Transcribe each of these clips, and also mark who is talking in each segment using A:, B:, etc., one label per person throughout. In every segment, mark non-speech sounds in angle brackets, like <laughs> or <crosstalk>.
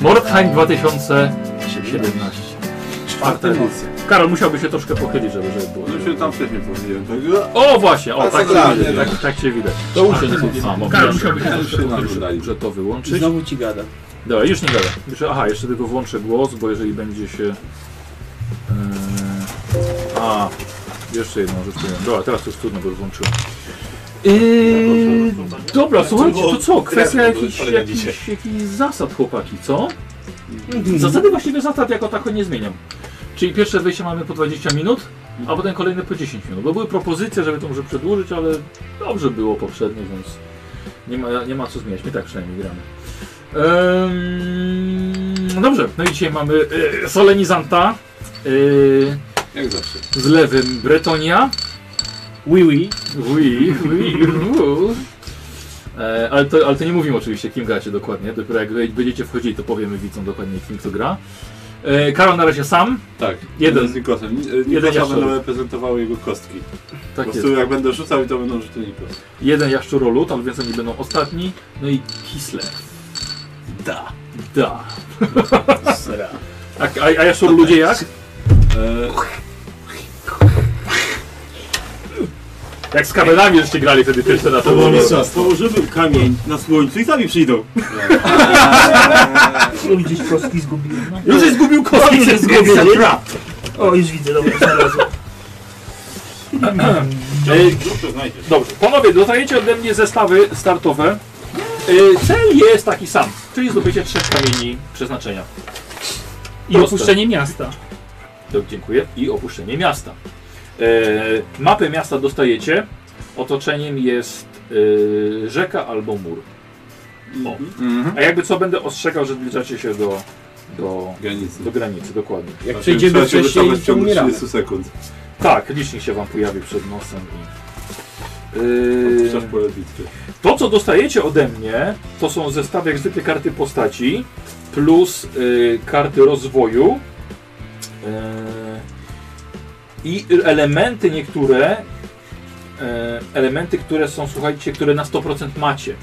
A: Mordheim 2017.
B: Czwarte emocje.
A: Karol musiałby się troszkę pochylić, żeby, żeby było.
C: No się tam wcześniej powiedziałem, tak?
A: O właśnie, o
B: A
A: tak
B: co
A: cię
B: dla
A: widać,
B: mnie,
A: tak, tak cię widać.
D: To usiądź.
A: A, mo- Karol musiałby się troszkę
C: się nam
A: pochylić,
C: wydaje.
A: że to wyłączyć.
D: Znowu ci gada.
A: Dobra, już nie gada. Jeszcze, aha, jeszcze tylko włączę głos, bo jeżeli będzie się... e, a, jeszcze jedną rzecz powiem. Dobra, teraz to jest trudno, bo już włączyłem. Yy, dobra, słuchajcie, to co? Kwestia jakichś jakich, jakich zasad, chłopaki, co? Zasady właściwie zasad jako tako nie zmieniam. Czyli pierwsze wejście mamy po 20 minut, a potem kolejne po 10 minut. Bo były propozycje, żeby to może przedłużyć, ale dobrze było poprzednio, więc nie ma, nie ma co zmieniać. My tak przynajmniej gramy. Ehm, no dobrze, no i dzisiaj mamy e, solenizanta e,
C: Jak zawsze.
A: z lewym Bretonia.
D: Oui, oui.
A: Oui, oui, oui. E, ale, to, ale to nie mówimy oczywiście, kim gracie dokładnie. Dopiero jak wej- będziecie wchodzili, to powiemy widzom dokładnie, kim kto gra. E, Karol na razie sam.
C: Tak.
A: Jeden.
C: Z Nikosem. Ni- Nikosa
A: jaszczur.
C: będą reprezentowały jego kostki. Po
A: Tak jest.
C: prostu jak będę rzucał, to będą rzuty Nikos.
A: Jeden jaszczurolud, ale więc oni będą ostatni. No i Kisle.
C: Da.
A: Da. A, Tak, a, a jaszczuroludzie jak?
C: E,
A: Jak z kabelami żeście grali wtedy pierwszy raz. To było
E: Położymy kamień na słońcu i sami przyjdą.
D: Oj, gdzieś kostki No zgubiłem. no.
A: Już się zgubił kostki, się
D: zgubił.
A: zgubił.
D: O, już widzę, dobra, znalazłem.
A: Ej,
C: Zrób to znajdziesz.
A: E, Dobrze, panowie, dostajecie ode mnie zestawy startowe. Yy, Cel jest taki sam, czyli zdobycie trzech kamieni przeznaczenia.
F: I opuszczenie miasta.
A: Dobrze, dziękuję. I opuszczenie miasta. Yy, Mapę miasta dostajecie. Otoczeniem jest yy, rzeka albo mur. O.
C: Mhm.
A: A jakby co będę ostrzegał, że zbliżacie się do, do,
C: Granicy.
A: do granicy, dokładnie.
C: Znaczy,
D: Jak przejdziemy
C: trzeba się
D: wcześniej,
C: wycofać w
D: to
C: ciągu
D: umieramy.
C: 30 sekund.
A: Tak, licznik się wam pojawi przed nosem i. Yy,
C: Czas pole bitwy.
A: To, co dostajecie ode mnie, to są zestawy jak zwykle karty postaci plus y, karty rozwoju y, i elementy niektóre, y, elementy, które są, słuchajcie, które na 100% macie.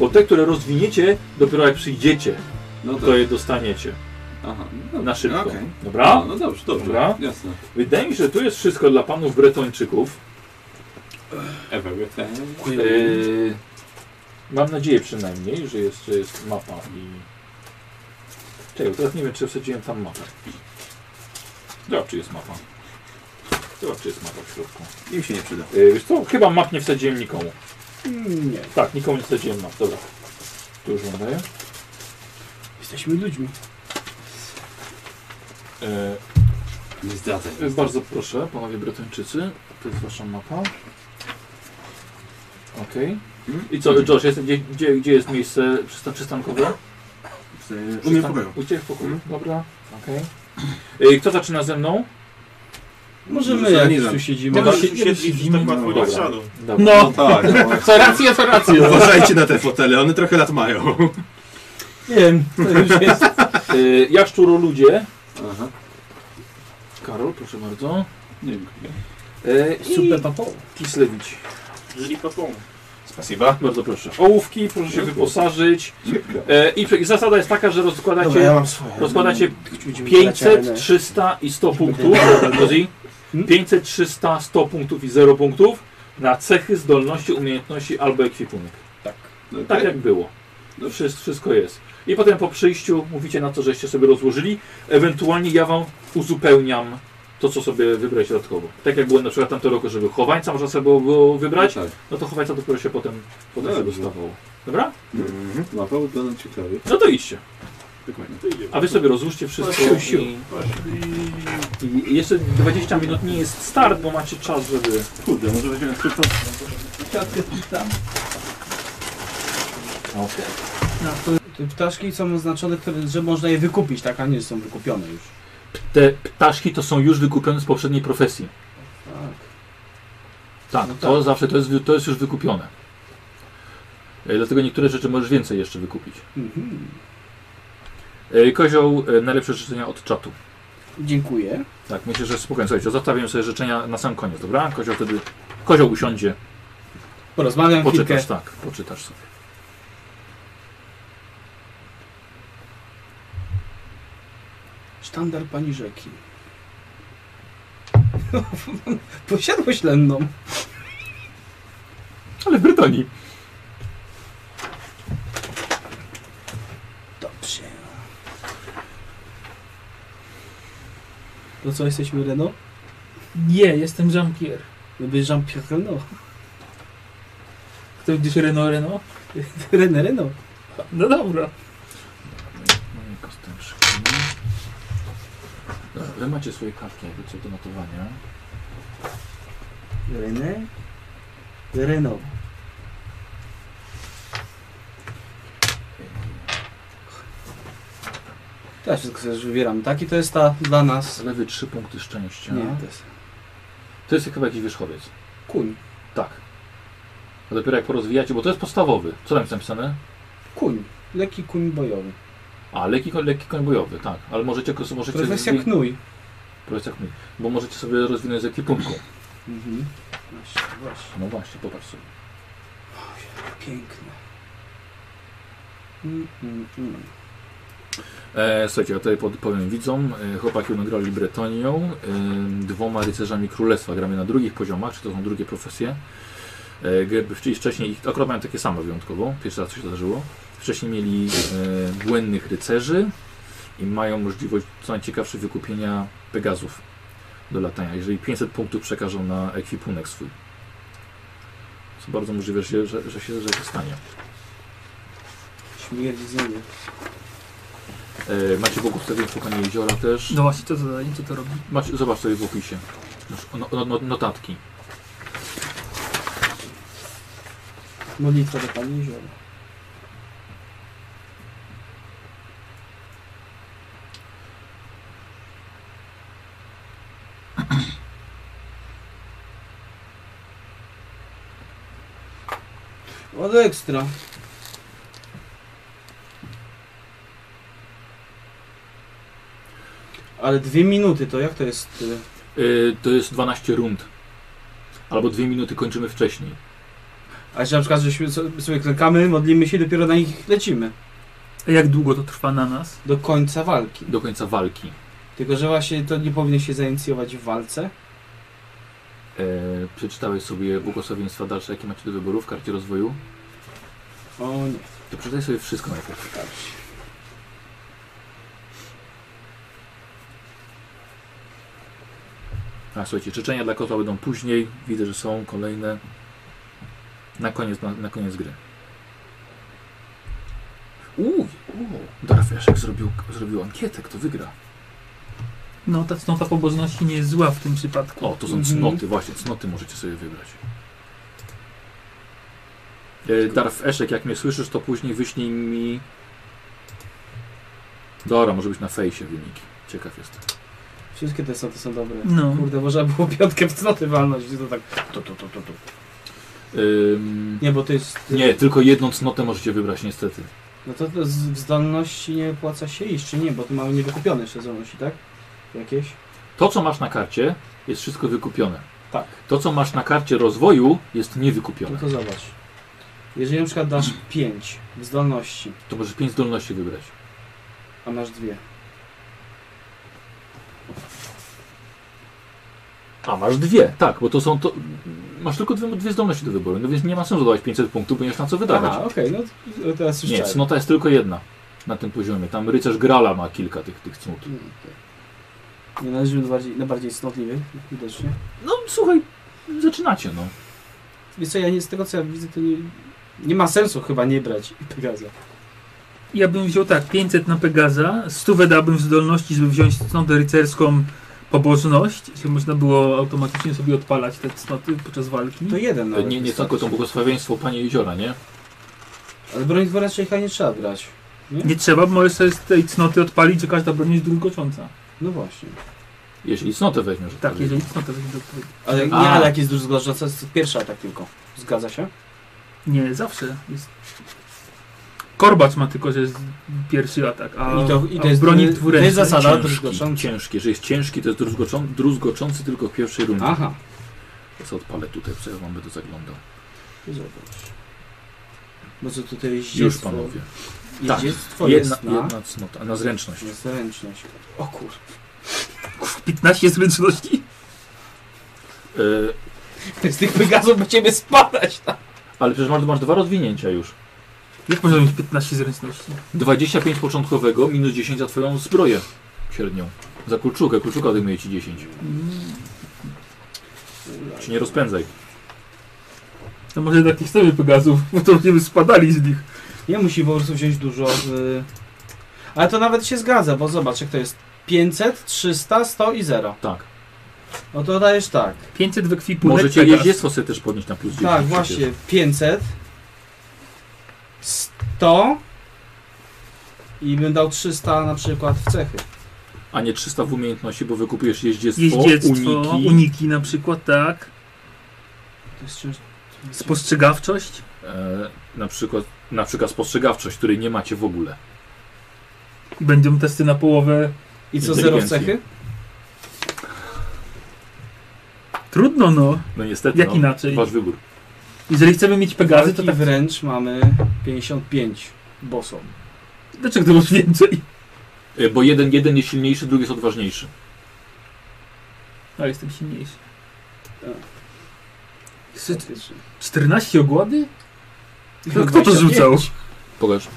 A: Bo te, które rozwiniecie, dopiero jak przyjdziecie,
C: No to...
A: to je dostaniecie
C: Aha.
A: na szybko.
C: Okej. A,
A: Dobra?
C: no dobrze, dobrze.
A: Dobra.
C: Jasne.
A: Wydaje mi się, że tu jest wszystko dla panów Bretończyków.
C: Everything.
A: Yy, mam nadzieję przynajmniej, że jest, że jest mapa i... Czekaj, bo teraz nie wiem, czy wsadziłem tam mapę. Zobacz, czy jest mapa. Zobacz, czy jest mapa w środku.
E: Im się nie przyda.
A: Yy, wiesz co? Chyba map nie wsadziłem nikomu.
D: Nie,
A: Tak, nikomu nie wsadziłem map. Dobra. Tu już mamy.
D: jesteśmy ludźmi.
A: Yy,
C: Nie zdradzaj.
E: Yy,
A: bardzo proszę, panowie Brytyjczycy. To jest wasza mapa. Okej. I co, Josh, jest, gdzie, gdzie, gdzie jest miejsce przysta- przystankowe?
E: U mnie w pokoju.
A: U Ciebie w pokoju. Dobra, okej. Ej, Kto zaczyna ze mną?
D: Możemy
E: Może
D: jak
E: nie
D: tu
E: znam.
D: siedzimy.
F: Mogę
D: Może
F: się siedzimy. Tak łatwo
A: Dobra.
F: nie wsiadą.
A: Dobra.
C: No
F: No,
C: tak. no.
A: <laughs>
F: co rację, co rację.
E: Uważajcie na te fotele, one trochę lat mają.
D: Nie wiem, to już jest.
A: Y, ja szczuro ludzie.
C: Aha.
A: Karol, proszę bardzo.
C: Dziękuję.
A: Y,
D: Super
A: I
D: papo.
A: Kislewicz.
F: Żyli papą.
E: Spasiba.
A: Bardzo proszę. Ołówki, proszę się wyposażyć. Y, I prze- zasada jest taka, że rozkładacie,
D: Dobra, ja mam swoje.
A: rozkładacie
D: Będziemy
A: 500,
D: grać,
A: 300 i 100 punktów. Rozi? 500, 300, 100 punktów i 0 punktów na cechy, zdolności, umiejętności albo ekwipunek.
C: No,
A: Tak jak było. No wszystko, wszystko jest. I potem po przyjściu mówicie na co, żeście sobie rozłożyli. Ewentualnie ja wam uzupełniam to, co sobie wybrać dodatkowo. Tak jak było na przykład tamto roku, żeby chowańca można sobie było- było wybrać,
C: Tak.
A: no to chowańca dopiero się potem, potem sobie
C: Dobrze.
A: dostawało. Dobra?
C: Mapa wygląda ciekawie.
A: No to idźcie.
C: Dokładnie.
A: A wy sobie rozłóżcie wszystko
D: Siu, siu.
A: i, i jeszcze 20 minut nie jest start, bo macie czas, żeby...
C: Kurde, może weźmiemy szybko.
D: No, to te ptaszki są oznaczone, które, że można je wykupić, tak, a nie że są wykupione już.
A: Te ptaszki to są już wykupione z poprzedniej profesji.
D: Tak.
A: Tak,
D: No
A: to zawsze to jest, to jest już wykupione. E, Dlatego niektóre rzeczy możesz więcej jeszcze wykupić.
D: Mhm.
A: E, Kozioł, e, najlepsze życzenia od czatu.
D: Dziękuję.
A: Tak, myślę, że spokojnie. Słuchajcie, zostawiam sobie życzenia na sam koniec, dobra? Kozioł wtedy... Kozioł usiądzie,
D: Porozmawiam chwilkę.
A: poczytasz, tak, poczytasz sobie.
D: Sztandar pani rzeki. <laughs> Posiadłość lenną.
A: Ale w Brytanii.
D: Dobrze. To co, jesteśmy Reno?
F: Nie, jestem Jean-Pierre.
D: No byś Jean-Pierre Reno. <laughs>
F: Kto widzisz Renault Renault?
D: René Reno.
F: No dobra.
A: Moje kosteczki. Dobra, wy macie swoje kartki, jakby co do notowania.
D: René? Reno. To ja wszystko sobie już wybieram. Taki to jest ta dla nas.
A: Lewy trzy punkty szczęścia.
D: Nie, to jest
A: To jest chyba jakiś wierzchowiec.
D: kuń.
A: Tak. A dopiero jak porozwijacie, bo to jest podstawowy. Co tam jest napisane?
D: Kuń. Lekki kuń bojowy.
A: A, lekki, koń- lekki koń bojowy, tak. Ale możecie... możecie
D: Profesja
A: rozwi-
D: knuj.
A: Profesja knuj. Bo możecie sobie rozwinąć z ekwipunką.
D: Mhm. Właśnie, właśnie.
A: No właśnie, popatrz sobie.
D: Piękne. Mm, mm, mm.
A: E, słuchajcie, ja tutaj pod, powiem widzom, e, chłopaki będą grali Bretonią, e, dwoma rycerzami królestwa gramy na drugich poziomach, czy to są drugie profesje. E, gdyby wcześniej- wcześniej, ich- akurat mają takie same wyjątkowo, pierwszy raz to się zdarzyło. Wcześniej mieli e, błędnych rycerzy i mają możliwość, co najciekawsze, wykupienia Pegazów do latania, jeżeli 500 punktów przekażą na ekwipunek swój. Co bardzo możliwe, że, się- że, że się że się stanie.
D: Śmierdzenie.
A: E, macie wokół sobie słuchanie jeziora też.
F: No właśnie, co to za co to robi?
A: Masz, zobacz sobie w opisie. Masz No, no, no, notatki.
D: Modlitwa do Pani Jeziora. <clears throat> Od ekstra. Ale dwie minuty to jak to jest? y,
A: Y, to jest 12 rund. Albo dwie minuty kończymy wcześniej.
D: A że na przykład żeśmy so- sobie klękamy, modlimy się i dopiero na nich lecimy.
F: A jak długo to trwa na nas?
D: Do końca walki.
A: Do końca walki.
D: Tylko, że właśnie to nie powinno się zainicjować w walce.
A: E, przeczytałeś sobie błogosławieństwa dalsze, jakie macie do wyboru w karcie rozwoju?
D: O nie,
A: To przeczytaj sobie wszystko najpierw.
D: tak się.
A: A słuchajcie, życzenia dla kota będą później. Widzę, że są kolejne. Na koniec, na, na koniec gry. Uuu, uuu. Darfeszek zrobił, zrobił ankietę, kto wygra.
F: No ta cnota pobożności nie jest zła w tym przypadku.
A: O, to są
D: Mhm.
A: cnoty, właśnie, cnoty możecie sobie wybrać. E, Darf Eszek, jak mnie słyszysz, to później wyślij mi... Dobra, może być na fejsie wyniki. Ciekaw jestem.
D: Wszystkie te soty są dobre.
F: No.
D: Kurde, można było piątkę w cnoty walnąć, to tak... To, to, to, to, to.
A: Ym,
D: Nie, bo to jest...
A: nie, tylko jedną cnotę możecie wybrać, niestety.
D: No to, to z w zdolności nie opłaca się iść, czy nie? Bo tu mamy niewykupione jeszcze zdolności, tak? Jakieś?
A: To, co masz na karcie, jest wszystko wykupione.
D: Tak.
A: To, co masz na karcie rozwoju, jest niewykupione.
D: No to zobacz. Jeżeli na przykład dasz 5 w zdolności,
A: To możesz pięć zdolności wybrać.
D: a masz dwie.
A: A, masz dwie, tak, bo to są to... Masz tylko dwie, dwie zdolności do wyboru, no więc nie ma sensu dawać 500 punktów, bo nie masz na co wydawać.
D: Aha, okej, no to- teraz już
A: Nie, cnota jest tylko jedna na tym poziomie. Tam rycerz Grala ma kilka tych, tych cnót.
D: Nie należymy do bardziej, na bardziej cnotliwych, widocznie.
A: No słuchaj, zaczynacie no.
D: Wiesz co, ja nie, z tego co ja widzę, to nie, nie ma sensu chyba nie brać tak Pegaza.
F: Ja bym wziął tak, 500 na Pegaza, 100 dałbym w zdolności, żeby wziąć cnotę rycerską pobożność, żeby można było automatycznie sobie odpalać te cnoty podczas walki.
D: No, To jeden nawet.
A: nie nie
D: wystarczy.
A: tylko to błogosławieństwo Panie Jeziora, nie?
D: Ale broń dworecznej chyba nie trzeba brać.
F: Nie trzeba, bo możesz sobie z tej cnoty odpalić, że każda broń jest drugocząca.
D: No właśnie.
A: Jeśli cnotę weźmiesz.
F: Tak,
A: odpowiednio.
F: jeżeli cnota będzie odpowiednia.
D: Ale nie,
A: A.
D: ale jak jest dużo zgłaszająca, to jest pierwszy atak tylko. Zgadza się?
F: Nie, zawsze jest. Korbacz ma tylko, że jest pierwszy atak, a,
D: I to- i to
F: a
D: jest-
F: broni
D: to jest
F: dwuręcznej-
D: zasada. Zadał
A: Ciężki,
D: druzgoczący.
A: ciężki. Jeżeli jest ciężki, to jest druzgoczą- druzgoczący tylko w pierwszej rundzie.
D: Aha.
A: Ja sobie odpalę tutaj, co ja wam będę zaglądał.
D: To Zobacz. Bo co tutaj jeździectwo...
A: Już panowie. Tak,
D: Jeździectwo
A: Jedna,
D: jest na...
A: jedna cnota, na zręczność.
D: Jest ręczność. <laughs> O kur...
F: 15 zręczności?
A: Y,
D: Z tych Pegazów będziemy spadać. tak?
A: ale przecież masz, masz dwa rozwinięcia już.
F: Jak można mieć 15 zręczności?
A: 25 początkowego minus 10 za twoją zbroję średnią. Za kulczukę, kulczuka odejmuje ci 10. Czy nie rozpędzaj.
F: To może jednak nie chcemy Pegazów, bo to będziemy spadali z nich.
D: Nie musi po prostu wziąć dużo. Y... Ale to nawet się zgadza, bo zobacz, jak to jest 500, 300, 100 i 0.
A: Tak.
D: No to dajesz tak.
F: 500 w ekwipunku.
A: Możecie
F: Pegas.
A: jeździectwo sobie też podnieść na plus 10.
D: Tak,
A: przecież.
D: właśnie. 500, 100 i bym dał 300 na przykład w cechy.
A: A nie 300 w umiejętności, bo wykupujesz jeździectwo,
F: Jeździectwo, uniki.
A: uniki.
F: na przykład, tak.
D: To jest cięż...
F: Spostrzegawczość.
A: E, na, przykład, na przykład spostrzegawczość, której nie macie w ogóle.
F: I będą testy na połowę.
D: I co, 0 w
A: Inteligencji.
D: cechy?
F: Trudno no,
A: No niestety,
F: jak
A: no,
F: inaczej.
A: wasz wybór.
F: Jeżeli chcemy mieć Pegazy, to
D: Walki
F: tak...
D: wręcz mamy 55 bosom.
F: Dlaczego to masz więcej?
A: E, bo jeden, jeden jest silniejszy, drugi jest odważniejszy.
F: A, No, jestem silniejszy.
D: Tak.
F: Jest 14 ogłady? No Kto, kto to
D: 25.
F: rzucał?
A: Pokaż.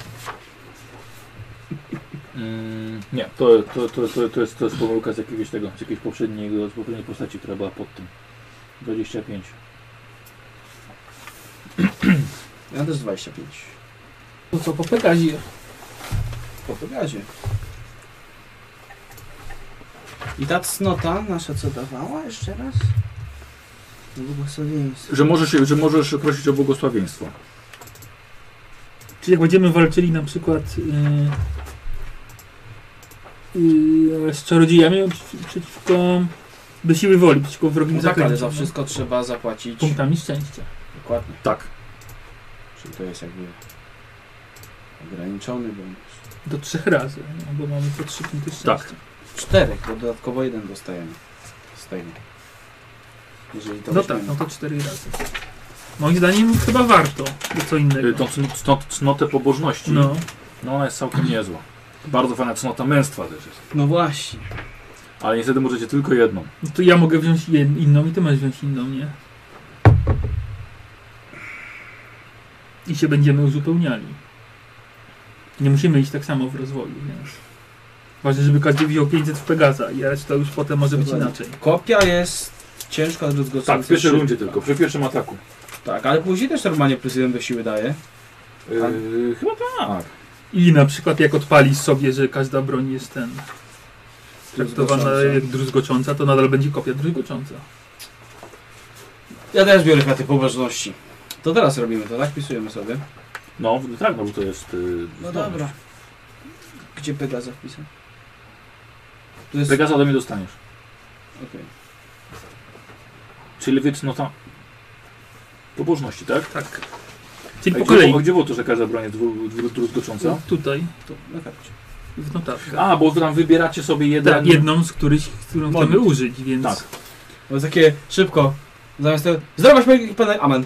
A: Mm, nie, to, to, to, to, to, jest, to jest pomyłka z jakiegoś tego, z jakiejś poprzedniego, z poprzedniej postaci, która była pod tym. 25.
D: Ja też 25.
F: To co, po Pegazie?
D: Po pogazie. I ta cnota nasza co dawała jeszcze raz? No Błogosławieństwo.
A: Że możesz, że możesz prosić o błogosławieństwo.
F: Czyli jak będziemy walczyli na przykład yy, yy, z czarodziejami przy- przeciwko do siły woli, przeciwko wrogim
D: No tak, ale za
F: no.
D: wszystko trzeba zapłacić.
F: punktami szczęścia.
D: Dokładnie.
A: Tak.
D: Czyli to jest jakby ograniczony bonus.
F: Do trzech razy, no, bo mamy po trzy punkty szczęścia.
A: Tak.
D: Czterech, bo dodatkowo jeden dostajemy. Z tego. Jeżeli to
F: No tak,
D: weźmiemy.
F: no to cztery razy. Moim zdaniem chyba warto, bo co
A: Y,
F: innego.
A: Tą cn- cnot, cnotę pobożności, no.
F: No,
A: no ona jest całkiem niezła. Bardzo fajna cnota męstwa też jest.
D: no właśnie.
A: Ale niestety możecie tylko jedną.
F: no to ja mogę wziąć jed- inną i ty masz wziąć inną, nie? I się będziemy uzupełniali. Nie musimy iść tak samo w rozwoju, więc... Ważne, żeby każdy wziął 500 w Pegaza i reszta już potem może być
D: Dokładnie.
F: inaczej.
D: Kopia jest ciężka do zgłoszenia.
A: Tak, w pierwszej rundzie tylko, przy pierwszym ataku.
D: Tak, ale później też normalnie plus jeden do siły daje.
A: Yy, chyba tak.
F: I na przykład jak odpalisz sobie, że każda broń jest ten traktowana
D: Zgłoszenia.
F: jak druzgocząca, to nadal będzie kopia druzgocząca.
D: Ja też biorę kwiaty pobożności. To teraz robimy to, tak? Pisujemy sobie.
A: No, w- tak, no bo to jest. Yy, zdolność.
D: Gdzie Pegaza wpisał? Tu jest...
A: Pegasa do mnie dostaniesz.
D: Okej.
A: Czyli wy cnota pobożności, tak?
F: Tak. Czyli
A: A
F: po
A: gdzie,
F: kolei.
A: było- gdzie było to, że każda broń jest dwu- dwu- druzgocząca?
F: No, tutaj,
D: Tu, na karcie.
F: w notatkach.
A: A, bo wy tam wybieracie sobie jeden.
F: tak, jedną z których, którą
D: Moment.
F: chcemy użyć, więc...
A: Tak.
D: No takie szybko. Zamiast tego... Zdrowaś mojego pana... Amen.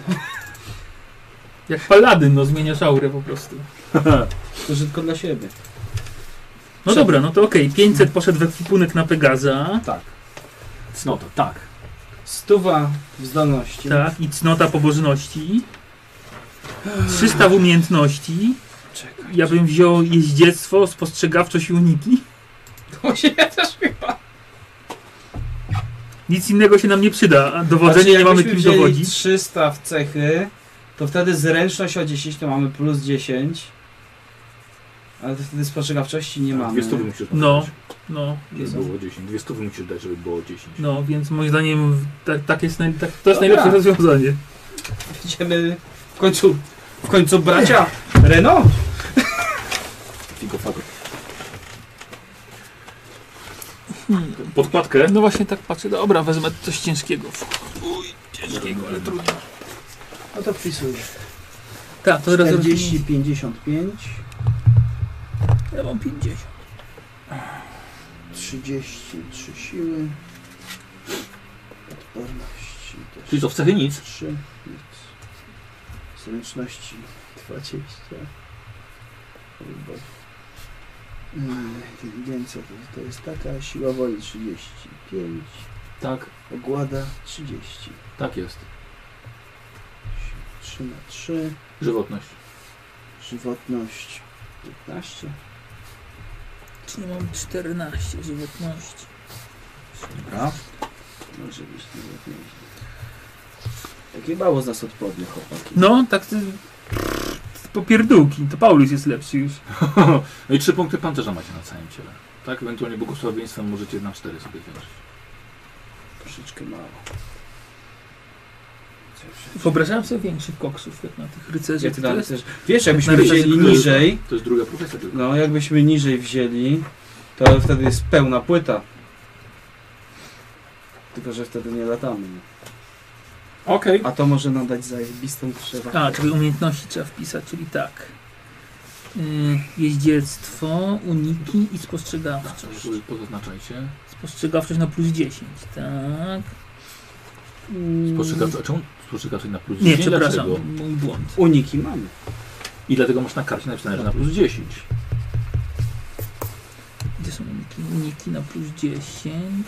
F: Jak paladyn, no zmieniasz aurę po prostu.
D: To tylko dla siebie.
F: No
D: Prze-
F: dobra, no to okej, 500 poszedł w ekwipunek na Pegaza,
A: Cnota, tak.
D: Stuwa w zdolności.
F: tak, i cnota pobożności, 300 w umiejętności,
D: Czekaj.
F: ja bym wziął jeździectwo, spostrzegawczość i uniki.
D: To się ja też chyba.
F: Nic innego się nam nie przyda, a dowodzenie
D: Znaczy,
F: nie mamy kim dowodzić.
D: 300 w cechy, to wtedy zręczność o 10 to mamy plus 10. Ale to wtedy spostrzegawczości
F: Tak,
D: nie mamy.
A: Tak, Dwie stówy musisz
F: No.
A: dać,
F: No,
A: żeby było 10. Dwie stówy musisz dać, żeby było 10.
F: no, więc moim zdaniem tak, tak jest naj, tak, to
D: Dobra.
F: jest najlepsze rozwiązanie.
D: Będziemy w końcu, w końcu bracia Renault.
A: Figo fago. Podkładkę.
F: No właśnie tak patrzę, dobra, wezmę coś ciężkiego.
D: No to wpisuję.
F: Tak, to teraz
D: 40, 55,
F: Ja mam 50.
D: 30, 3 siły, odporności też
A: Czyli co, w cechy nic.
D: 3, nic. Zręczności 20. Bo... Mm, Inteligencja to, to jest taka, siła woli 35,
A: Tak,
D: ogłada 30.
A: tak jest.
D: 3 na 3,
A: Żywotność. <laughs>
D: żywotność 15.
F: Czyli mam 14 żywotności.
D: Dobra. Może być nawet nieźle. Takie mało z nas odporne chłopaki.
F: No, tak ty... Popierdółki, to Paulus jest lepszy już.
A: No i trzy punkty pancerza macie na całym ciele. Tak, ewentualnie błogosławieństwem możecie na cztery sobie zwiększyć.
D: Troszeczkę mało.
F: Wyobrażałem sobie większych koksów, jak na tych rycerzach.
D: Jak
F: to
D: dalej
F: jest
D: też. Wiesz, jakbyśmy
F: na razie
D: wzięli
F: tylko-
D: niżej,
A: To jest druga profesja tylko.
D: no jakbyśmy niżej wzięli, to wtedy jest pełna płyta. Tylko, że wtedy nie latamy.
A: Okej.
D: A to może nam dać zajebistą przewagę.
F: A, czyli umiejętności trzeba wpisać, czyli tak. Y, Jeździectwo, uniki i spostrzegawczość.
A: Okay. Pozaznaczajcie.
F: Spostrzegawczość na plus 10, tak. Mm,
A: Spostrzegawczy, a czemu spostrzegawczy na plus 10?
F: Nie, przepraszam,
A: Dlaczego?
F: mój błąd.
D: Uniki mamy.
A: I dlatego masz na karcie napisane, że na plus 10.
F: Gdzie są uniki? Uniki na plus 10.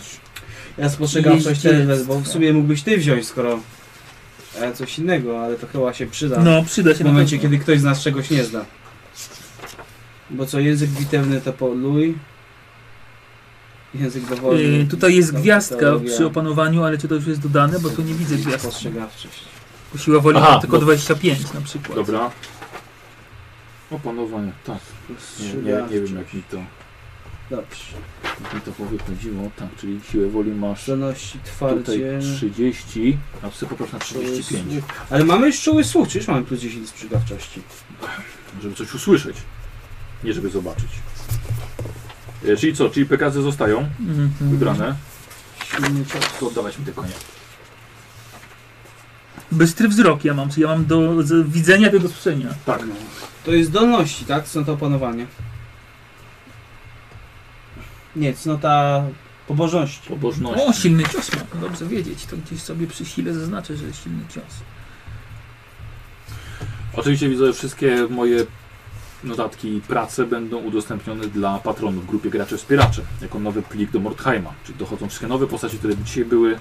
D: Ja spostrzegam coś
F: Jeździectwo.
D: tyle, bo w sumie mógłbyś ty wziąć, skoro e, coś innego, ale to chyba się przyda.
F: No, przyda się
D: Tak. W momencie,
F: na pewno.
D: kiedy ktoś z nas czegoś nie zna. Bo co, język bitewny to poluj. Język dowolny.
F: Y, tutaj jest
D: to
F: gwiazdka
D: teologia.
F: przy opanowaniu, ale czy to już jest dodane, bo tu nie widzę gwiazdki.
D: Spostrzegawczość.
F: Bo Siła woli
A: Aha,
F: ma tylko
A: bo-
F: 25 na przykład.
A: Dobra. Opanowanie, tak. Nie, nie, nie wiem jak mi to,
D: Dobrze.
A: jak mi to powychodziło. Tak, czyli siłę woli masz
D: Przenosi
A: tutaj
D: twardzie.
A: 30, a sobie poproszę na 35,
D: Słuch. Ale mamy już czuły słuch, czy już mamy plus 10 spostrzegawczości?
A: żeby coś usłyszeć, nie żeby zobaczyć. E, Czyli co, czyli pekazy zostają
F: Mhm.
A: wybrane,
D: Silny cios.
A: to oddawać mi te konie.
F: Bystry wzrok ja mam, czyli ja mam do z widzenia, do słyszenia.
A: Tak,
D: No. To jest zdolności, tak? Cnota opanowania. Nie, cnota pobożności.
F: O,
A: pobożność.
F: silny cios ma. Dobrze wiedzieć. To gdzieś sobie przy sile zaznaczę, że silny cios.
A: Oczywiście widzę, że wszystkie moje notatki i prace będą udostępnione dla patronów w grupie graczy wspieraczy, jako nowy plik do Mordheima. Czyli dochodzą wszystkie nowe postacie, które dzisiaj były,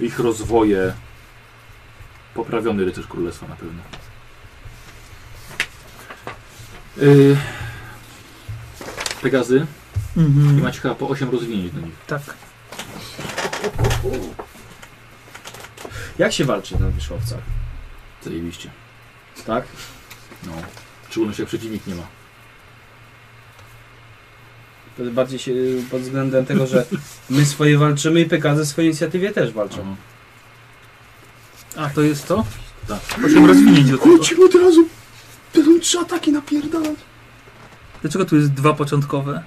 A: ich rozwoje, poprawiony rycerz królestwa na pewno. Yy, Pegazy, i
F: Mhm.
A: macie chyba po 8 rozwinięć do nich.
F: Tak.
D: Jak się walczy na wierzchowcach?
A: Zajebiście.
D: Tak?
A: No. W szczególności jak przeciwnik nie ma.
D: Wtedy Bardziej się y, pod względem tego, że my swoje walczymy i Pekazy swojej inicjatywie też walczą.
A: Aha.
F: A to jest to?
A: Tak.
F: Osiem rozwinięć do tego.
B: Chodźmy od razu! Będą trzy ataki napierdalać!
F: Dlaczego tu jest dwa początkowe?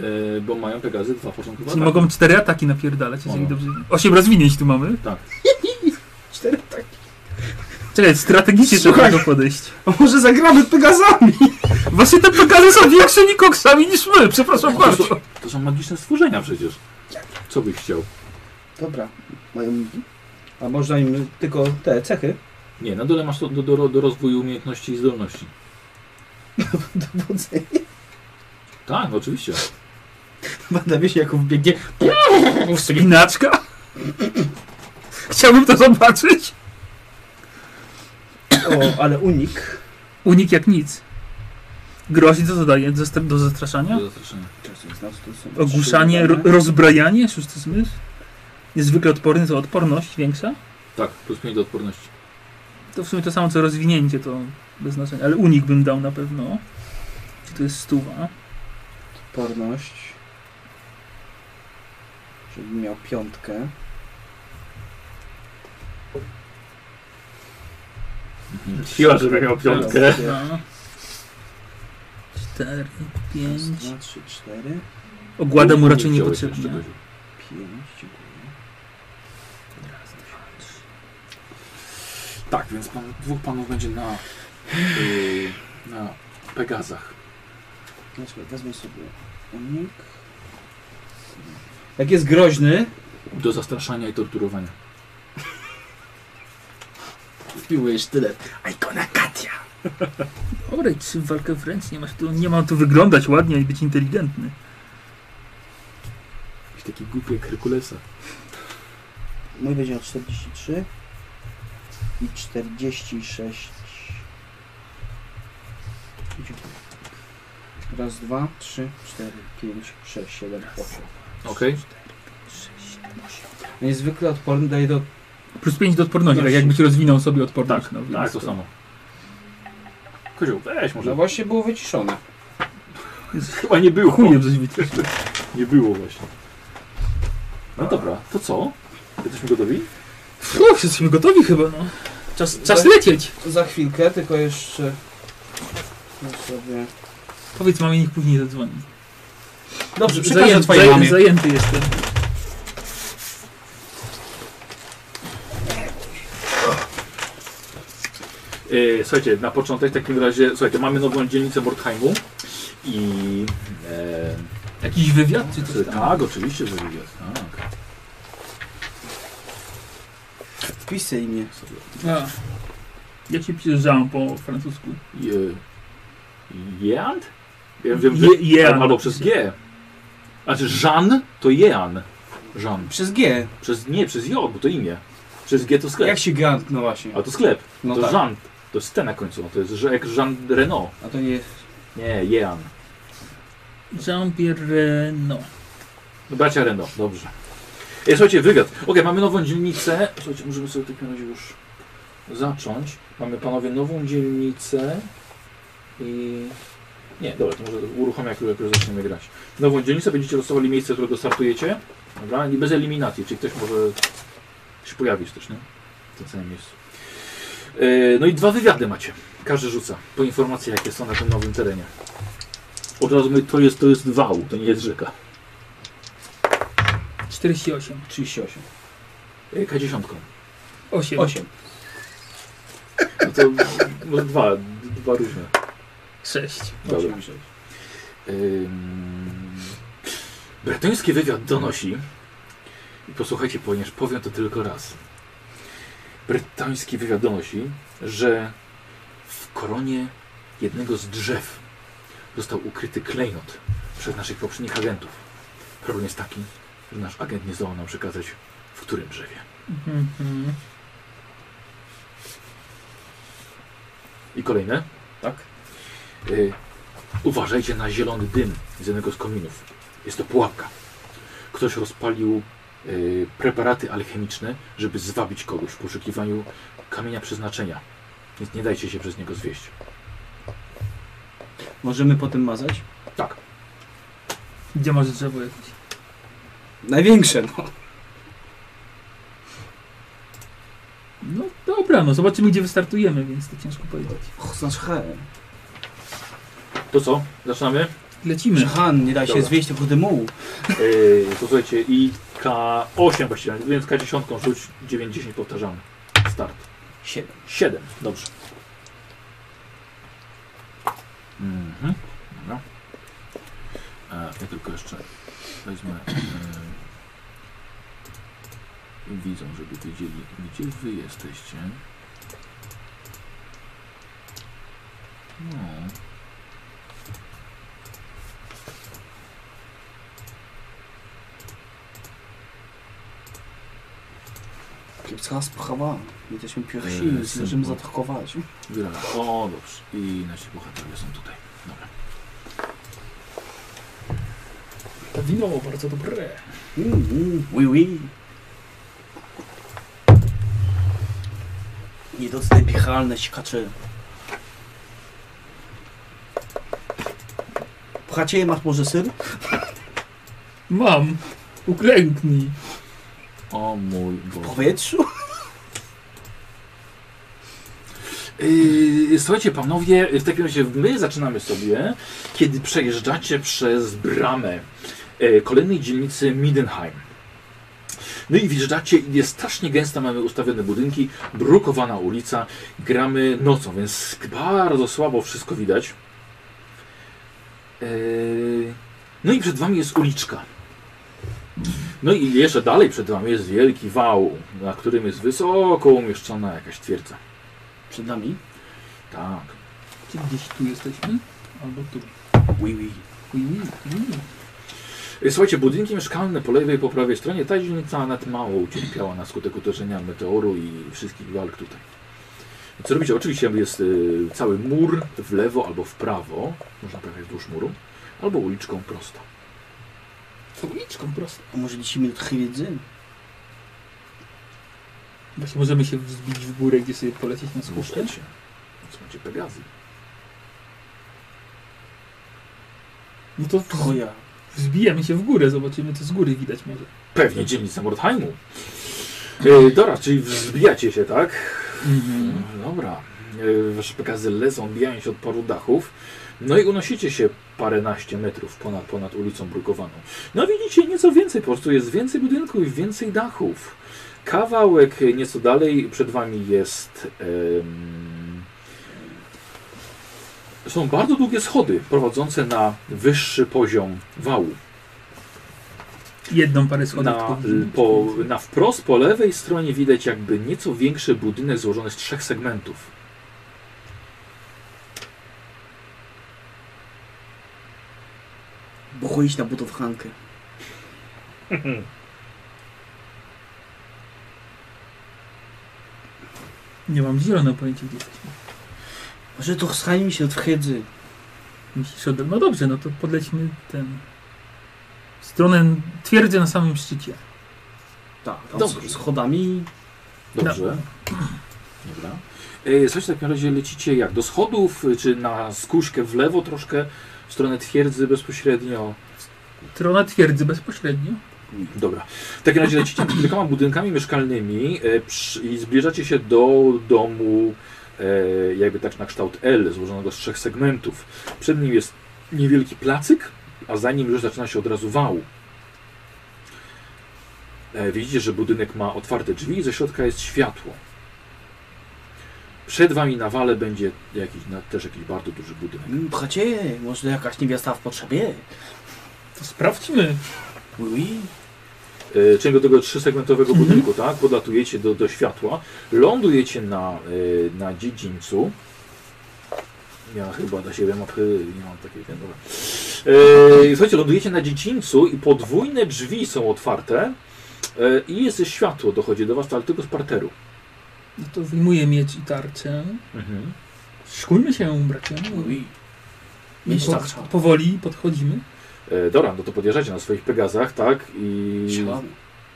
A: Yy, bo mają Pegazy dwa początkowe
F: Czyli
A: ataki.
F: mogą cztery ataki napierdalać, jeżeli
A: tak. Mogą.
F: dobrze. Osiem rozwinięć tu mamy.
A: Tak.
D: Cztery tak. ataki.
F: Czekaj, strategicznie trzeba do
D: Słuchaj.
F: tego podejść.
D: A może zagramy Pegazami?
F: Właśnie te pokazy są większymi koksami niż my, przepraszam
A: To
F: bardzo.
A: są, to są magiczne stworzenia przecież. Co byś chciał?
D: Dobra. Mają... A można im tylko te cechy?
A: Nie, na dole masz to do, do, do rozwoju umiejętności i zdolności.
D: Dowodzenie.
A: Tak, no oczywiście.
D: Bada wiesz, Jakub biegnie.
F: Wspinaczka? Chciałbym to zobaczyć.
D: O, ale unik.
F: Unik jak nic. Grozi co zadaje do, zastra- do zastraszania?
A: Do zastraszenia.
D: Czasem z nas tu są
F: Ogłuszanie,
D: trzy
F: ro-
D: dane.
F: rozbrajanie, szósty zmysł. Niezwykle odporny, to odporność większa.
A: Tak, plus 5 do odporności.
F: To w sumie to samo co rozwinięcie, to bez znaczenia. Ale unik bym dał na pewno. Czy to jest stuwa?
D: Odporność. Żebym miał piątkę.
A: Siła, żeby miał piątkę.
F: Dwa, cztery, pięć.
D: Raz, dwa, trzy, cztery,
F: Ogłada mu raczej
A: Nie chciałeś
F: niepotrzebnie.
A: jeszcze godziu.
D: pięć, dziękuję.
A: Tak, więc pan, dwóch panów będzie na, yy, na Pegazach.
D: No, czekaj, wezmę sobie unik. Jak jest groźny,
A: Do zastraszania i torturowania.
B: Piłujesz tyle. Icona Katia.
F: Orej, czy walkę wręcz nie masz tu, nie mam tu wyglądać ładnie i być inteligentny.
B: Jakiś taki głupi jak Herkulesa.
G: Mój będzie miał 43 i 46. Dziękuję. Raz, dwa, trzy, cztery, pięć, sześć, siedem, osiem.
A: Okej.
D: Niezwykle odporny daje do...
F: Plus 5 do odporności, tak jakbyś rozwinął sobie odporność. no, więc
A: Tak, to samo. Kozioł, weź
D: No
A: może.
D: właśnie było wyciszone.
A: Chyba nie było.
F: Chujem coś widzisz.
A: Nie było właśnie. No dobra, to co? Jesteśmy gotowi?
F: Fuh, jesteśmy gotowi chyba, no. Czas, czas lecieć.
D: Za chwilkę, tylko jeszcze... No sobie...
F: Powiedz mamie, niech później zadzwoni.
D: Dobrze,
F: Zaję-
D: przekażę twojej
F: zaję-
D: mamie.
F: Zajęty jestem.
A: E, słuchajcie, na początek w takim razie, słuchajcie, mamy nową dzielnicę Mordheimu i... E,
F: Jakiś wywiad czy
A: czy-
F: coś tam?
A: tak, oczywiście, że jest. Tak.
G: Wpisy imię.
F: A. Jak się pisze Jean po francusku?
A: Je- Jeand? e, Ja wiem, że...
F: Je- Jean.
A: Albo przez G. Znaczy Jean to Jean. Jean.
D: Przez G.
A: Przez, nie, przez J, bo to imię. Przez G to
D: Jak
A: sklep.
D: się gant, no właśnie.
A: A to sklep.
D: No
A: to
D: tak.
A: Jean. To jest T na końcu. To jest że- jak Jean Renault.
D: A to nie jest...
A: Nie, Jean.
F: Jean-Pierre Reno.
A: Bracia Rendo, dobrze. E, słuchajcie, wywiad. Okej, mamy nową dzielnicę. Słuchajcie, możemy sobie w takim razie już zacząć. Mamy panowie nową dzielnicę i... Nie, dobra, to może uruchomię, jak jak już zaczniemy grać. Nową dzielnicę będziecie dostawali miejsce, z którego startujecie. Dobra, i bez eliminacji, czyli ktoś może się pojawić też, nie? W tym samym miejscu. E, no i dwa wywiady macie. Każdy rzuca po informacje, jakie są na tym nowym terenie. Od razu mówię, to jest, to jest wał, to nie jest rzeka.
F: 48.
G: 38.
A: E, K10.
F: 8.
G: 8.
A: No to może dwa, dwa różne.
F: 6.
A: Dobra. Ym... Bretoński wywiad donosi. I posłuchajcie, ponieważ powiem to tylko raz. Brytański wywiad donosi, że w koronie jednego z drzew został ukryty klejnot przez naszych poprzednich agentów. Problem jest taki, że nasz agent nie zdołał nam przekazać, w którym drzewie.
F: Mhm.
A: I kolejne.
G: Tak.
A: Y, uważajcie na zielony dym z jednego z kominów. Jest to pułapka. Ktoś rozpalił y, preparaty alchemiczne, żeby zwabić kogoś w poszukiwaniu kamienia przeznaczenia. Więc nie dajcie się przez niego zwieść.
D: Możemy potem mazać?
A: Tak.
F: Gdzie masz drzewo jakieś?
D: Największe, no.
F: No dobra, no zobaczymy gdzie wystartujemy, więc to ciężko powiedzieć.
D: Och, znasz H.
A: To co? Zaczynamy?
F: Lecimy.
D: Han, nie da się
A: Dobra.
D: zwieść tylko dymu.
A: Yy, to słuchajcie, i K8 właściwie, więc K10 rzuć 9-10 powtarzamy. Start.
G: 7.
A: 7, dobrze. Mhm. Dobra. E, ja tylko jeszcze wezmę e, widzą, żeby wiedzieli, gdzie wy jesteście. No.
G: Kiepska sprawa. Jesteśmy pierwsi,
A: Eee,
G: więc możemy
A: symbol.
G: zaatakować.
A: Gra. O, dobrze. I nasi bohaterowie są tutaj. Dobra.
F: Wino bardzo dobre.
G: Mm, mm, oui, oui. Niedocenialne sikacze. Pchacie, masz może syn?
F: Mam. Uklęknij.
A: O mój Boże.
G: Powietrzu?
A: Yy, słuchajcie, panowie, w takim razie my zaczynamy sobie, kiedy przejeżdżacie przez bramę e, kolejnej dzielnicy Midenheim. No i wjeżdżacie i jest strasznie gęsta, mamy ustawione budynki, brukowana ulica, gramy nocą, więc bardzo słabo wszystko widać. Yy, no i przed wami jest uliczka. No i jeszcze dalej przed wami jest wielki wał, na którym jest wysoko umieszczona jakaś twierdza.
G: Przed nami?
A: Tak.
F: Czy gdzieś tu jesteśmy? Albo tu.
A: Oui, oui.
F: Mm, mm.
A: Y, Słuchajcie, budynki mieszkalne po lewej i po prawej stronie, ta dzielnica nad mało ucierpiała na skutek uderzenia meteoru i wszystkich walk tutaj. Co robicie? Oczywiście jest y, cały mur w lewo albo w prawo, można pojechać wzdłuż muru, albo uliczką prosto.
F: To uliczką prosto.
G: A może 10 minut chwiedzy?
F: Właśnie możemy się wzbić w górę, gdzie sobie polecieć na skuszkę.
A: Możecie. Więc macie Pegazy.
F: No to
G: Twoja.
F: wzbijamy się w górę, zobaczymy co z góry widać może.
A: Pewnie dzielnica Mordheimu. Y, Dobra, czyli wzbijacie się, tak? No Dobra. E, Wasze pekazy lecą, odbijają się od paru dachów. No i unosicie się paręnaście metrów ponad, ponad ulicą brukowaną. No widzicie, nieco więcej po prostu. Jest więcej budynków i więcej dachów. Kawałek e, nieco dalej przed wami jest... em, są bardzo długie schody prowadzące na wyższy poziom wału.
F: Jedną parę schodów.
A: Na, y,
F: tylko widzimy.
A: po, na wprost po lewej stronie widać jakby nieco większy budynek złożony z trzech segmentów.
G: Bo chodzić na butów Hankę.
F: Nie mam zielonego pojęcia gdzie jesteśmy.
G: Może to schajmy się od chwiedzy.
F: Myślisz ode... No dobrze, no to podlećmy ten... w Stronę twierdzy na samym szczycie.
G: Tak, tam
A: Dobrze.
G: z schodami.
A: Dobrze. Dobra. E, Słuchajcie, w takim razie lecicie jak? Do schodów, y, czy na skuśkę w lewo troszkę, w stronę twierdzy bezpośrednio?
F: Strona twierdzy bezpośrednio.
A: Dobra. W takim razie lecicie między kilkoma budynkami mieszkalnymi e, przy- i zbliżacie się do domu e, jakby tak na kształt L, złożonego z trzech segmentów. Przed nim jest niewielki placyk, a za nim już zaczyna się od razu wał. E, Widzicie, że budynek ma otwarte drzwi i ze środka jest światło. Przed wami na wale będzie jakiś, na, też jakiś bardzo duży budynek.
G: Mm, Bracie, może jakaś niewiasta w potrzebie?
F: To sprawdźmy.
G: Oui, oui.
A: E, czyli do tego trzysegmentowego budynku, tak? Podlatujecie do, do światła, lądujecie na, e, na dziedzińcu. Ja chyba dla siebie mapy nie mam takiej, ten, dobra. E, słuchajcie, lądujecie na dziedzińcu i podwójne drzwi są otwarte e, i jest światło, dochodzi do was, ale tylko z parteru.
F: No to wyjmuję miecz i tarczę. Szkulmy się, bracia.
G: oui.
F: I
G: Mieć
F: po,
G: tarcza.
F: powoli podchodzimy.
A: E, dobra, no to podjeżdżacie na swoich Pegazach, tak? I...
G: Siadamy.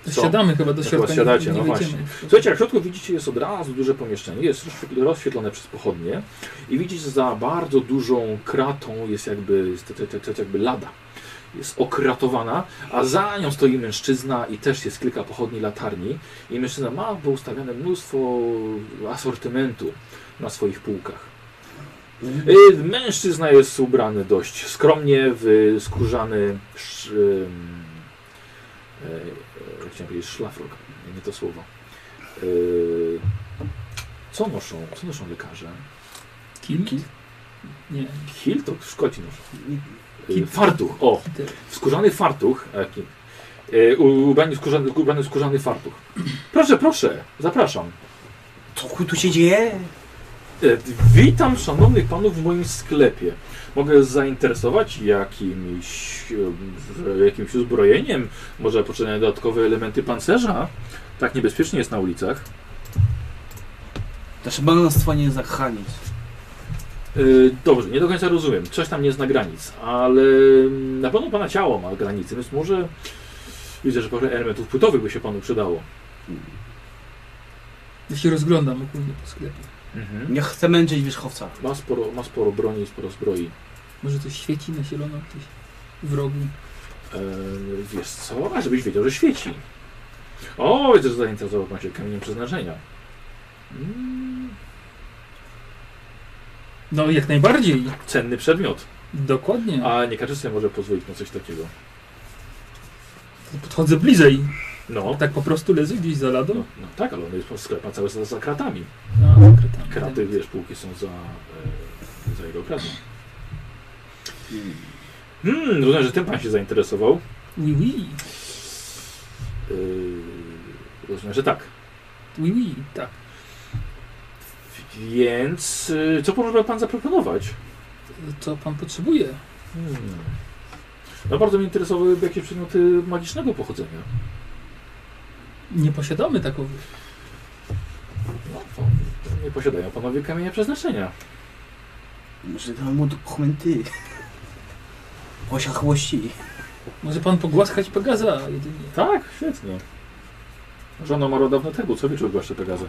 F: To
A: Co?
F: siadamy chyba do
A: Chyba
F: środka.
A: siadacie, no
F: wejdziemy.
A: Słuchajcie, jak w środku widzicie, jest od razu duże pomieszczenie. Jest rozświetl- rozświetlone przez pochodnie i widzicie, że za bardzo dużą kratą jest jakby, jest, to- to- to- to jakby lada. Jest okratowana, a za nią stoi mężczyzna i też jest kilka pochodni latarni. I mężczyzna ma poustawiane mnóstwo asortymentu na swoich półkach. Y, Mężczyzna jest ubrany dość skromnie w skórzany sz, ym, e, e, chciałem powiedzieć szlafrok, nie to słowo. Y, Co noszą, co noszą lekarze?
F: Kilt? Nie.
A: Kilt to Szkoci noszą. Y,
F: Kilt.
A: Fartuch, o,
F: kitel.
A: skórzany fartuch. e, kilt. Y, u- Ubrany w skórzany, ubrany w skórzany fartuch. Proszę, proszę, zapraszam.
G: Co chuj tu się dzieje?
A: E, Witam szanownych panów w moim sklepie. Mogę zainteresować jakimś, e, jakimś uzbrojeniem, może potrzebne dodatkowe elementy pancerza? Tak niebezpiecznie jest na ulicach.
G: Nasze balanstwo nie za granic.
A: E, Dobrze, nie do końca rozumiem. Coś tam nie zna granic, ale mm, na pewno pana ciało ma granice, więc może widzę, że parę elementów płytowych by się panu przydało.
F: Ja się rozglądam ogólnie po sklepie.
A: Mhm.
G: Nie chcę męczyć wierzchowca.
A: Ma, sporo, ma sporo broni i sporo zbroi.
F: Może coś świeci na zielono gdzieś w rogu.
A: E, wiesz co? A żebyś wiedział, że świeci. O, widzę, że zainteresował pan się kamieniem przeznaczenia. Mm,
F: No jak najbardziej.
A: cenny przedmiot.
F: Dokładnie.
A: A nie każdy sobie może pozwolić na coś takiego.
F: Podchodzę bliżej.
A: No,
F: Tak po prostu leży gdzieś za ladą.
A: no, no tak, ale on jest po sklepie cały za, za kratami.
F: A, kratami.
A: Kraty, wiesz, półki są za, e, za jego kratą. Hmm, rozumiem, że tym pan się zainteresował.
F: Oui, oui.
A: Yy, rozumiem, że tak.
F: Oui, oui. Tak.
A: Więc y, co może pan zaproponować?
F: Co pan potrzebuje?
A: Hmm. No bardzo mnie interesowały jakieś przedmioty magicznego pochodzenia.
F: Nie posiadamy takowych.
A: No to nie posiadają panowie kamienia przeznaczenia.
G: Może dam mu dokumenty. <laughs> Posiachłości.
F: Może pan pogłaskać Pegaza jedynie.
A: Tak, świetnie. Żona ma rodowne tegu, co wieczór właśnie Pegaza.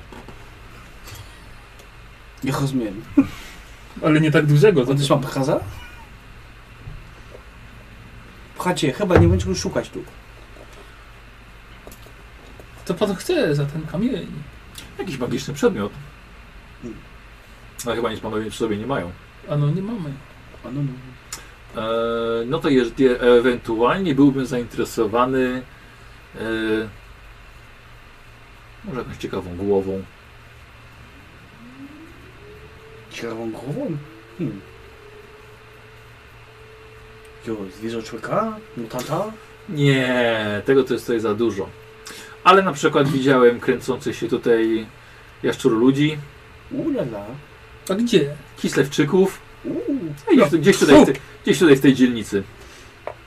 G: Nie rozumiem.
F: Ale nie tak dużego.
G: On też ma pchaza? Pchacie, chyba nie będziemy szukać tu.
F: Co pan chce za ten kamień?
A: Jakiś magiczny przedmiot. No chyba nic panowie przy sobie nie mają.
F: Ano no, nie mamy.
G: A no, no.
A: E, no to jeżeli ewentualnie byłbym zainteresowany e, może jakąś ciekawą głową.
G: Ciekawą głową? Hmm. Jo, zwierzę człowieka? No Mutanta?
A: Nie, tego to jest tutaj za dużo. Ale na przykład widziałem kręcących się tutaj jaszczur ludzi,
G: Ulala.
F: A gdzie?
A: kislewczyków.
G: Uuu.
A: Gdzieś, tu- gdzieś, tutaj, w te, gdzieś tutaj w tej dzielnicy.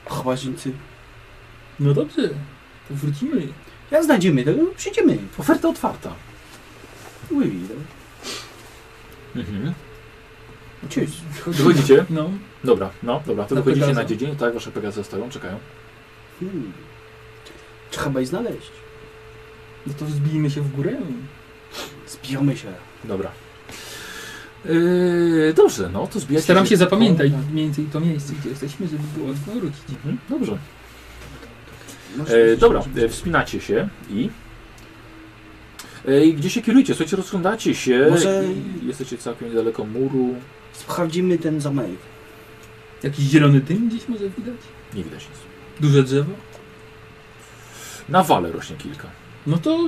G: Chłazińcy.
F: No dobrze, to wrócimy.
G: Jak znajdziemy, to przyjdziemy.
A: Oferta otwarta.
G: Ui, dobra.
A: Mhm.
G: Cześć.
A: Wychodzicie?
F: No,
A: Dobra, no dobra, to
F: Na
A: wychodzicie
F: Pegaza.
A: na dziedziniec, tak, wasze Pegazy stoją, czekają.
G: Hmm. Trzeba je znaleźć.
F: no to zbijmy się w górę.
G: Zbijamy się.
A: Dobra. Yy, dobrze, no to zbijacie
F: Staram się zapamiętać mniej więcej to miejsce, gdzie jesteśmy, żeby było łatwo wrócić.
A: Mhm, dobrze.
G: Masz
A: E,
G: coś
A: dobra,
G: zrobić?
A: e, wspinacie się i... E, I gdzie się kierujecie? Słuchajcie, rozglądacie się
G: Może-
A: i jesteście całkiem niedaleko muru.
G: Sprawdzimy ten zamek.
F: Jakiś zielony dym gdzieś może widać?
A: Nie widać nic.
F: Duże drzewo?
A: Na wale rośnie kilka.
F: No to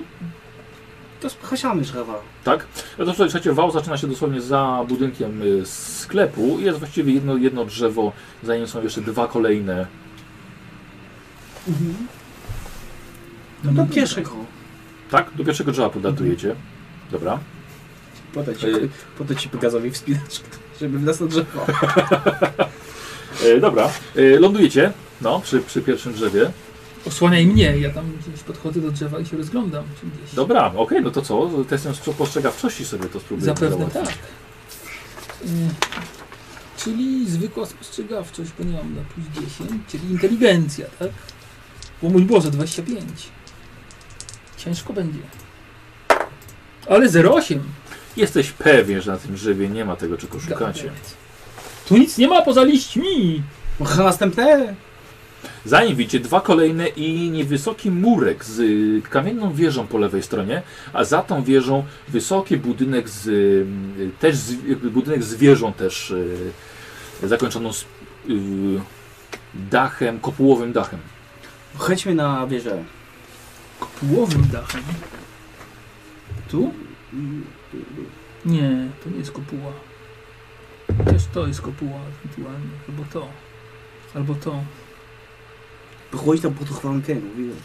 G: To spchasiamy drzewa.
A: Tak? No to słuchajcie, wał zaczyna się dosłownie za budynkiem y, sklepu i jest właściwie jedno, jedno drzewo, za nim są jeszcze dwa kolejne.
G: No to pieszego.
A: Tak? Do pierwszego drzewa podlatujecie. Dobra.
G: Podać
A: Ej.
G: podać ci Pegazowi wspinaczkę, <laughs> żeby w nas na
A: <laughs>
G: drzewo.
A: E, dobra. E, lądujecie, no, przy, przy pierwszym drzewie.
F: osłaniaj mnie, ja tam gdzieś podchodzę do drzewa i się rozglądam. Czy gdzieś.
A: Dobra, okej, no to co? Testem sprze- postrzegawczości sobie to spróbujemy
F: Zapewne
A: załatwić.
F: tak. Y, Czyli zwykła spostrzegawczość, bo nie mam na plus 10, czyli inteligencja, tak? Bo mój Boże, 25. Ciężko będzie. Ale 0,8.
A: Jesteś pewien, że na tym drzewie nie ma tego, czego szukacie.
F: Gadać. Tu nic nie ma poza liśćmi.
G: Może następne?
A: Zanim widzicie dwa kolejne i niewysoki murek z y, kamienną wieżą po lewej stronie, a za tą wieżą wysoki budynek z, y, też z, jakby budynek z wieżą też y, zakończoną z, y, dachem, kopułowym dachem.
G: Chodźmy na wieżę.
F: Kopułowym dachem. Tu? Nie, to nie jest kopuła. Chociaż to jest kopuła ewentualnie. Albo to. Albo to.
G: Wychodź tam pod chłankę, mówiłem.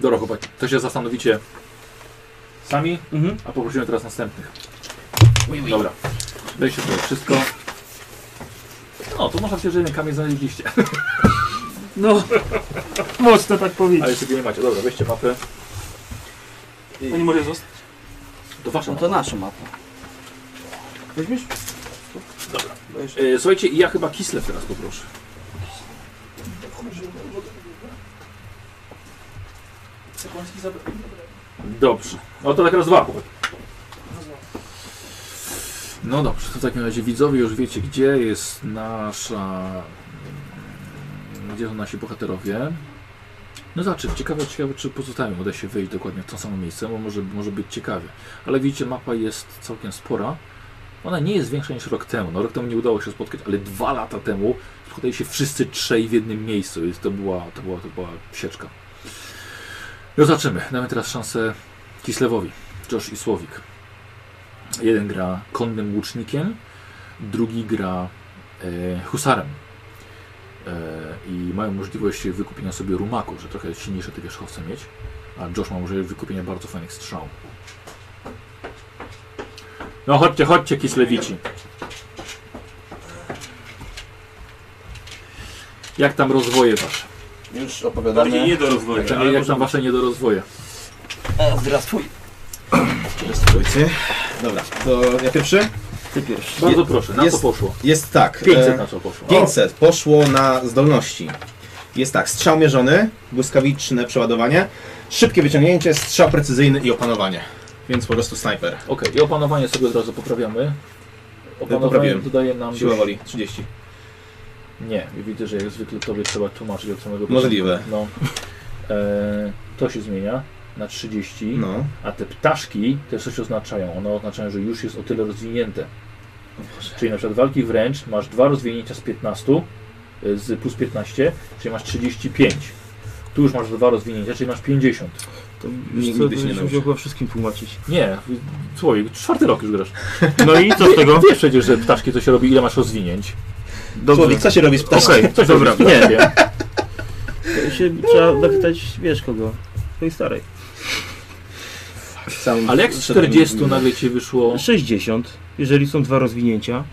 A: Dobra chłopaki, to się zastanowicie sami,
G: Mhm.
A: a poprosimy teraz następnych. Dobra, weźcie sobie wszystko. No, to można powiedzieć, że jeden kamień znaleźliście.
F: No, mocno tak
A: Ale
F: powiedzieć.
A: jeszcze go nie macie. Dobra, weźcie mapę.
C: Oni może zostać?
A: To wasza
G: No
A: mapa.
G: to nasza mapa. Weźmiesz?
A: Dobra.
G: Bo jeszcze-
A: E, słuchajcie, ja chyba Kislev teraz poproszę. Dobrze. No to tak raz dwa. No dobrze, to w takim razie widzowie już wiecie, gdzie jest nasza... Gdzie są nasi bohaterowie. No zobaczymy, ciekawe, ciekawe czy pozostałym uda się wyjść dokładnie w to samo miejsce, bo może, może być ciekawie. Ale widzicie, mapa jest całkiem spora. Ona nie jest większa niż rok temu. No, rok temu nie udało się spotkać, ale dwa lata temu spotkali się wszyscy trzej w jednym miejscu. Więc to była, to była, to była sieczka. No zobaczymy. Damy teraz szansę Kislewowi, Josh i Słowik. Jeden gra konnym łucznikiem, drugi gra e, husarem. E, I mają możliwość wykupienia sobie rumaku, że trochę silniejsze te wierzchowce mieć. A Josh ma możliwość wykupienia bardzo fajnych strzał. No chodźcie, chodźcie, Kislewici. Jak tam rozwoje wasze?
H: Już
C: Bardziej
H: opowiadamy.
C: nie do rozwoju,
A: Jak tam,
C: ale
A: Znaczy, jak tam
C: możemy-
A: wasze niedorozwoje?
H: E, Zdra twój.
E: Spróbujcie. Dobra, to ja pierwszy?
H: Ty pierwszy.
A: Bardzo proszę, na co
E: jest-
A: poszło?
E: Jest tak.
A: 500
E: e,
A: na co poszło?
E: 500 poszło na zdolności. Jest tak, strzał mierzony, błyskawiczne przeładowanie, szybkie wyciągnięcie, strzał precyzyjny i opanowanie. Więc po prostu snajper.
A: Okej, i opanowanie sobie od razu poprawiamy. Opanowanie
E: Poprawiłem.
A: dodaje nam...
E: Siła
A: dość-
E: woli, 30.
A: Nie, widzę, że jak zwykle tobie trzeba tłumaczyć od samego
E: Możliwe.
A: początku. No. E, to się zmienia na 30,
E: No.
A: a te ptaszki też coś oznaczają. One oznaczają, że już jest o tyle rozwinięte. Czyli na przykład walki wręcz masz dwa rozwinięcia z 15, e, z plus 15, czyli masz 35. Tu już masz dwa rozwinięcia, czyli masz 50.
B: To
E: Nigdy się nie nauczy.
B: chyba wszystkim tłumaczyć.
A: Nie, słuchaj, czwarty rok już grasz.
I: No i co z tego?
A: Wiesz przecież, że ptaszki to się robi, ile masz rozwinięć.
I: Dobrze.
E: Słowik, co się robi z ptaszkiem?
I: Okej,
A: Coś
I: dobra.
A: robisz,
I: Nie,
A: ptaszkiem.
I: się trzeba zapytać, wiesz kogo? Twojej starej.
E: Sam-
A: Ale jak z 40 nagle ci wyszło...
I: 60, jeżeli są dwa rozwinięcia.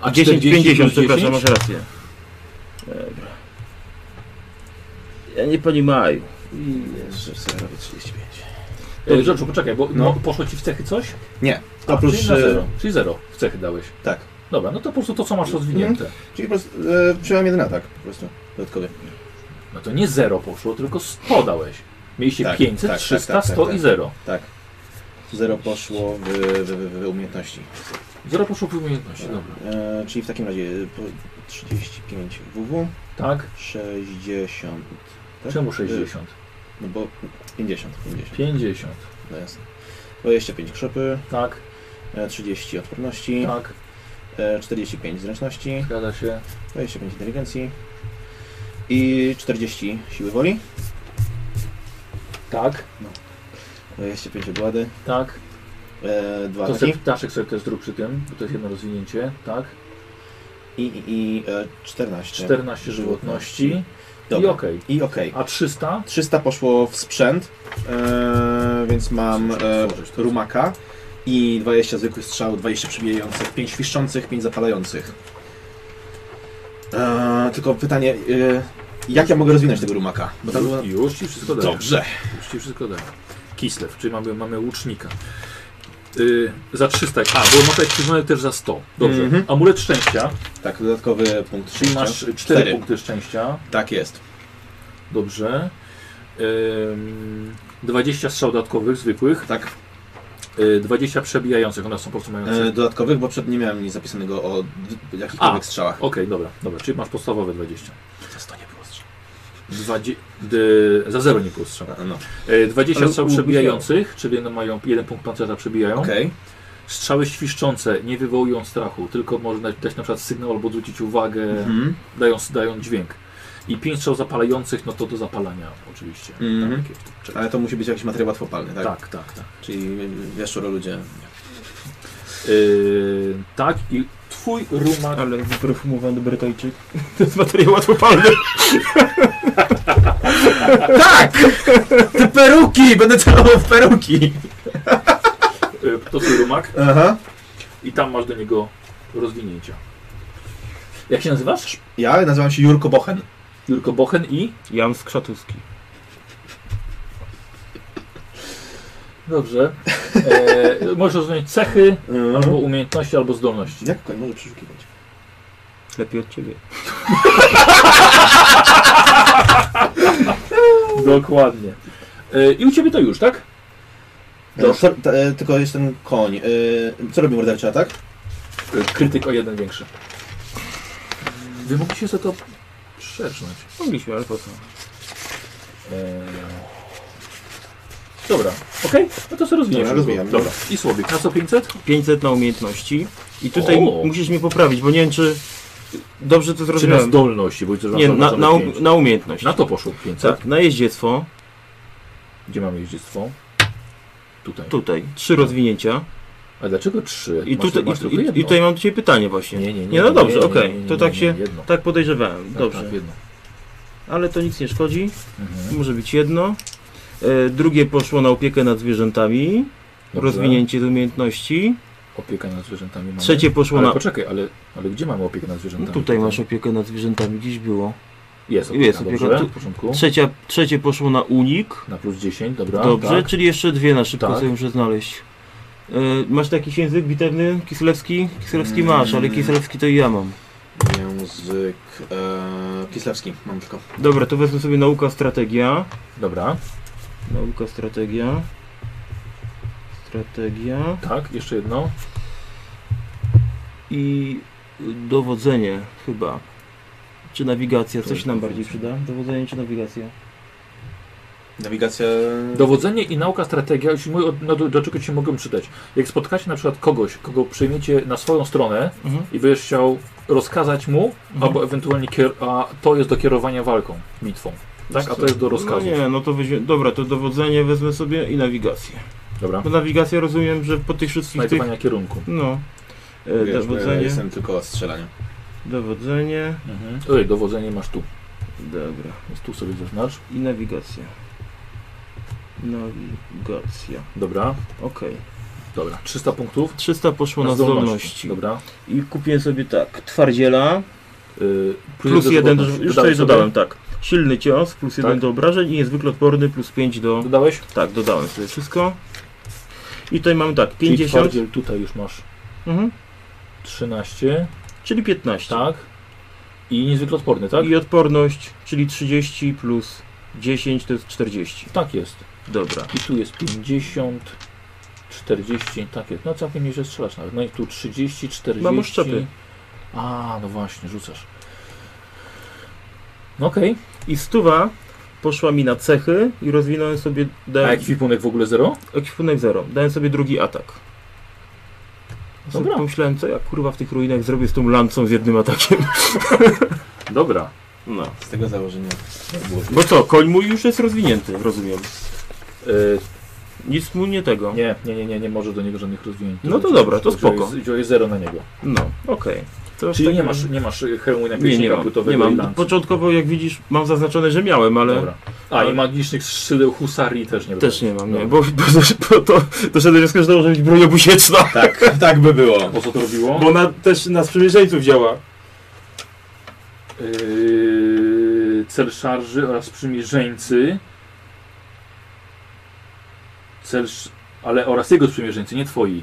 A: A
I: 10,
A: 40 plus
I: 50, przepraszam,
A: 10?
I: masz rację. Dobra. Ja nie ponimaju.
E: Jezu, sobie robię 35.
A: E, Rzeczu, poczekaj, bo
E: No.
A: no. poszło ci w cechy coś?
E: Nie,
A: A,
E: oprócz,
A: Tak, Czyli, na
E: e,
A: zero. czyli zero w cechy dałeś.
E: Tak. Mhm.
A: Dobra, no to po prostu to, co masz rozwinięte.
E: Czyli po prostu e, przyjąłem jeden atak po prostu dodatkowy.
A: No to nie zero poszło, tylko 100 dałeś. Mieliście
E: Tak,
A: 500,
E: tak,
A: 300,
E: tak, tak,
A: 100
E: tak,
A: i 0.
E: Tak. Zero poszło w, w, w, w umiejętności.
A: Zero poszło w umiejętności, dobra.
E: E, czyli w takim razie e, po 35 WW,
A: Tak?
E: 60. Tak?
A: Czemu 60?
E: No bo 50, 50.
A: 50.
E: No jasne. 25 krzepy,
A: Tak,
E: e, 30 odporności,
A: tak,
E: e, 45 zręczności,
A: zgadza się.
E: 25 inteligencji i 40 siły woli,
A: Tak,
E: 25 obłady,
A: tak.
E: e, 2
A: To se
E: ataki
A: ptaszek sobie też zrób przy tym, bo to jest jedno rozwinięcie. Tak,
E: i, i, i e, 14.
A: 14 żywotności. I
E: Dobra.
A: okej.
E: I okej.
A: A 300?
E: 300 poszło w sprzęt, e, więc mam e, rumaka i 20 zwykłych strzał, 20 przebijających, 5 świszczących, 5 zapalających. E, tylko pytanie, e, jak ja mogę rozwinąć tego rumaka? Bo tam było...
A: Już ci wszystko daję.
E: Dobrze.
A: Już ci wszystko daję. Kislew, czyli mamy, mamy łucznika. Y, za 300, a bo masz aktywne też za 100. Dobrze.
E: Mhm.
A: Amulet szczęścia,
E: Tak, dodatkowy punkt
A: czyli
E: szczęścia.
A: masz 4,
E: Cztery.
A: punkty szczęścia.
E: Tak jest.
A: Dobrze. Ym, 20 strzał dodatkowych, zwykłych.
E: Tak,
A: Y, 20 przebijających, one są po prostu mające.
E: e, dodatkowych, bo przed nie miałem nic zapisanego o d- jakichkolwiek
A: A.
E: strzałach.
A: Okej, dobra, dobra, czyli masz podstawowe 20.
E: To nie było strzał.
A: Dwadzie... D... Za 0 nie było strzał.
E: No,
A: Y, 20
I: Ale
A: strzał
I: u-
A: przebijających, czyli one mają jeden punkt pancerza przebijają.
E: okej.
A: Strzały świszczące nie wywołują strachu, tylko można dać na przykład sygnał albo zwrócić uwagę,
E: Mhm.
A: dają, dają dźwięk. I pięć strzał zapalających, no to do zapalania oczywiście.
E: Mhm.
A: Takie, czekaj.
E: Ale to musi być jakiś materiał łatwopalny, tak?
A: tak, tak, tak.
E: Czyli wieszczoro ludzie.
A: Yy, tak i twój rumak...
I: Ale wyprofumowany Brytojczyk. To jest materiał łatwopalny.
E: Te peruki! Będę celował w peruki!
A: Yy, to twój rumak
E: Aha.
A: i tam masz do niego rozwinięcia. Jak się nazywasz?
E: Ja nazywam się Jurko Bochen.
A: Jurko Bochen i...
I: Jan Skrzatuski.
A: Dobrze. E, możesz rozwinąć cechy,
E: No.
A: albo umiejętności, albo zdolności.
E: Jak koń może przeszukiwać?
I: Lepiej od ciebie.
A: <laughs> Dokładnie. E, I u ciebie to już, tak?
E: Dobrze. To, e, tylko jest ten koń. E, co robi tak? morderczy atak?
A: Krytyk o jeden większy. Wy mogliście sobie to przecznąć.
I: Mogliśmy, ale po co?
A: Eee... Dobra, okej? No to sobie rozwiniesz.
E: Dobra, rozwijam.
A: Dobra. I Słowik, na co 500?
I: 500 na umiejętności. I tutaj
A: O.
I: musisz mnie poprawić, bo nie wiem, czy dobrze to
A: Czy na
I: zrozumiałem.
A: zdolności? Bo widzę, że
I: Nie,
A: masz
I: na, na,
A: zaznaczone
I: um-
A: pięć.
I: na umiejętność.
A: na to poszło 500.
I: Tak, na jeździectwo.
A: Gdzie mamy jeździectwo? Tutaj.
I: Tutaj. Trzy rozwinięcia.
A: A dlaczego 3?
I: I tutaj,
A: No. masz
I: i,
A: tylko jedno.
I: i, i tutaj mam do ciebie pytanie właśnie.
A: Nie, nie, nie.
I: Nie, no dobrze,
A: nie, nie,
I: okej,
A: nie, nie,
I: to
A: nie,
I: tak
A: nie,
I: się-
A: Jedno. Tak,
I: Tak podejrzewałem.
A: Tak,
I: Dobrze.
A: jedno.
I: Ale to nic nie szkodzi.
A: Mhm.
I: Może być jedno. E, drugie poszło na opiekę nad zwierzętami.
A: Dobrze.
I: rozwinięcie z umiejętności.
A: Opieka nad zwierzętami mamy.
I: Trzecie poszło
A: ale
I: na...
A: poczekaj, ale, ale gdzie mamy opiekę nad zwierzętami?
I: Tutaj masz opiekę nad zwierzętami, gdzieś było.
A: Jest opieka,
I: jest
A: jest
I: opieka,
A: opieka dobrze,
I: tu-
A: w porządku.
I: Trzecia, trzecie poszło na unik.
A: Na plus 10, dobra.
I: Dobrze,
A: Tak.
I: czyli jeszcze dwie na szybko
A: Tak.
I: sobie muszę znaleźć. E, masz jakiś język bitewny? Kislewski? Kislewski
E: Mm.
I: masz, ale Kislewski to i ja mam.
E: Język e, kislewski mam tylko.
I: Dobra, to wezmę sobie nauka strategia.
A: Dobra,
I: Nauka strategia. Strategia.
A: tak, jeszcze jedno.
I: I dowodzenie chyba. Czy nawigacja? Coś nam bardziej przyda? Dowodzenie czy nawigacja?
E: Nawigacja...
A: Dowodzenie i nauka strategia, jeśli mówię, o- no, do, do czego ci mogą przydać. Jak spotkacie na przykład kogoś, kogo przyjmiecie na swoją stronę
I: Mhm.
A: i będziesz chciał rozkazać mu,
I: Mhm.
A: albo ewentualnie kier- a to jest do kierowania walką, bitwą. Tak, a to jest do rozkazu.
I: No nie, no to weźmie... Dobra, to dowodzenie wezmę sobie i nawigację.
A: Dobra,
I: Bo nawigacja rozumiem, że po tych wszystkich tych...
A: znajdowania kierunku.
I: No.
E: Wiesz,
I: E,
E: bo ja
I: dowodzenie,
E: jestem tylko od strzelania.
I: dowodzenie,
A: Mhm. Ej, dowodzenie masz tu.
I: dobra.
A: Więc tu sobie zaznacz.
I: I nawigacja. Nawigacja.
A: Dobra,
I: Okej.
A: dobra. 300 punktów.
I: 300 poszło na, zdolności.
A: Dobra.
I: I kupiłem sobie tak, twardziela,
A: Y,
I: plus jeden, do, już coś
A: sobie?
I: dodałem, tak. Silny cios, plus jeden
A: Tak.
I: do obrażeń i niezwykle odporny, plus 5 do...
A: Dodałeś?
I: Tak, dodałem sobie wszystko. I tutaj mamy tak,
A: Czyli
I: 50,
A: twardziel tutaj już masz
I: mhm,
A: 13,
I: czyli 15.
A: tak. I niezwykle odporny, tak?
I: I odporność, czyli 30 plus 10 to jest 40.
A: Tak jest.
I: Dobra.
A: I tu jest 50, 40, tak jest. No całkiem nieźle strzelasz nawet. No i tu 30, 40.
I: Mam oszczepy.
A: A, no właśnie, rzucasz. No okej.
I: I stuwa poszła mi na cechy i rozwinąłem sobie...
A: A
I: Dałem,
A: ekwipunek w ogóle zero?
I: Ekwipunek 0. Dałem sobie drugi atak. Sobie
A: Dobra.
I: pomyślałem, co ja kurwa w tych ruinach zrobię z tą lancą z jednym atakiem.
A: Dobra.
I: No.
E: Z tego założenia.
I: Bo co, koń mój już jest rozwinięty, rozumiem.
A: Y,
I: Nic mu nie tego.
A: nie, nie, nie, nie, nie może do niego żadnych rozwinięć.
I: No to dobra, to
A: Wziąłeś-
I: spoko.
A: Wziąłeś zero na niego.
I: No, okej. To w
A: Czyli nie
I: takim-
A: masz, nie masz hełmu i
I: Nie, nie
A: napięcia
I: mam. Nie
A: płytowego i
I: mam.
A: lancy.
I: Początkowo, jak widzisz, mam zaznaczone, że miałem, ale
A: Dobra. A i magicznych skrzydeł husarii też nie
I: też
A: dodałeś.
I: nie mam, nie.
A: Dobra.
I: Bo, bo, bo to doszedłem do wniosku, że to może być broń obusieczna.
E: Tak, <laughs> tak by było.
A: Po co to robiło?
I: Bo ona też na sprzymierzeńców działa.
A: Yy, cel szarży oraz sprzymierzeńcy. Cel, sz- ale oraz jego sprzymierzeńcy, nie twoi.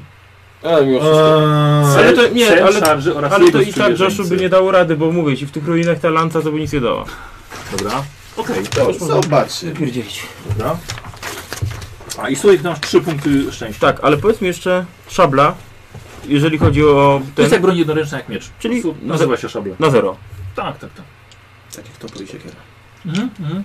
C: Ale mimo wszystko.
E: Eee,
I: Ale
A: Cel,
I: to- nie,
A: cel
I: ale-
A: szarży oraz
I: Ale
A: jego
I: to i tak
A: sprzymierzeńcy.
I: Joshu by nie dało rady, bo mówię ci, w tych ruinach ta lanca to by nic nie dała.
A: Dobra, okej,
E: to zobaczy.
I: Pierdzielić.
A: dobra. A i słuchaj, masz 3 punkty szczęścia.
I: Tak, ale powiedz mi jeszcze szabla, jeżeli chodzi o
A: To jest
I: ten...
A: jak broń jednoręczna, jak miecz.
I: Czyli
A: Po prostu
I: na-
A: nazywa się szabla.
I: Na zero.
A: Tak, tak, tak.
E: Tak jak to i siekiera.
A: Mhm, mhm.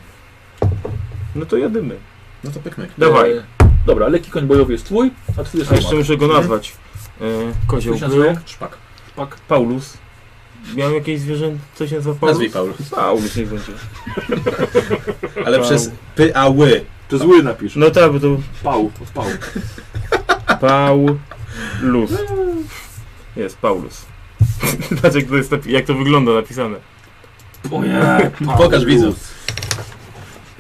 I: No to jadymy.
E: No to pykmy.
I: Dawaj.
A: E, dobra, lekki koń bojowy jest twój, a twój jest
I: A jeszcze
A: Nomad.
I: muszę go nazwać. E, kozioł
A: Twój się nazywa
I: był.
A: jak?
E: Szpak.
A: Pak.
I: Paulus. Miałem jakieś zwierzę, co się nazywa Paulus?
E: Nazwij Paul.
I: Paulus niech będzie.
E: <laughs> Ale przez py a ły.
A: To zły napisz.
I: No tak, bo to
A: Pał, od pał.
I: Paulus. Jest, Paulus. <laughs> Zobacz jak to, jest, napi- jak to wygląda napisane.
A: <laughs> Ojej,
E: Pokaż widzów.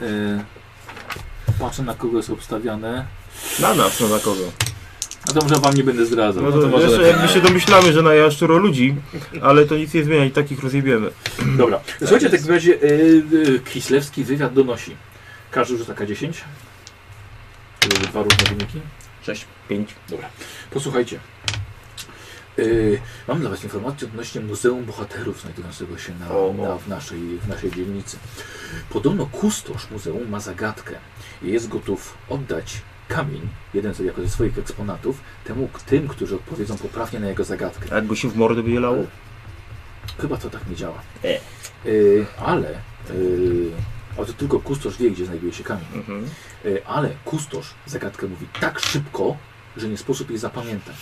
A: Y, Patrzę na kogo jest obstawiane.
I: Na nas, no na kogo.
A: A to może wam nie będę zdradzał.
I: No to
E: może
I: jeszcze
E: lepiej.
I: jakby się domyślamy, że na jaszczuro ludzi, ale to nic nie zmienia i takich rozjebiemy.
A: Dobra. Słuchajcie, w takim razie y, y, Kislewski wywiad donosi. Każdy rzuca K10. To były Dwa różne wyniki.
E: Cześć.
I: Pięć.
A: Posłuchajcie. Y, mam dla Was informację odnośnie Muzeum Bohaterów znajdującego się na,
I: O, o.
A: na, w, naszej, w naszej dzielnicy. Podobno kustosz muzeum ma zagadkę i jest gotów oddać kamień, jeden z, jako ze swoich eksponatów, temu, tym, którzy odpowiedzą poprawnie na jego zagadkę.
I: A Jakby się w mordę by jelało.
A: Chyba to tak nie działa.
I: E.
A: Y, ale, y, ale to tylko kustosz wie, gdzie znajduje się kamień.
I: Mhm.
A: Y, ale kustosz zagadkę mówi tak szybko, że nie sposób jej zapamiętać.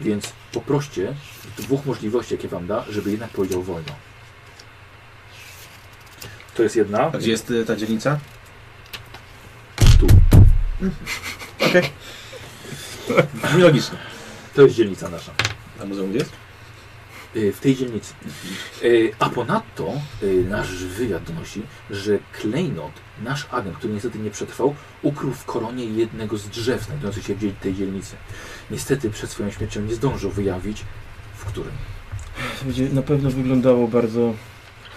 A: Więc poproście dwóch możliwości, jakie wam da, żeby jednak powiedział wolno. To jest jedna.
E: A gdzie jest y, ta dzielnica? Mhm.
A: Tu.
E: <laughs> Okej. Brzmi logicznie.
A: To jest dzielnica nasza.
E: A muzeum gdzie jest?
A: y, w tej dzielnicy. Y, A ponadto y, nasz wywiad donosi, że Klejnot, nasz agent, który niestety nie przetrwał, ukrył w koronie jednego z drzew znajdujących się w dziel- tej dzielnicy. Niestety przed swoją śmiercią nie zdążył wyjawić, w którym.
I: To będzie na pewno wyglądało bardzo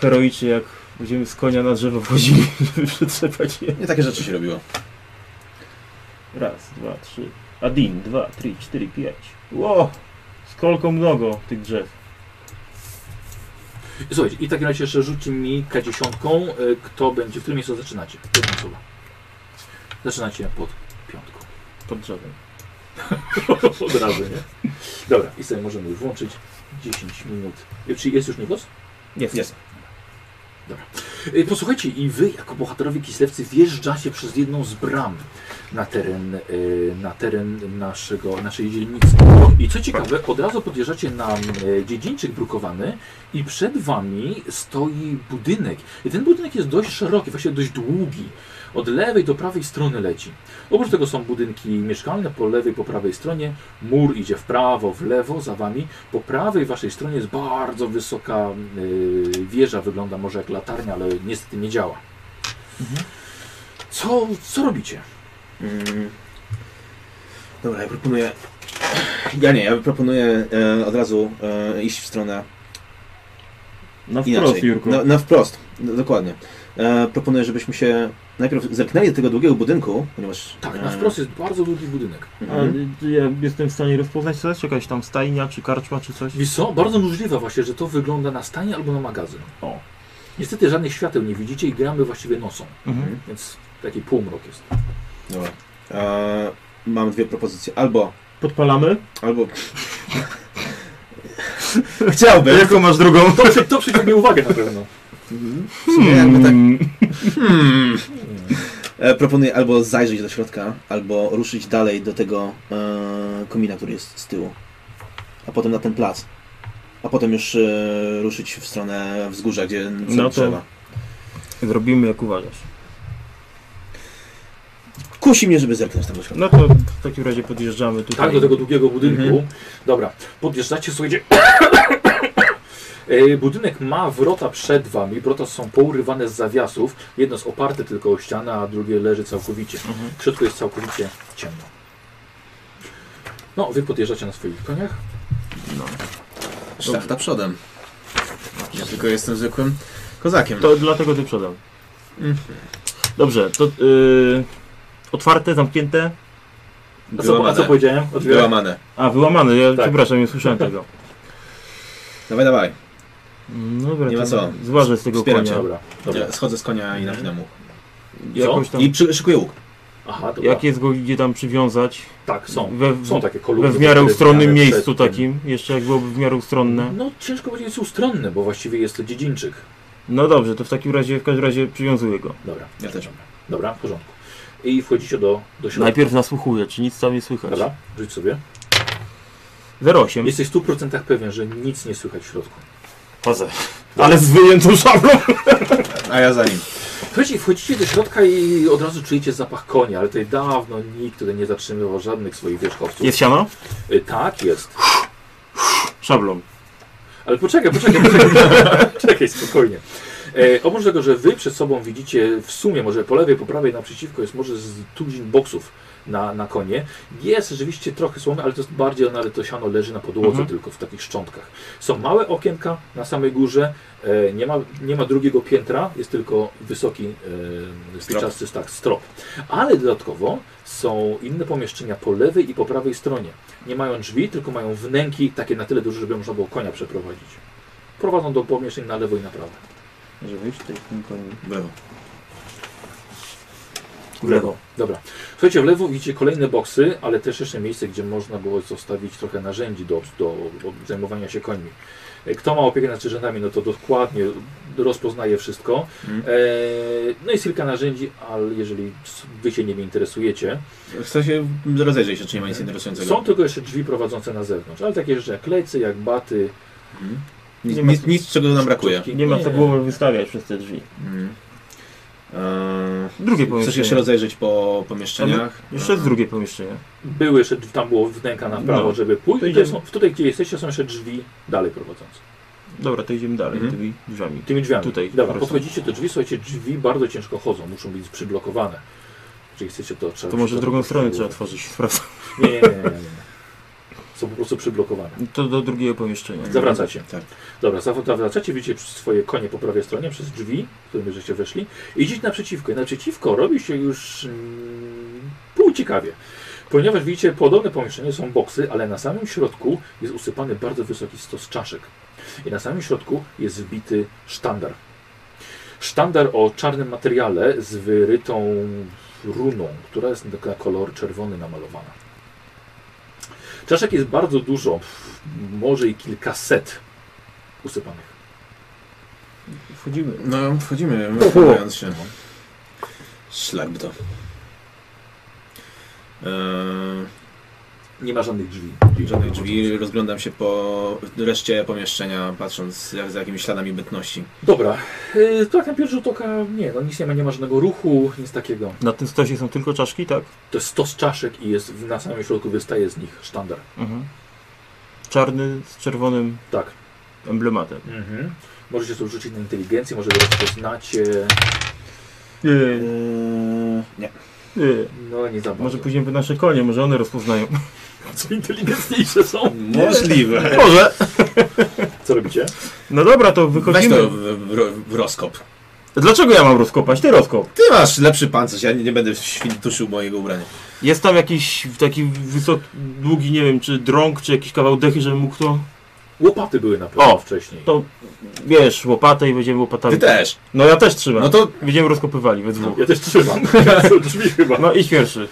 I: heroicznie, jak będziemy z konia na drzewo wchodzili, <laughs> żeby przetrzepać je.
E: Nie takie rzeczy się robiło.
I: Raz, dwa, trzy. Adin, dwa, trzy, cztery, pięć. Ło! Skolko mnogo tych drzew.
A: Słuchajcie, i tak razie jeszcze rzuci mi K10, y, kto będzie, w którym miejscu zaczynacie? Jedna osoba. Zaczynacie pod piątką.
I: Pod drzewem.
A: Od razu, nie? Dobra, i sobie możemy włączyć 10 minut. Y, Czy jest już niebos?
I: Jest.
E: Jest.
A: Y, Posłuchajcie, i wy jako bohaterowie kislewcy wjeżdżacie przez jedną z bram na teren, y, na teren naszego, naszej dzielnicy. I co ciekawe, od razu podjeżdżacie na y, dziedzińczyk brukowany i przed wami stoi budynek. I ten budynek jest dość szeroki, właściwie dość długi. Od lewej do prawej strony leci. Oprócz tego są budynki mieszkalne po lewej, po prawej stronie. Mur idzie w prawo, w lewo za wami. Po prawej waszej stronie jest bardzo wysoka y, wieża, wygląda może jak latarnia, ale niestety nie działa. Mhm. Co, co robicie?
E: Mm. Dobra, ja proponuję. Ja nie, ja proponuję e, od razu e, iść w stronę
I: Na
E: inaczej.
I: wprost, Jurko.
E: Na, na wprost, no, dokładnie. E, proponuję, żebyśmy się najpierw zerknęli do tego długiego budynku, ponieważ.
A: Tak,
E: e,
A: na wprost jest bardzo długi budynek.
I: A,
E: mhm.
I: y, ja jestem w stanie rozpoznać co jest? Jakaś tam stajnia, czy karczma, czy coś?
A: Wiesz co, bardzo możliwe właśnie, że to wygląda na stanie albo na magazyn.
I: O.
A: Niestety żadnych świateł nie widzicie i gramy właściwie nosą,
I: Mhm.
A: więc taki półmrok jest.
E: Dobra. E, mam dwie propozycje. Albo.
I: Podpalamy?
E: Albo. Chciałbym.
I: Jaką masz drugą?
A: To, to przyciągnie uwagę na pewno.
E: W sumie jakby tak.
I: Mm.
E: Hmm. E, proponuję albo zajrzeć do środka, albo ruszyć dalej do tego e, komina, który jest z tyłu. A potem na ten plac. A potem już e, ruszyć w stronę wzgórza, gdzie są
I: No to-
E: drzewa.
I: Zrobimy jak uważasz.
E: Kusi mnie, żeby zerknąć tam do środka.
I: No to w takim razie podjeżdżamy tutaj.
A: Tak, do tego długiego budynku.
E: Mhm.
A: Dobra, podjeżdżacie, słuchajcie. E, Budynek ma wrota przed wami, wrota są pourywane z zawiasów. Jedno jest oparte tylko o ścianę, a drugie leży całkowicie.
I: Mhm.
A: W środku jest całkowicie ciemno. No, wy podjeżdżacie na swoich koniach.
E: Szlachta przodem. Ja tylko jestem zwykłym kozakiem.
I: To dlatego ty przodem.
E: Mhm.
I: Dobrze, to y, otwarte, zamknięte.
A: A co, a co powiedziałem? Otwieram.
E: Wyłamane.
I: A, wyłamane, ja
A: Tak.
I: przepraszam, nie słyszałem tego.
E: Dawaj, dawaj.
I: <laughs> No Dobra,
E: Nie ma
I: to
E: co.
I: Zważę z tego
E: Wspieram
I: konia.
E: cię.
A: Dobra, dobra.
E: Schodzę z konia i napinam łuk.
I: Jakoś tam,
E: I przy, szykuję łuk.
A: Aha, dobra.
I: jak jest go gdzie tam przywiązać?
A: Tak, są.
I: We, w-
A: Są takie kolumny.
I: we Mm, w miarę
A: które
I: ustronnym
A: zmieniamy
I: miejscu
A: przed tym.
I: takim, jeszcze jak byłoby w miarę ustronne.
A: No ciężko powiedzieć, jest ustronny, bo właściwie jest to dziedzińczyk.
I: No dobrze, to w takim razie, w każdym razie przywiązuję go.
A: Dobra,
E: Ja też.
A: dobra, w porządku. I wchodzicie do, do środka.
I: Najpierw nasłuchuję, czy nic tam nie słychać.
A: Dobra, rzuć sobie.
I: 08.
A: Jesteś w 100% pewien, że nic nie słychać w środku.
I: Chodzę. Ale z wyjętą szablą.
E: A ja za nim.
A: Słuchajcie, wchodzicie do środka i od razu czujecie zapach konia, ale tutaj dawno nikt tutaj nie zatrzymywał żadnych swoich wierzchowców.
I: Jest siano?
A: Y, Tak, jest.
I: Szablą.
A: Ale poczekaj, poczekaj, <laughs> poczekaj, Czekaj, spokojnie. E, oprócz tego, że wy przed sobą widzicie w sumie, może po lewej, po prawej, naprzeciwko jest może z tuzin boksów na, na konie. Jest rzeczywiście trochę słomy, ale to jest bardziej, no, ale to siano leży na podłodze
I: Mhm.
A: tylko w takich szczątkach. Są małe okienka na samej górze, e, nie, ma, nie ma drugiego piętra, jest tylko wysoki, e, spiczasty tak, strop. Ale dodatkowo są inne pomieszczenia po lewej i po prawej stronie. Nie mają drzwi, tylko mają wnęki takie na tyle duże, żeby można było konia przeprowadzić. Prowadzą do pomieszczeń na lewo i na prawo.
I: Może wyjść tutaj w tym koniu.
E: W lewo.
I: W lewo.
A: Dobra. Słuchajcie, w lewo widzicie kolejne boksy, ale też jeszcze miejsce, gdzie można było zostawić trochę narzędzi do, do, do zajmowania się końmi. E, Kto ma opiekę nad zwierzętami, no to dokładnie rozpoznaje wszystko.
E: Mhm.
A: E, no jest kilka narzędzi, ale jeżeli wy się nimi interesujecie,
E: W sensie rozejrzyj się, czy nie ma nic interesującego.
A: są tylko jeszcze drzwi prowadzące na zewnątrz, ale takie rzeczy jak lecy, jak baty,
E: Nic,
I: Nie ma-
E: nic, nic, czego nam brakuje.
I: tak
A: czubki.
I: Nie ma co głowę wystawiać przez te drzwi.
E: Eee,
I: Drugie
E: chcesz jeszcze
I: pomieszczenie.
E: rozejrzeć po pomieszczeniach?
I: Jeszcze jest drugie pomieszczenie.
A: Były jeszcze, tam było wnęka na prawo,
I: No.
A: żeby pójść.
I: To
A: I
I: idziemy.
A: są, tutaj, gdzie jesteście, są jeszcze drzwi dalej prowadzące.
I: Dobra, to idziemy dalej
E: Mhm.
I: tymi drzwiami.
A: Tymi drzwiami.
I: Tutaj, po
A: Dobra,
I: prostu.
A: podchodzicie do drzwi, słuchajcie, drzwi bardzo ciężko chodzą, muszą być przyblokowane. Jeżeli chcecie, to trzeba...
I: To może
A: przygotować
I: drugą stronę
A: szczegóły.
I: trzeba otworzyć, <laughs> sprawdzam.
A: Nie, nie, nie, nie, nie, nie. Są po prostu przyblokowane.
I: To do drugiego pomieszczenia.
A: Zawracacie.
E: Tak.
A: Dobra, zaw- zawracacie, widzicie przez swoje konie po prawej stronie, przez drzwi, którymi żeście weszli. I idziecie naprzeciwko. I naprzeciwko robi się już mm, pół ciekawie. Ponieważ widzicie, podobne pomieszczenie są boksy, ale na samym środku jest usypany bardzo wysoki stos czaszek. I na samym środku jest wbity sztandar. Sztandar o czarnym materiale z wyrytą runą, która jest na kolor czerwony namalowana. Czaszek jest bardzo dużo, pff, może i kilkaset usypanych.
I: Wchodzimy.
E: No, wchodzimy, rozglądając się. Szlak by to. Eee,
A: Nie ma żadnych drzwi.
E: żadnych drzwi, rozglądam się po reszcie pomieszczenia, patrząc jak, za jakimiś śladami bytności.
A: Dobra, yy, to jak na pierwszy rzut oka, nie, no nic nie ma, nie ma żadnego ruchu, nic takiego.
I: Na tym stosie są tylko czaszki, tak?
A: To jest stos czaszek i jest w- na samym środku wystaje z nich sztandar.
I: Mhm. Czarny z czerwonym
A: Tak.
I: emblematem.
A: Mhm. Możecie sobie rzucić na inteligencję, może rozpoznacie.
I: Nie,
E: Eee, nie.
I: nie.
A: No nie za bardzo.
I: Może pójdziemy po nasze konie, może one rozpoznają.
A: co inteligentniejsze są.
E: Możliwe.
I: Może!
A: Co robicie?
I: No dobra, to
E: Weź to
I: wychodzimy.
E: w, w, w rozkop.
I: Dlaczego ja mam rozkopać? Ty rozkop.
E: Ty masz lepszy pancerz, ja nie, nie będę świntuszył mojego ubrania.
I: Jest tam jakiś taki wysoki, długi, nie wiem, czy drąg, czy jakiś kawał dechy, żeby mógł to...
A: Łopaty były na pewno
I: O,
A: wcześniej.
I: to- Wiesz, łopatę i będziemy łopatami.
E: Ty też.
I: No ja też trzymam.
E: No to
I: Będziemy rozkopywali we dwóch.
A: Ja też <laughs> trzymam. Ja są drzwi chyba.
I: No i pierwszy.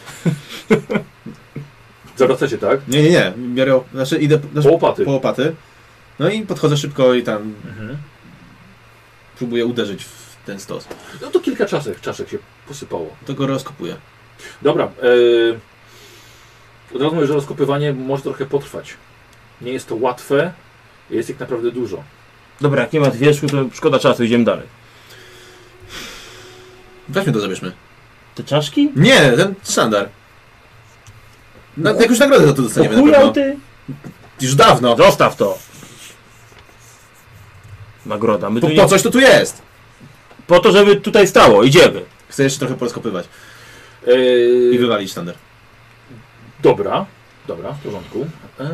A: Zawracacie, tak?
E: Nie, nie, nie. Biorę, op- znaczy idę po-
A: Po
E: znaczy,
A: łopaty.
E: po łopaty. No i podchodzę szybko i tam
A: Mhm.
E: próbuję uderzyć w ten stos.
A: No to kilka czaszek, czaszek się posypało.
E: To go rozkopuję.
A: Dobra. Yy, od razu mówię, że rozkopywanie może trochę potrwać. Nie jest to łatwe, jest ich naprawdę dużo.
I: Dobra, jak nie ma wierzchu, to szkoda czasu, idziemy dalej.
E: Weźmy to zabierzmy.
I: Te czaszki?
E: Nie, ten standard. Na, jakąś nagrodę za to dostaniemy na pewno.
I: Ochujał ty?
E: Już dawno.
I: Zostaw to! Nagroda. My tu
E: Po,
I: nie...
E: po coś to tu jest.
I: po to, żeby tutaj stało, idziemy.
E: Chcę jeszcze trochę porozkopywać i
A: Yy,
E: wywalić standard.
A: dobra, dobra, w porządku. Yy,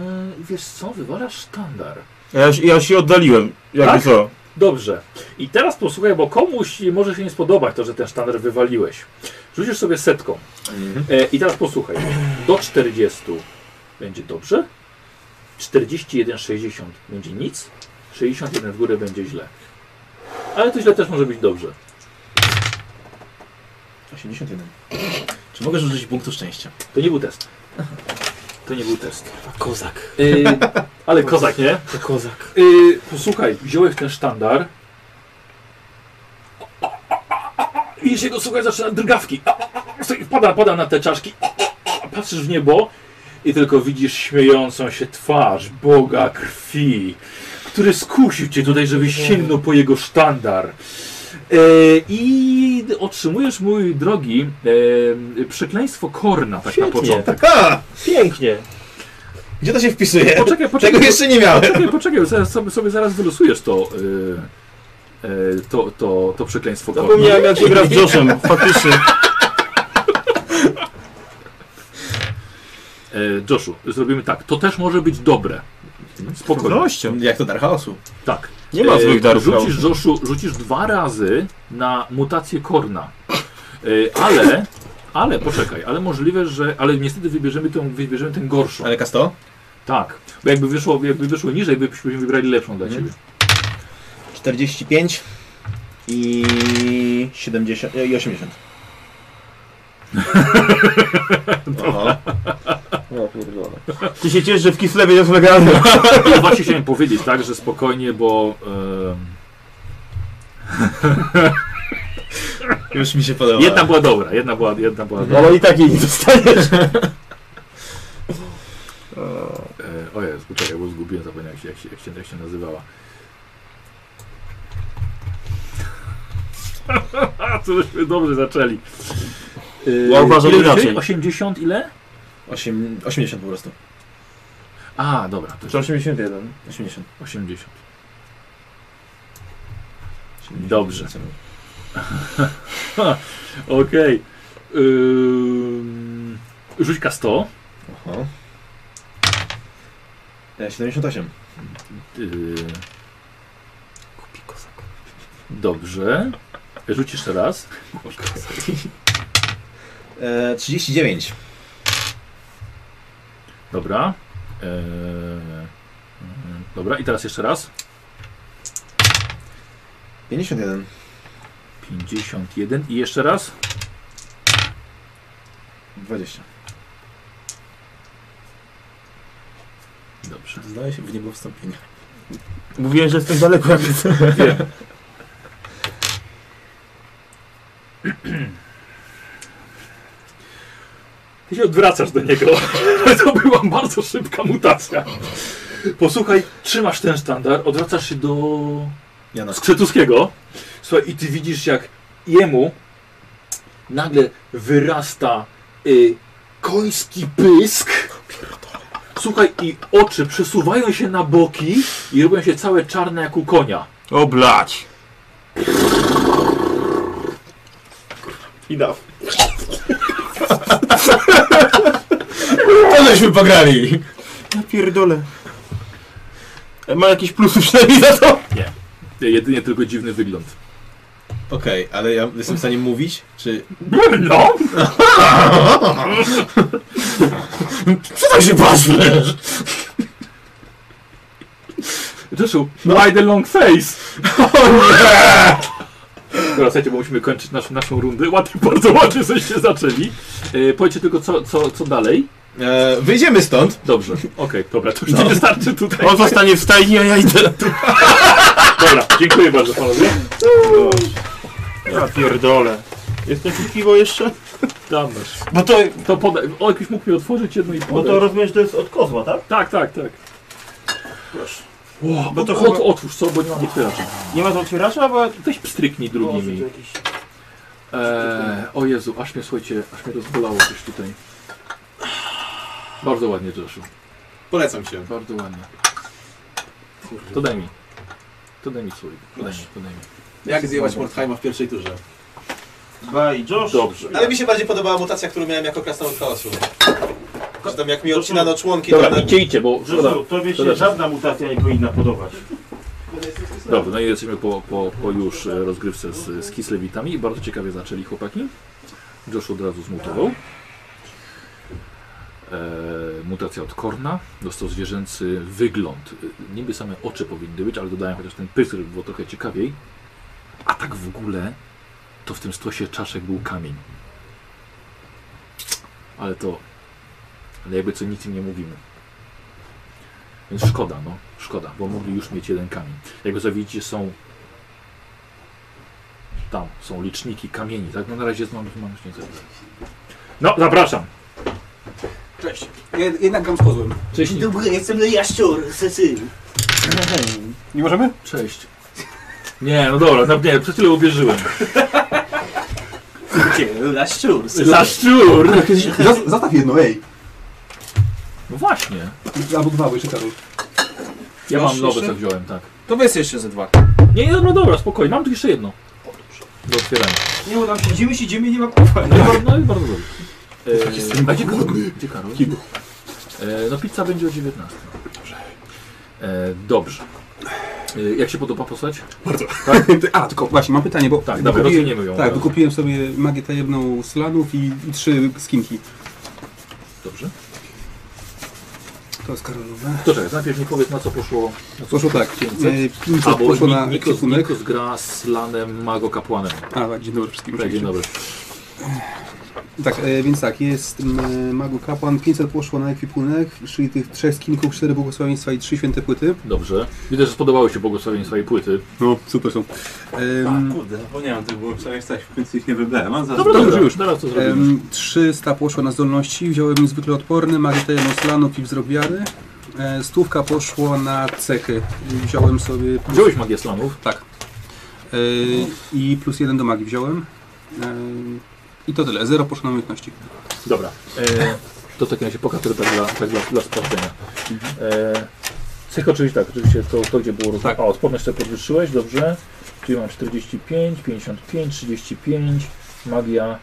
A: wiesz co, wywalasz sztandar.
I: Ja, już- ja już się oddaliłem. Jakby
A: Tak?
I: co?
A: Dobrze. I teraz posłuchaj, bo komuś może się nie spodobać to, że ten sztandar wywaliłeś. Rzucisz sobie setką.
E: Mhm.
A: E, I teraz posłuchaj. Do 40 będzie dobrze. 41, 60 będzie nic. 61 w górę będzie źle. Ale to źle też może być dobrze.
E: 81. Czy mogę rzucić punktu szczęścia?
A: To nie był test. To nie był test.
C: Kozak.
A: Y, ale kozak, nie?
C: To kozak.
A: Y, posłuchaj, wziąłeś ten sztandar. I się go słuchaj, zaczyna drgawki. Słuchaj, Pada, pada na te czaszki. Patrzysz w niebo i tylko widzisz śmiejącą się twarz Boga krwi, który skusił cię tutaj, żebyś sięgnął po jego sztandar. E, I otrzymujesz, mój drogi, e, przekleństwo Korna, tak na
I: Świetnie.
A: początek.
E: Ha!
I: Pięknie.
E: Gdzie to się wpisuje?
A: Poczekaj,
E: Czego
A: poczekaj,
E: jeszcze nie miałem?
A: Poczekaj, E, poczekaj, zaraz, sobie, sobie zaraz wylosujesz to, y, y, to, to, to przekleństwo korna.
I: Zapomniałem jak się gra No z Joshem, faktycznie.
A: Y, Joshu, zrobimy tak. To też może być dobre. Spokojnie.
I: Gością.
E: Jak to Dar Chaosu?
A: Tak.
I: Nie ma
A: Y,
I: złych darów. no.
A: Rzucisz, Joshu, rzucisz dwa razy na mutację korna. Y, ale, ale, poczekaj, ale możliwe, że, ale niestety wybierzemy tę, wybierzemy tę gorszą.
E: Ale Kasto?
A: Tak. Bo jakby wyszło, jakby wyszło niżej, byśmy wybrali lepszą dla
E: Mhm.
A: ciebie.
E: 45 i 70 i <laughs> 80. Aha.
I: Ja pierdolę. Ty się ciesz, że w Kislewie jest legalne.
A: Ja No właśnie chciałem powiedzieć, tak, że spokojnie, bo... em,
E: Już mi się podoba.
A: Jedna była dobra, jedna była, jedna była dobra.
I: Ale i tak jej nie dostaniesz.
A: E, o Jezu, czekaj, bo zgubiłem, zapomniałem jak się, jak, <laughs> się, jak, się, jak się nazywała. A, co żeśmy dobrze zaczęli. Yy,
C: Ja uważam
A: ile
C: inaczej.
A: dzisiaj? 80 ile?
E: Osiem, 80 po prostu.
A: A, dobra, to
I: Czy 81?
E: 80.
A: 80.
E: 80
A: Dobrze. Okej. Ym, Rzuć K100.
E: Oho. E, 78.
A: Yy. Dobrze. Rzuć jeszcze raz.
E: E, 39.
A: Dobra. Eee, dobra, i teraz jeszcze raz.
E: 51.
A: 51 i jeszcze raz.
E: 20.
A: Dobrze.
E: Zdaje się w niebo wstąpienie.
I: Mówiłem, że jestem daleko, jak jestem.
A: Ty się odwracasz do niego. <laughs> to była bardzo szybka mutacja. Posłuchaj, trzymasz ten sztandar, odwracasz się do
E: Jana.
A: Skrzetuskiego. Słuchaj, i ty widzisz, jak jemu nagle wyrasta y, koński pysk. Słuchaj, i oczy przesuwają się na boki i robią się całe czarne jak u konia.
C: O blać.
I: I daw.
E: To żeśmy pograli!
I: Ja pierdolę. E, Ma jakieś plusy przynajmniej za to?
A: Jedynie tylko dziwny wygląd.
E: Okej, ale ja jestem w stanie mówić, czy...
A: No!
E: Co tak się patrzysz?
A: Rzeszu, No. why the long face? Dobra, słuchajcie, bo musimy kończyć naszą, naszą rundę. Ładnie, bardzo ładnie żeście zaczęli. E, powiedzcie tylko, co, co, co dalej.
E: E, wyjdziemy stąd.
A: Dobrze, okej, dobra, to już nie wystarczy tutaj.
I: On zostanie w stajni, a ja idę.
A: Dobra, dziękuję bardzo panowie.
I: Ja pierdolę. Jestem tu piwo jeszcze?
A: Tam masz.
I: Bo to,
A: To podaj. O, jakiś mógł mi otworzyć jedno i
I: bo
A: podaj.
I: to rozumiesz, że to jest od kozła, tak?
A: Tak, tak, tak. Proszę. Wow,
I: Bo
A: bo
I: to
A: to
I: chyba-
A: otwórz co, bo nie mam otwieracza.
I: Nie ma to otwieracza, bo...
A: Weź pstryknij
I: O,
A: drugimi.
I: że to jakiś-
A: Eee, o Jezu, aż mnie, słuchajcie, aż mnie rozbolało coś tutaj. Bardzo ładnie, Joshu.
J: Polecam cię.
A: Bardzo ładnie. To daj mi. To daj mi swój. To daj mi, to daj mi.
J: Jak zjebać Mordheima w pierwszej turze?
I: Bye, Josh.
A: Dobrze.
J: Ale mi się bardziej podobała mutacja, którą miałem jako krasnolud chaosu. Że tam jak mi odcinano członki,
A: Dobra,
J: to tak- na...
A: idźcie, idźcie, bo szkoda.
I: Żużu, tobie się
A: Szkoda czasu.
I: żadna mutacja nie powinna podobać.
A: Dobra, no i jesteśmy po, po, po już e, rozgrywce z, z Kislewitami. Bardzo ciekawie zaczęli chłopaki. Josh od razu zmutował. E, mutacja od Korna. Dostał zwierzęcy wygląd. E, Niby same oczy powinny być, ale dodają chociaż ten pysk, żeby było trochę ciekawiej. A tak w ogóle to w tym stosie czaszek był kamień. Ale to... Ale jakby co nic im nie mówimy. Więc szkoda, no. Szkoda, bo mogli już mieć jeden kamień. Jak go widzicie, są. Tam są liczniki kamieni, tak? No na razie znam, mam już nie zrobię. No, zapraszam.
J: Cześć. Jed- Jednak gram z kozłem.
A: Cześć.
H: Dobry, jestem na jaszczur, sesy.
C: Nie możemy?
A: Cześć. Nie, no dobra, no, nie, przez tyle uwierzyłem.
H: Jaszczur,
A: Za szczur!
J: Zas- Zostaw jedno, ej.
A: No właśnie.
J: Albo dwa, bo jeszcze Karol.
A: Ja
G: Masz
A: mam nowe,
G: jeszcze?
A: co wziąłem, tak.
G: To weź jeszcze ze dwa.
A: Nie, nie, no dobra, spokojnie, mam tu jeszcze jedno. Do otwierania.
G: Nie uda się, siedzimy, siedzimy, nie ma kupa.
J: Tak.
A: No, i bardzo- no i bardzo dobrze. Eee, a gdzie Karol? Gdzie Karol? Eee, no pizza będzie o 19. Eee, dobrze. Eee, jak się podoba postać?
J: <laughs> A, tylko właśnie, mam pytanie, bo...
A: Tak, dobra,
J: wykupiłem-
A: rozwiniemy ją.
J: Tak, wykupiłem sobie magię tajemną slanów i, i trzy skinki.
A: Dobrze.
J: To jest Karolowe.
A: To czekaj, najpierw mi powiedz na co poszło. Na co
J: Poszło tak,
A: 500.
J: e, 500
A: A bo
J: poszło na
A: Ni- Nikos,
J: ekwipunek.
A: Nikos gra z Lanem Mago Kapłanem.
J: A, tak, dzień dobry wszystkim.
A: Tak, Dzień
J: oczywiście.
A: dobry.
J: Tak, e, więc tak, jest m, e, Magu Kapłan, 500 poszło na ekwipunek, czyli tych trzech skinków, cztery błogosławieństwa i trzy święte płyty.
A: Dobrze. Widzę, że spodobały się błogosławienie swojej płyty.
J: No, super są. Em,
C: Kurde, zapomniałem tych było przynajmniej stać, w końcu ich nie wybrałem. Mam za
A: Dobra,
J: dobrze,
A: dobra,
J: już.
A: teraz to zrobimy.
J: em, 300 poszło na zdolności, wziąłem zwykle odporny, magię tajemną slanów i wzrobiary. E, Stówka poszło na cechy, wziąłem sobie...
A: Wziąłeś magię slanów?
J: Tak. Yy, I plus jeden do magii wziąłem. Yy, I to tyle. Zero poszło na umiejętności.
A: Dobra. E, to w takim razie pokaż to tak dla, tak dla, dla sprawdzenia. E, cech oczywiście tak, oczywiście to, to gdzie było... Tak. O, odporność sobie podwyższyłeś, dobrze. Czyli mam 45, 55, 35, magia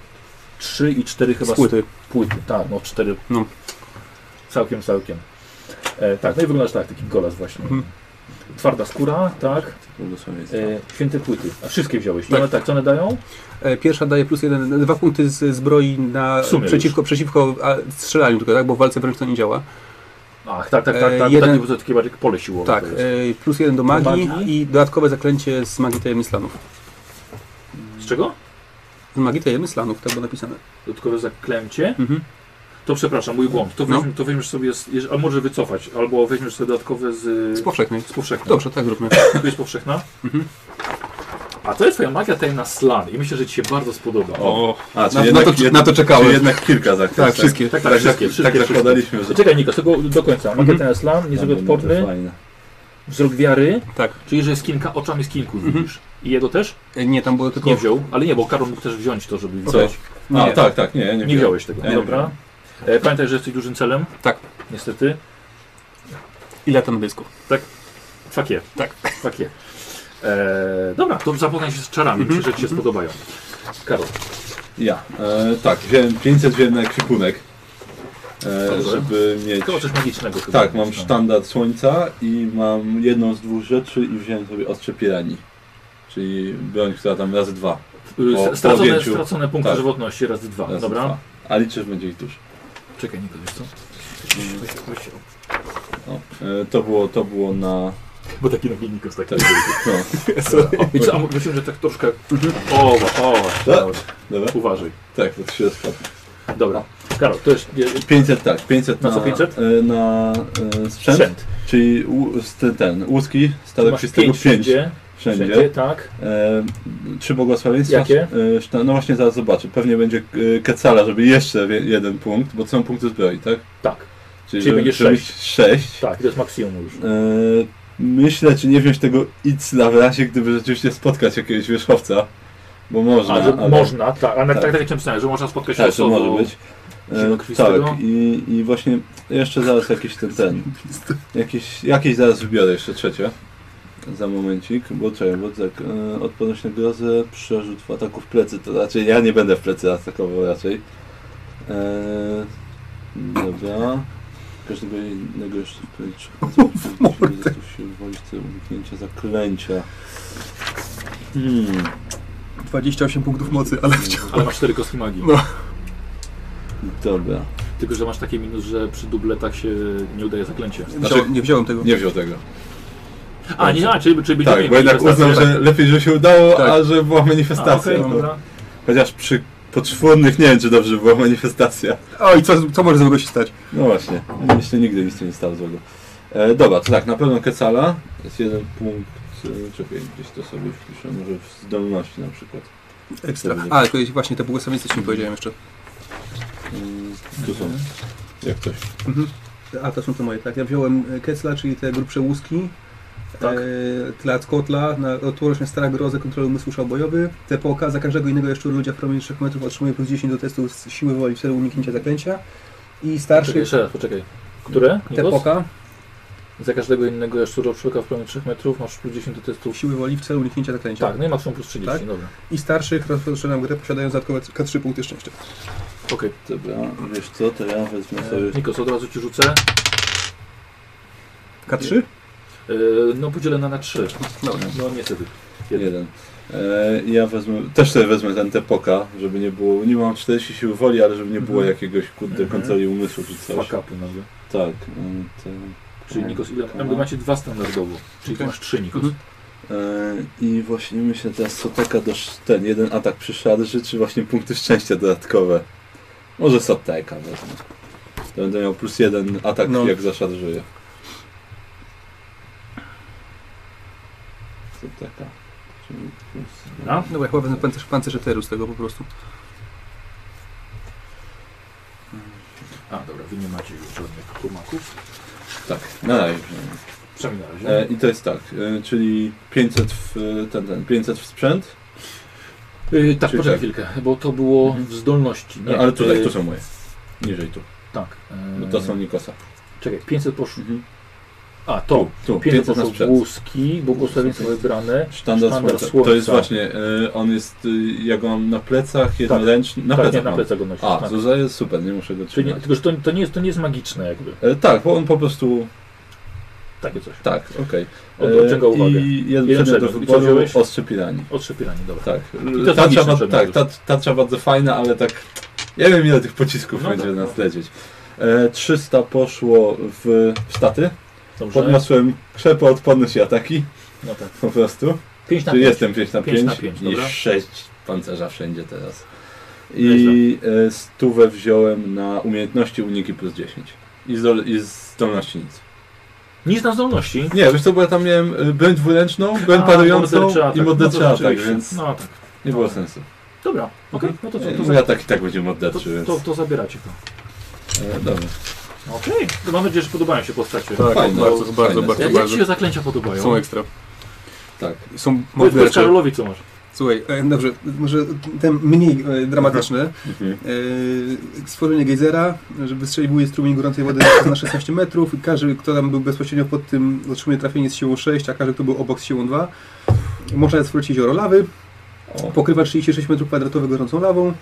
A: 3 i 4 chyba...
J: Z płyty.
A: z Płyty, tak, no 4.
J: No.
A: Całkiem, całkiem. E, tak, no i wyglądasz tak, taki golas właśnie.
J: Mhm.
A: Twarda skóra, tak. E, święte płyty. A wszystkie wziąłeś. I one tak, co one dają?
J: E, Pierwsza daje plus jeden, dwa punkty z zbroi na
A: W sumie
J: przeciwko, przeciwko a, strzelaniu tylko, tak? Bo w walce wręcz to nie działa.
A: Ach, tak, tak, tak.
J: E,
A: tak
J: jeden-
A: jeden... Takie, takie bardziej pole siłowe.
J: tak,
A: No to jest.
J: e, plus jeden do magii,
A: magii.
J: i dodatkowe zaklęcie z magii tajemnic lanów.
A: Z czego?
J: Z magii tajemnic lanów, tak było napisane.
A: Dodatkowe zaklęcie.
J: Mhm.
A: To przepraszam, mój błąd. To,
J: No.
A: weźm, to weźmiesz sobie, z, jeż- a może wycofać, albo weźmiesz sobie dodatkowe z,
J: Z powszechnej.
A: z powszechnej.
J: Dobrze, tak zróbmy.
A: To jest powszechna.
J: Mhm.
A: A to jest twoja magia tajemna Slan i myślę, że ci się bardzo spodoba.
C: O, a,
J: na- na to- na to czekałem.
C: Czyli jednak kilka zakresów.
J: Tak, wszystkie.
A: tak, tak,
C: Tak,
A: wszystkie, wszystkie,
C: tak
A: wszystkie.
C: zakładaliśmy, że...
A: Czekaj Niko, tego do końca. Magia
J: Mhm.
A: tajemna Slan, niezwykle
I: Tam będą te
A: odporny,
I: fajne.
A: wzrok wiary,
J: Tak.
A: czyli że jest kilka, oczami z kilku widzisz. I jego też?
J: E, Nie, tam było tylko...
A: Nie wziął, ale nie, bo Karol mógł też wziąć to, żeby
J: Okej.
A: coś.
C: A,
J: Nie.
C: tak, tak, nie, nie,
A: Nie wziąłeś tego,
C: Nie, nie
A: dobra. E, Pamiętaj, że jesteś dużym celem.
J: Tak.
A: Niestety.
J: Ile tam dysków?
A: Fakie.
J: Tak.
A: Fakie. E, dobra, to zapoznaj się z czarami. Myślę, że ci się spodobają. Karol,
C: Ja. E, tak, wziąłem 500 w jeden krzykunek, e,
A: Dobrze.
C: żeby mieć...
A: tylko coś magicznego chyba.
C: Tak, mam sztandar słońca i mam jedną z dwóch rzeczy i wziąłem sobie ostrze piranii. Czyli broń, która tam razy dwa.
A: Y,
C: po- po
A: Stracone,
C: objęciu.
A: stracone punkty
C: Tak.
A: żywotności razy dwa.
C: Razy
A: dobra.
C: Dwa. A liczę, że będzie ich dużo.
A: Czekaj, Niko, wiesz co? Weź- weź się-
C: No. E, to, było, to było na...
A: Bo taki nogi Niko z takim.
C: Tak, no.
A: I co, a myślę, że tak troszkę... O, o, o.
C: Dobra.
A: Uważaj.
C: Tak, to się rozpadło.
A: Dobra. Karol, to jest e,
C: 500 tak, 500
A: Na
C: na,
A: co 500?
C: e, na e, sprzęt,
A: sprzęt.
C: czyli u, z, ten, ten, łuski,
A: Tu
C: stare
A: masz
C: 35
A: pięć
C: wszędzie.
A: wszędzie. Wszędzie,
C: wszędzie.
A: tak.
C: E, trzy błogosławieństwa.
A: Jakie?
C: E, szta- no właśnie zaraz zobaczę, pewnie będzie e, Kecala, żeby jeszcze wie- jeden punkt, bo to są punkty zbroi, tak?
A: Tak, Czyli
C: żeby-
A: będzie
C: żeby
A: sześć.
C: mieć sześć.
A: tak, to jest maksimum już.
C: E, myślę, czy nie wziąć tego Itzla w razie, gdyby rzeczywiście spotkać jakiegoś wierzchowca, bo można.
A: A, że
C: ale-
A: można, tak, a na, tak.
C: tak.
A: tak jak napisałem, że można spotkać się
C: Tak, to
A: osobą.
C: może być.
A: zimno
C: E,
A: krwistego.
C: tak, i, i właśnie jeszcze zaraz jakiś ten, ten jakieś, jakieś zaraz wybiorę jeszcze trzecie. Za momencik, bo czekaj, bo tak, e, odporność na grozę, przerzut w ataku w plecy, to raczej ja nie będę w plecy atakował raczej. E, dobra. Każdego innego jeszcze wpleczy. się wolić celu uniknięcia zaklęcia. Hmm.
J: 28 punktów mocy, ale wciąż.
A: Ale masz cztery kostki magii.
J: No.
C: Dobra.
A: Tylko, że masz taki minus, że przy dubletach się nie udaje zaklęcie.
C: Znaczy-
J: Wziąłem- Nie wziąłem tego.
C: Nie wziął tego.
A: A, nie, a, czyli, czyli będzie
C: Tak,
A: mniej
C: bo jednak
A: manifestacji,
C: uznał,
A: tak.
C: że lepiej, że się udało,
J: Tak.
C: a że była
A: A,
C: manifestacja.
A: okej,
C: no.
A: dobra.
C: Chociaż przy poczwórnych nie wiem, czy dobrze była manifestacja.
J: Oj, co, co może złego się stać?
C: No właśnie, jeszcze nigdy nic nie stało złego. E, dobra, to tak, na pewno Kecala jest jeden punkt, e, czekaj, gdzieś to sobie wpiszę, może w zdolności na przykład.
J: Ekstra.
C: Dobra.
J: A, to jest właśnie te błogosławieństwa, co nie powiedziałem jeszcze.
C: Mm, tu są, jak coś.
A: Mhm.
J: A to są te moje, tak. Ja wziąłem e, Kecla, czyli te grubsze łuski.
A: Tak.
J: E, tlat kotla, na odporność na strach, grozę, kontrolę umysłu szał bojowy. TPOK, za każdego innego jeszcze ludzia w promieniu 3 metrów otrzymuje plus 10 do testu z siły woli w celu uniknięcia zaklęcia. I
A: Czekaj,
J: starszy
A: jeszcze raz, poczekaj. Które? Nikos?
J: TPOK,
A: Za każdego innego jaszczura człowieka w promieniu 3 metrów masz plus 10 do testów.
J: siły woli w celu uniknięcia zaklęcia.
A: Tak, no i maksimum plus 30,
J: Tak.
A: dobra.
J: I starszych rozpoczynam grę posiadając dodatkowe K3 punkty szczęścia.
A: Okej.
C: Dobra, wiesz co, to ja wezmę sobie...
A: Okay. E, Nikos, od razu ci rzucę.
J: K3?
A: E, No podzielę na na 3.
J: Dobra.
A: No niestety.
C: Jeden. E, ja wezmę, też sobie wezmę ten Tepoka, żeby nie było, nie mam 40 sił woli, ale żeby nie było
A: Mhm.
C: jakiegoś kurde
A: Mhm.
C: kontroli umysłu czy coś.
A: Fuck upy nagle.
C: Tak, e, to,
A: Czyli Nikos, ile?
C: Dobra.
A: Jakby Mhm. macie dwa standardowo. Czyli ty
J: Okej.
A: masz trzy Nikos.
J: Mhm.
C: e, I właśnie myślę teraz Soteka do sz- ten jeden atak przy szarży, czy właśnie punkty szczęścia dodatkowe. Może Soteka wezmę. To będę miał plus jeden atak
J: No.
C: jak zaszarżuję. Soteka. Czyli plus...
A: No.
J: No bo ja chyba wezmę pancerz, pancerz eteru z tego po prostu.
A: A, dobra, wy nie macie już żadnych kumaków.
C: Tak, na razie. przynajmniej.
A: Przynajmniej na razie.
C: E, I to jest tak, e, czyli 500 w, e, ten, ten, 500 w sprzęt,
A: Yy, tak,
C: Czyli
A: poczekaj
C: tak.
A: chwilkę, bo to było w zdolności.
C: e, ale tutaj
A: yy,
C: to są moje. Niżej tu,
A: Tak.
C: bo
A: yy,
C: No
F: e,
C: to są Nikosa.
A: Czekaj, 500 poszło.
C: Mhm.
A: A, to.
C: Tu, 500,
A: 500
C: na
A: poszło
C: sprzęt.
A: łuski, błogosławieństwo wybrane.
C: Sztandar,
A: Sztandar
C: słońca.
A: słońca.
C: To jest właśnie, e, on jest, e, ja go mam na plecach, jednoręczny, na
A: tak,
C: plecach
A: nie, na
C: mam.
A: plecach go nosisz.
C: A,
A: tak.
C: to jest super, nie muszę go
A: Czyli nie,
C: trzymać.
A: tylko, że to, to, nie jest, to nie jest magiczne jakby.
C: E, tak, bo on po prostu,
A: Takie coś.
C: tak, okej.
A: Od-
C: E,
A: odciąga uwagę.
C: I jeden
A: Jeden
C: przedmiot do
A: przedmiot. I co
C: wyboru,
A: wziąłeś?
C: ostrze pirani.
A: Otrzepieranie, dobra.
C: Tak,
A: I to
C: tarcza,
A: magiczny
C: ba-
A: przedmiot
C: tak
A: już.
C: ta, tarcza bardzo fajna, ale tak nie wiem ile tych pocisków
A: No
C: będzie
A: tak,
C: nas
A: no.
C: lecieć. E, 300 poszło w, w staty,
A: Dobrze.
C: podniosłem krzepę odporność i ataki
A: No tak.
C: po prostu.
A: 5 na
C: Czyli
A: 5.
C: jestem 5 na 5,
A: Pięć na pięć,
C: i
A: dobra.
C: 6 pancerza wszędzie teraz. I e, stówę wziąłem na umiejętności uniki plus 10 i, zdol- i zdolności nic.
A: Nic na zdolności.
C: Nie, wiesz co, bo ja tam miałem y, broń dwuręczną, broń
A: A,
C: parującą
A: morderczy atak.
C: i morderczy
A: No to
C: atak,
A: rzeczywiście.
C: więc
A: No tak.
C: nie było sensu.
A: Dobra, okej, no to co? To,
C: Mój atak i tak będzie
A: to,
C: morderczy,
A: to,
C: więc...
A: to, to zabieracie go.
C: E, Dobra.
A: Okej, to mam nadzieję, że podobają się postacie.
J: Tak,
C: Fajne,
J: bardzo,
C: fajne.
J: bardzo, bardzo,
A: Jak, jak
J: bardzo.
A: ci się zaklęcia podobają?
J: Są ekstra.
C: Tak.
J: Są
A: Powiedz powiedz
J: mordercze.
A: Karolowi, co masz.
J: Słuchaj, e, dobrze, może ten mniej e, dramatyczny.
C: Mhm.
J: E, Stworzenie gejzera, że wystrzeliwuje strumień gorącej wody na 16 metrów i każdy, kto tam był bezpośrednio pod tym, otrzymuje trafienie z siłą 6, a każdy, kto był obok z siłą 2. Można zwrócić jezioro lawy,
C: O.
J: pokrywa 36 metrów kwadratowych gorącą lawą.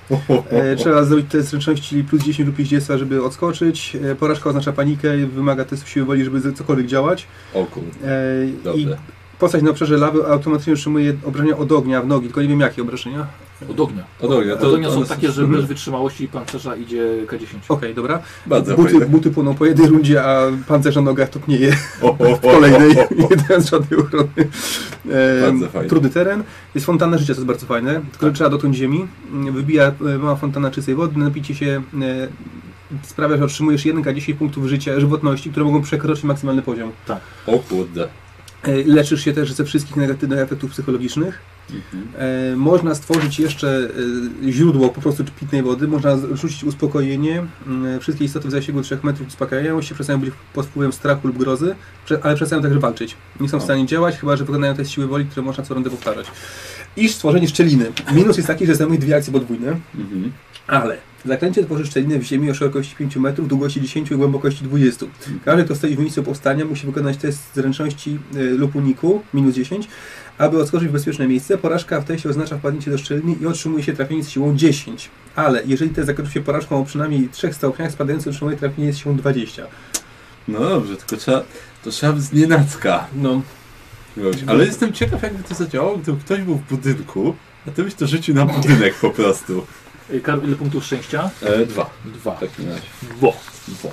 J: E, trzeba zrobić test zręczności plus 10 lub 50, żeby odskoczyć. E, porażka oznacza panikę i wymaga testu siły woli, żeby z- cokolwiek działać.
C: O kurde,
J: E, I
C: dobrze.
J: postać na obszarze lawy automatycznie otrzymuje obrażenia od ognia w nogi, tylko nie wiem jakie obrażenia.
A: Od ognia.
C: O dobra,
A: Od
C: to
A: ognia
C: one
A: są takie, że
J: Mhm.
A: bez wytrzymałości i pancerza idzie K10.
J: Okej, dobra.
C: Bardzo
J: buty,
C: fajne.
J: buty płoną po jednej rundzie, a pancerz na nogach topnieje
C: O, o, o,
J: w kolejnej,
C: o, o, o.
J: <laughs> nie dając żadnej ochrony. E,
C: Bardzo fajnie.
J: Trudny teren. Jest fontanna życia, co jest bardzo fajne, tylko że trzeba dotknąć ziemi. Mm, Wybija e, mała fontana czystej wody, napicie się e, sprawia, że otrzymujesz 1K10 punktów życia, żywotności, które mogą przekroczyć maksymalny poziom.
C: O kurde.
J: E, Leczysz się też ze wszystkich negatywnych efektów psychologicznych. E, Można stworzyć jeszcze e, źródło po prostu pitnej wody, można z- rzucić uspokojenie. Mm, Wszystkie istoty w zasięgu 3 metrów uspokajają się, przestają być pod wpływem strachu lub grozy, prze- ale przestają także walczyć. Nie są w stanie działać, chyba że wykonają te siły woli, które można co rundę powtarzać. I stworzenie szczeliny. Minus jest taki, że zajmuje dwie akcje podwójne,
C: Mhm.
J: ale zaklęcie tworzy szczelinę w ziemi o szerokości 5 metrów, długości 10 i głębokości 20. Każdy, kto stoi w miejscu powstania, musi wykonać test zręczności y, lub uniku, minus 10, aby odskoczyć w bezpieczne miejsce. Porażka w teście oznacza wpadnięcie do szczeliny i otrzymuje się trafienie z siłą 10. Ale jeżeli test zakończy się porażką o przynajmniej 3 stopniach, spadający otrzymuje trafienie z siłą 20.
C: No dobrze, tylko trzeba... To trzeba z nienacka.
J: No,
C: robić. Ale jestem ciekaw, jakby to zadziałało, gdyby ktoś był w budynku, a ty byś to rzucił na budynek po prostu.
A: Y, Karol, ile punktów szczęścia?
C: E, dwa.
A: Dwa.
C: W takim razie.
A: Bo.
C: Dwa.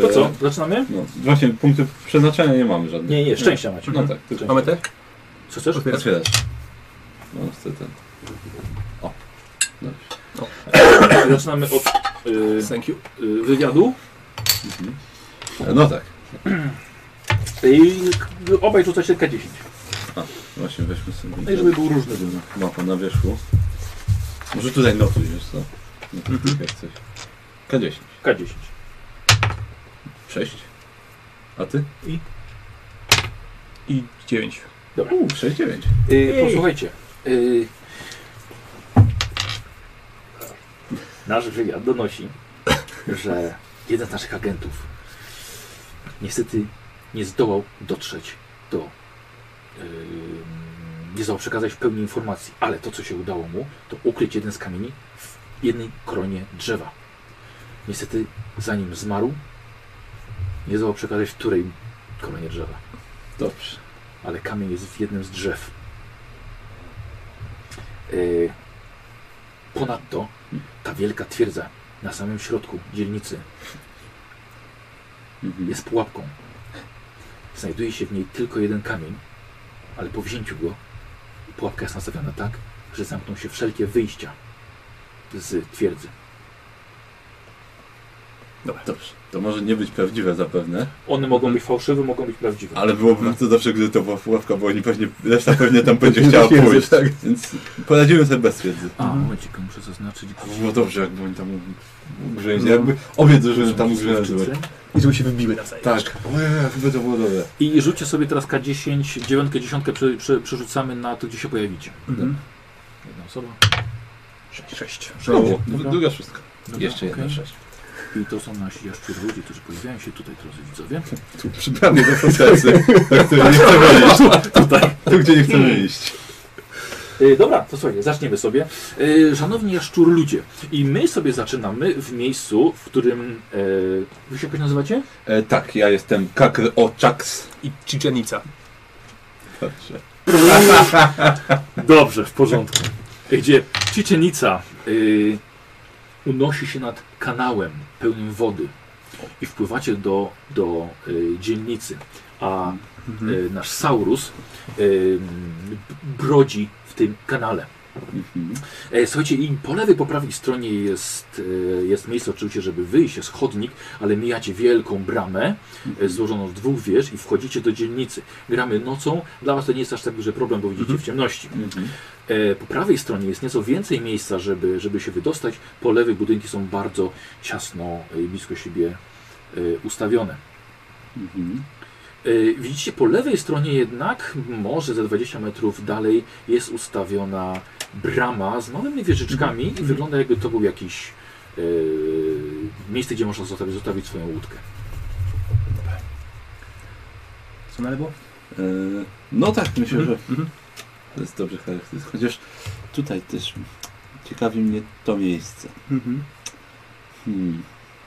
A: To
C: E,
A: co, zaczynamy?
C: No, właśnie, punkty przeznaczenia nie mamy żadnych.
A: Nie, nie, szczęścia macie.
C: No tak, tylko
J: mamy też?
A: Co chcesz?
J: Otwieram.
C: otwierasz. No, chcę ten. O, dobrze.
A: E, Zaczynamy od y,
J: Thank you.
A: y, wywiadu.
C: E, No tak,
A: I obaj rzucacie K10.
C: właśnie weźmy sobie.
A: No i żeby był różny wynik.
C: Mapa na wierzchu. Może tutaj notuj, wiesz co? No, jak coś. K10.
A: K10.
C: 6. A ty?
J: I 9.
C: U, 6, 9.
A: Y, posłuchajcie. Y, nasz wywiad donosi, że jeden z naszych agentów niestety nie zdołał dotrzeć do. y, nie zdołał przekazać w pełni informacji, ale to, co się udało mu, to ukryć jeden z kamieni w jednej kronie drzewa. Niestety, zanim zmarł, nie zdołał przekazać, w której kronie drzewa
C: Dobrze.
A: ale kamień jest w jednym z drzew. Yy, Ponadto ta wielka twierdza na samym środku dzielnicy
C: Mhm.
A: jest pułapką. Znajduje się w niej tylko jeden kamień, ale po wzięciu go pułapka jest nastawiona tak, że zamkną się wszelkie wyjścia z twierdzy. Dobra.
C: Dobrze. To może nie być prawdziwe zapewne,
A: One mogą być fałszywe, mogą być prawdziwe.
C: ale byłoby bardzo dobrze, gdyby to była pułapka, bo oni pewnie, reszta pewnie tam będzie tak. chciała
A: Bez wiedzy,
C: pójść. Więc poradziłem sobie bez wiedzy.
A: A, momencik, muszę zaznaczyć.
C: To by było No dobrze, jakby oni tam ugrzęźli. Jakby obie drużyny tam ugrzęzły.
J: I żeby się wybiły na zajęcie.
C: Tak. Ojej, chyba to było dobre.
A: I rzućcie sobie teraz K10, dziewiątkę, dziesiątkę przy, przy, przerzucamy na to, gdzie się pojawicie.
J: Mhm.
A: Jedna osoba.
J: Sześć. Sześć.
C: Dobrze, Druga szóstka.
A: Dobra,
C: Jeszcze jedna
A: okej.
C: sześć.
A: I to są nasi jaszczury ludzie, którzy pojawiają się tutaj, drodzy widzowie.
C: Tu przybrany do procesy, na które nie <laughs> chcemy iść. Tu, gdzie nie chcemy iść.
A: E, dobra, to słuchajcie, zaczniemy sobie. E, szanowni jaszczur ludzie, i my sobie zaczynamy w miejscu, w którym... E, wy się jakoś nazywacie?
C: E, tak, ja jestem Kakr Oczaks.
J: I Cziczenica.
C: Dobrze.
A: Dobrze, w porządku. Gdzie Cicenica y, unosi się nad kanałem pełnym wody i wpływacie do, do y, dzielnicy, a y, nasz Saurus y, brodzi w tym kanale.
C: Mhm.
A: E, Słuchajcie, i po lewej, po prawej stronie jest, e, jest miejsce oczywiście, żeby wyjść, jest chodnik, ale mijacie wielką bramę
C: Mhm.
A: e, złożoną z dwóch wież i wchodzicie do dzielnicy. Gramy nocą, dla Was to nie jest aż tak duży problem, bo widzicie w ciemności.
C: Mhm.
A: E, Po prawej stronie jest nieco więcej miejsca, żeby, żeby się wydostać, po lewej budynki są bardzo ciasno, e, blisko siebie e, ustawione.
C: Mhm.
A: E, Widzicie, po lewej stronie jednak, może ze 20 metrów dalej, jest ustawiona brama z małymi wieżyczkami i wygląda jakby to był jakiś e, miejsce, gdzie można zostawić, zostawić swoją łódkę.
J: Co na lewo?
C: E, no tak, myślę, że to jest dobrze charakterystycznie. Chociaż tutaj też ciekawi mnie to miejsce.
J: Mhm.
C: Hmm.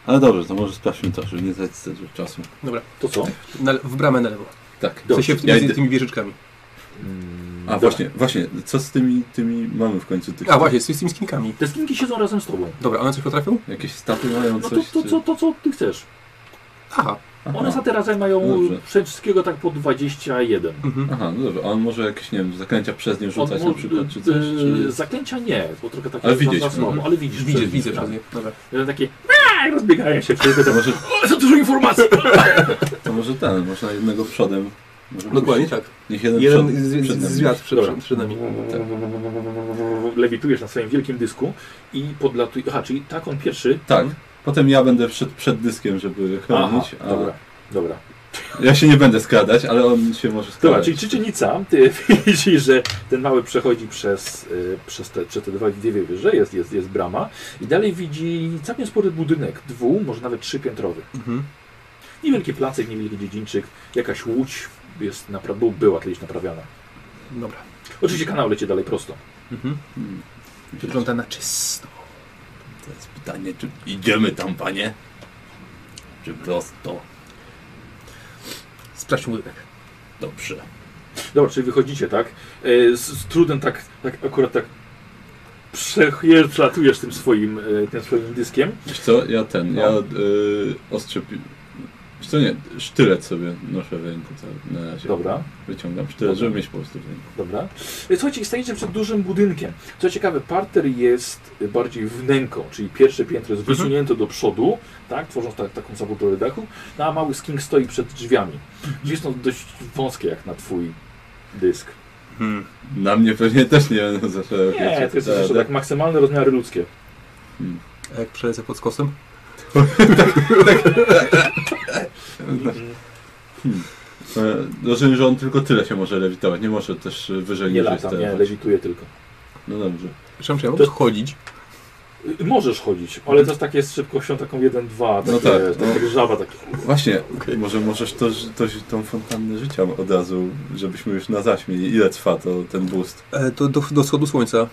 C: Ale dobrze, to może sprawdźmy to, żeby nie tracić tego czasu.
A: To co?
J: Na, w bramę na lewo.
C: Tak.
J: W sensie w,
C: Ja
J: między
C: idę-
J: tymi wieżyczkami.
A: Mm,
C: A
A: dobra.
C: właśnie, właśnie, co z tymi, tymi mamy w końcu tych...
J: A właśnie, z tymi skinkami.
A: Te skinki siedzą razem z tobą.
J: Dobra, one coś potrafią?
C: Jakieś staty mają
A: No to,
C: coś?
A: to, to,
C: czy-
A: to, co ty chcesz.
J: Aha.
C: Aha.
A: One za teraz mają
C: Dobrze.
A: wszystkiego tak po 21.
J: Mhm.
C: Aha, no dobrze, a on może jakieś, nie wiem, zaklęcia przez nie
A: On
C: rzucać
A: mo-
C: na przykład, czy coś,
A: e,
C: czy...
A: Zaklęcia nie, bo trochę takie
C: Ale
A: za-
C: widzieć, no
A: za słabo,
J: mhm.
A: ale widzisz.
J: Widzę,
A: tak,
J: widzę
A: tak.
J: przez nie. Dobra.
A: I one takie "Aaa!" rozbiegają się wszyscy.
C: <laughs> To może,
A: O, za dużo informacji!
C: Tak. to może ten, można jednego przodem. Może
J: Dokładnie
C: puścić.
J: tak.
C: Niech jeden, przod,
J: Jeden z,
C: przed nami.
J: z wiatr przed,
A: Dobra.
J: przed, przed nami.
A: Lewitujesz na swoim wielkim dysku i podlatujesz. Aha, czyli tak on pierwszy.
C: Tak, potem ja będę przed, przed dyskiem, żeby chronić,
A: Aha,
C: a
A: dobra, dobra.
C: ja się nie będę skradać, ale on się
A: Dobra,
C: może
J: Tak.
C: skradać.
A: czyli czyczynica, ty <laughs> widzisz, że ten mały przechodzi przez, y, przez, te, przez te dwa dwie wieże, jest, jest, jest brama i dalej widzi całkiem spory budynek, dwu, może nawet trzypiętrowy.
J: Mhm.
A: Niewielki placek, niewielki dziedzińczyk, jakaś łódź jest napra- bu- była kiedyś naprawiana.
J: Dobra.
A: Oczywiście kanał leci dalej prosto.
J: Mhm.
C: Hmm.
J: Wygląda na czysto.
C: To jest pytanie, czy idziemy tam, panie? Czy prosto?
J: Sprawdźmy łydek.
C: Dobrze.
A: Dobra, czyli wychodzicie, tak? E, Z, z trudem tak, tak akurat tak przejeżdżatujesz tym swoim, e, tym swoim dyskiem.
C: Wiesz co, ja ten,
A: No.
C: ja y, ostrze... pi- Wiesz co, nie, sztylet sobie noszę w ręku cały, na razie.
A: Dobra,
C: Wyciągam sztylet, żeby mieć po prostu w ręku.
A: dobra. E, Słuchajcie, stajecie przed dużym budynkiem. Co ciekawe, parter jest bardziej wnęką, czyli pierwsze piętro jest wysunięte do przodu, tak? Tworząc tak, taką zabudowę dachu, no, a mały sking stoi przed drzwiami. Drzwi są dość wąskie jak na twój dysk.
J: Mhm.
C: Na mnie pewnie też nie będą za szerokie.
A: Nie, to jest jeszcze tak maksymalne rozmiary ludzkie.
J: Hmm. A jak przelecę pod skosem?
A: tak-
C: E, Rozumiem, że on tylko tyle się może lewitować, nie może też e, wyżej
A: Nie
C: niż
A: lata,
C: jest
A: nie,
C: ten.
A: lewituje tylko.
C: No dobrze.
J: Przepraszam, czy
A: To
J: ja mogę
A: jest-
J: chodzić?
A: Y, Możesz chodzić, ale to jest takie z szybkością taką 1-2,
C: No
A: takie,
C: tak,
A: tak,
C: no.
A: jak żaba takie.
C: Właśnie, może możesz to, to, tą fontannę życia od razu, żebyśmy już na zaś mieli, ile trwa to, ten boost.
J: E, to do, do wschodu słońca.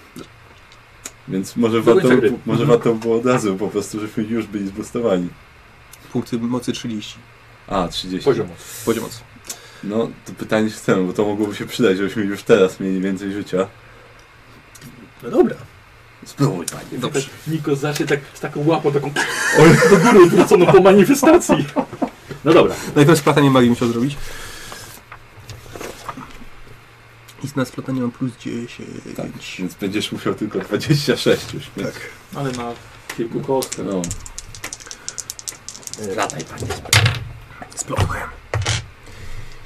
C: Więc
A: Do
C: może, warto,
A: końca gry.
C: może warto było od razu po prostu, żebyśmy już byli zboostowani.
J: Punkty mocy 30.
C: A, 30.
A: Poziomo.
J: Poziom mocy.
C: No, to pytanie czy chcemy, bo to mogłoby się przydać, żebyśmy już teraz mieli więcej życia.
J: No dobra.
C: Spróbuj, panie.
J: Dobrze.
A: Niko zacznie tak z taką łapą, taką do góry odwróconą po manifestacji. No dobra,
J: Najpierw splatanie magii musiał zrobić. I na splatanie mam plus 10.
C: Tak, więc będziesz musiał tylko
J: Tak.
C: 26 już No, mieć.
A: ale na kilku kostkach.
C: No.
E: Radaj, panie.
J: Splotłem.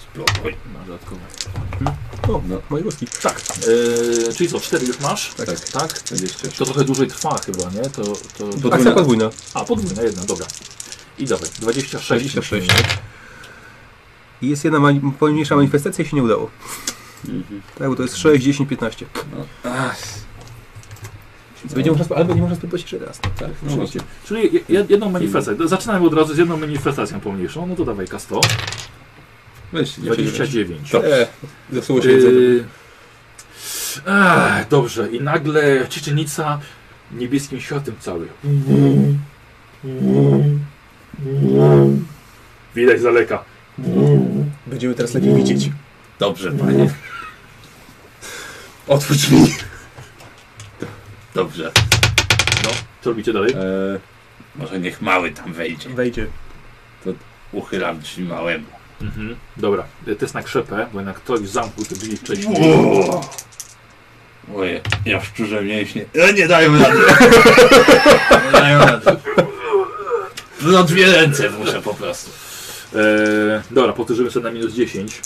A: Splotłem. Masz dodatkowo. Mhm.
J: O, no. moje łuski.
A: Tak. Eee, czyli co, cztery już masz?
J: Tak.
A: tak? To trochę dłużej trwa chyba, nie? To, to...
J: Podwójna. Akcja podwójna.
A: A, podwójna, jedna, dobra. I dawaj, 26.
J: 26. I jest jedna mani- pomniejsza manifestacja i się nie udało.
A: Mhm.
J: Tak, bo to jest 6, 10, 15. Więc będzie można, sp- albo nie można spróbować jeszcze raz. no, Tak,
A: No właśnie. Czyli je- je- jedną manifestację. Zaczynamy od razu z jedną manifestacją pomniejszą. No to dawaj K100.
C: Weź,
A: 29.
J: Dobrze.
C: E.
J: Zepsuło się
A: Yy,
J: jedzenie.
A: Ach, dobrze. I nagle cieczenica niebieskim światem cały. Widać z daleka.
J: Będziemy teraz lepiej widzieć.
C: Dobrze, panie.
J: Otwórz drzwi.
C: Dobrze.
A: No, co robicie dalej?
C: E, może niech mały tam wejdzie.
J: Wejdzie.
C: To uchylam drzwi małemu.
A: Mhm. Dobra, test na krzepę, bo jak ktoś zamknął te drzwi wcześniej.
C: Ło! Moje, ja szczurze mięśnie. E, nie dają rady. nie dają rady. No dwie ręce muszę po prostu.
A: Eee, dobra, powtórzymy sobie na minus 10.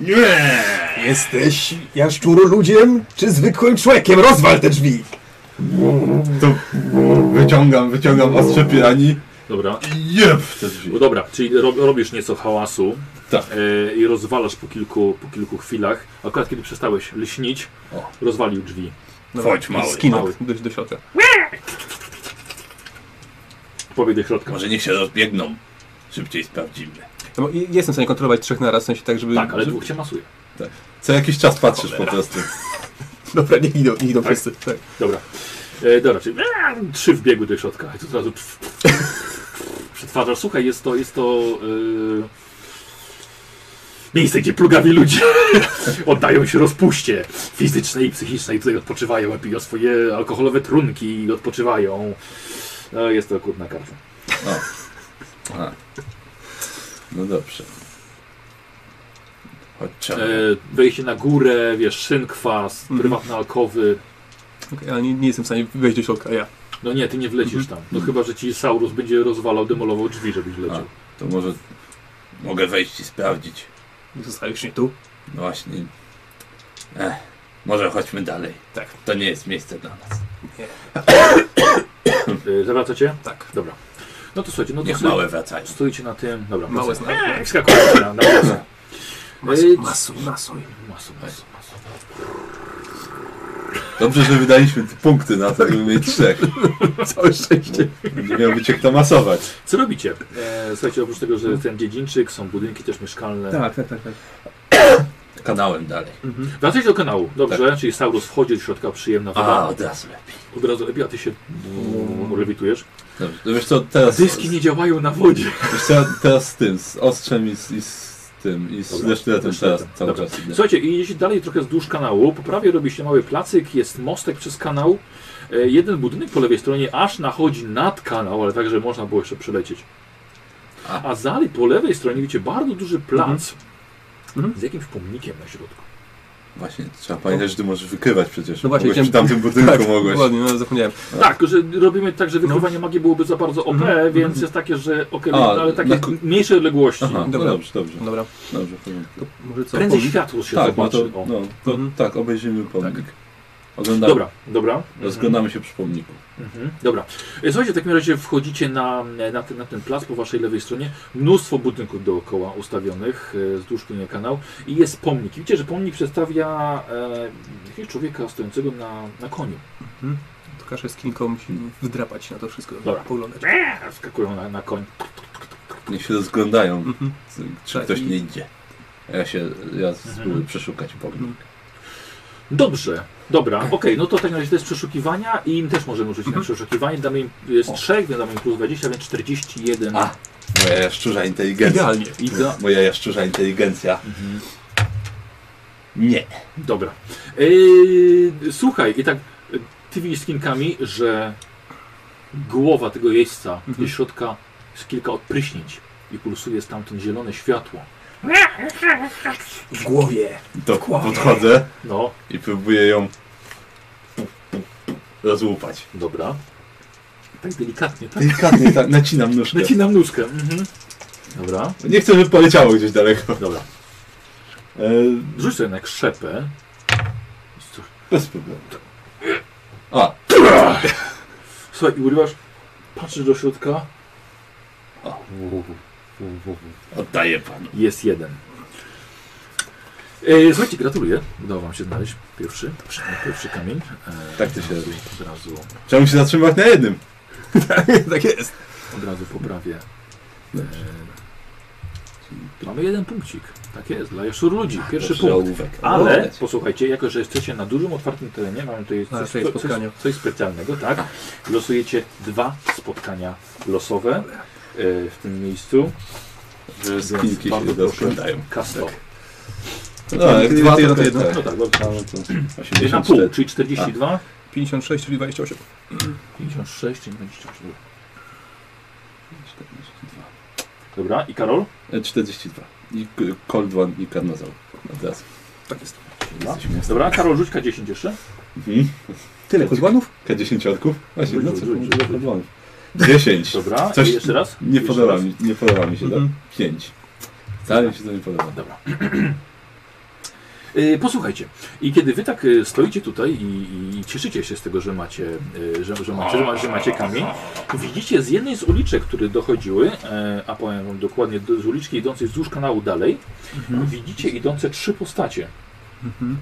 C: Nie!
K: Jesteś jaszczuru ludziem, czy zwykłym człowiekiem? Rozwal te drzwi!
C: To wyciągam, wyciągam
J: No.
C: ostrze pirani.
A: Dobra.
C: Jeb! Te drzwi.
A: No dobra, czyli ro, robisz nieco hałasu
C: Tak.
A: e, i rozwalasz po kilku, po kilku chwilach. Akurat kiedy przestałeś lśnić,
C: O.
A: rozwalił drzwi.
C: Wchodź, mały.
J: Skinął
A: Mały.
J: do, do środka.
A: Pobieg do środka.
C: Może niech się rozbiegną. Szybciej sprawdzimy.
J: No, bo i- jestem w stanie kontrolować trzech naraz, w sensie tak, żeby...
A: Tak, ale
J: żeby...
A: dwóch cię masuje.
C: Co jakiś czas patrzysz po prostu.
J: Dobra, niech idą, niech idą
A: Tak?
J: wszyscy. Tak.
A: Dobra. E, dobra, czyli eee, trzy wbiegły do środka i to od razu pf, przetwarzasz. Słuchaj, jest to, jest to e, miejsce, gdzie plugawi ludzie <laughs> oddają się rozpuście fizycznej i psychicznej. Tutaj odpoczywają, piją swoje alkoholowe trunki i odpoczywają. No, jest to kurna karta.
C: No dobrze. Chodźcie.
A: E, wejście na górę, wiesz, szynkwas,
J: Mhm.
A: prywatne alkowy.
J: Okej, ale nie, nie jestem w stanie wejść do środka, ja.
A: No nie, ty nie wlecisz tam. No chyba, że ci Saurus będzie rozwalał, demolował drzwi, żebyś leciał.
C: To może mogę wejść i sprawdzić.
J: Zostawisz mnie tu?
C: No właśnie. Ech, może chodźmy dalej.
J: Tak.
C: To nie jest miejsce dla nas.
A: E, zawracacie?
J: Tak.
A: Dobra. No to słuchajcie, no to
C: Niech
A: sobie-
C: małe wracają.
A: Stoicie na tym. Dobra,
J: Małe
A: masa. Eee, Skakujecie na, na masę. Y,
J: Masuj, masuj, masuj.
A: Masu, masu, masu.
C: Dobrze, że wydaliśmy te punkty na to, żeby mieć trzech.
J: <laughs> Całe szczęście.
C: Będzie miał być jak to masować.
A: Co robicie? Eee, słuchajcie, oprócz tego, że ten dziedzińczyk, są budynki też mieszkalne. Mhm.
J: Tak, tak, tak. tak.
C: <coughs> Kanałem dalej. Tak.
A: Wracajcie do kanału, dobrze? Czyli Saurus wchodzi do środka, przyjemna
C: A,
A: woda.
C: od razu lepiej.
A: Od razu lepiej, a ty się lewitujesz.
C: Dobrze. No wiesz co, teraz,
A: Dyski nie działają na wodzie.
C: wiesz co, teraz z tym, z ostrzem i z, i z tym, i z
A: Dobra.
C: desztyletem teraz
A: Dobra.
C: cały
A: Dobra.
C: czas idę.
A: Słuchajcie, i jedziecie dalej trochę wzdłuż kanału. Po prawej robi się mały placyk, jest mostek przez kanał. E, jeden budynek po lewej stronie aż nachodzi nad kanał, ale także można było jeszcze przelecieć.
C: A.
A: A, dalej po lewej stronie widzicie bardzo duży plac
J: Mhm.
A: z jakimś pomnikiem na środku.
C: Właśnie, trzeba pamiętać, że ty możesz wykrywać przecież.
J: No właśnie,
C: mogłeś przy
J: chciałem-
C: tamtym budynku mogłeś.
J: Ładnie, no zapomniałem.
C: A.
A: Tak, że robimy tak, że wykrywanie magii byłoby za bardzo OP, więc jest takie, że ok,
C: A,
A: ale takie
C: na ku-
A: mniejsze odległości.
C: Aha, no
J: Dobra.
C: dobrze, dobrze.
J: Dobra.
C: Dobrze, w porządku.
J: To może co?
A: Prędzej
J: powiem?
A: światło się
C: Tak, no to,
A: zobaczy. o.
C: no, to
J: Mhm.
C: tak, obejrzymy pomnik. Oglądamy,
A: Dobra, dobra.
C: rozglądamy się przy pomniku.
A: Mhm, dobra. E, Słuchajcie, w takim razie wchodzicie na, na, ten, na ten plac po waszej lewej stronie. Mnóstwo budynków dookoła ustawionych e, wzdłuż linii kanał i jest pomnik. Widzicie, że pomnik przedstawia e, jakiegoś człowieka stojącego na, na koniu.
J: Mhm. To kaszę z kinką musi wdrapać na to wszystko.
A: Dobra.
J: Poglądać.
A: E, Wskakują na, na koń.
C: Niech się rozglądają,
J: Mhm.
C: c- czy
J: Tak,
C: ktoś
J: i-
C: nie idzie. A Ja się, ja spróbuję przeszukać pomnik.
A: Dobrze, dobra,
J: <clears throat>
A: okej, no to w takim razie to jest przeszukiwania i im też możemy rzucić
J: Mhm.
A: na przeszukiwanie. Damy im jest
C: O. 3,
A: 3, damy im plus 20, więc 41.
C: A, moja jaszczurza inteligencja.
J: Idealnie.
A: Idea.
C: Moja jaszczurza inteligencja. Nie.
A: Dobra. Yy, słuchaj, i tak y, ty widzisz z kinkami, że głowa tego jeźdźca do środka jest kilka odpryśnięć i pulsuje stamtąd zielone światło.
K: W głowie.
C: To podchodzę
A: No,
C: i próbuję ją rozłupać.
A: dobra. Tak delikatnie,
C: <laughs>
A: tak?
C: Delikatnie, tak, nacinam nóżkę.
A: Nacinam nóżkę. Mhm. Dobra.
C: Nie chcę, żeby poleciało gdzieś daleko. E,
A: Dobra. Rzuć sobie na krzepę.
C: Bez problemu. A.
A: Słuchaj, i urywasz, patrzysz do środka.
C: Oddaję panu.
A: Jest jeden. E, słuchajcie, gratuluję. Udało wam się znaleźć pierwszy, pierwszy kamień. E,
C: Tak to się
A: od razu-
C: robi.
A: Od razu,
C: Chciałbym się zatrzymywać na jednym.
J: tak jest.
A: od razu poprawię. E, mamy jeden punkcik. Tak jest, dla jaszczur ludzi. Pierwszy
C: Dobrze,
A: punkt.
C: ołówek.
A: Ale
C: Ołówek.
A: posłuchajcie, jako że jesteście na dużym otwartym terenie, mamy tutaj
J: Na
A: coś,
J: tej
A: co- coś,
J: spotkaniu.
A: coś specjalnego, tak? Losujecie dwa spotkania losowe e, w tym miejscu.
C: Że
A: Więc
C: skinki się
A: bardzo
C: nie
A: proszę,
C: doskładają.
A: Kasto.
C: No, tak, jak
J: Kiedy
C: dwa,
J: ty
C: to,
J: to
C: to
J: jedno.
C: tak.
A: No tak, dobrze.
C: No to
A: Jedna pół,
C: 84.
A: czyli 42.
J: 56, czyli 28.
A: 56, czyli 28. Dobra, i Karol?
C: E, 42. I k- Cold One i Karnozał. Od razu.
J: Tak jest.
C: Jesteśmy jasni.
A: Dobra, Karol, rzuć K10 jeszcze.
C: Mhm.
J: Tyle kozłanów?
C: K10. Właśnie,
A: Rzuć,
C: no
A: rzuć,
C: co?
A: rzuć, rzuć.
C: 10.
A: Dobra,
C: Coś-
A: i jeszcze raz?
C: Nie
A: Jeszcze
C: podoba
A: raz.
C: mi, nie podoba mi się to.
J: Mhm.
C: 5. Wcale mi się to nie podoba.
A: Dobra. <clears throat> Y, Posłuchajcie, i kiedy wy tak y, stoicie tutaj i, i cieszycie się z tego, że macie, y, że, że, macie, że, ma, że macie kamień, widzicie z jednej z uliczek, które dochodziły, e, a powiem wam dokładnie, do- z uliczki idącej wzdłuż kanału dalej, widzicie idące trzy postacie.
C: Mhm.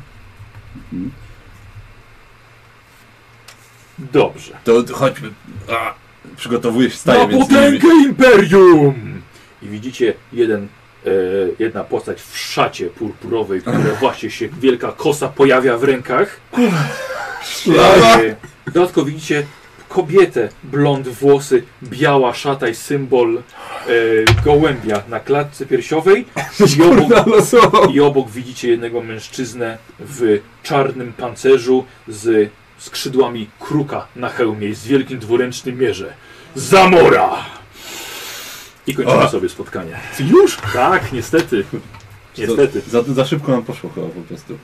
A: Dobrze.
C: To chodźmy. A, przygotowuję się,
A: Na
C: staję między nimi.
A: potęgę Imperium! I widzicie jeden, e, jedna postać w szacie purpurowej, która właśnie się, wielka kosa pojawia w rękach. E, dodatkowo widzicie kobietę, blond włosy, biała szata i symbol e, gołębia na klatce piersiowej. I obok,
J: losowo.
A: I obok widzicie jednego mężczyznę w czarnym pancerzu z skrzydłami kruka na hełmie i z wielkim dwuręcznym mierze. Zamora! I kończymy
C: O!
A: sobie spotkanie.
C: Już?
A: Tak, niestety. Niestety.
C: Za, za, za szybko nam poszło chyba po
A: <laughs>
C: prostu.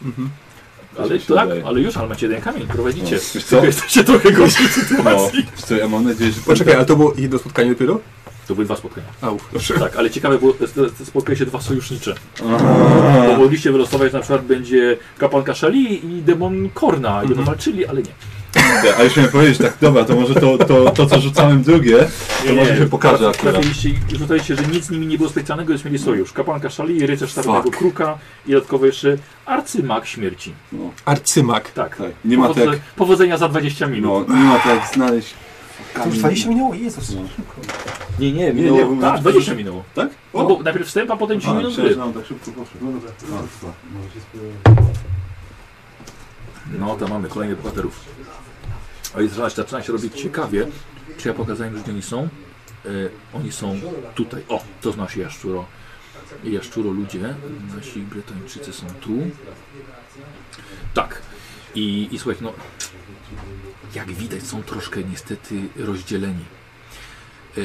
A: Ale
C: mi się
A: tak,
C: wydaje.
A: ale już, ale macie jeden kamień, prowadzicie.
C: No, wiesz co?
A: Tylko jesteście trochę
C: <laughs>
A: gorszej
C: No,
A: sytuacji.
C: wiesz co, ja mam nadzieję, że...
J: Poczekaj, ale to było jedno spotkanie dopiero?
A: To były dwa spotkania.
J: Au, dobrze.
A: Tak, ale ciekawe było, te- te- te spotkali się dwa sojusznicze.
C: Aha.
A: Bo mogliście wylosować, że na przykład będzie kapłanka Szali i demon Korna. I będą
C: Mhm.
A: walczyli, ale nie.
C: A już miałem powiedzieć, tak, dobra, to może to, to, to co rzucałem drugie, to
A: Nie,
C: może
A: nie.
C: się pokaże akurat.
A: Trafiliście i rzucaliście, że nic z nimi nie było specjalnego, więc mieli sojusz. Kapłanka Szali, rycerz starego
C: Fuck.
A: kruka i dodatkowo jeszcze arcymak śmierci.
C: No,
J: Arcymak.
A: Tak.
C: tak. Nie ma
A: Powodze-
C: tak,
A: Powodzenia za 20 minut.
C: no, nie ma tak znaleźć...
K: To już 20 minęło, Jezus.
C: No.
A: Nie, nie,
C: minęło-
A: minęło. Tak, 20 minęło.
C: Tak?
A: No bo najpierw wstęp, a potem 10
C: A,
A: minut
C: myślałem,
A: gry.
C: że nam tak szybko poszło. No dobra.
A: No, to mamy kolejnych bohaterów. O jest zaczyna zaczyna się robić ciekawie. Czy ja pokazałem, gdzie oni są? E, oni są tutaj. O, to znasz jaszczuro. Jaszczuro ludzie. Nasi Brytończycy są tu. Tak. I, i słuchaj, no jak widać są troszkę niestety rozdzieleni. E,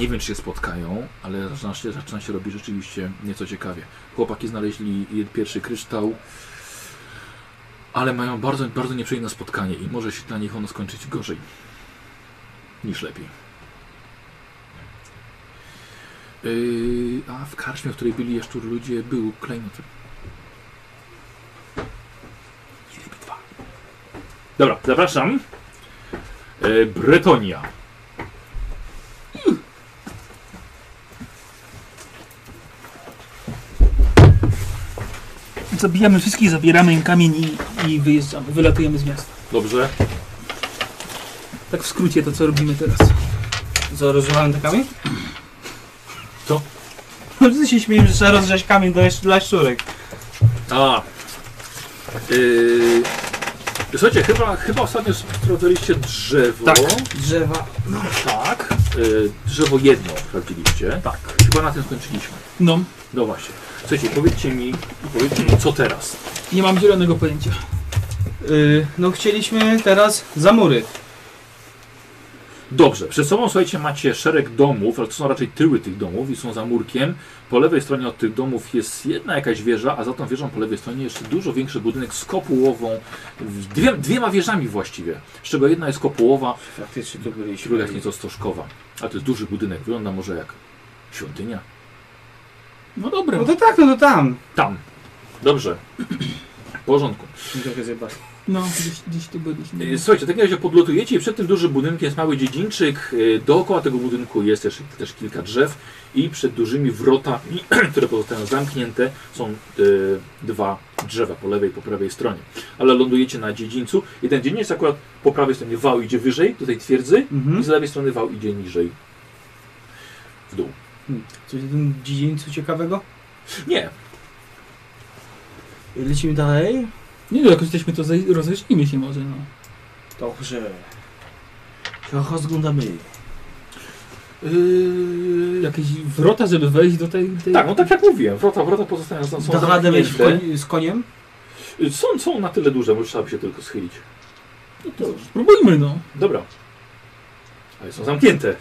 A: nie wiem, czy się spotkają, ale zaczyna się, zaczyna się robić rzeczywiście nieco ciekawie. Chłopaki znaleźli pierwszy kryształ, ale mają bardzo, bardzo nieprzyjemne spotkanie i może się dla nich ono skończyć gorzej niż lepiej. Yy, a w karczmie, w której byli jeszcze ludzie, był klejnot. Jedliby dwa. Dobra, zapraszam.
I: E,
A: Yy, Bretonia.
F: Zabijamy wszystkich, zabieramy im kamień i, i wyjeżdżamy, wylatujemy z miasta.
A: Dobrze.
F: Tak w skrócie to, co robimy teraz.
D: Co, rozrzucamy te kamień? No,
A: Co?
D: Wszyscy się śmieją, że trzeba rozgrzać kamień do jesz- dla szczurek.
A: A. Yy, słuchajcie, chyba, chyba ostatnio sprawdzaliście drzewo.
D: Tak. Drzewa.
A: Tak. Yy, drzewo jedno sprawdziliście. Tak. Chyba na tym skończyliśmy.
F: No,
A: No właśnie. Słuchajcie, powiedzcie mi, powiedzcie mi co teraz.
F: nie mam zielonego pojęcia.
D: Yy, no chcieliśmy teraz za mury.
A: Dobrze, przed sobą słuchajcie, macie szereg domów, ale to są raczej tyły tych domów i są za murkiem. Po lewej stronie od tych domów jest jedna jakaś wieża, a za tą wieżą po lewej stronie jeszcze dużo większy budynek z kopułową, w- dwie, dwiema wieżami właściwie, z czego jedna jest kopułowa,
G: Faktycznie to byliśmy.
A: druga jest nieco stożkowa. Ale to jest duży budynek, wygląda może jak świątynia.
F: No dobra.
D: No to tak, no to tam.
A: Tam. Dobrze. W porządku.
G: Trochę zjebać.
F: No, gdzieś, gdzieś tu byliśmy.
A: E, Słuchajcie, w takim razie podlotujecie i przed tym dużym budynkiem jest mały dziedzińczyk. E, Dookoła tego budynku jest też, też kilka drzew i przed dużymi wrotami, <clears throat> które pozostają zamknięte, są e, dwa drzewa po lewej i po prawej stronie. Ale lądujecie na dziedzińcu i ten dziedziniec akurat po prawej stronie wał idzie wyżej, do tej twierdzy
D: Mhm.
A: i z lewej strony wał idzie niżej. W dół.
D: Hmm. Coś w tym dziedzińcu ciekawego?
A: Nie,
G: Lecimy dalej?
F: Nie no, jak jesteśmy, to zaj- rozejrzyjmy się może, no.
G: Dobrze. Trochę zglądamy.
F: Yy, jakieś wrota, żeby wejść do tej... tej...
A: y, Tak, no tak jak mówiłem, wrota, wrota pozostają są, są
D: Da radę wejść w
A: zamknięte. Y,
D: koń, z koniem?
A: Są, są na tyle duże, bo trzeba by się tylko schylić.
F: No to spróbujmy, no.
A: Dobra. Ale są zamknięte.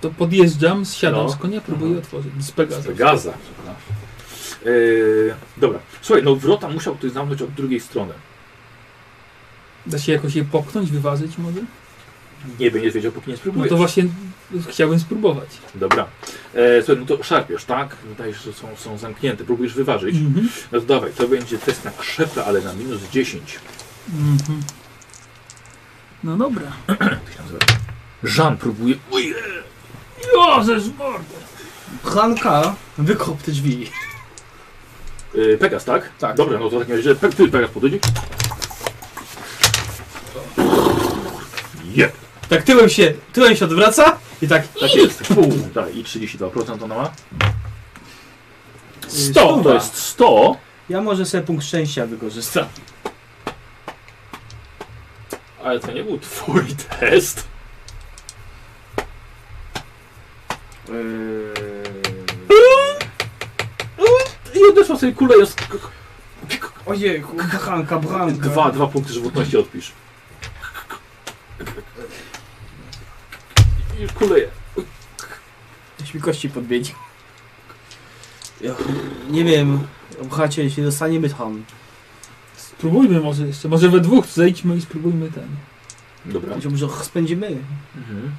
F: To podjeżdżam, zsiadam
A: No.
F: z konia, próbuję
C: Mhm.
F: otworzyć. Z Pegasa.
A: Z Pegasa. Yy, dobra. Słuchaj, no wrota musiał ktoś zamknąć od drugiej strony.
F: Da się jakoś je popchnąć, wyważyć może?
A: Nie będziesz wiedział, póki nie
F: No
A: spróbujesz.
F: to właśnie chciałbym spróbować.
A: Dobra. E, słuchaj, no to szarpiesz, tak? Dajesz, że są, są zamknięte, próbujesz wyważyć.
F: Mhm.
A: No to dawaj, to będzie test na krzepę, ale na minus 10.
F: Mhm. No dobra.
A: Jak to się nazywa? Żan próbuje... Ujej!
F: Jezus mordę!
D: Hanka, wykop te drzwi.
A: Yy, Pegas, tak?
D: Tak.
A: Dobra, no to w takim razie Pe- ty, Pegas podejdzie. Jep.
D: Tak tyłem się, tyłem się odwraca i tak...
A: Tak jest. Pół. Daj, I 32% ona ma. 100
D: Stuwa.
A: to jest 100.
D: Ja może sobie punkt szczęścia wykorzystam.
A: Ale to nie był twój <laughs> test.
C: E.
A: I odeszła sobie kulę jest
D: Ojej, bachanka, bachanka.
A: dwa, dwa punkty żywotności odpisz. I kuleje.
G: Ktoś mi kości podbiedzi. Ja, nie wiem, obchacie, jeśli dostaniemy tam.
F: Spróbujmy może jeszcze. Może we dwóch zejdźmy i spróbujmy ten.
A: Dobra.
G: Będzie może spędzimy.
A: Mhm.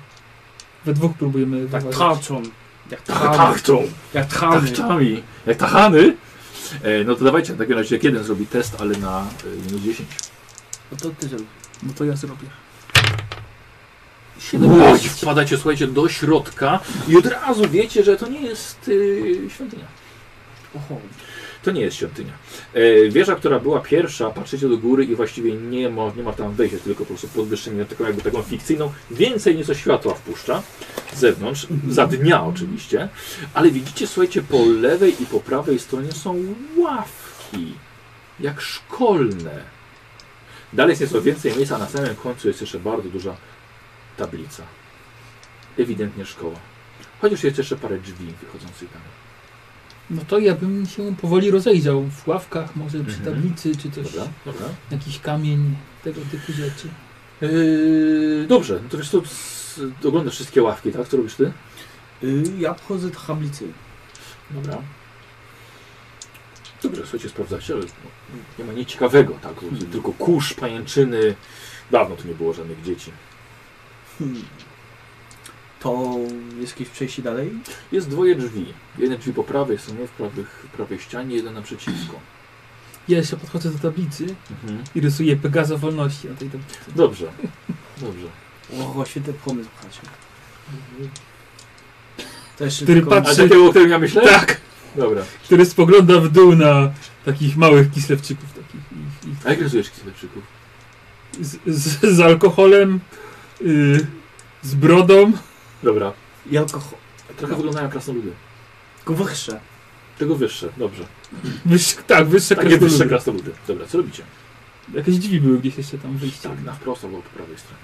F: We dwóch próbujemy
G: Tak
F: wyważyć.
G: tarczą. Jak tarczą.
A: Tarczą.
G: Jak
D: Tak,
G: tarczą.
A: Tarczami. Tak, Jak tachany. E, no to dawajcie, w takim razie jak jeden zrobi test, ale na e, minus 10.
G: No to ty zrób.
F: No to ja zrobię.
A: Oj, wpadacie, słuchajcie, do środka i od razu wiecie, że to nie jest y, świątynia.
G: Oho.
A: To nie jest świątynia. E, wieża, która była pierwsza, patrzycie do góry i właściwie nie ma, nie ma tam wejścia, tylko po prostu podwyższenie, taką jakby taką fikcyjną. Więcej nieco światła wpuszcza z zewnątrz, za dnia oczywiście, ale widzicie, słuchajcie, po lewej i po prawej stronie są ławki, jak szkolne. Dalej jest nieco więcej miejsca, a na samym końcu jest jeszcze bardzo duża tablica. Ewidentnie szkoła. Chociaż jest jeszcze parę drzwi wychodzących tam.
F: No to ja bym się powoli rozejrzał w ławkach, może przy
A: Mhm.
F: tablicy, czy też
A: Dobra, dobra.
F: jakiś kamień, tego typu rzeczy.
A: Yy, dobrze, no to wiesz, to s- oglądasz wszystkie ławki, tak? Co robisz ty?
G: Y, ja wchodzę do tablicy.
A: Dobra. Dobrze, słuchajcie, sprawdzacie, ale no, nie ma nic ciekawego, tak? Tylko kurz, pajęczyny. Dawno tu nie było żadnych dzieci.
G: Hmm. To jest jakieś przejście dalej?
A: Jest dwoje drzwi. Jedne drzwi po prawej stronie, w, prawych, w prawej ścianie, jeden naprzeciwko.
F: Ja jeszcze podchodzę do tablicy
A: Mhm.
F: i rysuję Pegaza wolności na tej tablicy.
A: Dobrze, <laughs> dobrze.
G: O, świetny pomysł, bracie. To jeszcze
F: Który
G: tylko...
F: patrzy-
A: A takiego, o którym ja myślę?
F: Tak!
A: Dobra.
F: Który spogląda w dół na takich małych kislewczyków takich. Ich, ich,
A: A jak rysujesz kisleczyków?
F: z, z, z alkoholem, y, z brodą.
A: Dobra.
G: I alkohol.
A: Trochę wyglądają jak krasnoludy.
G: Gwrsze.
A: Tego wyższe, dobrze.
F: Wyższe, tak, wyższe
A: Takie wyższe
F: krasnoludy.
A: krasnoludy. Dobra, co robicie?
F: Jakieś drzwi były gdzieś jeszcze tam wyjście.
A: Tak, na wprost albo po prawej stronie.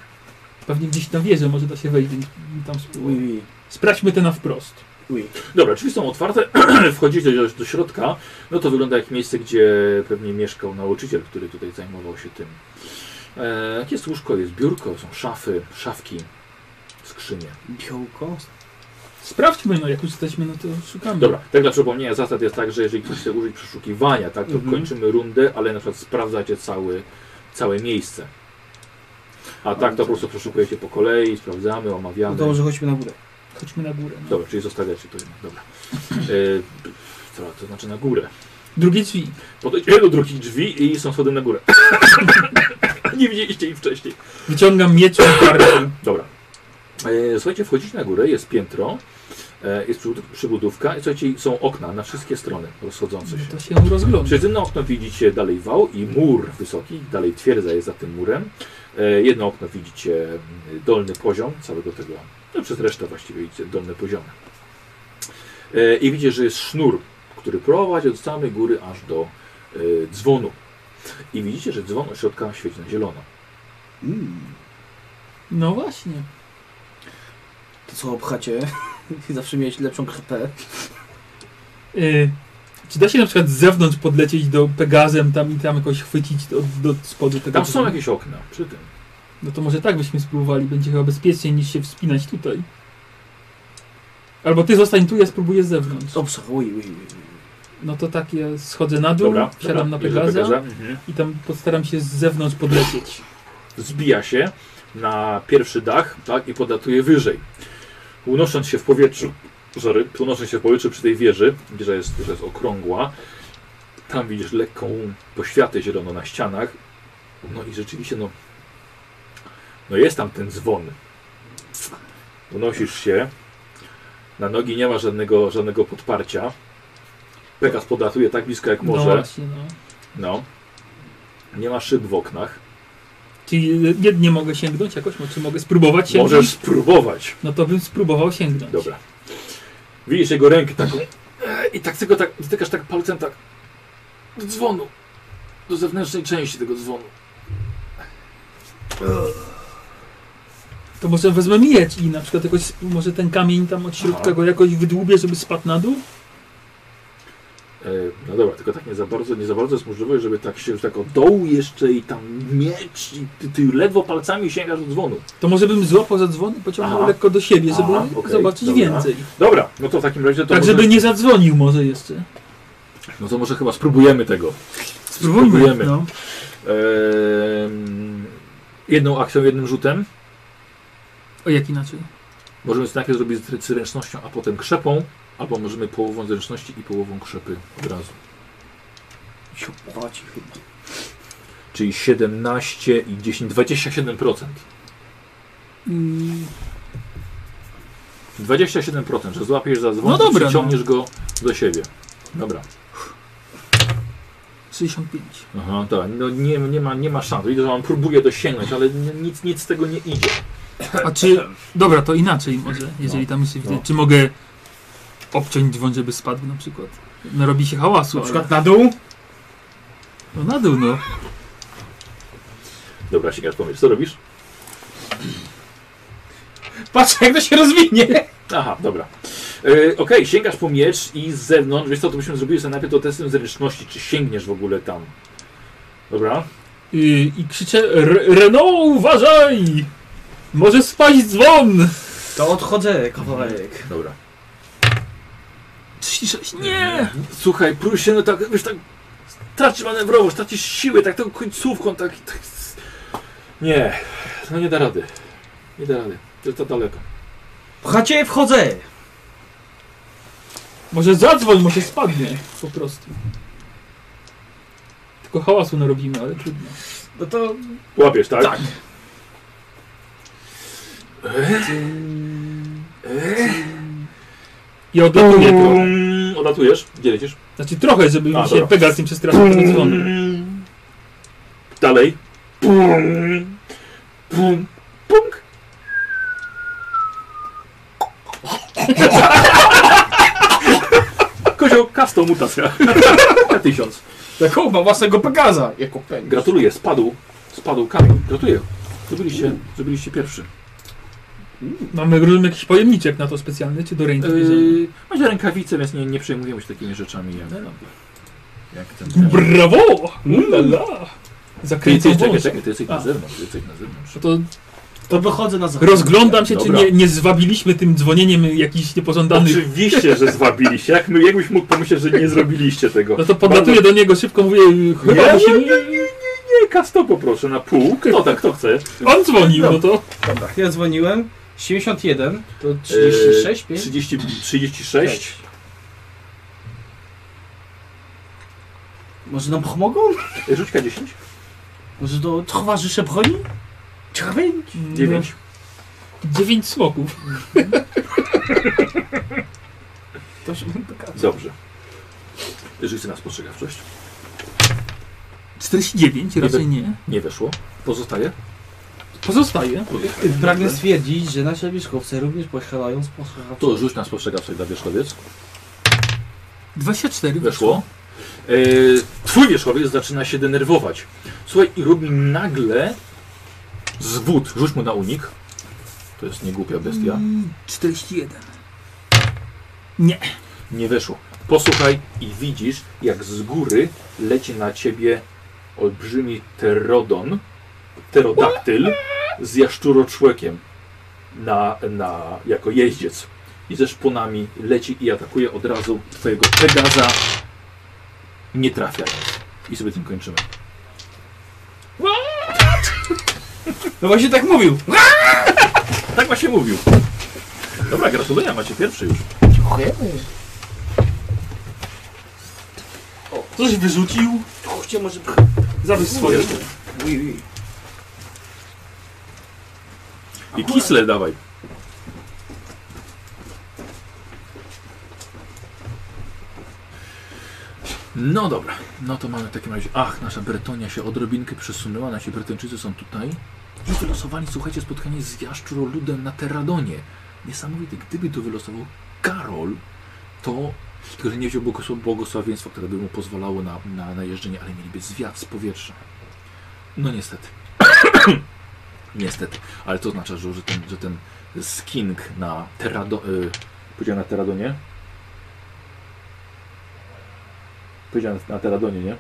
F: Pewnie gdzieś na wieżę może da się wejść, więc tam
G: Ui,
F: spróbuję.
G: ui,
F: Sprawdźmy te na wprost.
G: ui.
A: Dobra, drzwi są otwarte, <clears throat> wchodzicie do, do środka, no to wygląda jak miejsce, gdzie pewnie mieszkał nauczyciel, który tutaj zajmował się tym. E, jest łóżko, jest biurko, są szafy, szafki, skrzynię.
G: Białko?
F: Sprawdźmy, no jak już jesteśmy, no to szukamy.
A: Dobra, tak dla przypomnienia zasad jest tak, że jeżeli ktoś chce użyć przeszukiwania, tak, to
F: Mhm.
A: kończymy rundę, ale na przykład sprawdzacie cały, całe miejsce. A tak to po prostu przeszukujecie po kolei, sprawdzamy, omawiamy.
G: No to może chodźmy na górę.
F: Chodźmy na górę. No.
A: Dobra, czyli zostawiacie to jednak, dobra. Yy, co to znaczy na górę?
F: Drugie drzwi.
A: Podejdźcie do drugich drzwi i są schody na górę. <coughs> Nie widzieliście ich wcześniej.
F: Wyciągam miecz i kartę.
A: Dobra. E, Słuchajcie, wchodzicie na górę, jest piętro, e, jest przybud- przybudówka i słuchajcie, są okna na wszystkie strony rozchodzące się.
F: To się rozgląda.
A: Przez jedno okno widzicie dalej wał i mur wysoki, dalej twierdza jest za tym murem. E, Jedno okno widzicie mm, dolny poziom całego tego, no przez resztę właściwie widzicie dolne poziomy. E, I widzicie, że jest sznur, który prowadzi od samej góry aż do e, dzwonu. I widzicie, że dzwon od środka świeci na zielono.
G: Mm.
F: No właśnie.
G: To co, obchacie? <laughs> Zawsze miałeś lepszą krpę.
F: Y, czy da się na przykład z zewnątrz podlecieć do Pegazem tam i tam jakoś chwycić do, do spodu tego?
A: Tam są
F: typu?
A: jakieś okna przy tym.
F: No to może tak byśmy spróbowali, będzie chyba bezpieczniej niż się wspinać tutaj. Albo ty zostań tu, ja spróbuję z zewnątrz.
G: Dobrze, uj, uj, uj.
F: No to tak, ja schodzę na dół,
A: Dobra,
F: wsiadam
A: dobra,
F: na
A: bierze
F: Pegaza
A: Pegaza, mhm.
F: i tam postaram się z zewnątrz podlecieć.
A: Zbija się na pierwszy dach tak, i podlatuje wyżej. Unosząc się w powietrzu, sorry, unosząc się w powietrzu przy tej wieży, wieża jest, wieża jest okrągła, tam widzisz lekką poświatę zielono na ścianach. No i rzeczywiście, no, no jest tam ten dzwon. Unosisz się, na nogi nie ma żadnego, żadnego podparcia. Pegas podlatuje tak blisko jak
F: No
A: może.
F: właśnie, no.
A: No. Nie ma szyb w oknach.
F: Czyli y, nie, nie mogę sięgnąć jakoś, czy mogę spróbować sięgnąć?
A: Możesz spróbować.
F: No to bym spróbował sięgnąć.
A: Dobra. Widzisz jego rękę taką e, i tak tylko tak, dotykasz tak palcem tak do dzwonu. Do zewnętrznej części tego dzwonu.
F: To może wezmę miecz i na przykład jakoś, może ten kamień tam od środka
A: Aha.
F: go jakoś wydłubię, żeby spadł na dół?
A: E, no dobra, tylko tak nie za bardzo, nie za bardzo jest możliwość, żeby tak się już tak od dołu jeszcze i tam miecz i ty, ty ledwo palcami sięgasz do dzwonu.
F: To może bym złapał za dzwon i pociągnął
A: Aha.
F: lekko do siebie, żeby
A: Aha, okej,
F: zobaczyć
A: dobra.
F: więcej.
A: Dobra, no to w takim razie to
F: tak,
A: może...
F: żeby nie zadzwonił może jeszcze.
A: No to może chyba spróbujemy tego.
F: Spróbujmy,
A: Spróbujemy.
F: no.
A: Ehm, jedną akcją, jednym rzutem.
F: O jak inaczej?
A: Możemy to najpierw zrobić z zręcznością, a potem krzepą, albo możemy połową zręczności i połową krzepy od razu.
G: Siupaci chyba.
A: Czyli 17 i 10, 27%.
F: Mm,
A: 27%, że złapiesz za dzwon
F: No
A: i
F: dobra,
A: przyciągniesz go do siebie. Dobra.
F: 65.
A: Aha, tak. No nie, nie, ma, nie ma szans. Widzę, że on próbuje dosięgnąć, ale ni- nic, nic z tego nie idzie.
F: A czy... Dobra, to inaczej może, jeżeli tam się widać.
A: no.
F: Czy mogę obciąć dzwon, żeby spadł na przykład? No robi się hałasu.
A: Na przykład
F: na dół? No na dół, no.
A: Dobra, sięgasz pomysł. Co robisz?
F: Patrz jak to się rozwinie!
A: Aha, dobra. E, Okej, sięgasz po miecz i z zewnątrz, wiesz co, to byśmy zrobili sobie najpierw to testem zręczności, czy sięgniesz w ogóle tam. Dobra?
F: I, i krzyczę, "Re- Renault uważaj! Może spaść dzwon!
G: To odchodzę, kawałek.
A: Dobra.
F: 36, nie!
A: Słuchaj, prój się, no tak, wiesz, tak tracisz manewrowość, tracisz siły, tak tą końcówką, tak, tak... Nie, no nie da rady. Nie da rady, to jest za daleko.
G: Pchacie, wchodzę!
F: Może zadzwoń, może spadnie po prostu. Tylko hałasu narobimy, ale trudno.
G: No to...
A: Łapiesz, tak? Tak.
F: Ja odlatuję trochę.
A: Odlatujesz, gdzie lecisz?
F: Znaczy trochę, żeby
A: A,
F: mi się
A: dobra.
F: Pegas nie przestraszył tego dzwonu.
A: Dalej. Pum, pum, punk. Kozioł, custom mutacja. <laughs> Na tysiąc.
G: Jaką ma własnego Pegaza? Jako pęk.
A: Gratuluję, spadł, spadł kamień. Gratuluję. Zrobiliście, zrobiliście pierwszy.
F: Mamy rozumiem jakiś pojemniczek na to specjalny, czy do ręki bierzemy?
A: Yy, macie rękawice, więc nie, nie przejmujemy się takimi rzeczami jak, tam, jak ten.
F: Brawo! Ulala!
A: Ty
F: Zakręcą
A: jesteś, czekaj,
F: wąsem.
A: czekaj, ty jesteś
F: A.
A: na zewnątrz, ty jesteś na zewnątrz.
F: No to
G: To wychodzę na zewnątrz.
F: Rozglądam się,
A: Dobra.
F: czy nie, nie zwabiliśmy tym dzwonieniem jakichś niepożądanych...
A: Oczywiście, że zwabiliście. Jak my, jakbyś mógł pomyśleć, że nie zrobiliście tego.
F: No to podlatuję do niego szybko, mówię,
A: Nie,
F: chyba
A: nie,
F: mu się...
A: nie, nie, nie, nie, kasto poproszę na pół. Kto tak, kto chce?
F: On dzwonił, no to...
D: Ja dzwoniłem, 71, to
J: Yy,
A: Eee,
D: 36, 5?
A: 30, 36.
G: Może nam pomogą?
A: Rzuć K10.
G: Może to towarzysze broni? Dziewięć.
A: 9.
F: Dziewięć smoków.
G: To się będę kazał.
A: Dobrze. Rzuć na spostrzegawczość.
F: 49, raczej
A: we-
F: nie.
A: Nie weszło. Pozostaje?
F: Pozostaje.
G: Pragnę stwierdzić, że nasze wierzchowce również posiadają spostrzegawczość.
A: To rzuć na spostrzegawczość dla wierzchowiec.
F: 24
A: Weszło. E, twój wierzchowiec zaczyna się denerwować. Słuchaj, i robi nagle zwód. Rzuć mu na unik. To jest niegłupia bestia.
F: Mm, 41.
A: Nie weszło. Posłuchaj i widzisz, jak z góry leci na ciebie olbrzymi pterodon, pterodaktyl z jaszczuroczłekiem na, na, jako jeździec. I ze szponami leci i atakuje od razu twojego Pegaza, nie trafiając. I sobie tym kończymy.
D: No właśnie tak mówił.
A: Tak właśnie mówił. Dobra, gratuluję, macie pierwszy już.
G: Coś wyrzucił? Chcie może...
A: Zabierz swoje. I kisle dawaj. No dobra, no to mamy w takim razie. Ach, nasza Bretonia się odrobinkę przesunęła, nasi Bretończycy są tutaj. I wylosowali, słuchajcie, spotkanie z jaszczuroludem na Terradonie. Niesamowite, gdyby to wylosował Karol, to tylko, że nie wziął błogosław- błogosławieństwa, które by mu pozwalało na, na, na jeżdżenie, ale mieliby zwiat z powietrza. No niestety. <coughs> niestety. Ale to oznacza, że, że, ten, że ten sking na Terrado... Y, powiedziałem na Terradonie? Powiedziałem na Terradonie, nie?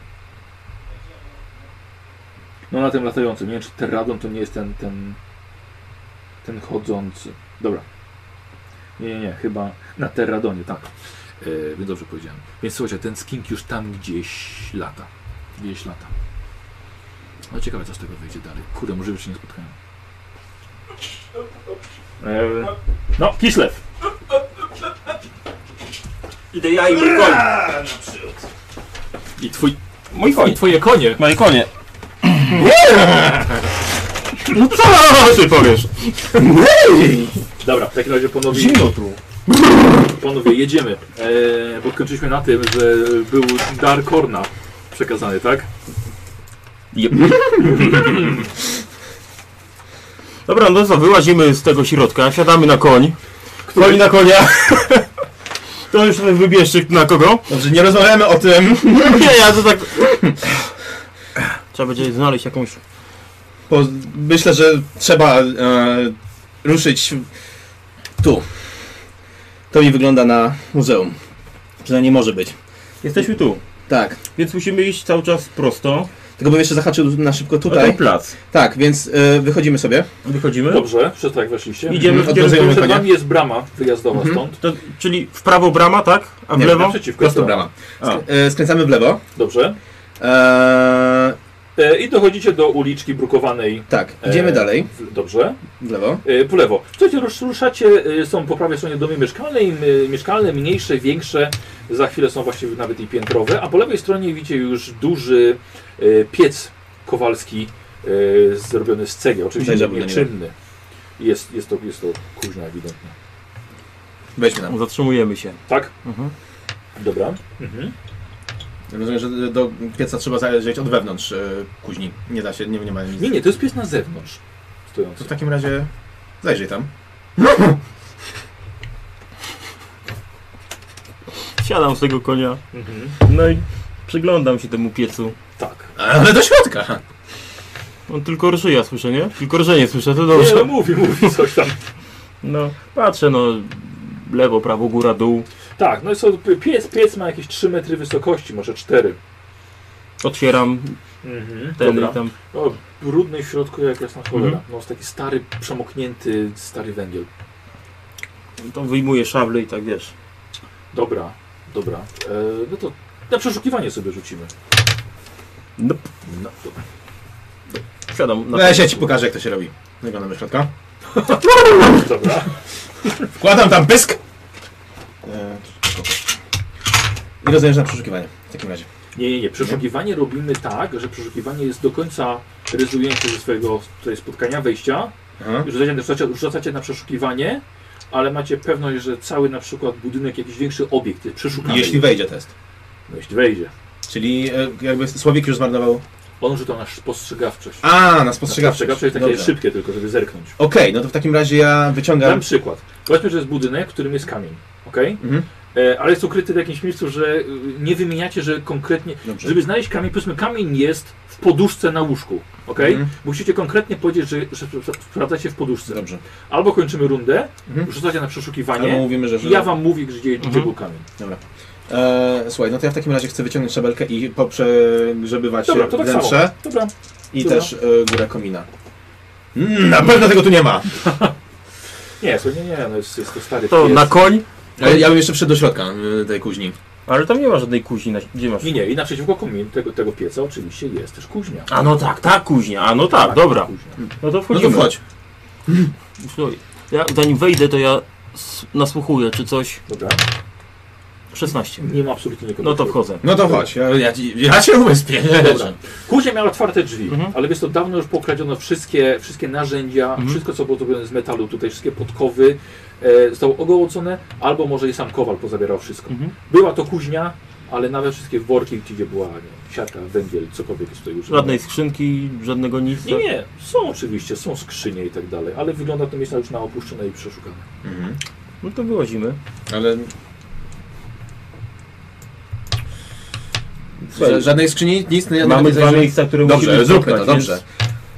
A: No na tym latającym. Nie wiem, czy Terradon to nie jest ten... ten, ten chodzący. Dobra. Nie, nie, nie. Chyba na Terradonie, tak. E, więc dobrze powiedziałem. Więc słuchajcie, ten skink już tam gdzieś lata. Gdzieś lata. No ciekawe, co z tego wyjdzie dalej. Kurde, może już się nie spotkają. E, no, Kislev!
H: Idę ja i mój koń.
A: I twój...
L: Mój koń.
A: I twoje konie!
L: Moje konie. No co ty powiesz?
A: Dobra, w takim razie ponownie...
L: Zimno tu.
A: Panowie, jedziemy. E, bo skończyliśmy na tym, że był dar Korna przekazany, tak?
L: Jep. Dobra, no co, wyłazimy z tego środka, siadamy na koń. Koń na konia. To już sobie wybierzcie na kogo.
C: Dobrze, nie rozmawiamy o tym.
L: Nie, ja to tak... Trzeba będzie znaleźć jakąś...
C: Po, myślę, że trzeba e, ruszyć tu.
E: To mi wygląda na muzeum. Przynajmniej może być.
L: Jesteśmy tu.
E: Tak.
L: Więc musimy iść cały czas prosto.
E: Tylko bym jeszcze zahaczył na szybko
L: O
C: No
E: tutaj.
L: ten plac.
E: Tak, więc y, wychodzimy sobie.
L: Wychodzimy.
A: Dobrze, przez tak weszliście.
L: Idziemy w
A: Mhm.
L: kierunku-
A: Przed nami jest brama wyjazdowa
E: Mhm.
A: stąd.
L: To, czyli w prawo brama, tak? A w
E: Nie,
L: lewo?
A: naprzeciwko
E: Prosto
A: jest
E: brama.
L: A.
E: Sk- y, skręcamy w lewo.
A: Dobrze.
E: Eee,
A: E, I dochodzicie do uliczki brukowanej.
E: tak, idziemy
A: E,
E: dalej.
A: w- Dobrze.
E: W lewo.
A: E, po lewo. Słuchajcie, rusz- ruszacie, e, są po prawej stronie domy mieszkalne, i, e, mieszkalne, mniejsze, większe, za chwilę są właściwie nawet i piętrowe, a po lewej stronie widzicie już duży e, piec kowalski e, zrobiony z cegieł, oczywiście
E: Zajrzałbym do
A: nieczynny. Jest, jest, to, jest to kuźnia ewidentnie.
E: Weźmy tam.
L: Zatrzymujemy się.
A: Tak?
L: Mhm.
A: Dobra. Mhm.
C: Rozumiem, że do pieca trzeba zajrzeć od wewnątrz y, kuźni. Nie da się, nie, nie ma nic.
A: Nie, nie, to jest pies na zewnątrz
C: To
A: stojący.
C: w takim razie zajrzyj tam.
L: Siadam z tego konia.
A: Mhm.
L: No i przyglądam się temu piecu.
A: Tak.
C: Ale do środka!
A: No
L: On tylko rżyja słyszę, nie? Tylko rżenie słyszę, to
A: Nie, no
L: dobrze.
A: mówi, mówi coś tam.
L: No, patrzę, no. Lewo, prawo, góra, dół.
A: Tak, no i są, pies, pies ma jakieś 3 metry wysokości, może 4.
L: Otwieram
A: Mhm.
L: ten Mhm.
A: Dobra.
L: i tam.
A: No, brudny w środku jak jasna cholera. No, jest taki stary, przemoknięty, stary węgiel.
I: To wyjmuję szable i tak wiesz.
A: Dobra, dobra. E, no to na przeszukiwanie sobie rzucimy.
I: No.
A: No, dobra.
I: Siadam
E: No ja się ci pokażę, jak to się robi. Wyglądam do środka.
A: Dobra.
E: Wkładam tam pysk. E, I rozumiem, że na przeszukiwanie w takim razie.
A: Nie, nie, nie. Przeszukiwanie robimy tak, że przeszukiwanie jest do końca rezygnujące ze swojego tutaj spotkania, wejścia.
E: Aha.
A: Już rzucacie, rzucacie, rzucacie na przeszukiwanie, ale macie pewność, że cały na przykład budynek, jakiś większy obiekt jest przeszukany.
E: Jeśli wejdzie test.
A: No, jeśli wejdzie.
E: Czyli e, jakby Słowik już zmarnował.
A: On rzucał na spostrzegawczość.
E: A, na spostrzegawczość.
A: Na spostrzegawczość takie
E: Dobra.
A: szybkie tylko, żeby zerknąć.
E: Okej, no to w takim razie ja
A: Dam
E: wyciągam.
A: przykład. Powiedzmy, że jest budynek, w którym jest kamień, ok?
E: Mhm.
A: E, ale jest ukryty w jakimś miejscu, że y, nie wymieniacie, że konkretnie.
E: Dobrze.
A: Żeby znaleźć kamień, powiedzmy, kamień jest w poduszce na łóżku, ok?
E: Mhm.
A: Musicie konkretnie powiedzieć, że, że spra- sprawdzacie w poduszce.
E: Dobrze.
A: Albo kończymy rundę,
E: Mhm.
A: rzucacie na przeszukiwanie.
E: Albo mówimy, że- Mhm.
A: i Ja wam mówię, gdzie, gdzie był kamień.
E: Dobra. E, słuchaj, no to ja w takim razie chcę wyciągnąć szabelkę i poprzegrzebywać
A: Dobra, to tak
E: wnętrze
A: samo. Dobra.
E: i
A: Dobra.
E: też e, górę komina. Mm, na pewno tego tu nie ma!
A: Nie, to nie, nie, no jest, jest to stary
I: To
A: pies.
I: na koń?
E: Ale ja bym jeszcze wszedł do środka y, tej kuźni.
I: Ale tam nie ma żadnej kuźni. na- Gdzie masz?
A: Nie, nie, i naprzeciwko kominu tego, tego pieca oczywiście jest też kuźnia.
I: A no tak, ta kuźnia. A no tak,
A: Tak,
I: dobra.
A: kuźnia.
I: No to
E: No
I: wchodzimy.
E: to wchodź.
I: Słuchaj, ja zanim wejdę, to ja s- nasłuchuję, czy coś.
A: Dobra.
I: 16.
A: Nie ma absolutnie nikogo.
I: No to wchodzę.
E: No to chodź, ja, ja, ci- ja cię uspię.
A: Dobra. Kuźnia miała otwarte drzwi,
I: Mhm.
A: ale wiesz to dawno już pokradziono wszystkie, wszystkie narzędzia, wszystko co było zrobione z metalu, tutaj wszystkie podkowy e, zostało ogołocone, albo może i sam kowal pozabierał wszystko.
I: Mhm.
A: Była to kuźnia, ale nawet wszystkie worki, gdzie była nie, wiem, siatka, węgiel, cokolwiek jest tutaj używane.
I: Żadnej skrzynki, żadnego nic.
A: Nie, nie, są oczywiście, są skrzynie i tak dalej, ale wygląda to miejsce już na opuszczone i przeszukane.
I: No to wyłazimy.
E: Mhm. Ale
I: Słuchaj,
E: Słuchaj, żadnej skrzyni, nic nie
I: Mamy
E: nie
I: dwa
E: zajrzę-
I: miejsca, które musimy
E: Dobrze, zróbmy to,
I: spotkać, więc
E: dobrze.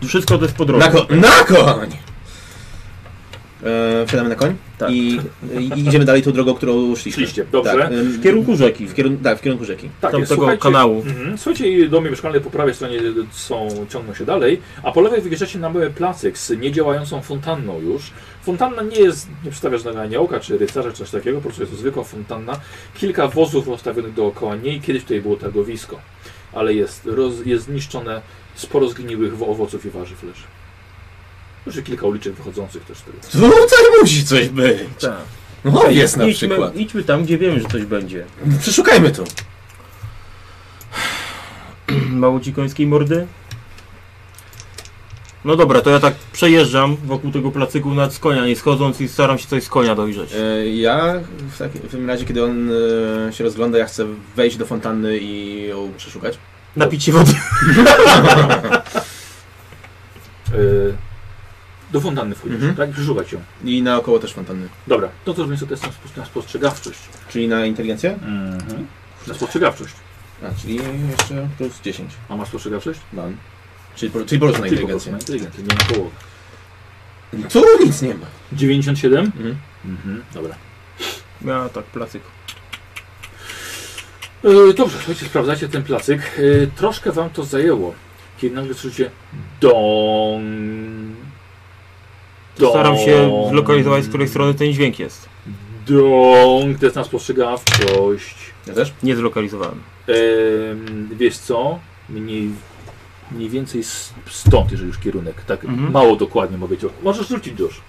I: Wszystko to jest po drodze.
E: Na, ko- na koń! E, wsiadamy na koń I, i idziemy dalej tą drogą, którą szliśmy. Tak,
A: Szliście, dobrze.
E: em,
I: W kierunku rzeki.
E: W kierun- tak, w kierunku rzeki.
A: Tak, jest,
I: Tamtego
A: słuchajcie-
I: kanału.
A: Mhm. Słuchajcie, i domy mieszkalne po prawej stronie y, są, ciągną się dalej, a po lewej wyjeżdżacie na mały placek z niedziałającą fontanną już. Fontanna nie jest, nie przedstawia żadnego aniołka czy rycerza czy coś takiego, po prostu jest to zwykła fontanna. Kilka wozów rozstawionych dookoła niej, kiedyś tutaj było targowisko, ale jest, roz, jest zniszczone sporo zgniłych wo- owoców i warzyw leży. Już kilka uliczek wychodzących też z tego.
E: Tutaj musi coś być!
I: Tak.
E: No jest na
I: idźmy,
E: przykład.
I: Idźmy tam, gdzie wiemy, że coś będzie. <clears throat>
E: Przeszukajmy tu.
I: Mało ci końskiej mordy? No dobra, to ja tak przejeżdżam wokół tego placyku nad z konia, nie schodząc i staram się coś z konia dojrzeć.
E: E, Ja w takim w tym razie, kiedy on e, się rozgląda, ja chcę wejść do fontanny i ją przeszukać.
I: Napić się wody.
A: Yy, do fontanny wchodzisz,
E: Mhm.
A: tak? Przeszukać ją.
E: I naokoło też fontanny.
A: Dobra, no to zrobimy sobie test na spos- na spostrzegawczość.
E: Czyli na inteligencję?
A: Mhm. Na spostrzegawczość.
E: A, czyli jeszcze plus 10.
A: A masz spostrzegawczość?
E: Mam. Czyli po, czyli po prostu na
A: Tylko po prostu
E: inteligencję.
A: na inteligencję, nie na połowę.
E: Tu nic nie ma.
A: 97?
E: Mhm.
A: Mhm, dobra.
I: Ja tak, placyk.
A: E, dobrze, słuchajcie, sprawdzacie ten placyk. E, troszkę wam to zajęło, kiedy nagle słyszycie dong.
I: To staram się zlokalizować, z której strony ten dźwięk jest.
A: Dong, to jest na spostrzegawczość.
E: Ja też?
I: Nie zlokalizowałem.
A: Em, wiesz co? Mniej, mniej więcej s- stąd, jeżeli już kierunek. Tak
I: Mhm.
A: mało dokładnie mogę cię. Możesz rzucić już.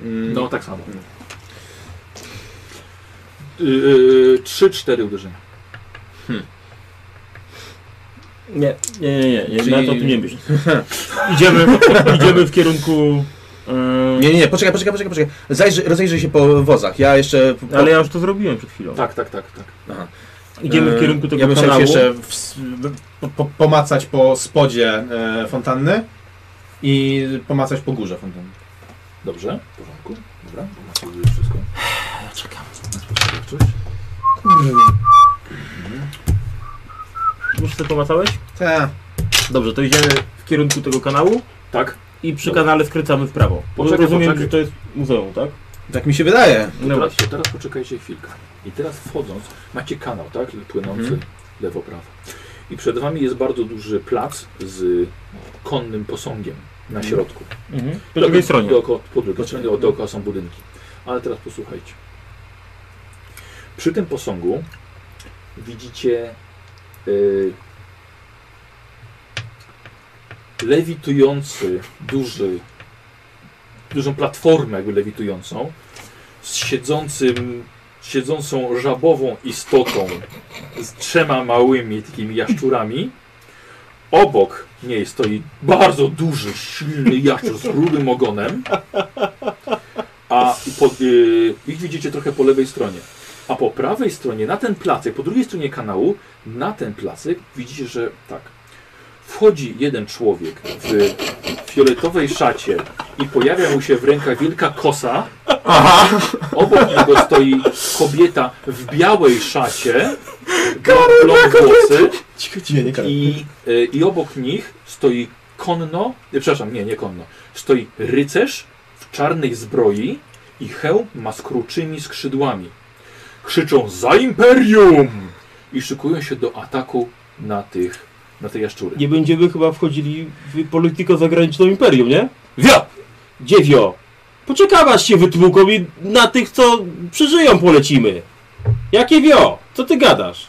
E: Mm,
A: No, tak samo. Yy, 3-4 uderzenia.
I: Nie, nie, nie, nie, nie
E: Czyli-
I: na to tu nie myśl. <laughs> Idziemy, idziemy w kierunku... e,
E: Nie, nie, nie, poczekaj, poczekaj, poczekaj, poczekaj. Zajrzyj, rozejrzyj się po wozach. Ja jeszcze. Po,
I: No, ale ja już to zrobiłem przed chwilą.
A: Tak, tak, tak, tak.
E: Aha.
I: Idziemy
E: E,
I: w kierunku tego
E: Ja bym chciał się
I: kanału.
E: jeszcze w, po, po, pomacać po spodzie e, fontanny i pomacać po górze fontanny.
A: Dobrze, w porządku. Dobra, bo macie już wszystko.
I: Ja czekam.
A: Na spostrzegawczość.
I: Już sobie pomacałeś?
E: Tak.
I: Dobrze, to idziemy w kierunku tego kanału
A: Tak?
I: i przy kanale skręcamy w prawo. Bo
A: Poczekaj,
I: rozumiem,
A: poczekaj.
I: że to jest muzeum, tak?
E: Tak mi się wydaje.
A: To
I: No
A: teraz,
I: właśnie.
A: to teraz Mhm. poczekajcie chwilkę. I teraz wchodząc, macie kanał, tak? Płynący lewo, prawo. i przed wami jest bardzo duży plac z konnym posągiem na środku.
I: Mhm. Po drugiej stronie.
A: Dookoła, po drugiej stronie, o, dookoła są budynki. Ale teraz posłuchajcie. Przy tym posągu widzicie y, lewitujący, duży, dużą platformę jakby lewitującą z siedzącym, siedzącą żabową istotą z trzema małymi takimi jaszczurami. Obok niej stoi bardzo duży, silny jaszczur z grubym ogonem. A po, y, ich widzicie trochę po lewej stronie. A po prawej stronie, na ten placek, po drugiej stronie kanału, na ten placek widzicie, że tak. Wchodzi jeden człowiek w fioletowej szacie i pojawia mu się w rękach wielka kosa. Aha. Obok niego stoi kobieta w białej szacie. Karolna włosy. I, y, I obok nich stoi konno, y, przepraszam, nie, nie konno, stoi rycerz w czarnej zbroi i hełm ma skruczymi skrzydłami. Krzyczą za imperium! I szykują się do ataku na tych, na te jaszczury.
I: Nie będziemy chyba wchodzili w politykę zagraniczną imperium, nie? Wio! Dziewio! Poczekam aż się wytłuką i na tych, co przeżyją polecimy. Jakie wio? Co ty gadasz?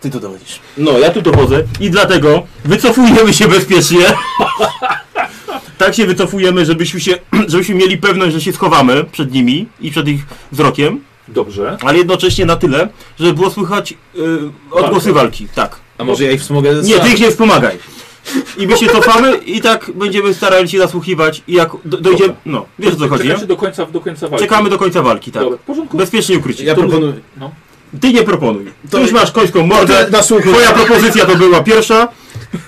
E: Ty tu dowodzisz.
I: No, ja tu dowodzę i dlatego wycofujemy się bezpiecznie. <laughs> tak się wycofujemy, żebyśmy, się, <clears throat> żebyśmy mieli pewność, że się schowamy przed nimi i przed ich wzrokiem.
A: Dobrze.
I: Ale jednocześnie na tyle, żeby było słychać yy, odgłosy walki. Tak.
E: A może ja ich wspomogę?
I: Nie, ty ich nie wspomagaj. I my się cofamy i tak będziemy starali się nasłuchiwać i jak do, dojdziemy...
A: Dobra.
I: No, wiesz o co chodzi, nie?
A: Czekacie do końca, do końca walki.
I: Czekamy do końca walki, tak.
A: Dobra, w porządku.
I: Bezpiecznie ukrycie.
E: Ja
I: To-
E: proponuję.
A: No.
I: Ty nie proponuj. Ty już masz końską mordę.
E: Ty nasłuchuj.
I: Twoja propozycja to była pierwsza.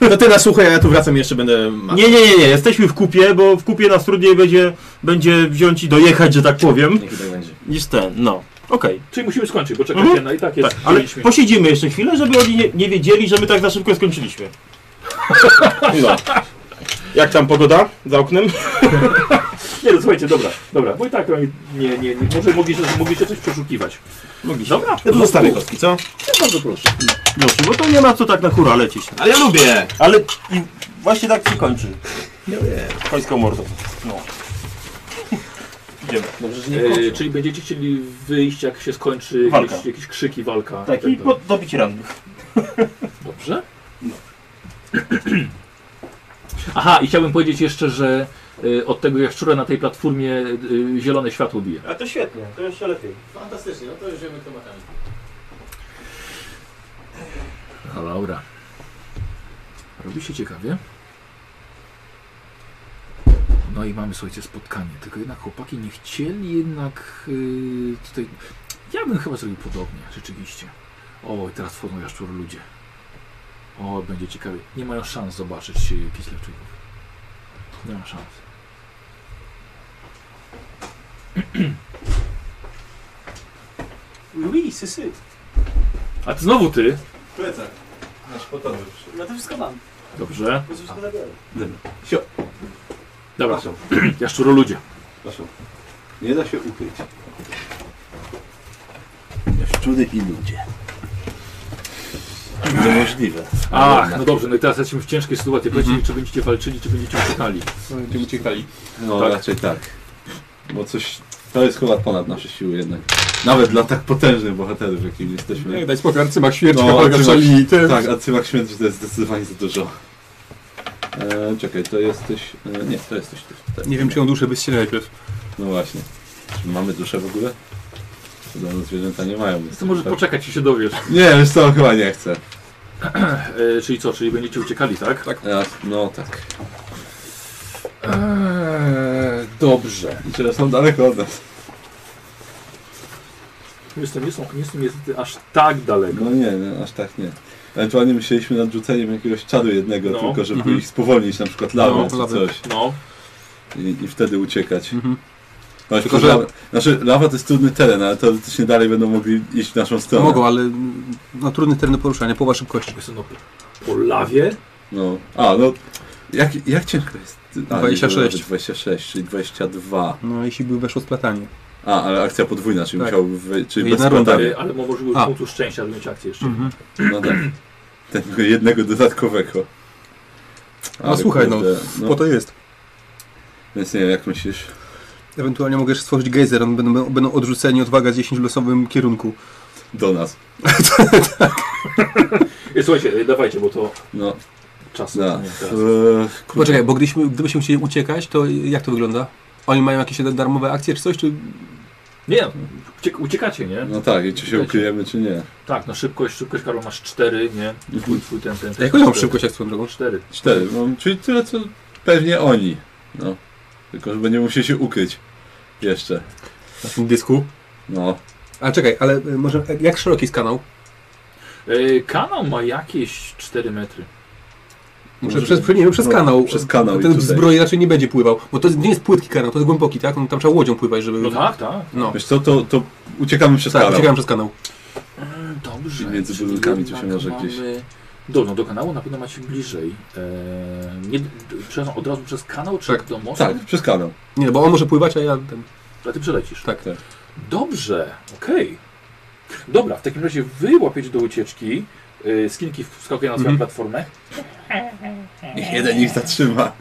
E: No ty nasłuchaj, a ja tu wracam i jeszcze będę... ma-
I: Nie, nie, nie, nie. Jesteśmy w kupie, bo w kupie nas trudniej będzie, będzie wziąć i dojechać, że tak powiem,
E: Niech tak będzie.
I: niż ten. No, okej.
A: Czyli musimy skończyć, bo czekacie
I: Mhm.
A: na i tak jest.
I: Tak, ale
A: 9 minut.
I: posiedzimy jeszcze chwilę, żeby oni nie, nie wiedzieli, że my tak za szybko skończyliśmy. No. Jak tam pogoda za oknem?
A: Nie, no, słuchajcie, dobra, dobra, bo i tak oni nie, nie, nie może mogliście, mogliście coś przeszukiwać.
I: Mogliśmy.
A: Dobra,
E: Ja tu zostawię kostki, co?
A: Ja bardzo proszę.
I: Proszę, bo to nie ma co tak na hura lecieć.
E: Ale ja lubię!
I: Ale i właśnie tak się kończy. Końską mordą. No. Idziemy.
E: Dobrze, że
A: E, czyli będziecie chcieli wyjść, jak się skończy
I: Walka.
A: jakieś, jakieś krzyki, walka.
I: Tak, i
A: itd.
I: pod- No. dobić rannych.
A: Dobrze? <clears throat> Aha, i chciałbym powiedzieć jeszcze, że y, od tego jaszczura na tej platformie y, zielone światło bije.
I: A to świetnie, to jeszcze lepiej.
M: Fantastycznie, no to już wiemy kto ma tam.
A: No dobra. Robi się ciekawie. No i mamy, słuchajcie, spotkanie. Tylko jednak chłopaki nie chcieli jednak yy, tutaj... Ja bym chyba zrobił podobnie, rzeczywiście. O, i teraz wchodzą jaszczur ludzie. O, będzie ciekawie. Nie mają szans zobaczyć yy, Kislewczyków. Nie ma szans.
D: Ui, sysy.
A: A ty znowu ty?
C: Plecak. Nasz potowy.
D: No to wszystko mam.
A: Dobrze.
D: To wszystko zabieram.
C: Sio.
A: Dobra, <clears throat> jaszczuro ludzie.
C: Proszę. Nie da się ukryć. Szczury i ludzie. Niemożliwe.
A: Ach, Mhm. no dobrze, no i teraz jesteśmy w ciężkiej sytuacji. Powiedzcie mi, czy będziecie walczyli, czy będziecie uciekali.
C: Będziemy uciekali. No
A: Tak.
C: raczej tak. Bo coś... To jest chyba ponad nasze siły jednak. Nawet dla tak potężnych bohaterów, jakim jesteśmy.
J: Nie, daj spokój, Arcymak Świerczka,
C: No,
J: Olga
C: Arcymak-
J: Szalini, <laughs> ty.
C: Tak, Arcymak Śmierci to jest zdecydowanie za dużo. E, czekaj, to jesteś... E, nie, to jesteś ty. Tak.
J: Nie wiem, czy ją duszę by się najpierw.
C: No właśnie. Czy mamy duszę w ogóle? Podobno zwierzęta nie mają. więc
A: To możesz
C: tak-
A: poczekać i się dowiesz.
C: Nie, wiesz co, chyba nie chcę.
A: E, czyli co, czyli będziecie uciekali, tak?
C: Ja, no tak. E,
A: Eee, dobrze.
C: I teraz są daleko od nas.
A: Jestem, nie są, nie są niestety aż tak daleko.
C: No nie, nie, aż tak nie. Ewentualnie myśleliśmy nad rzuceniem jakiegoś czaru jednego,
A: No.
C: tylko żeby
J: Mhm.
C: ich spowolnić, na przykład lawę
J: No,
C: czy
J: lawę.
C: coś.
A: No,
C: I, I wtedy uciekać.
J: Mhm.
C: No,
J: Tylko,
C: tylko, że...
J: że-
C: Znaczy, lawa to jest trudny teren, ale teoretycznie dalej będą mogli iść w naszą stronę.
J: Mogą, ale mm, no, trudny teren do poruszania, połowa szybkości.
A: jestem no, po lawie.
C: No. A, no. Jak, jak ciężko jest? A, nie,
J: 26.
C: nawet 26, czyli 22.
J: No, jeśli by weszło splatanie.
C: A, ale akcja podwójna, czyli
J: Tak.
C: musiałby wy... czyli bez
J: Jedna runda.
C: składania.
A: E, ale może
J: A.
A: punktu szczęścia, żeby mieć akcję jeszcze.
J: Mhm.
C: No tak. Tego jednego dodatkowego.
J: A słuchaj, no, po to jest.
C: Więc nie wiem, jak myślisz?
J: Ewentualnie mogę jeszcze stworzyć gejzer, on będą, będą odrzuceni odwaga z 10 w losowym kierunku.
C: Do nas.
A: E, Słuchajcie, e, dawajcie, bo to
C: No.
A: czas.
C: No.
A: nie, teraz.
C: Eee,
J: Poczekaj, bo gdybyśmy, gdybyśmy chcieli uciekać, to jak to wygląda? Oni mają jakieś darmowe akcje czy coś, czy...
A: Nie, uciek- uciekacie, nie?
C: No tak, i czy się ukryjemy, czy nie.
A: Tak, no szybkość, szybkość Karol masz 4, nie? Twój, twój ten, ten.
C: Jaką mam
J: szybkość, jak swoją
A: drogą? 4.
C: Cztery, mam, czyli tyle co pewnie oni. No. Tylko, że będziemy musieli się ukryć. Jeszcze.
J: Na tym dysku?
C: No.
J: A czekaj, ale y, może jak szeroki jest kanał?
A: E, kanał ma jakieś 4 metry.
J: Muszę przez, nie wiem, przez kanał.
C: Przez kanał i
J: Ten
C: tutaj.
J: zbroj raczej nie będzie pływał. Bo to jest- nie jest płytki kanał, to jest głęboki, tak? No, tam trzeba łodzią pływać, żeby...
A: No tak, tak.
J: No.
C: Wiesz co, to, to uciekamy przez
J: Tak,
C: kanał.
J: uciekamy przez kanał.
A: Dobrze.
C: I między
A: czyli
C: budynkami to się
A: jednak
C: może gdzieś-
A: mamy- Do, no do kanału na pewno macie bliżej. E, nie, d- przepraszam, od razu przez kanał czy do mostu?
C: Tak, przez kanał.
J: Nie, no, bo on może pływać, a ja ten...
A: A ty przelecisz.
J: Tak.
C: tak.
A: Dobrze, okej. Dobra, w takim razie wy łapiecie do ucieczki. E, skinki wskakuje na swoją
C: Mhm.
A: platformę.
C: Niech jeden ich zatrzyma.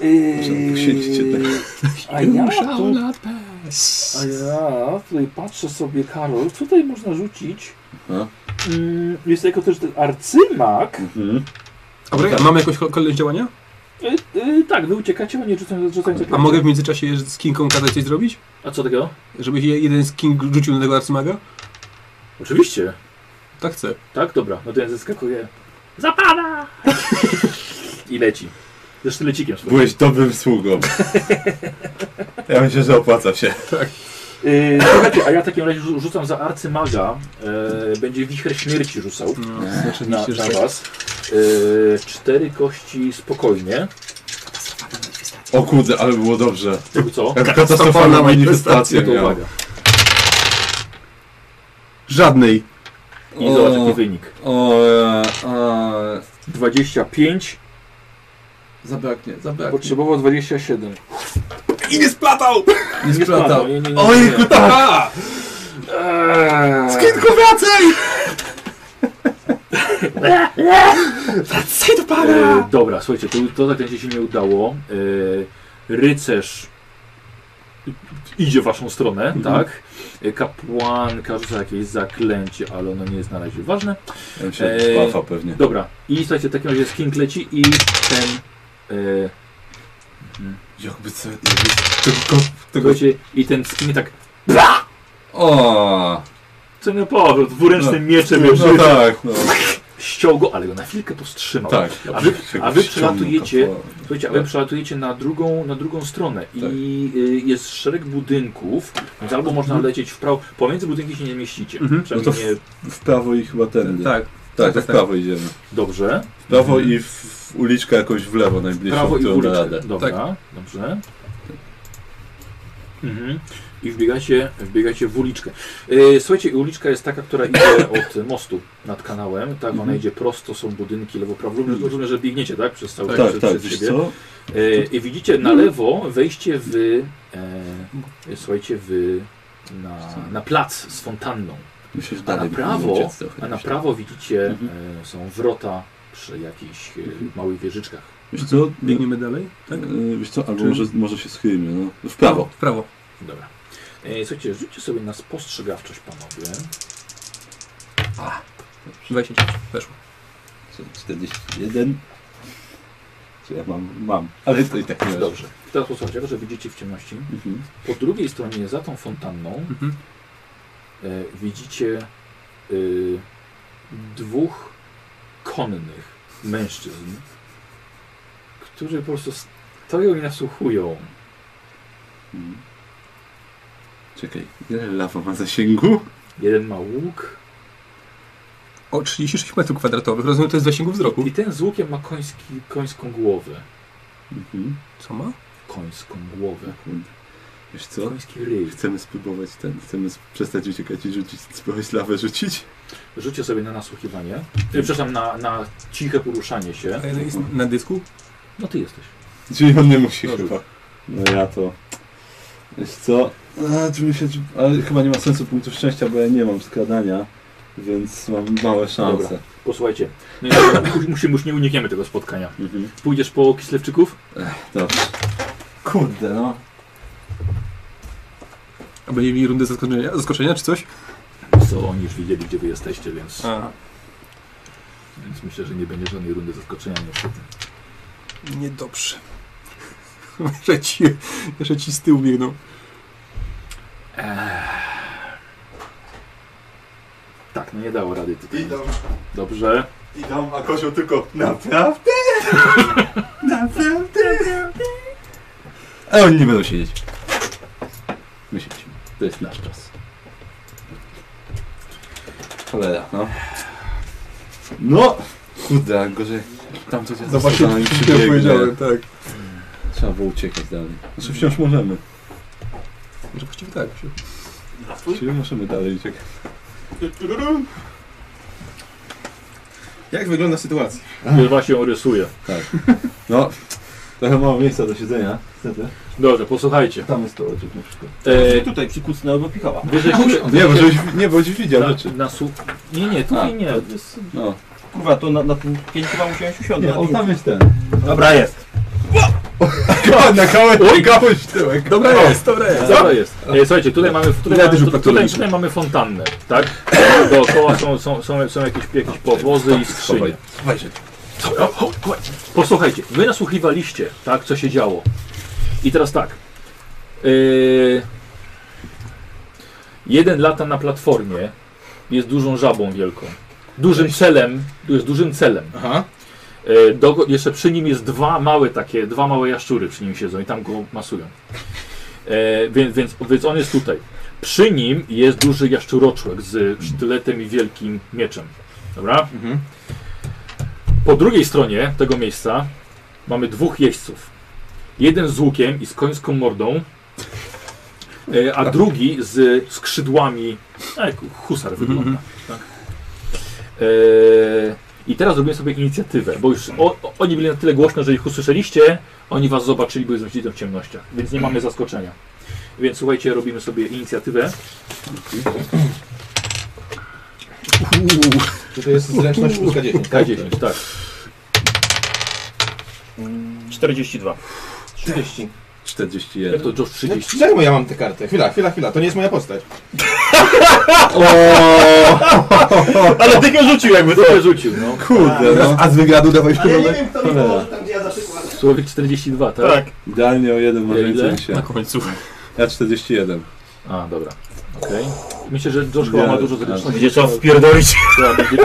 C: Muszę poświęcić jednak.
A: E, A ja, tu, a ja tutaj patrzę sobie, Karol, co tutaj można rzucić?
C: No.
A: Mm, jest jako też ten arcymak.
J: A poczekaj,
A: Tak.
J: mamy jakąś ko- kolejność działania?
A: E, e, tak, wy uciekacie, oni rzucają, rzucają
J: A mogę w międzyczasie z Kingą kazać coś zrobić?
A: A co tego?
J: Żeby je- jeden z King rzucił na tego arcymaga?
A: Oczywiście.
J: Tak chcę.
A: Tak, dobra, no to ja zeskakuję. Zapada! <laughs> I leci. Ze sztylecikiem swoim.
C: Byłeś dobrym sługą. Ja myślę, że opłaca się.
A: Yy, słuchajcie, a ja w takim razie rzu- rzucam za arcymaga. Yy, będzie wicher śmierci rzucał No, na,
J: No, oczywiście, że
A: na
J: tak.
A: was. Yy, cztery kości spokojnie.
C: O kurde, ale było dobrze.
A: Jakby co?
C: Jak Katastrofalna manifestacja
A: To
C: miała.
A: uwaga.
J: Żadnej.
A: I zobacz jaki wynik.
C: O, e, e,
A: 25.
C: Zabraknie, zabraknie.
A: Potrzebował 27.
C: I nie splatał! Nie splatał.
A: Nie, nie, nie, nie.
C: Ojku, tak!
A: Eee.
C: Skinku, wracaj!
A: Wracaj do pana! Eee, dobra, słuchajcie, to, to zaklęcie się nie udało. E, rycerz idzie w waszą stronę, tak? E, Kapłanka rzuca jakieś zaklęcie, ale ono nie jest na razie ważne.
C: Ja myślę, że to spafa pewnie.
A: Dobra, i słuchajcie, w takim razie skink leci i ten... E,
C: Jakby co... Jakby, tylko, tylko...
A: słuchajcie, i ten skink tak... Bra!
C: O,
A: Co nie powrót, dwuręcznym
C: No,
A: mieczem
C: no
A: już rzuca.
C: tak, no.
A: Ściął go, ale go na chwilkę powstrzymał.
C: Tak.
A: a wy,
C: Ja
A: a wy
C: bym ściągnął
A: przelatujecie,
C: kapłana.
A: słuchajcie, a wy
C: Tak.
A: przelatujecie na drugą, na drugą stronę i y, jest szereg budynków, więc albo można
C: Mhm.
A: lecieć w prawo, pomiędzy budynki się nie mieścicie.
C: Mhm.
A: Przynajmniej
C: No to
A: nie...
C: w prawo i chyba tędy.
A: Tak.
C: Tak,
A: Tak,
C: to
A: tak,
C: w prawo idziemy.
A: Dobrze.
C: W prawo i w, w uliczkę jakoś w lewo najbliższą,
A: Prawo i
C: którą
A: górę.
C: da radę. Tak.
A: Dobra, dobrze. Mhm. I wbiegacie, wbiegacie w uliczkę. E, Słuchajcie, i uliczka jest taka, która idzie
C: <coughs>
A: od mostu nad kanałem. Tak, ona
C: Mhm.
A: idzie prosto, są budynki lewo, prawo. Równie, równie, że biegniecie, tak? Przez cały
C: Tak,
A: czas
C: tak,
A: przez
C: wiesz
A: siebie.
C: co? Mhm.
A: E, I widzicie na lewo wejście w, e, słuchajcie, w, na, na plac z fontanną.
C: Myślę, że
A: A na
C: dalej
A: prawo,
C: powinien uciec trochę
A: a na
C: jeszcze.
A: prawo widzicie
C: Mhm.
A: e, są wrota przy jakichś e, małych wieżyczkach.
C: Wiesz co?
J: Biegniemy dalej?
C: Tak? Wiesz co, albo
A: Czy-
C: może, może się schylimy, no. W prawo.
J: W prawo.
A: Dobra. E, słuchajcie, rzućcie sobie na spostrzegawczość, panowie.
J: A. 29. Weszło.
C: Co, 41? Co ja mam? Mam. Ale to i tak nie
A: Dobrze. Teraz posłuchajcie, jako że widzicie w ciemności,
C: Mhm.
A: po drugiej stronie, za tą fontanną, e, widzicie y, dwóch konnych mężczyzn, którzy po prostu stoją i nasłuchują.
C: Mhm. Czekaj, ile lawa ma zasięgu?
A: Jeden ma łuk.
J: O 36 metrów kwadratowych, rozumiem, to jest zasięgu wzroku.
A: I ten z łukiem ma koński, końską głowę.
C: Mhm.
J: Co ma?
A: Końską głowę.
C: Wiesz co?
A: Koński ryj.
C: Chcemy spróbować ten, chcemy s- przestać uciekać i rzucić, spróbować lawę rzucić?
A: Rzućcie sobie na nasłuchiwanie. E, Przepraszam, na, na ciche poruszanie się.
J: Na dysku?
A: No ty jesteś.
C: Czyli on nie musi chyba. No ja to... Wiesz co? A, czy mi się, czy- ale chyba nie ma sensu punktu szczęścia, bo ja nie mam skradania. Więc mam małe szanse.
A: Dobra, posłuchajcie. No i dobra, już- musimy, już nie unikniemy tego spotkania.
C: Mhm.
A: Pójdziesz po Kislewczyków?
C: Dobrze. Kurde, no.
J: A będziemy mieli rundę zaskoczenia, zaskoczenia czy coś?
A: Co, oni już widzieli, gdzie wy jesteście, więc... Więc myślę, że nie będzie żadnej rundy zaskoczenia niestety.
J: Niedobrze. <laughs> Jeszcze ci, jeszcze ci z tyłu biegną.
A: Tak, no nie dało rady tutaj. Dobrze.
K: Idą, a kozioł tylko naprawdę? naprawdę?
C: Ale oni nie będą siedzieć. My siedzimy. To jest nasz czas. Cholera, no. No! Kurde, jak gorzej. Tam coś
J: No właśnie, przed chwilą powiedziałem, tak.
C: Trzeba było uciekać dalej. Znaczy wciąż możemy.
J: Może właściwie tak. Się...
C: Czyli możemy dalej uciekać.
E: Jak wygląda sytuacja?
A: Już właśnie ją rysuję.
C: Tak. No, trochę mało miejsca do siedzenia, niestety.
A: Dobrze, posłuchajcie.
C: Tam jest stołeczek na przykład.
A: E,
L: Tutaj przykucnę albo pichała.
A: Wy żeście-
C: Nie, bo żeś, nie, bo żeś widział
A: Na-
C: rzeczy.
A: Na su... Nie, nie, tutaj
L: A,
A: nie.
L: to-
A: Jest...
C: No.
L: Kurwa, to na, na tym pięć chyba musiałeś usiąść.
C: Nie,
L: na
C: o,
L: tym-
C: tam jest ten.
L: Dobra, jest.
C: <laughs> Na kałeś, kałeś tyłek.
A: Dobra jest, dobra
C: jest.
A: Dobra jest. E, słuchajcie, tutaj mamy, tutaj,
C: Ja
A: mamy, tutaj,
C: też
A: tutaj,
C: upatologiczny.
A: tutaj mamy fontannę, tak? Dookoła są, są, są, są jakieś, jakieś powozy i skrzynie. Dobra, chodź, chodź. Posłuchajcie, wy nasłuchiwaliście, tak, co się działo. I teraz tak. Yy, jeden lata na platformie jest dużą żabą wielką. Dużym celem, jest dużym celem. Yy, do, jeszcze przy nim jest dwa małe takie, dwa małe jaszczury przy nim siedzą i tam go masują. E, więc, więc, więc on jest tutaj. Przy nim jest duży jaszczuroczłek z sztyletem i wielkim mieczem. Dobra? Po drugiej stronie tego miejsca mamy dwóch jeźdźców. Jeden z łukiem i z końską mordą, e, a drugi z skrzydłami. A jak husar wygląda. Tak? E, I teraz robimy sobie inicjatywę, bo już o, o, oni byli na tyle głośno, że ich usłyszeliście, oni was zobaczyli, bo jest w ciemnościach, więc nie mamy zaskoczenia. Więc słuchajcie, robimy sobie inicjatywę.
L: Tak.
E: Czy to jest zręczność plus K10? tak?
A: K10, tak.
L: 42.
E: 30.
C: 41.
A: Jak to Josh 30?
E: No, czemu ja mam tę kartę? Chwila, chwila, chwila, to nie jest moja postać.
L: Ale ty go rzucił jakby to.
A: Ty rzucił, no.
C: Kurde, no.
J: A z wywiadu dawaj się
C: Cholera.
A: Człowiek 42, tak?
L: Tak.
C: Idealnie o jeden może
A: Ja
C: więcej
A: ile?
C: niż ja.
A: Na końcu.
C: Ja 41.
A: A, dobra. Okej. Myślę, że Josh chyba ma dużo zręczności.
L: Będzie trzeba wpierdolić.
A: Trzeba będzie-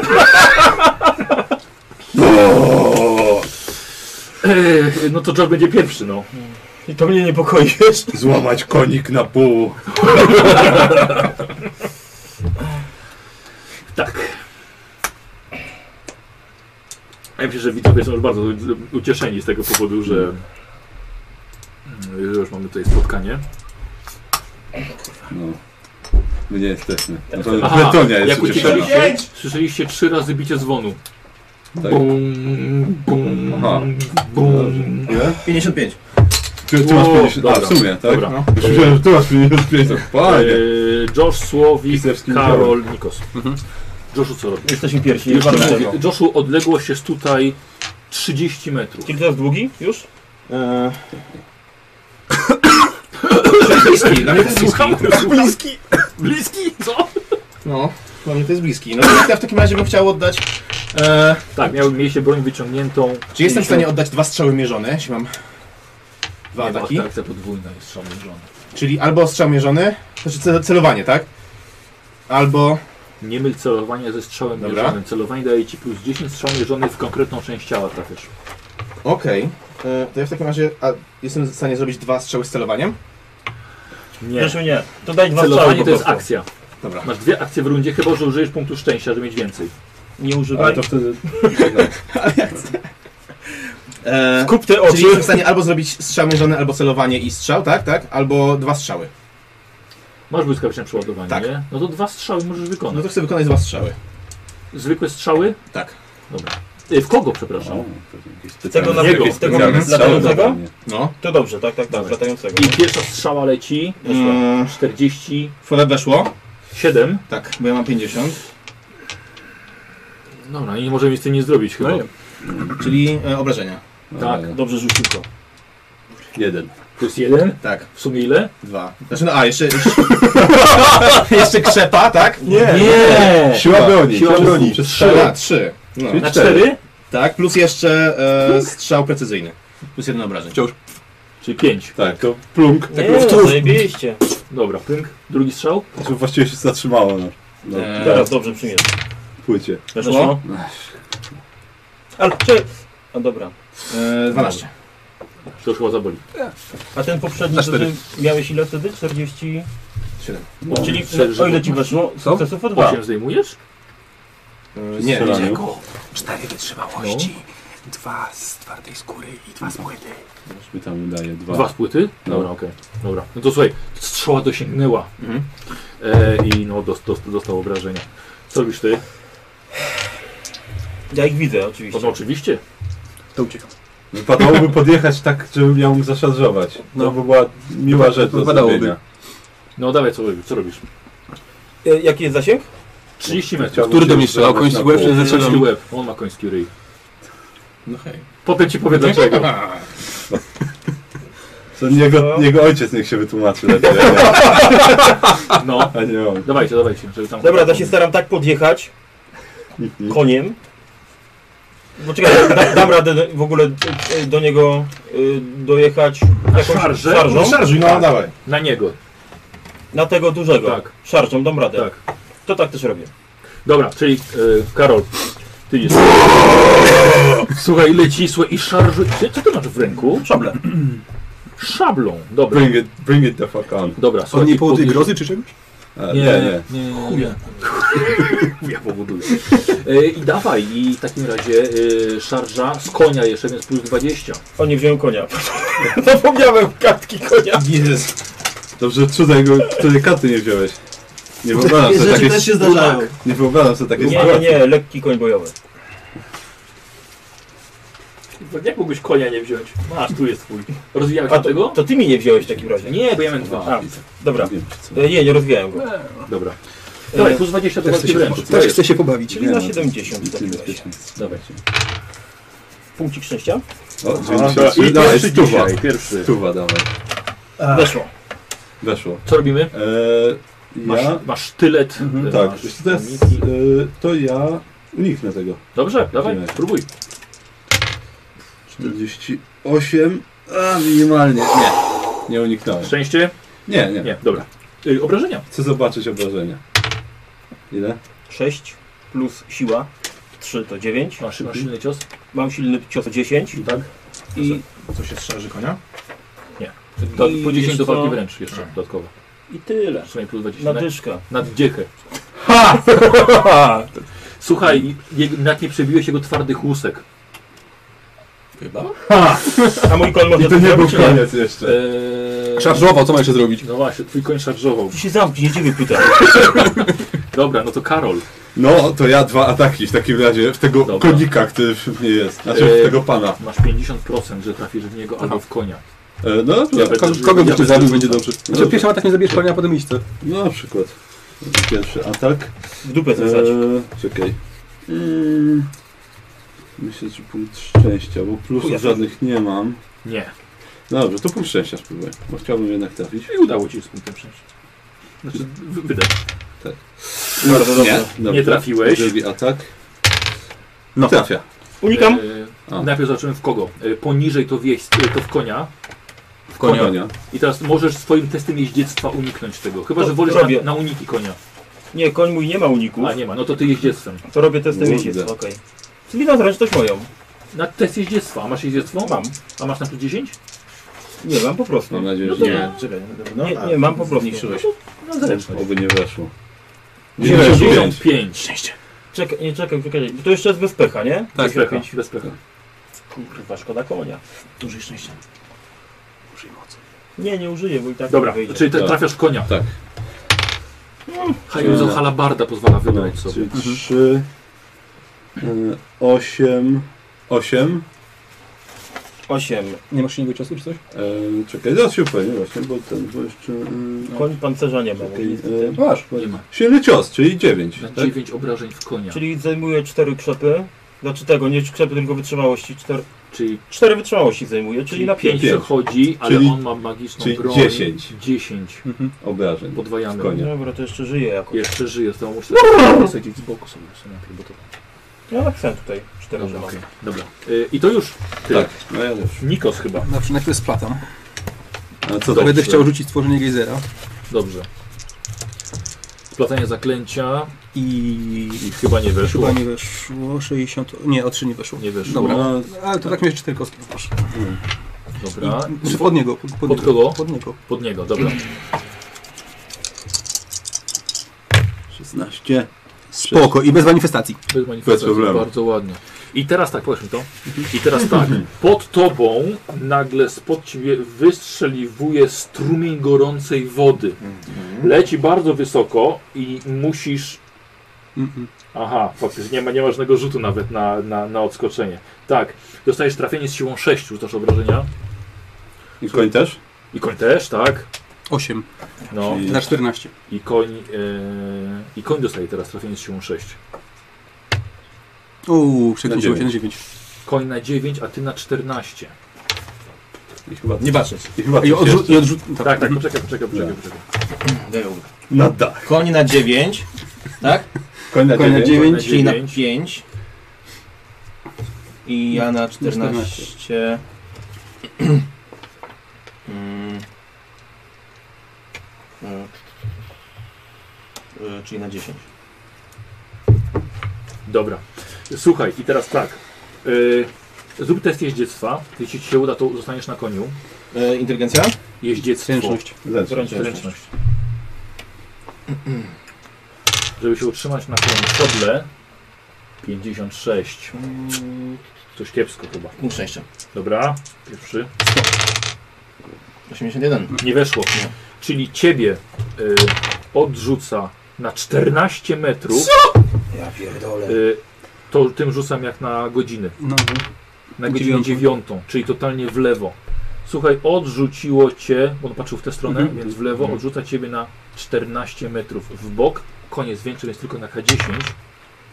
A: Eee, No to Josh będzie pierwszy, no.
L: I to mnie niepokoi, wiesz?
C: Złamać konik na pół.
A: Tak. A Ja myślę, że widzowie są już bardzo ucieszeni z tego powodu, że, że już mamy tutaj spotkanie.
C: No. My nie jesteśmy. No to
A: Aha,
C: Bretonia jest
A: jak
C: ucieszona.
A: uciekaliście, słyszeliście trzy razy bicie dzwonu.
C: Tak.
A: Bum, bum,
C: Aha.
A: bum.
C: Ile?
E: 55.
C: Ty, ty masz
A: O,
C: 50. A,
A: dobra.
C: w sumie, tak?
A: Dobra.
C: No. Już myślałem, że ty masz 55. to Fajnie.
A: Eee, Josh, Słowik,
C: Kislewski
A: Karol, Nikos. Joshu, co robi?
L: Jesteśmy pierwsi.
A: Już
L: Jesteśmy
A: ci
L: pierwsi.
A: mówię, Joshu, odległość jest tutaj 30 metrów.
L: Czyli teraz długi już?
G: Eee,
E: Bliski, dla mnie to jest
A: Słucham?
E: bliski.
A: Bliski! Bliski? Co?
E: No, dla mnie to jest bliski. No to ja w takim razie bym chciał oddać... E,
A: Tak, miał, mieliście broń wyciągniętą.
E: czy jestem w stanie oddać dwa strzały mierzone, jeśli mam dwa
A: Nie,
E: ataki?
A: akcja podwójna jest strzał mierzony.
E: Czyli albo strzał mierzony, to znaczy cel- celowanie, tak? Albo...
A: Nie myl celowania ze strzałem
E: Dobra.
A: mierzonym. Celowanie daje ci plus 10 strzał mierzony w konkretną część ciała trafisz.
E: Okej. E, To ja w takim razie a, jestem w stanie zrobić dwa strzały z celowaniem?
A: Nie.
L: Zresztą nie. To daj dwa strzały
A: Celowanie
L: po
A: to jest
L: prostu.
A: akcja.
E: Dobra.
A: Masz dwie akcje w rundzie, chyba że użyjesz punktu szczęścia, żeby mieć więcej.
L: Nie
E: Ale
L: używaj.
E: to wtedy... E,
L: Kup te
E: Czyli
L: oczy.
E: jestem w stanie albo zrobić strzał mierzony, albo celowanie i strzał, tak? tak? Albo dwa strzały.
A: Masz błyskawiczne przeładowanie,
E: Tak.
A: nie? No to dwa strzały możesz
E: No
A: wykonać.
E: to chcę wykonać dwa strzały.
A: Zwykłe strzały?
E: Tak.
A: Dobra. Y, W kogo, przepraszam?
L: Tego
C: na
L: na tego, tego latającego?
E: No.
L: To dobrze, tak, tak, tak,
A: Mhm. Dawaj.
L: latającego.
A: I pierwsza strzała leci.
E: Mm,
A: 47.
E: Fole weszło, tak, bo ja mam 50.
A: Dobra, nie możemy z tym nic zrobić chyba.
E: No nie. Czyli e, obrażenia.
A: Tak,
I: dobrze rzuciłko.
C: Jeden.
A: Plus jeden?
E: Tak.
A: W sumie ile?
E: Dwa. Znaczy, no a, jeszcze... <laughs> jeszcze krzepa, tak?
A: Nie.
E: Siła broni.
A: Siła broni.
E: Przez
A: Trzy.
E: trzy. Na trzy. No.
A: Czyli
E: Na
A: cztery.
E: Tak, plus jeszcze e, strzał precyzyjny. Plus jeden obrażeń. E, Wciąż.
A: Czyli pięć.
C: Tak.
A: To plunk.
E: Tak, Nie, plunk.
I: zajebiście.
A: Dobra, plunk. Drugi strzał.
C: Znaczy, właściwie się zatrzymało. No. No,
I: Eee.
A: Tak.
I: Teraz dobrze przyjmiesz.
C: Płycie.
I: Weszło? Ale czy... A dobra.
E: Eee, 12.
A: To już chyba zaboli.
I: A ten poprzedni,
A: Na
I: to
A: cztery.
I: ty miałeś ile wtedy? 40...
E: 7.
I: Czyli
A: Cztery,
I: o ile
A: żeby-
I: ci weszło?
A: Co?
I: Sukcesów o dwa.
A: Osiem zdejmujesz?
E: Nie,
A: Strzelaniu.
J: Czego? Cztery wytrzymałości, dwa z twardej skóry i dwa z płyty.
C: Mi tam daje dwa.
A: Dwa spłyty?
C: No.
A: Dobra, okej. Dobra. No to słuchaj, strzała dosięgnęła.
E: Mhm.
A: E, I no, dos, dos, dostał obrażenia. Co robisz ty?
I: Ja ich widzę, oczywiście.
A: No, no oczywiście.
N: To uciekam.
C: Wypadałoby podjechać tak, żebym miał mógł zaszarżować. No. To by była miła rzecz do
A: Wypadałoby.
C: zrobienia.
A: No dawaj, co robisz? Co robisz?
I: E, Jaki jest zasięg?
A: 30 metrów.
C: Chciałbym Który do się mnie strzelał? zabrać Koński na łeb, pół. czy zastrzelony?
A: Koński łeb. On ma koński ryj.
E: No hej.
A: Potem ci powiem dlaczego.
C: To niego, niego ojciec niech się wytłumaczy lepiej. a ja-
A: No.
C: A nie on.
A: Dawajcie, dawajcie. Żeby tam
I: Dobra, ja się staram tak podjechać koniem. No czekaj, da, dam radę w ogóle e, do niego e, dojechać jakąś
A: szarżę?
I: szarżą.
A: No, szarżuj, no, dawaj.
E: Tak.
A: Na niego.
I: Na tego dużego.
A: Tak.
I: Szarżą, dam radę.
A: Tak.
I: To tak też robię.
A: Dobra, czyli y, Karol, ty jest. Słuchaj, leci, słuchaj, i szarżuje. Ty- Co ty masz w ręku?
I: Szablę.
A: Szablą, dobra.
C: Bring it, bring it the fuck on.
A: Dobra, słuchaj.
N: nie powodu
A: podnieś-
N: grozy czy czegoś?
A: Nie,
C: A,
A: nie, No, nie. nie, nie, <laughs>
N: Chuja.
A: Ja powoduję. Y, I dawaj, i w takim razie y, szarża z konia jeszcze, więc plus 20.
I: O, nie wziąłem konia. Zapomniałem kartki konia.
E: Jezus.
C: Dobrze, cuda jego, której karty nie wziąłeś. Nie wyobrażam
I: Takie
C: sobie
I: rzeczy
C: takiej
I: też się
C: sytu-
I: zdarzają.
C: Nie wyobrażam sobie takiej
I: Nie, nie, nie, lekki koń bojowy.
A: Jak mógłbyś konia nie wziąć? Masz, tu jest twój. Rozwijałeś
I: A
A: od tego?
I: to, to ty mi nie wziąłeś w takim razie.
A: Nie, bo ja miałem dwa.
I: A, dobra. E, Nie, nie rozwijałem go.
A: Dobra. Dawaj, plus 20 do
N: Też
A: walki
N: chcę się-
A: wręcz.
N: też chcę się pobawić.
I: Czyli
N: Nie,
I: na
N: no,
I: 70 w takim razie.
A: Dawaj.
I: Punkcik szczęścia.
C: O,
A: Dobra,
C: 93.
A: i
C: Dawaj,
A: pierwszy
C: stuwa.
A: dzisiaj, pierwszy.
C: Stuwa, dawaj.
I: Weszło.
C: Weszło.
A: Co robimy?
C: Eee,
A: Masz,
C: ja...
A: masz sztylet.
C: Mhm,
A: e,
C: tak,
A: masz
C: jeśli to, jest,
A: kamiki.
C: eee, to ja uniknę tego.
A: Dobrze, dawaj,
C: Nie.
A: spróbuj.
C: 48, a minimalnie. Nie, nie uniknąłem.
A: Szczęście?
C: Nie, nie.
A: Nie, dobra. Y, obrażenia.
C: Chcę zobaczyć obrażenia. Ile?
I: 6 plus siła. 3 to 9.
A: Masz, masz silny cios?
I: Mam silny cios 10.
A: Tak.
I: I,
E: Co się strzeży konia?
A: Nie. To
I: I
A: po 10 do
I: wiesz co? No
A: walki wręcz jeszcze dodatkowo.
I: I tyle.
A: W sumie plus 20.
I: Na dyszkę.
A: Na dziechę.
I: Ha!
A: <laughs> Słuchaj, jego, nawet nie przebiłeś jego twardych łusek.
E: Chyba.
I: Ha! A mój koń może
C: I to nie był
I: zrobić,
C: koniec jeszcze.
A: Eee...
N: Szarżował, co ma jeszcze zrobić?
A: No właśnie, twój koń szarżował.
I: Tu się zamknij, nie dziwię pytań.
A: Dobra, no to Karol.
C: No, to ja dwa ataki w takim razie w tego
A: Dobra.
C: konika, który wśród mnie jest. Znaczy
A: Eee,
C: w tego pana.
A: Masz 50%, że trafisz w niego albo w konia.
C: Eee, no,
A: Ja
C: ja
A: będę
N: Ko-
A: żył,
N: Kogo
A: ja
N: byś tu
A: będę
N: zabił,
A: żył.
N: będzie dobrze. Znaczy, pierwszy atak nie zabierz konia, a potem iśce.
C: no, na przykład. Pierwszy atak.
I: W dupę to wsadź.
C: Eee, czekaj. Mm, myślę, że punkt szczęścia, bo plusów
I: Chuja.
C: żadnych nie mam.
A: Nie.
C: Dobrze, to punkt szczęścia spróbuję, bo chciałbym jednak trafić.
A: I udało ci się z punktem szczęścia. Znaczy, wy- wydać.
I: No
C: Bardzo dobrze. Nie,
A: Nie trafiłeś.
C: Drugi atak. No trafia.
I: Unikam.
A: Eee,
C: A.
A: najpierw zobaczymy w kogo. Eee, poniżej to, wieś, to w konia.
C: W
A: konia.
C: konia.
A: I teraz możesz swoim testem jeździectwa uniknąć tego. Chyba,
I: To
A: że wolisz
I: robię.
A: na, na uniki konia.
I: Nie, koń mój nie ma uników.
A: A nie ma, no to ty jeździectwem.
I: To robię testem
C: Kurde.
I: jeździectwa, okej. Czyli na zręczność moją.
A: Na test jeździectwa. A masz jeździectwo?
I: Mam.
A: A masz na plus 10?
I: Nie, mam po prostu.
C: Mam nadzieję, że
E: Nie, czekaj. No,
I: Nie,
E: a,
I: nie, mam po prostu.
E: Zmniejszyłeś.
A: No zręczność.
C: Oby nie weszło.
A: 95.
I: Czekaj, nie, czekaj, czekaj. To jeszcze jest bez pecha, nie?
C: Tak,
A: Bez
I: Czekaj,
A: pecha. Bez pecha.
I: Kurwa, szkoda konia.
E: Dużej szczęścia. Dużej mocy.
I: Nie, nie użyję, bo i tak
A: Dobra,
I: nie wyjdzie.
A: czyli te,
C: Tak.
A: trafiasz konia.
C: Tak.
A: Hajuzon Halabarda pozwala wybrać
C: No,
A: sobie.
C: czyli eee, 3, 8, 8,
I: Osiem.
J: Nie masz innego ciosu czy coś?
C: E, czekaj, zaraz się upewnię właśnie, bo ten, bo jeszcze... E,
I: No, Koń pancerza nie ma.
C: Czekaj, e, masz, nie ma. silny cios, czyli dziewięć.
A: Na
C: tak?
A: dziewięć obrażeń Znaczy, w konia.
I: Czyli zajmuje cztery krzepy. Znaczy tego, nie krzepy, tylko wytrzymałości. Czter...
A: Czyli...
I: Cztery wytrzymałości zajmuje, czyli,
A: Czyli
I: na
A: pięć
I: pięć.
A: przechodzi, ale on ma magiczną
C: czyli
A: broń.
C: 10.
A: 10.
C: Mhm. Obrażeń.
A: Podwajamy.
C: Konia. No!
I: Dobra, to jeszcze żyje jakoś.
A: Jeszcze żyje, to muszę sobie posadzić z boku sobie jeszcze najpierw, bo to...
I: Ja napisałem No, tutaj cztery
A: Dobra,
I: mam.
A: okej. Dobra. Y, I to już tyle.
C: Tak, no ja już.
A: Nikos chyba.
J: Znaczy najpierw splatam.
C: A
J: To
C: co
J: będę
A: dobrze.
J: chciał rzucić stworzenie gejzera.
A: Dobrze. Splatanie zaklęcia i... I chyba nie weszło.
J: Chyba nie weszło, 60... Nie, o 3 nie weszło.
A: Nie weszło.
J: Dobra,
A: No,
J: ale to tak miałeś 4 kostki, proszę.
A: Dobra.
J: I- Czy pod niego? Pod,
A: Pod
J: niego.
A: kogo?
J: Pod niego.
A: Pod niego, dobra.
C: 16.
J: Spoko i bez manifestacji.
A: Bez manifestacji,
C: Bez problemu.
A: bardzo ładnie. I teraz tak, powiesz mi to. I teraz tak, pod tobą nagle spod ciebie wystrzeliwuje strumień gorącej wody. Leci bardzo wysoko i musisz... Aha, faktycznie nie ma, nie ma żadnego rzutu nawet na, na, na odskoczenie. Tak, dostajesz trafienie z siłą 6, rzucasz obrażenia.
C: I koń też?
A: I koń też, tak.
J: 8
A: No.
J: na 14.
A: I koń, e, I koń dostaje teraz trafienie z siłą 6.
J: Uuu, przekręciło się na 9.
A: Koń na 9, a ty na 14.
C: I chyba...
I: Nie patrzeć.
C: I chyba
J: I
C: coś
J: odrzut...
C: jeszcze.
J: I odrzut
A: Tak, tak, poczekaj, poczekaj, poczekaj. poczekaj.
C: Na dach.
G: Koń na 9, tak?
C: Koń na
J: Koń na
C: dziewięć.
J: dziewięć.
A: Dziewięć.
G: Czyli na
A: dziewięć.
G: 5. I ja na 14.
J: 14.
G: Mm. E, e, Czyli na 10.
A: Dobra. Słuchaj, i teraz tak. Y, zrób test jeździectwa. Jeśli ci się uda, to zostaniesz na koniu.
G: E, Inteligencja?
A: Jeździectwo.
J: Zręczność.
C: Zręczność.
A: Zręczność. <clears throat> Żeby się utrzymać na koniu w siodle. 56. Coś kiepsko chyba.
G: Punkt szczęścia.
A: Dobra, pierwszy.
G: 81.
A: Nie weszło. Czyli ciebie y, odrzuca na 14 metrów.
G: Ja pierdolę.
A: Y, to tym rzucam jak na godziny.
J: No,
A: Na godzinę
J: Dziewiątą.
A: dziewiątą, czyli totalnie w lewo. Słuchaj, odrzuciło cię, bo on patrzył w tę stronę,
J: Mhm.
A: więc w lewo odrzuca ciebie na 14 metrów w bok. Koniec większy, więc tylko na K10.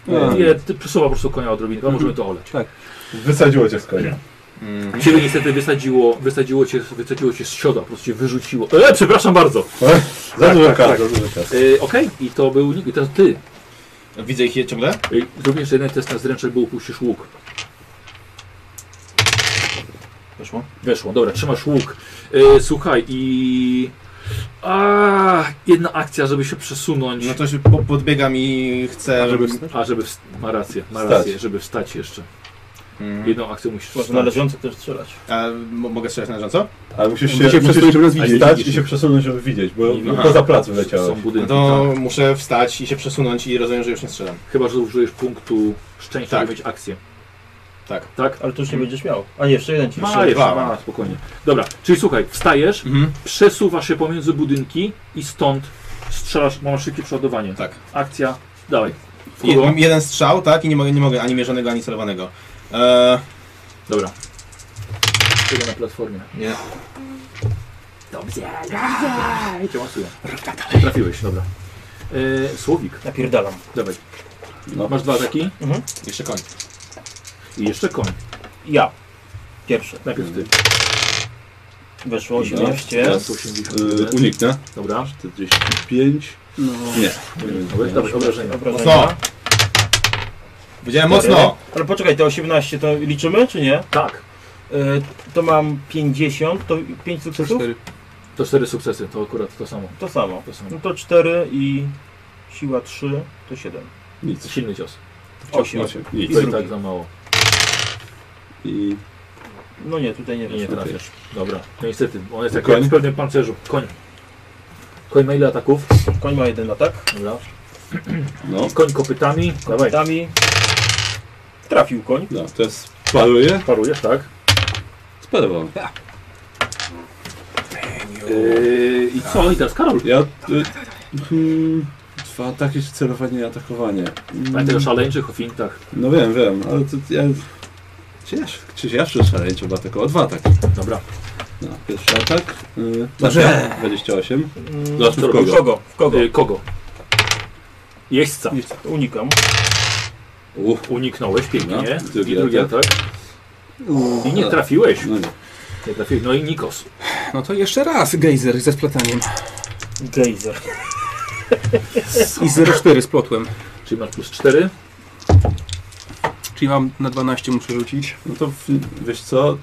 J: No.
A: Nie, ty przesuwa po prostu konia odrobinę, a możemy to oleć.
J: Tak.
C: Wysadziło cię z konia.
A: Ciebie niestety wysadziło, wysadziło cię, wysadziło cię z sioda, po prostu cię wyrzuciło. E, przepraszam bardzo!
C: Za dużo
A: tak,
C: kar,
A: tak.
C: za dużo kar.
A: E, Okej, i to był nikt, i teraz ty.
G: Widzę ich je ciągle?
A: Ej, Również jeden test na zręczek, bo upuścisz łuk.
G: Weszło.
A: Weszło, dobra, trzymasz łuk. E, słuchaj i... A, jedna akcja, żeby się przesunąć.
G: No to się po, podbiegam i chcę.
A: żeby wstać? A, żeby wst- ma rację, ma
C: Wstać.
A: rację, żeby wstać jeszcze.
G: Mm.
A: Jedną akcję musisz wstać.
I: Można na leżąco też strzelać.
G: A, mo- mogę strzelać na rząco?
C: Ale musisz się,
J: Musisz się przesunąć, żeby nas
C: musisz
J: widzieć.
C: stać i się przesunąć, żeby widzieć, bo
A: Aha.
C: poza plac
A: Są
C: wyleciałeś.
G: No
A: budynki,
G: to
A: tak.
G: muszę wstać i się przesunąć i rozumiem, że już nie strzelam.
A: Chyba, że użyjesz punktu szczęścia,
G: Tak.
A: żeby mieć akcję.
G: Tak.
A: Tak?
I: Ale to już nie będziesz miał. A nie, jeszcze jeden ci
A: Ma
I: strzelę.
A: jeszcze,
G: dwa.
A: ma, spokojnie. Dobra, czyli słuchaj, wstajesz,
G: Mhm.
A: przesuwasz się pomiędzy budynki i stąd strzelasz, masz szybkie przeładowanie.
G: Tak.
A: Akcja, dawaj.
G: Je,
A: Furą.
G: mam jeden strzał, tak? I nie mogę, nie mogę ani mierzonego, ani celowanego. Eee,
A: Dobra. Tego na platformie.
G: nie.
A: Dobrze, dobrze. I cię masuję. Trafiłeś, dobra. E, słowik,
I: Napierdalam.
A: dawaj.
C: No.
A: Masz dwa ataki
G: Jeszcze koń.
A: i jeszcze koń.
I: Ja. Pierwszy.
A: Najpierw ty.
I: Weszło
C: No,
I: 18.
C: teraz,
A: 81.
C: y, Uniknę.
A: Dobra.
C: 45.
J: No.
C: Nie.
A: Dobra, dawaj, obrażenia.
I: Obrażenia.
A: No.
G: Mocno! Powiedziałem mocno!
I: Ale poczekaj, te 18 to liczymy, czy nie?
A: Tak,
I: E, to mam 50, to 5 sukcesów?
A: to cztery sukcesy, to akurat to samo.
I: To samo.
A: To samo.
I: No to 4 i siła 3 to 7.
C: Nic.
A: Silny cios.
I: 8.
C: Osiem.
A: I
C: Nic.
A: to i
I: drugi.
A: tak za mało.
C: I
I: No nie, tutaj nie
A: Nie, nie
I: weszło.
A: trafiasz. Dobra. No niestety, on jest jak
C: Koń?
A: w pewnym pancerzu. Koń. Koń ma ile ataków?
I: Koń ma jeden atak.
A: Dobra.
C: no.
A: Koń kopytami. Dawaj.
I: Dami. Trafił koń.
C: No, to jest paruję.
A: Parujesz, tak?
C: Sparował.
A: Yy, I co? I teraz Karol.
C: Ja... Y, hmm, dwa ataki, celowanie i atakowanie. Mm,
A: Pamiętaj o szaleńczych, o fintach.
C: No wiem, wiem, ale to ja... Czy ja, czy ja przeszalę? Trzeba tylko o dwa ataki.
A: Dobra.
C: No, pierwszy atak. Yy, Dobrze. 28. Zobaczmy w kogo.
A: W kogo? Y, kogo? Jeźdźca.
I: Unikam.
C: Uf.
A: Uniknąłeś pięknie.
C: No,
A: drugi,
C: drugi
A: I drugi atak.
C: atak.
A: I nie
C: no.
A: trafiłeś.
C: No nie.
A: nie trafiłeś. No i Nikos.
J: No to jeszcze raz gejzer ze splataniem.
I: Gejzer.
J: I 0,4 splotłem.
A: Czyli masz plus 4.
J: Czyli mam na 12 muszę rzucić.
C: No to w, wiesz co?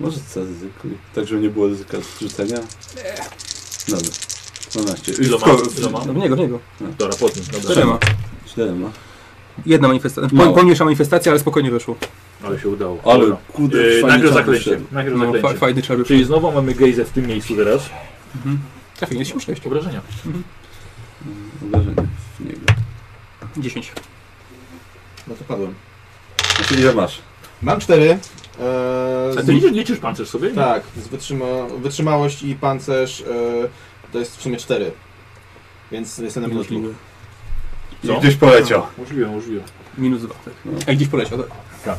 C: Może zaryzykuj. Tak, żeby nie było ryzyka rzucenia. Dobra. 12.
A: Iloma? Iloma?
J: No, niego, niego.
A: Dobra, pod nim. Dobra.
J: Czterema.
C: Czterema.
J: Jedna manifestacja.
A: Mało.
J: Po, pomniejsza manifestacja, ale spokojnie wyszło.
A: Ale się udało.
C: Ale
A: Dobra.
C: kurde,
A: Yy,
C: fajny
A: Najpierw
C: czar
A: zaklęcie.
C: wyszedł.
A: Najpierw
J: No,
A: zaklęcie.
J: fa- fajny czar wyszedł.
A: Czyli znowu mamy gejzę w tym miejscu teraz.
J: Mhm. Trafienie się 6.
A: Obrażenia.
C: Uderzenie w niego.
J: 10.
E: No to padłem.
C: Znaczy ile masz?
E: Mam cztery. Eee,
J: Tak.
A: A ty liczysz, liczysz pancerz sobie? nie?
E: Tak, z wytrzyma wytrzymałość i pancerz e, to jest w sumie cztery. Więc jestem na minus dwóch.
A: Co?
C: Gdzieś poleciał.
A: Możliwe, możliwe.
J: Minus 2. Tak.
C: No.
J: Ej, gdzieś poleciał, tak?
A: Tak.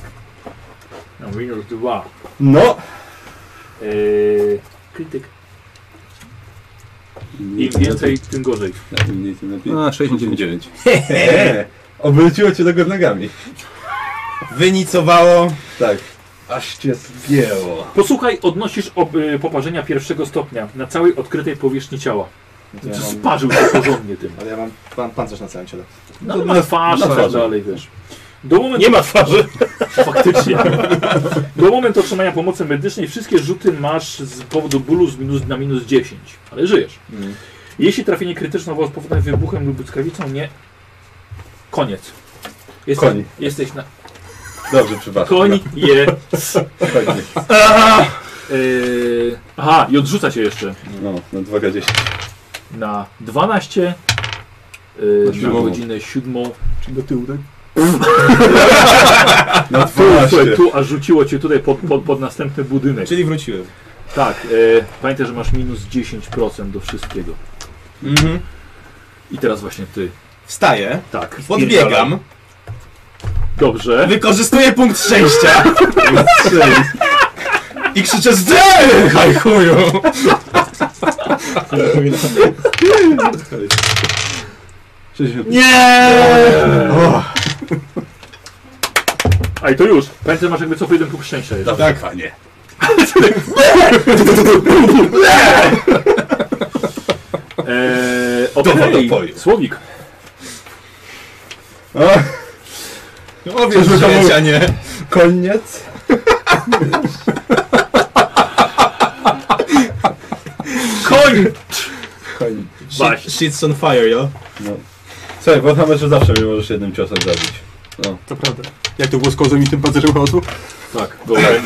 A: No, minus 2.
C: No!
A: Eee, krytyk. Im więcej, tym gorzej.
C: Tak, im mniej, tym lepiej.
J: A, 69.
C: 9. <laughs> Obróciło cię do góry nogami.
E: Wynicowało.
C: Tak. Aż cię zgięło.
A: Posłuchaj, odnosisz ob, y, poparzenia pierwszego stopnia na całej odkrytej powierzchni ciała.
E: to ja
A: Ty
E: mam-
A: Sparzył się porządnie tym.
E: Ale ja mam pan, pancerz na całym ciele.
A: No, no, ma twarz
E: na
A: tak
E: twarzy.
A: dalej, wiesz. Do momentu,
I: Nie ma twarzy.
A: <laughs> Faktycznie. Do momentu otrzymania pomocy medycznej wszystkie rzuty masz z powodu bólu z minus, na minus 10, ale żyjesz. Jeśli trafienie krytyczne było spowodowane wybuchem lub błyskawicą, nie. Koniec. Jesteś,
C: Koń.
A: jesteś na.
C: Dobrze, przepraszam.
A: Koń je.
C: Koń.
A: Yy, aha, i odrzuca cię jeszcze.
C: No, na 2K10.
A: na 12 yy, na
C: siódmą.
A: godzinę 7.
J: Czyli do tyłu, tak?
C: Na
A: Tu, słuchaj, tu, a rzuciło cię tutaj pod, pod, pod następny budynek.
E: Czyli wróciłem.
A: Tak, yy, pamiętaj, że masz minus 10% do wszystkiego.
E: Mhm.
A: I teraz właśnie ty.
E: Wstaję,
A: Tak.
E: podbiegam,
A: Dobrze.
E: wykorzystuję punkt szczęścia i krzyczę zdechaj chuju! Nie!
A: A i to już. Pamiętaj, że masz jakby co po jeden punkt szczęścia jeszcze.
C: Tak, panie.
A: Eee,
C: Dobra,
A: Okej,
C: to powiem.
A: słowik. No,
E: O wiesz, że nie.
C: Koniec.
A: Koń!
C: Koń.
A: Baś.
E: Shit's on fire, yo.
C: No. Słuchaj, w Warhammerze zawsze mnie możesz jednym ciosem zabić. No.
J: To prawda. Jak to było z kozem i tym pancerzem chaosu?
A: Tak,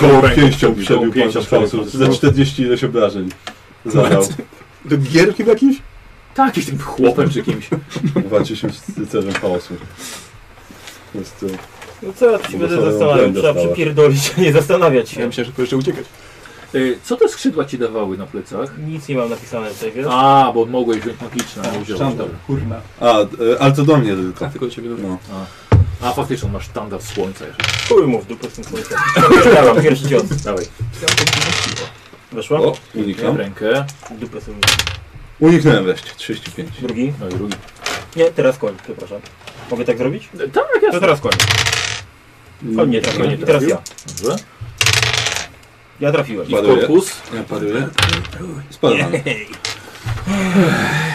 C: Koło pięścią przebił pan Faust za 40 ileś obrażeń. Zadał.
J: Do gierki jakimś?
A: Tak, jakimś tym chłopem czy kimś.
C: Walczy się z rycerzem chaosu. Po prostu.
I: No co ja tu się
C: Bo
I: będę
C: sobie
I: zastanawiał?
C: obręb
I: Trzeba
C: dostała.
I: przypierdolić, <laughs> a nie zastanawiać
J: Ja
I: się.
J: myślałem, że to jeszcze uciekać.
A: Eee, co te skrzydła ci dawały na plecach?
I: Nic nie mam napisane tutaj, wiesz?
A: A, bo mogłeś wziąć magiczne, a wziąłeś.
C: sztandar.
A: Dobra.
J: Kurna.
C: A, e, ale to do mnie tylko.
J: Tak, tylko do ciebie dobrze.
C: No.
A: A faktycznie on ma sztandar słońca jeszcze.
I: Chuj mu w dupę z tym słońcem. Dawam, pierwszy cios.
A: Dawaj,
I: Weszła?
C: O, unikam.
A: w rękę.
I: Dupę sobie.
C: Uniknąłem wreszcie. 35.
I: Drugi.
A: No i drugi.
I: Nie, teraz koń, przepraszam. Mogę tak zrobić?
A: Tak,
I: To
A: jasne.
I: teraz koń. Koń nie trafił.
A: Koń nie
I: I teraz
A: trafił.
I: ja.
A: Dobrze.
I: Ja trafiłem.
A: I w
C: Ładuję.
A: korpus.
C: Ja paruję. Spadam.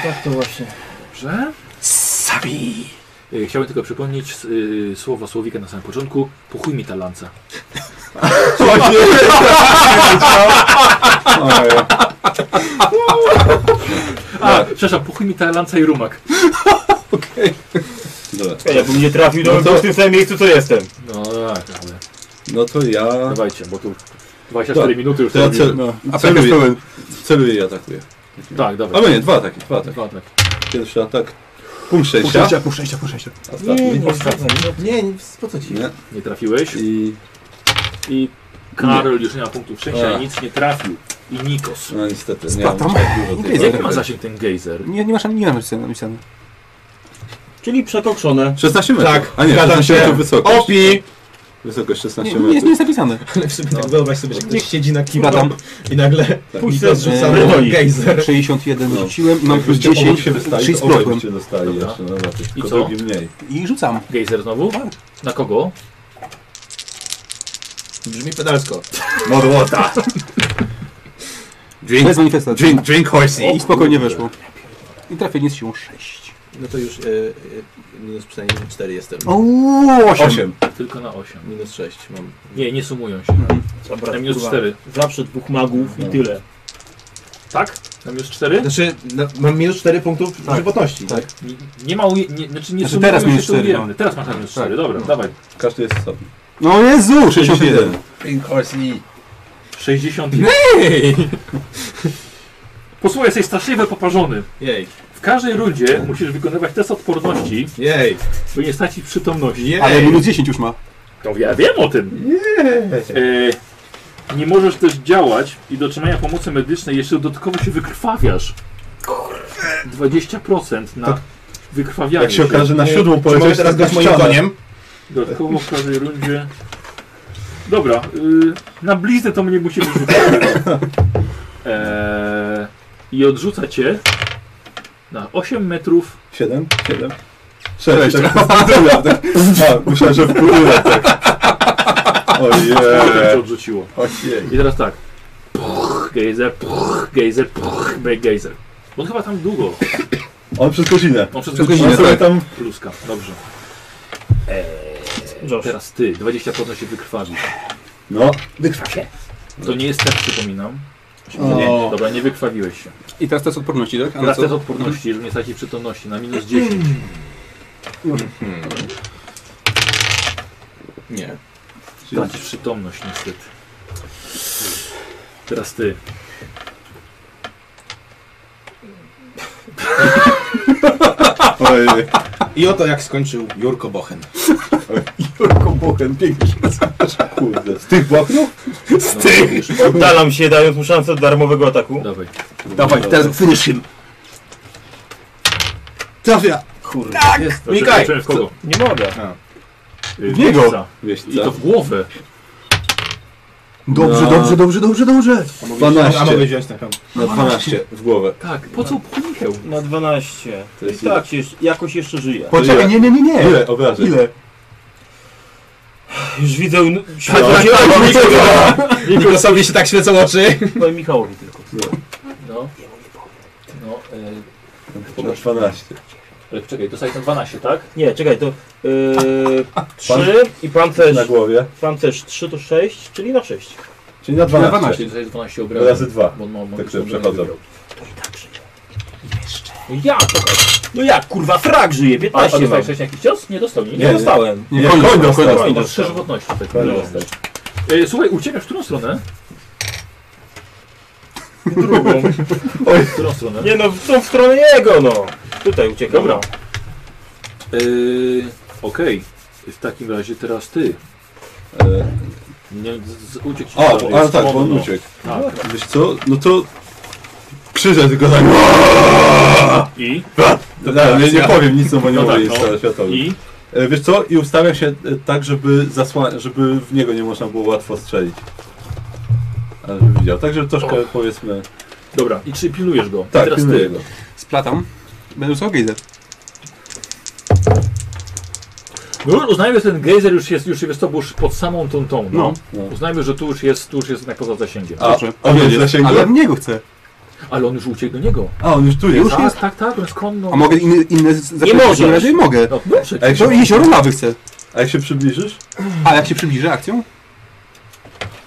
I: Tak to właśnie.
A: Dobrze.
E: Sabi!
A: Y, Chciałem tylko przypomnieć y, słowa Słowika na samym początku. Pochuj mi ta lanca.
C: O nie! Oj,
A: A, przepraszam, pochuj mi ta lanca i rumak.
C: Dobra.
I: Czekaj, jakbym nie trafił, to
E: No
I: bym
C: to-
I: był w tym samym miejscu, co jestem.
A: No tak, ale Tak.
C: No to ja...
A: dawajcie, bo tu 24 minuty już
C: To ja
A: robi.
C: cel...
J: No. A pewnie
C: celuję,
J: pełen.
C: celuję i atakuję.
A: Tak, dawaj.
C: Albo nie, dwa ataki, dwa ataki.
A: Dwa, tak.
C: Pierwszy atak. Punkt
J: Pół
C: szczęścia.
J: szczęścia, pół szczęścia, pół szczęścia.
E: No
C: Ostatni.
E: Nie, nie, po co ci?
C: Nie.
A: Nie trafiłeś.
C: I...
A: I Karol już nie ma punktów szczęścia
C: A.
A: i nic nie trafił. I Nikos.
C: No niestety, nie mam
J: Splatam.
C: tak dużo tej
J: Jest,
A: Jaki
C: walki.
A: ma zasięg ten gejzer?
J: Nie, nie masz ani nie masz napisane. napisane.
I: Czyli przekokszone.
C: 16 metrów.
E: Tak,
C: A nie,
E: zgadzam
C: 16
E: się.
C: metrów wysokość.
E: Opi!
C: Wysokość 16
J: Nie, nie
C: metrów.
J: jest- nie jest <laughs> napisane.
C: Ale w sumie tak wyobraź sobie, że ktoś
J: siedzi na
C: kimno
J: i nagle
O: Tak,
C: pójść sobie zrzucamy woli.
J: 61
C: No.
J: rzuciłem, mam
C: Jakbyście
J: plus
C: obok
J: 10,
C: się dostali,
J: 3
C: to obaj
J: splotłem.
C: byście dostali
J: Dobra.
C: jeszcze, no dobra,
A: I
C: tylko
A: co?
C: drugi mniej.
J: I rzucam.
A: Gejzer znowu? Na kogo?
O: Brzmi pedalsko.
C: Modłota.
O: Drink-
J: Bez manifestacji.
O: drink- drink horsey.
J: I spokojnie
O: O kurde.
J: weszło. I trafienie z siłą 6.
O: No to już e,
E: y,
O: e, minus przynajmniej 4 jestem.
J: Ooo, osiem.
A: Tylko na 8.
O: Minus 6 mam.
A: Nie, nie sumują się.
L: Dobra,
A: na minus
L: kurwa.
A: 4.
L: Zawsze dwóch magów i
A: No.
L: tyle.
A: Tak? Na minus 4?
O: Znaczy, na, mam minus 4 punktów żywotności. Tak.
A: Nie, nie ma uje, nie, znaczy nie
O: Znaczy teraz
A: sumują
O: minus
A: się te
O: cztery,
A: ujemne.
O: no.
A: Teraz masz na minus
O: Tak.
A: 4, dobra, dawaj.
C: Każdy jest stopni.
J: No Jezu,
C: 61.
O: Pink Horsey.
A: 61. <laughs> Posłuchaj, jesteś straszliwie poparzony.
O: Jej.
A: W każdej rundzie musisz wykonywać test odporności,
O: Jej.
A: by nie stracić przytomności.
J: Ale minus 10 już ma.
A: To No, ja wiem o tym. E, nie możesz też działać i do otrzymania pomocy medycznej jeszcze dodatkowo się wykrwawiasz. 20% na
C: To-
A: wykrwawianie
C: jak się okaże, na
A: Nie,
C: siódmą
A: czy
C: polecisz,
A: mogę
C: to jest
A: moim
C: ściana.
A: Dodatkowo w każdej rundzie... Dobra, y, na bliznę to mnie musi rzucać.
J: <laughs>
A: Eee, I odrzuca cię na 8 metrów.
C: 7? 7? 6. Tak, pudula, tak. A, myślałem, że w pudule. Tak.
J: E.
A: Potem cię
C: Ojej.
A: odrzuciło.
C: Ojej.
A: I teraz tak. Puch, gejzer, puch, gejzer, puch, back gejzer. Bo on chyba tam długo.
C: On przez godzinę.
A: On przez
C: Przez
A: godzinę,
C: godzinę,
A: tak.
C: tak. tam-
A: Pluska, dobrze. Eee, teraz ty, 20% się wykrwawisz.
C: No.
A: Wykrwawię. To nie jest tak, przypominam.
J: O.
A: Nie, dobra, nie wykrwawiłeś się.
J: I teraz test odporności, tak? A na
A: Teraz
J: co?
A: test odporności, żeby nie stracić przytomności, na minus 10.
O: Nie.
A: Tracisz przytomność niestety. Teraz ty.
C: Ojej.
O: I oto jak skończył Jurko Bochen.
C: Jurko Bochen, pięknie się Kurde. Z tych błahów?
O: Z tych.
I: Oddalam się, dając mu szansę darmowego ataku.
A: Dawaj.
I: Dawaj,
J: No.
I: teraz finish
O: him.
I: Trafia!
O: Kurde.
I: Tak!
A: Jest.
I: Mikaj!
A: Zaczynamy w kogo?
I: Nie mogę.
A: Y,
I: W niego.
A: wieśca.
C: Wieśca.
A: I to w głowę.
C: Dobrze, dobrze, dobrze,
J: dobrze, dobrze.
C: 12.
I: A mogę wziąć taką.
C: Na 12 w głowę.
A: Tak, po co pchnichę?
L: Na 12.
C: To
L: I
C: jest
L: tak jeszcze, jakoś jeszcze
I: <laughs>
L: żyje.
C: Ile? Ile obrażeń?
L: Ile? Już widzę... światło
O: tak,
L: zielone.
O: tak, Nikola.
L: Nikola.
O: Nikosowi się tak świecą oczy.
L: No i Michałowi tylko.
A: No. No, y,
C: Ponad 12.
A: ale czekaj, dostałeś na 12, tak?
L: Nie, czekaj, to... Yy, 3 i pancerz...
C: Na głowie.
L: Pancerz 3 to 6, czyli na 6.
C: Czyli na 12.
A: Czyli dostajesz 12 obrażeń.
C: Razy 2.
A: Bo on ma- ma-
C: Tak
A: ma-
C: sobie
A: ma-
C: przechodzą.
L: No jak? No jak, kurwa, frak żyje,
A: A,
L: 15
A: a
L: mam.
A: dostałeś wcześniej jakiś cios? Nie dostał nic.
L: Nie, dostałem.
C: Nie, koń dostał.
A: Koń
C: Koń
A: dostał. Trzy
C: dostał.
A: żywotności. tak.
C: Koń
A: No.
C: dostał.
A: Ej, Słuchaj, uciekasz w którą stronę?
L: Drugą.
A: Oj. W którą stronę?
L: Nie no, w tą w stronę jego, no. Tutaj uciekam.
I: no.
A: Dobra. Yy, Okej, w takim razie teraz ty. Yy, Nie, z, z, uciekł ci
C: A,
A: dalej,
C: a
A: jest
C: tak, bo on
A: wolno.
C: uciekł.
A: Tak.
C: Wiesz co? No to krzyczę tylko tak.
A: I?
C: Dobra, nie, nie powiem nic, no bo nie
A: No
C: mogę
A: tak,
C: jeść
A: no.
C: światowy.
A: I?
C: E, Wiesz co? I ustawiam się e, tak, żeby zasłania, żeby w niego nie można było łatwo strzelić. Ale żeby widział. Tak, żeby troszkę
A: Och.
C: powiedzmy...
A: Dobra, i czy pilnujesz go?
C: Tak,
A: I teraz
C: pilnuję
A: ty.
C: go.
J: Splatam. Będę usał gejzer.
A: No, uznajmy, że ten gejzer już jest, już jest to był już pod samą tą tą. No.
C: No, no.
A: Uznajmy, że tu już jest, tu już jest jednak poza zasięgiem.
C: A, a on jest w zasięgu?
J: Ale w niego chcę.
A: Ale on już uciekł do niego.
C: A, on już tu jest.
A: tak, tak, tak, on jest konno.
J: A mogę inny, inne zacząć?
A: możesz.
J: razie mogę.
A: No, proszę cię.
J: A jak się... Jezioro lawy chcę.
C: A jak się przybliżysz?
J: A jak się przybliżę akcją?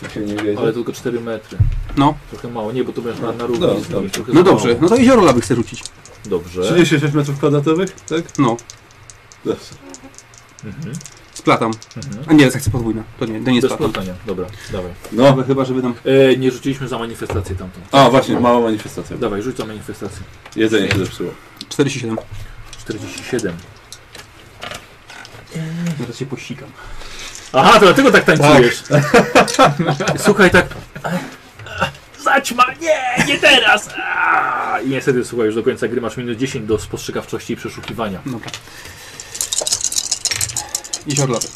C: Jak się nie wiedzie.
A: Ale tylko 4 metry.
J: No.
A: Trochę mało, nie, bo to będziesz na, na
C: No,
A: równi.
C: dobrze,
A: z nimi,
C: dobrze.
A: trochę
J: No
A: za
J: dobrze,
A: mało.
J: no to jezioro lawy chcę rzucić.
A: Dobrze.
C: 36 metrów kwadratowych, tak?
J: No,
C: Dobrze.
A: Mhm.
J: splatam.
A: Mhm.
J: A nie, sekcja podwójna. To nie, to nie
A: Bez
J: splatam.
A: plotania, dobra, dawaj.
C: No.
J: Chyba- Chyba, żeby tam...
A: E, nie rzuciliśmy za manifestację tamtą.
C: A, właśnie, mała manifestacja.
A: Dawaj, rzuć za manifestację.
C: Jedzenie się zepsuło.
J: 47.
A: 47.
J: Zaraz się posikam.
A: Aha, to dlatego tak tańcujesz. <laughs> Słuchaj, tak... Zaćma! Nie, nie teraz! Aaa! I niestety, słuchaj, już do końca gry masz minus 10 do spostrzegawczości i przeszukiwania.
J: Dobra. Jezioro lawy.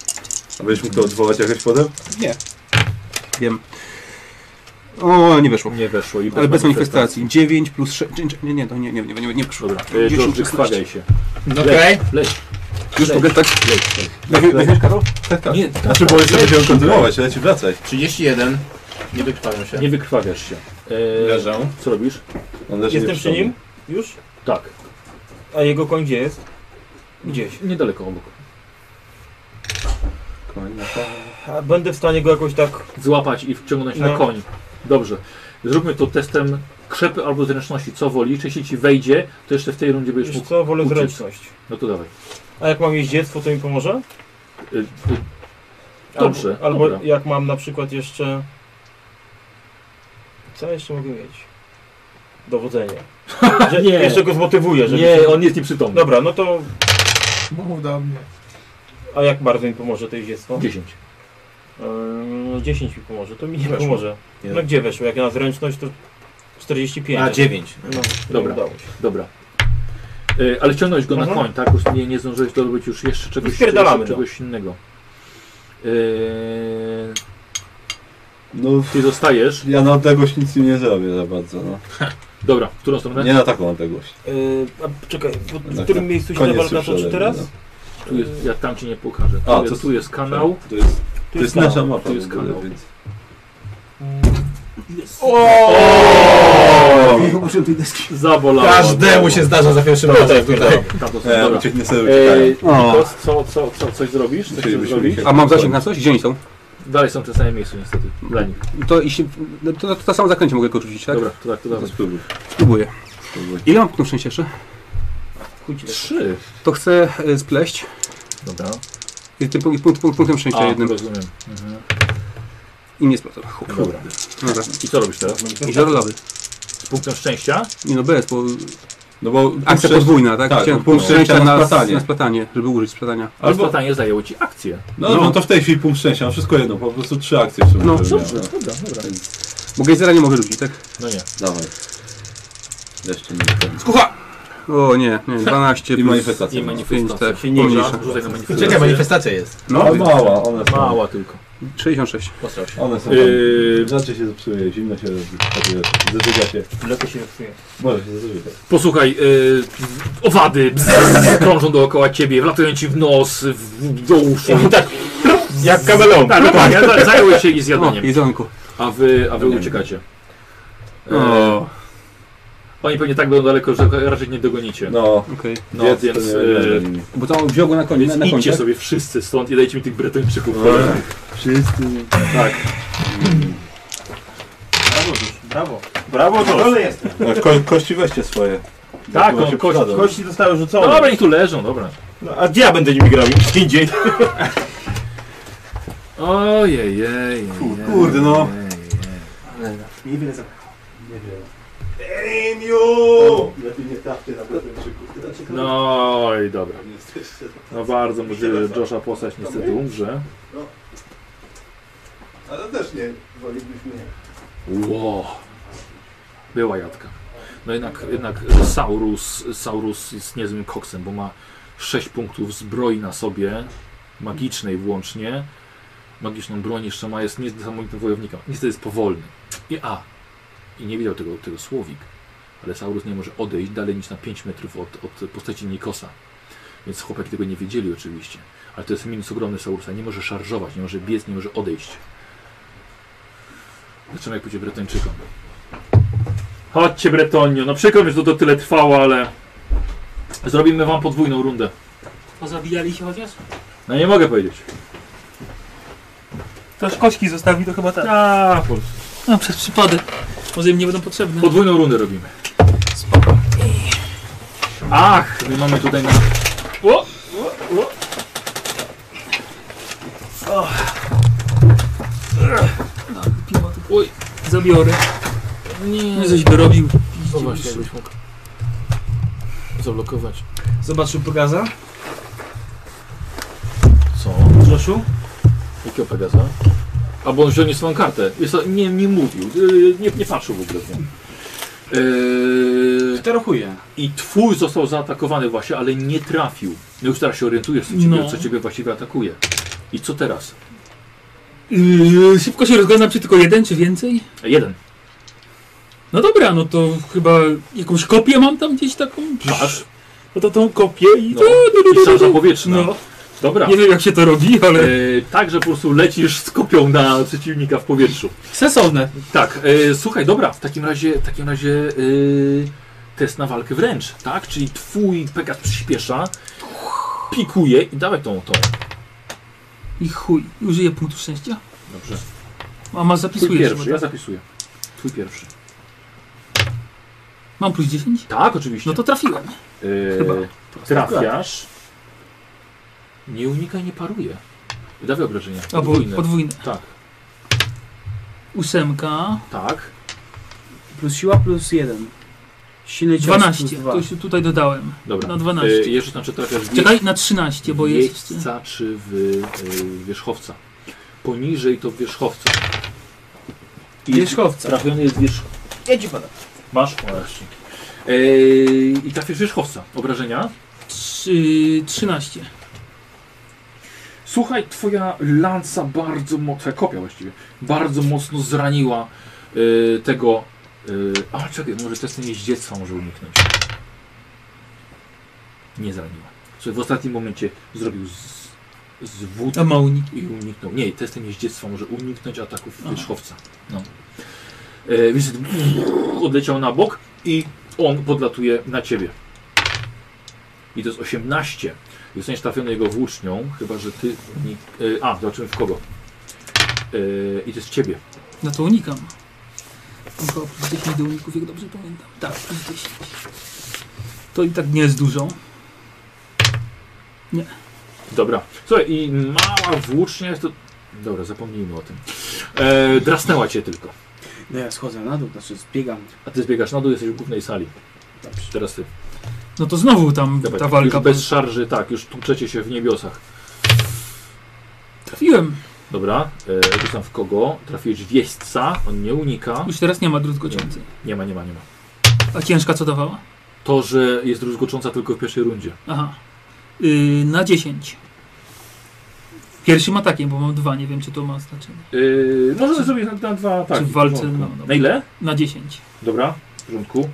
C: A będziesz mógł to odwołać jakoś potem?
J: Nie. Wiem. O, nie weszło.
A: Nie weszło. I
J: Ale bez manifestacji. 9 plus 6. Nie, nie, to nie, nie, nie, nie, nie poszło.
A: Dobra, e, George, stawiaj się.
J: Okej.
A: Leć, Leć.
J: Już
A: Leć.
J: mogę tak?
A: Leć.
J: Weźmiesz- weźmiesz, Karol?
C: Tak, tak.
A: Nie,
C: Znaczy, bo jeszcze
A: leć.
C: będziemy kontynuować, ale ci wracaj.
O: 31. Nie wykrwawiam się.
A: Nie wykrwawiasz się. E,
O: Leżę.
A: Co robisz?
O: Jestem przy nim?
A: Już? Tak.
G: A jego koń gdzie jest?
A: Gdzieś. Niedaleko obok.
G: A będę w stanie go jakoś tak...
A: Złapać i wciągnąć na
G: No.
A: koń. Dobrze. Zróbmy to testem krzepy albo zręczności. Co woli? Czy jeśli ci wejdzie, to jeszcze w tej rundzie będziesz
G: Wiesz
A: mógł
G: co, wolę
A: uciec.
G: zręczność.
A: No to dawaj.
G: A jak mam jeździectwo, to mi pomoże?
A: Y, y, Dobrze.
G: Albo, albo
A: dobra.
G: jak mam na przykład jeszcze... Co jeszcze mogę mieć? Dowodzenie.
A: <laughs>
G: Że
A: Nie.
G: Jeszcze go zmotywuję, żeby...
A: Nie, on jest nieprzytomny.
G: Dobra, no to...
K: Mów do mnie.
G: A jak bardzo mi pomoże to
I: No.
G: jeździectwo?
A: 10.
G: Ym, 10 mi pomoże, to mi nie
O: Weszło.
G: pomoże.
O: Nie.
G: No gdzie weszło? Jak na zręczność to 45.
O: A, dziewięć.
G: No,
A: Dobra,
G: Udało się.
A: dobra. Y, ale ściągnąłeś go na
G: Mhm.
A: koń, tak? Już nie, nie zdążyłeś dobyć już jeszcze czegoś,
G: Spierdalamy,
A: jeszcze
G: no.
A: czegoś innego. E, Yy... Ty zostajesz.
C: No, Ja na odległość nic im nie zrobię za bardzo, no.
A: Dobra, w którą stronę?
C: Nie na taką odległość.
G: Yy, a czekaj, w, w
E: No
C: Jednak
G: którym
C: na
E: tak,
G: miejscu się
C: koniec
G: nawal na
C: już
G: to czy
C: ode
G: teraz?
C: mnie, no.
A: Tu jest, ja tam ci nie pokażę. Tu,
C: A,
A: jest,
C: to
A: tu jest kanał.
C: To jest, to jest nasza
A: kanał,
C: mapa.
A: Tu jest
C: w ogóle,
A: kanał.
C: więc-
K: Muszę tej deski.
A: Zabolało. no.
O: Każdemu się zdarza za pierwszym razem.
A: tak,
C: E,
A: Dobra.
C: ucieknie sobie, uciekają.
A: Ej,
C: O.
A: to Co, co, co, coś zrobisz? Coś chcesz
C: Musielibyśmy
A: zrobić?
C: Tak. się-
J: A mam zasięg na coś? Gdzie oni są?
A: Dalej są w tym samym miejscu niestety. Dla nich.
J: To, jeśli, no to, to, to samo zakręcie mogę go rzucić, tak?
A: Dobra, to tak, to dawaj.
C: No, Spróbuj.
J: Spróbuję. Ile mam punktów szczęścia jeszcze?
A: Trzy.
J: To chcę e, spleść.
A: Dobra.
J: I tym punkt, punkt, punkt, punktem szczęścia
A: A,
J: jednym.
A: rozumiem. Mhm.
J: I nie splecę. Chuj. No tak.
A: Dobra.
J: Dobra.
A: I co robisz teraz?
J: I żarlawy.
A: Z punktem szczęścia?
J: Nie no bez, bo...
C: No bo
J: Akcja
A: szczęścia-
J: podwójna, tak?
A: tak,
J: Chciałem
A: punkt
J: punkt szczęścia
A: szczęścia na
J: na
A: splatanie.
J: splatanie. na splatanie, żeby użyć splatania.
A: Albo splatanie zajęło ci akcję.
C: No, no. to w tej chwili punkt szczęścia, mam wszystko jedno, po prostu trzy akcje w sumie.
J: No,
C: zrobiłem,
J: dobrze,
C: no.
A: dobra, dobra.
J: Mogę zera nie mogę rzucić, tak?
A: No nie.
C: Dawaj. Jeszcze nie ten.
J: Skucha! O nie, nie, 12
C: I
J: plus
C: manifestacja.
J: pięć,
C: I
A: manifestacja.
J: tak,
A: Się nie
J: pomniejsza.
A: ża- rzucaj na manifestację.
O: Czekaj, manifestacja jest.
J: No,
C: Ale mała, ona jest
A: Mała tylko.
J: 66.
O: Postarał się.
C: One są tam.
A: Yy,
C: Znaczy się zepsuje, zimno się robi. takie rzeczy. Zażyga się.
G: Mleko się zepsuje.
C: Może się zażyga.
A: Posłuchaj, y, owady bzz, krążą dookoła ciebie, wlatują ci w nos, w, do uszu. Tak,
G: jak kameleon.
A: Tak, dokładnie, tak, zajęły się ich
J: O,
A: zjadaniem.
J: jedzonku.
A: A wy, a wy
J: No nie
A: uciekacie. E,
J: O.
A: Oni pewnie tak będą daleko, że raczej nie dogonicie.
C: No,
J: Okej.
A: No,
C: Więc
A: więc,
C: to nie
A: e,
C: będzie nimi.
J: Bo to wziął go na koniec,
A: Więc
J: na, na
A: idźcie
J: końcu.
A: sobie wszyscy stąd i dajcie mi tych Bretończyków.
C: Dobra. Wszyscy.
A: Tak.
G: Brawo. Brawo, to
C: Dole
G: jestem.
C: No, ko kości weźcie swoje.
A: Tak,
C: Bo
A: no,
C: się
A: kości-
C: przydadzą.
G: Kości zostały rzucone.
A: No dobra, niech tu leżą, dobra.
G: No, a gdzie ja będę nimi grał? Gdzie indziej.
A: <laughs> Ojej, jej.
C: Kurde, no.
K: Niewiele za...
C: Emiu! Lepiej nie trafcie na Znaczy, Bretończyków.
A: No i dobra. No bardzo możliwe, że Josha postać niestety umrze.
C: Ale też nie, wolelibyśmy nie.
A: Ło. Była jadka. No jednak, jednak Saurus, Saurus jest niezłym koksem, bo ma 6 punktów zbroi na sobie, magicznej włącznie. Magiczną broń jeszcze ma, jest niesamowitym wojownikiem. Niestety jest powolny. I a, i nie widział tego, tego Słowik, ale Saurus nie może odejść dalej niż na 5 metrów od, od postaci Nikosa. Więc chłopaki tego nie wiedzieli oczywiście. Ale to jest minus ogromny Saurusa. Nie może szarżować, nie może biec, nie może odejść. Zaczynaj pójdzie Bretończykom. Chodźcie Bretonio, no przykro mi, że to, to tyle trwało, ale zrobimy wam podwójną rundę.
B: Pozabijali się chociaż?
A: No nie mogę powiedzieć.
B: Też kośki zostawi, to chyba tak.
A: A,
F: No przez przypadek. Może im nie będą potrzebne.
A: Podwójną rundę robimy. Ach, my mamy tutaj na... O, o, o. Oj,
F: Zabiorę.
A: nie.
F: No coś dorobił.
A: No właśnie, jakbyś mógł zablokować.
G: Zobaczył Pegaza?
A: Co?
G: Joshu?
A: Jakiego Pegasa? A bo on wziął nie swoją kartę. Jest, nie, nie mówił, yy, nie, nie patrzył w ogóle w nią. Yy,
G: Terochuje.
A: I twój został zaatakowany właśnie, ale nie trafił. No już teraz się orientujesz, co ciebie,
F: No.
A: co ciebie właściwie atakuje. I co teraz?
F: Yy, szybko się rozglądam, czy tylko jeden, czy więcej?
A: Jeden.
F: No dobra, no to chyba jakąś kopię mam tam gdzieś taką?
A: Masz.
F: No to tą kopię i...
A: No, Tak. i szarża powietrzna. Dobra.
F: No. Nie wiem, jak się to robi, ale-
A: E, tak, że po prostu lecisz z kopią na przeciwnika w powietrzu.
F: Sensowne.
A: Tak, e, słuchaj, dobra, w takim razie, w takim razie e, test na walkę wręcz, tak? Czyli twój Pegas przyspiesza, pikuje i dawaj tą, tą.
F: I chuj, użyję punktu szczęścia?
A: Dobrze.
F: Mama
A: Twój
F: zapisuje.
A: pierwszy, ja zapisuję. Twój pierwszy.
F: Mam plus 10?
A: Tak, oczywiście.
F: No to trafiłem.
A: E,
F: Chyba.
A: trafiasz. Nie unikaj, nie paruje. Dawaj obrażenia.
F: A, bo- podwójne.
A: Tak,
F: Ósemka.
A: tak.
G: Plus siła plus jeden. Silny cios
F: 12.
G: plus dwa.
F: To się tutaj dodałem.
A: Dobra.
F: Na 12.
A: E, jeszcze znaczy trafiasz w
F: Czekaj,
A: jeźdź-
F: na 13, No, bo jest.
A: jeźdźca czy w y, wierzchowca. Poniżej to wierzchowca. I
G: Wierzchowca.
A: Trafiony jest wierzch...
G: Ja ci podam.
A: Masz? O, raz, dzięki. Eee, I trafisz wierzchowca. Obrażenia?
F: Trzy, 13.
A: Słuchaj, twoja lanca bardzo mocno, twoja kopia właściwie, bardzo mocno zraniła y, tego... Y, a czekaj, może testem jeździectwa może uniknąć. Nie zraniła. Słuchaj, w ostatnim momencie zrobił z, z wód
F: A ma uni-
A: i uniknął. Nie, testem jeździectwa może uniknąć ataków
F: Aha.
A: wierzchowca. No. E, więc odleciał na bok i on podlatuje na ciebie. I to jest 18. Zostaniesz trafiony jego włócznią, chyba że ty. unik- e, A, zobaczymy w kogo. E, I to jest w ciebie.
F: No to unikam. Mam koło plus 10 do uników, jak dobrze pamiętam. Tak, plus 10. To i tak nie jest dużo. Nie.
A: Dobra. Słuchaj, i mała włócznia jest to. Dobra, zapomnijmy o tym. E, drasnęła cię tylko.
G: No ja schodzę na dół, znaczy zbiegam.
A: A ty zbiegasz na dół, jesteś w głównej sali. Teraz ty.
F: No to znowu tam
A: Dawaj,
F: ta walka.
A: Już bez szarży, tak, już tłuczecie się w niebiosach.
F: Trafiłem.
A: Dobra, e, rzucam w kogo. Trafiłeś w jeźdźca, on nie unika.
F: Już teraz nie ma druzgocący.
A: Nie ma, nie ma, nie ma.
F: A ciężka co dawała?
A: To, że jest druzgocząca tylko w pierwszej rundzie.
F: Aha. Yy, na 10. Pierwszym atakiem, bo mam dwa, nie wiem czy to ma znaczenie.
A: Yy, możemy zrobić na, na dwa tak. ataki.
F: Czy w walce,
A: porządku.
F: no, dobra.
A: na ile?
F: Na 10.
A: Dobra, w porządku.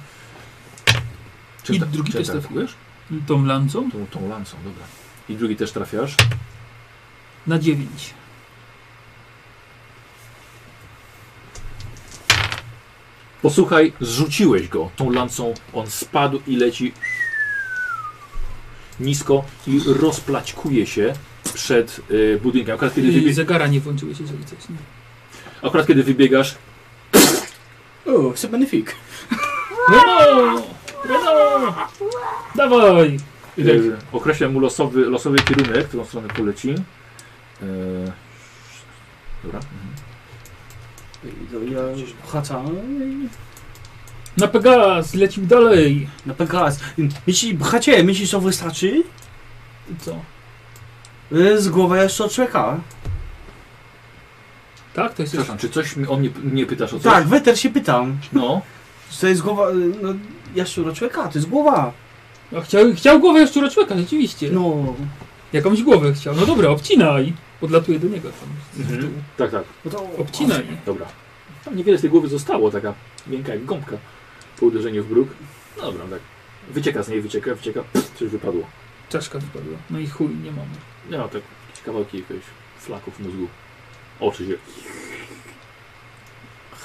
A: Czym
F: I
A: ta-
F: drugi
A: czym
F: też
A: tak
F: trafiłem.
A: atakujesz?
F: Tą lancą?
A: Tą, tą lancą, dobra. I drugi też trafiasz.
F: Na 9.
A: Posłuchaj, zrzuciłeś go tą lancą, on spadł i leci nisko i rozplaćkuje się przed y, budynkiem. Akurat kiedy,
F: Yy,
A: wybie-
F: zegara nie włączyłeś, jeżeli coś. Nie.
A: akurat kiedy wybiegasz,
G: O, sebenefik.
F: Renault! Renault! Dawaj!
A: y, określam mu losowy, losowy kierunek, w którą stronę poleci. Y, dobra. Mhm.
G: To ja pchaczam.
F: Na Pegas, lecił dalej.
G: Na Pegas. Jeśli pchacie, myślisz, że wystarczy? E,
F: Co?
G: Z głowy jeszcze czeka.
F: Tak, to jest
A: Przepraszam, czy coś mi- o mnie nie pytasz o coś?
G: Tak, weter się pytam.
A: No.
G: Czy to jest głowa. No, jaszczura człowieka, to jest głowa.
F: No, chciał, chciał głowę jaszczura człowieka, rzeczywiście.
G: No.
F: Jakąś głowę chciał. No dobra, obcinaj. Podlatuje do niego tam.
A: Mhm. Tak, tak.
G: No to
F: Obcinaj.
A: Dobra. Tam niewiele z tej głowy zostało, taka miękka jak gąbka po uderzeniu w bruk. No dobra, tak. Wycieka z niej, wycieka, wycieka, pff, coś wypadło.
F: Czaszka wypadła. No i chuj, nie mamy.
A: Nie ma tak jakieś kawałki jakiegoś flaków mózgu. Oczy się.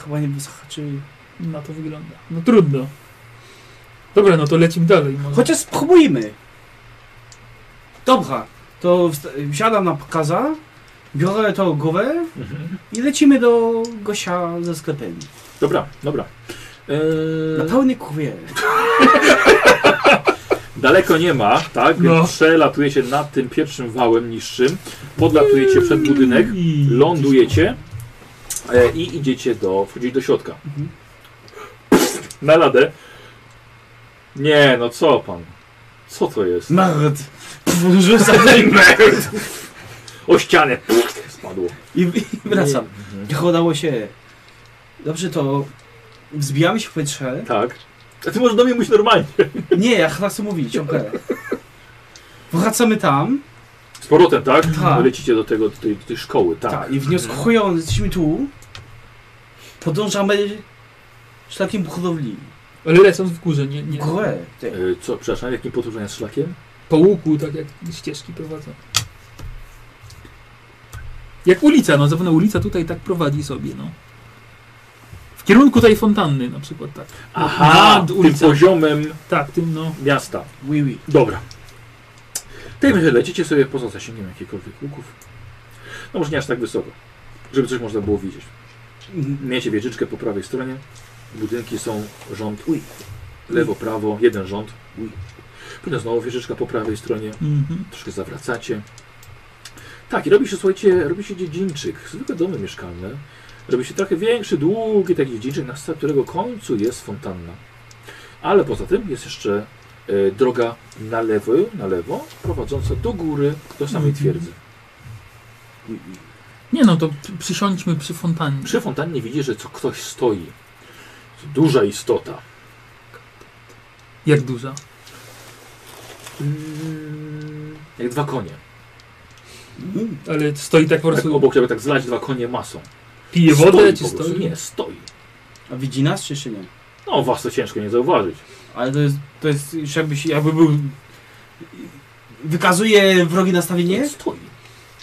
G: Chyba nie znaczy. zahaczyli.
F: Na to wygląda. No trudno. Dobra, no to lecimy dalej. Może.
G: Chociaż spróbujmy. Dobra, to wst- wsiadam na Pekasa, biorę tą głowę
A: Mhm.
G: i lecimy do Gosia ze sklepem.
A: Dobra, dobra.
G: Na
D: No
A: Eee,
G: pełny kurwie.
A: daleko nie ma, tak? Więc przelatuje się nad tym pierwszym wałem niższym. Podlatujecie przed budynek, lądujecie e, i idziecie do. wchodzić do środka. Na ladę. Nie, no co pan? Co to jest?
G: Merd. Rzucam <laughs> merd.
A: O ścianę. Spadło.
G: I, i wracam. Jak udało się. Dobrze, to wzbijamy się w powietrze.
A: Tak. A ty może do mnie mówić normalnie.
G: Nie, ja chcę mówić, okej. Wracamy tam.
A: powrotem, tak?
D: Tak.
A: Lecicie do tego, do tej, do tej szkoły, tak.
D: I wnioskując, jesteśmy tu, podążamy szlakiem hodowli.
F: Ale lecąc w górze, nie... nie.
D: Górę.
G: Tak.
A: Y, Co, przepraszam, jakim podróżem jest szlakiem?
F: Po łuku, tak jak ścieżki prowadzą. Jak ulica, no zapewne ulica tutaj tak prowadzi sobie, no. W kierunku tej fontanny na przykład, tak.
A: Aha,
F: Nad
A: tym
F: ulicą.
A: poziomem
F: tak, tym, no.
A: miasta.
D: Oui, oui.
A: Dobra. Tym, że lecicie sobie poza zasięgiem jakichkolwiek łuków. No może nie aż tak wysoko, żeby coś można było widzieć. Miecie wieżyczkę po prawej stronie. Budynki są rząd uj. Lewo, prawo, jeden rząd. Uj. Później znowu wieżyczka po prawej stronie.
F: Mhm.
A: Troszkę zawracacie. Tak, i robi się, słuchajcie, robi się dziedzińczyk. Zwykłe domy mieszkalne. Robi się trochę większy, długi taki dziedzińczyk, na sta- którego końcu jest fontanna. Ale poza tym jest jeszcze e, droga na lewo, na lewo, prowadząca do góry, do samej
F: Mhm.
A: twierdzy.
F: Nie no, to przy- przysiądźmy przy fontannie.
A: Przy fontannie widzisz, że co ktoś stoi. Duża istota.
F: Jak duża? Mm.
A: Jak dwa konie.
G: Mm.
F: Ale stoi tak po prostu...
A: Tak obok siebie tak zlać dwa konie masą.
F: Pije
A: Stoi
F: wodę,
A: po
F: czy
A: prostu.
F: stoi?
A: Nie, stoi.
G: A widzi nas czy jeszcze nie?
A: No was to ciężko nie zauważyć.
G: Ale to jest, to jest już jakbyś, jakby był... Wykazuje wrogie nastawienie?
A: Stoi.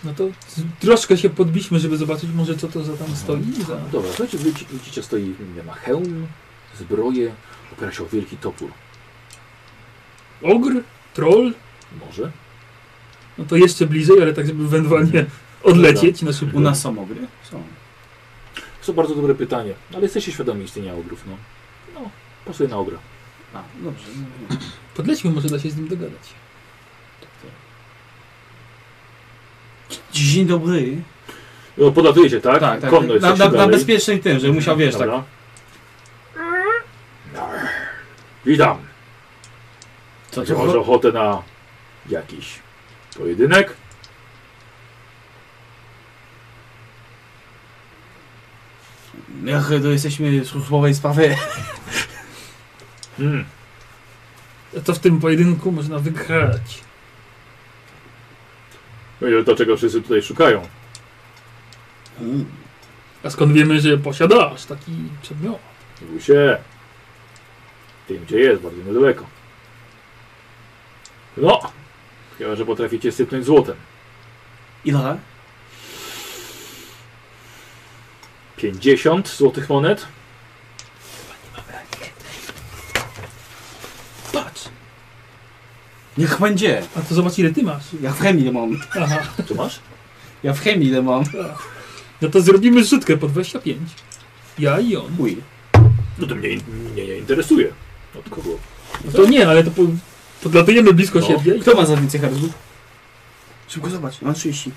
F: No to z- troszkę się podbiśmy, żeby zobaczyć może co to za tam stoi. Za...
A: Dobra, słuchajcie, widzicie, widzicie stoi, nie ma hełm, zbroję, opiera się o wielki topór.
F: Ogr? Troll?
A: Może?
F: No to jeszcze bliżej, ale tak żeby ewentualnie odlecieć na szybko.
G: U nas są ogry? Są.
A: To bardzo dobre pytanie, ale jesteście świadomi istnienia ogrów, no. No, pasuje na ogra.
G: A, dobrze.
F: Podlećmy, może da się z nim dogadać.
G: Dzień dobry.
A: No, podatujecie, tak?
G: Tak, tak.
A: Konno
G: na,
A: jesteście
G: na, na
A: dalej.
G: bezpiecznej tym, że musiał, wiesz,
A: Dobra.
G: tak...
A: Witam.
G: Co
A: Czy masz ochotę na jakiś pojedynek?
G: Jak to jesteśmy w służbowej sprawie.
A: Hmm.
F: To w tym pojedynku można wygrać.
A: Będzie to, czego wszyscy tutaj szukają.
F: A skąd wiemy, że posiadasz taki przedmiot?
A: Mówi się. Tym, gdzie jest, bardzo niedaleko. No, chyba, że potraficie sypnąć złotem.
G: Ile?
A: 50 złotych monet.
F: Patrz!
G: Niech będzie.
F: A to zobacz ile ty masz.
G: Ja w chemii mam.
F: Aha.
A: Tu masz?
G: Ja w chemii ile mam.
F: No to zrobimy zrzutkę po 25. Ja i on.
G: Uj.
A: No to mnie, mnie nie interesuje. Od kogo?
F: No to nie, ale to po, podlatujemy blisko
A: No.
F: siebie. i-
G: Kto ma za więcej herbu? Szybko zobacz, mam 30.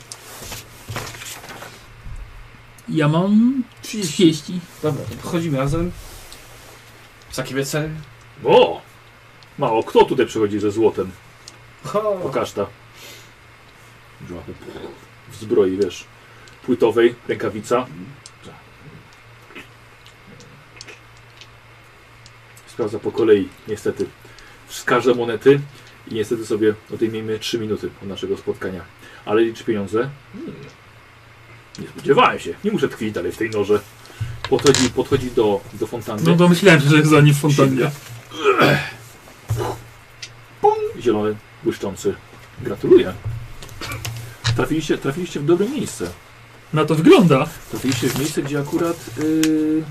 F: Ja mam 30.
G: Dobra, to chodzimy razem. Sakiewce.
A: O! Mało kto tutaj przychodzi ze złotem. Pokaż ta. W zbroi, wiesz, płytowej, rękawica. Sprawdza po kolei, niestety. Wskaże monety i niestety sobie odejmiemy 3 minuty od naszego spotkania. Ale liczy pieniądze. Hmm. Nie spodziewałem się. Nie muszę tkwić dalej w tej noże. Podchodzi, podchodzi do, do fontanny.
F: No domyślałem się, że jest za nim w fontannie.
A: Zielony, błyszczący. Gratuluję. Trafiliście, trafiliście w dobre miejsce.
F: Na to wygląda.
A: Trafiliście w miejsce, gdzie akurat yy,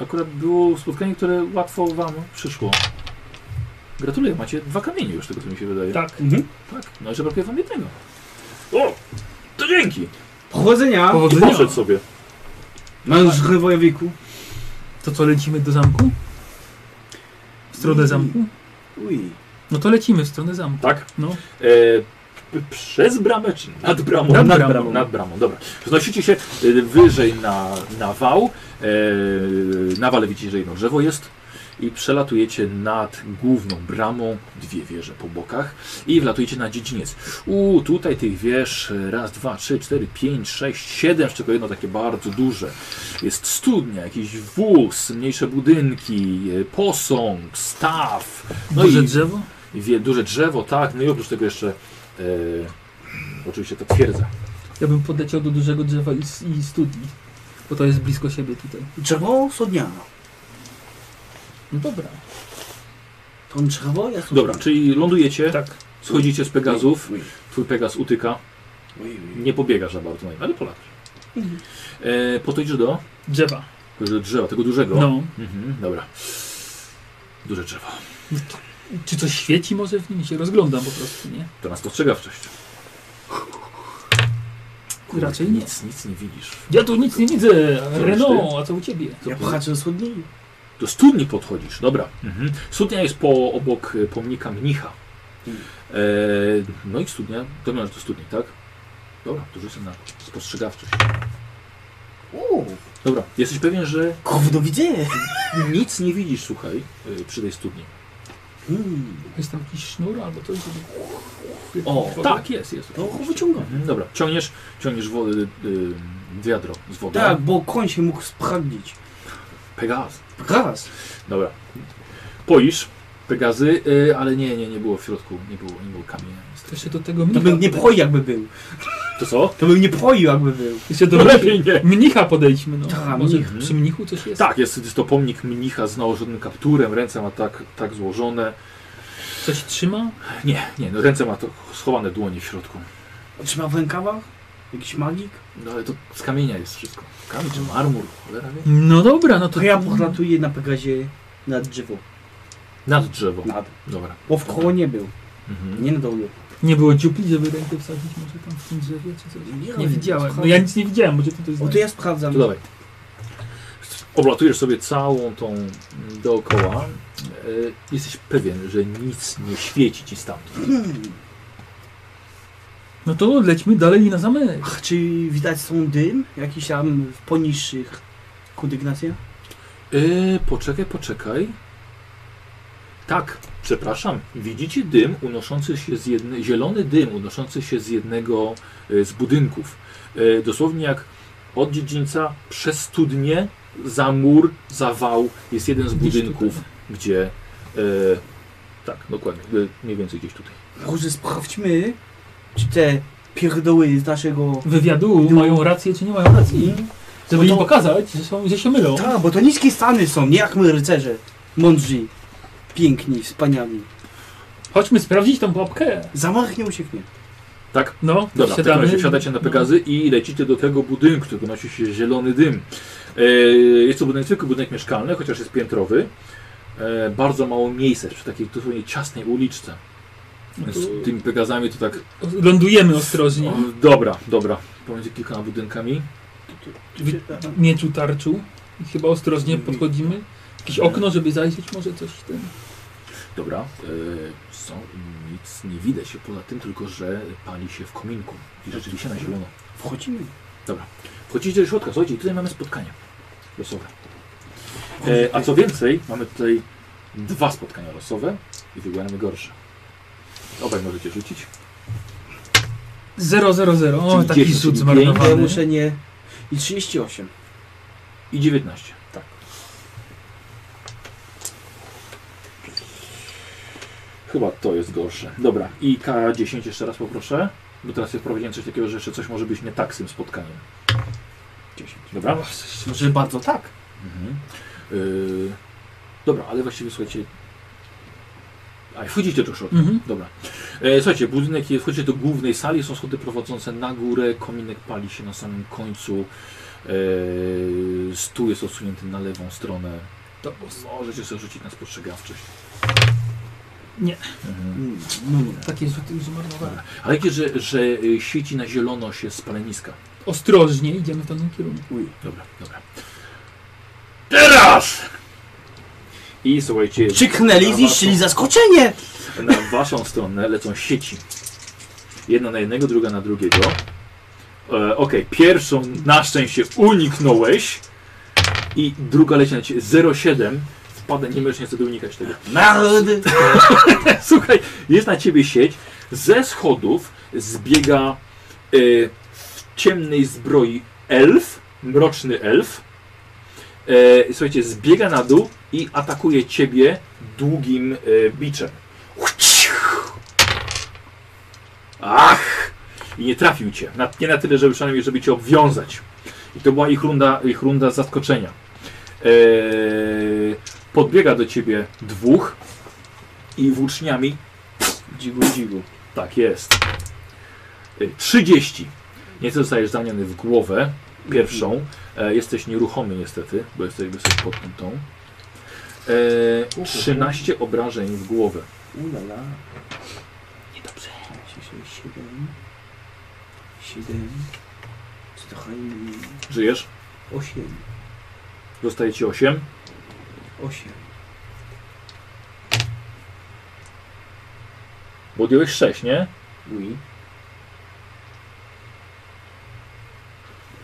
A: akurat było spotkanie, które łatwo wam przyszło. Gratuluję, macie dwa kamienie już tego, co mi się wydaje.
F: Tak.
A: tak. No i że brakuje wam jednego. O! To dzięki!
G: Pochodzenia.
A: I poszedł sobie.
G: Męż wojowiku.
F: To co, lecimy do zamku? W stronę zamku?
G: Uj.
F: No to lecimy w stronę zamku.
A: Tak?
F: No.
A: E, p- przez bramę czy nad bramą?
F: Nad bramą.
A: Nad bramą, dobra. Znosicie się e, wyżej na, na wał. E, na wale widzicie, że jedno drzewo jest. I przelatujecie nad główną bramą, dwie wieże po bokach i wlatujecie na dziedziniec. U, tutaj tych wież e, raz, dwa, trzy, cztery, pięć, sześć, siedem, z czego jedno takie bardzo duże. Jest studnia, jakiś wóz, mniejsze budynki, e, posąg, staw. No
F: Duże drzewo?
A: Wie, duże drzewo, tak. No i oprócz tego jeszcze e, Oczywiście to twierdza.
F: Ja bym podleciał do dużego drzewa i, s- i studni, bo to jest blisko siebie tutaj.
G: Drzewo sodniano.
F: No dobra.
G: To drzewo jest...
A: Dobra, czyli lądujecie,
F: Tak.
A: schodzicie z Pegazów, twój Pegaz utyka, nie pobiegasz za bardzo, no ale polatasz. E, podchodzisz do?
F: Drzewa.
A: Do drzewa, tego dużego?
F: No.
A: Mhm, dobra. Duże drzewo.
F: Czy coś świeci może w nim? Się rozglądam po prostu, nie?
A: To nas postrzega wcześniej.
F: Raczej nie.
A: Nic, nic nie widzisz.
F: Ja tu nic nie widzę.
A: no Co
F: Renault,
A: robisz
F: a co u ciebie?
A: Co Ja ty?
G: pchaczę do studni.
A: Do studni podchodzisz, dobra. Studnia jest po, obok e, pomnika mnicha. E, no i studnia, to miałeś do studni, tak? Dobra, to rzucę na spostrzegawczość. Dobra, jesteś pewien, że...
G: Gówno widzę!
A: Nic nie widzisz, słuchaj, e, przy tej studni.
G: Hmm.
F: Jest tam jakiś sznur albo coś? żeby-
A: O,
F: Woda.
A: tak, jest, jest.
G: To wyciągam.
A: Mhm, dobra, ciągniesz, ciągniesz wodę, y, wiadro z wodą.
G: Tak, bo koń się mógł spragnić.
A: Pegaz.
G: Pegaz.
A: Dobra. Poisz Pegazy, y, ale nie, nie, nie było w środku, nie było, nie było kamienia.
F: To się do tego
G: To
F: mnicha...
G: bym nie poił jakby był.
A: To co?
G: To bym nie poił jakby był.
F: Jeszcze do
A: No <laughs> lepiej nie.
F: mnicha podejdźmy, no.
G: Tak,
F: może
G: mnich.
F: przy mnichu coś jest?
A: Tak, jest, jest to pomnik mnicha z nałożonym kapturem, ręce ma tak, tak złożone.
F: Coś trzyma?
A: Nie, nie, no ręce ma to schowane dłonie w środku.
G: Trzyma w rękawach? Jakiś magik?
A: No ale to z kamienia jest wszystko. Kamień czy marmur, cholera wie.
F: No dobra, no
G: to ja podlatuję na Pegazie nad drzewo.
A: Nad drzewo.
G: Nad.
A: Dobra.
G: Bo w koło nie był.
A: Mhm.
G: Nie na dole.
F: Nie było dziupli, żeby rękę wsadzić może tam w tym drzewie czy coś? Nie,
G: wiem,
F: widziałem. No
G: słuchaj.
F: ja nic nie widziałem, może ty coś
G: O, to ja sprawdzam.
A: To dawaj. Oblatujesz sobie całą tą dookoła. Y, Jesteś pewien, że nic nie świeci ci stamtąd.
F: No to lećmy dalej na zamek.
G: Ach, Czy widać są dym? Jakiś tam w poniższych kondygnacjach?
A: Yy, poczekaj, poczekaj. Tak, przepraszam. Widzicie dym unoszący się z jedne, zielony dym unoszący się z jednego e, z budynków. E, dosłownie jak od dziedzińca przez studnię, za mur, za wał jest jeden z
F: Gdzieś
A: budynków, gdzie e, tak, dokładnie, e, mniej więcej gdzieś tutaj.
G: Może sprawdźmy, czy te pierdoły z naszego...
F: Wywiadu mają rację czy nie mają racji? Żeby
G: Bo
F: im
G: to-
F: pokazać, że, są, że się mylą.
G: Tak, bo to niskie stany są, nie jak my rycerze. Mądrzy, piękni, wspaniali.
F: Chodźmy sprawdzić tą babkę.
G: Zamach nie ucieknie.
A: Tak?
F: No, to
A: Dobra, w takim
F: wsiadamy.
A: razie wsiadacie na Pegazy i lecicie do tego budynku, którego nosi się zielony dym. E, jest to budynek, tylko budynek mieszkalny, chociaż jest piętrowy. E, bardzo mało miejsca, przy takiej dosłownie ciasnej uliczce.
F: No to-
A: Z tymi Pegazami to tak...
F: No, Lądujemy ostrożnie.
A: O, Dobra, dobra. Pomiędzy kilkoma budynkami.
F: W mieczu tarczu. I chyba ostrożnie podchodzimy. Jakieś okno, żeby zajrzeć może coś w tym.
A: Dobra. E, są, nic nie widać się poza tym, tylko że pali się w kominku. I rzeczywiście na zielono.
G: Wchodzimy.
A: Dobra. Wchodzicie do środka, słuchajcie, i tutaj mamy spotkanie losowe. E, a co więcej, mamy tutaj dwa spotkania losowe i wybieramy gorsze. Obaj możecie rzucić.
F: 0, 0, 0. O,
A: Czyli
F: taki
A: 10,
F: rzut
A: czyli
G: Ja
F: zmarnowany.
G: muszę nie... I 38.
A: I 19. Tak. Chyba to jest gorsze. Dobra, i K10 jeszcze raz poproszę. Bo teraz ja wprowadziłem coś takiego, że jeszcze coś może być nie tak z tym spotkaniem. 10. Dobra?
G: Może bardzo tak.
A: Mhm. Yy, dobra, ale właściwie słuchajcie. A, wchodzicie do środka.
F: Mhm.
A: Dobra. E, słuchajcie, budynek jest, wchodzicie do głównej sali, są schody prowadzące na górę, kominek pali się na samym końcu, e, stół jest odsunięty na lewą stronę. To możecie sobie rzucić na spostrzegawczość.
F: Nie.
A: Mhm.
F: Takie rzuty już zmarnowane.
A: Ale wiecie, że, że e, świeci na zielono się spaleniska.
F: Ostrożnie idziemy w tamtym kierunku.
A: Dobra, dobra. Teraz! I słuchajcie...
G: Krzyknęli,
A: na
G: zniszczyli
A: waszą-
G: zaskoczenie!
A: Na waszą stronę lecą sieci. Jedna na jednego, druga na drugiego. E, Okej, pierwszą na szczęście uniknąłeś. I druga leci na ciebie 07. Wpada, nie możesz niestety unikać tego.
G: Narody!
A: <laughs> Słuchaj, jest na ciebie sieć. Ze schodów zbiega e, w ciemnej zbroi elf, mroczny elf. E, słuchajcie, zbiega na dół i atakuje ciebie długim e, biczem. Ach! i nie trafił cię. Na, nie na tyle, żeby przynajmniej, żeby cię obwiązać. I to była ich runda, ich runda zaskoczenia. Eee, podbiega do ciebie dwóch i włóczniami dzigu, dzigu. Tak jest. Y, 30. Nieco zostajesz zaniany w głowę. Pierwszą. E, jesteś nieruchomy niestety, bo jesteś wysoko pod tą tą. E, 13 obrażeń w głowę.
E: Ulala.
G: Niedobrze. 7. 7. Co to hajmie?
A: Żyjesz?
G: 8.
A: Zostaje ci 8.
G: 8.
A: Bo odjąłeś 6, nie?
G: Oui.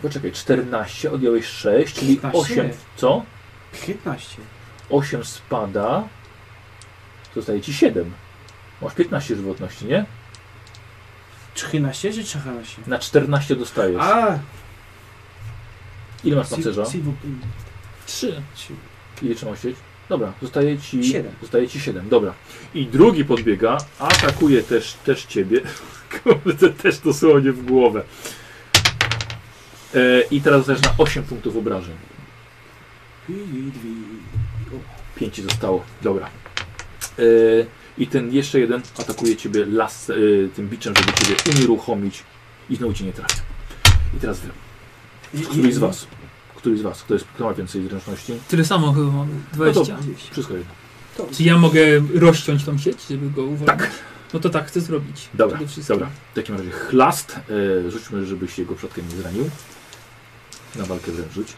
A: Poczekaj, 14, odjąłeś 6, czyli
G: 15.
A: 8. Co?
G: 15.
A: 8 spada. Zostaje ci 7. Masz 15 żywotności, nie?
G: 13 czy 14?
A: Na 14 dostajesz.
G: A!
A: Ile masz
G: Si-
A: pancerza?
G: si-
F: Trzy.
A: Ile trzymałeś sieć? Dobra, zostaje ci
G: Siedem.
A: Zostaje ci 7, dobra. I drugi podbiega, atakuje też, też ciebie. <laughs> Kurde, też dosłownie w głowę. E, I teraz zostajesz na 8 punktów obrażeń. 5 ci zostało, dobra. E, I ten jeszcze jeden atakuje ciebie las, e, tym biczem, żeby ciebie unieruchomić i znowu cię nie trafi. I teraz wy. Który z was? Który z was? Kto, jest, kto ma więcej zręczności?
F: Tyle samo chyba mam.
A: No to
F: 20.
A: wszystko jedno.
F: Czy ja mogę rozciąć tą sieć, żeby go uwolnić? Tak. No to tak chcę zrobić.
A: Dobra,
F: Przede wszystkim.
A: dobra. W takim razie chlast. E, rzućmy, żebyś jego przodkiem nie zranił. Na walkę wręcz rzuć.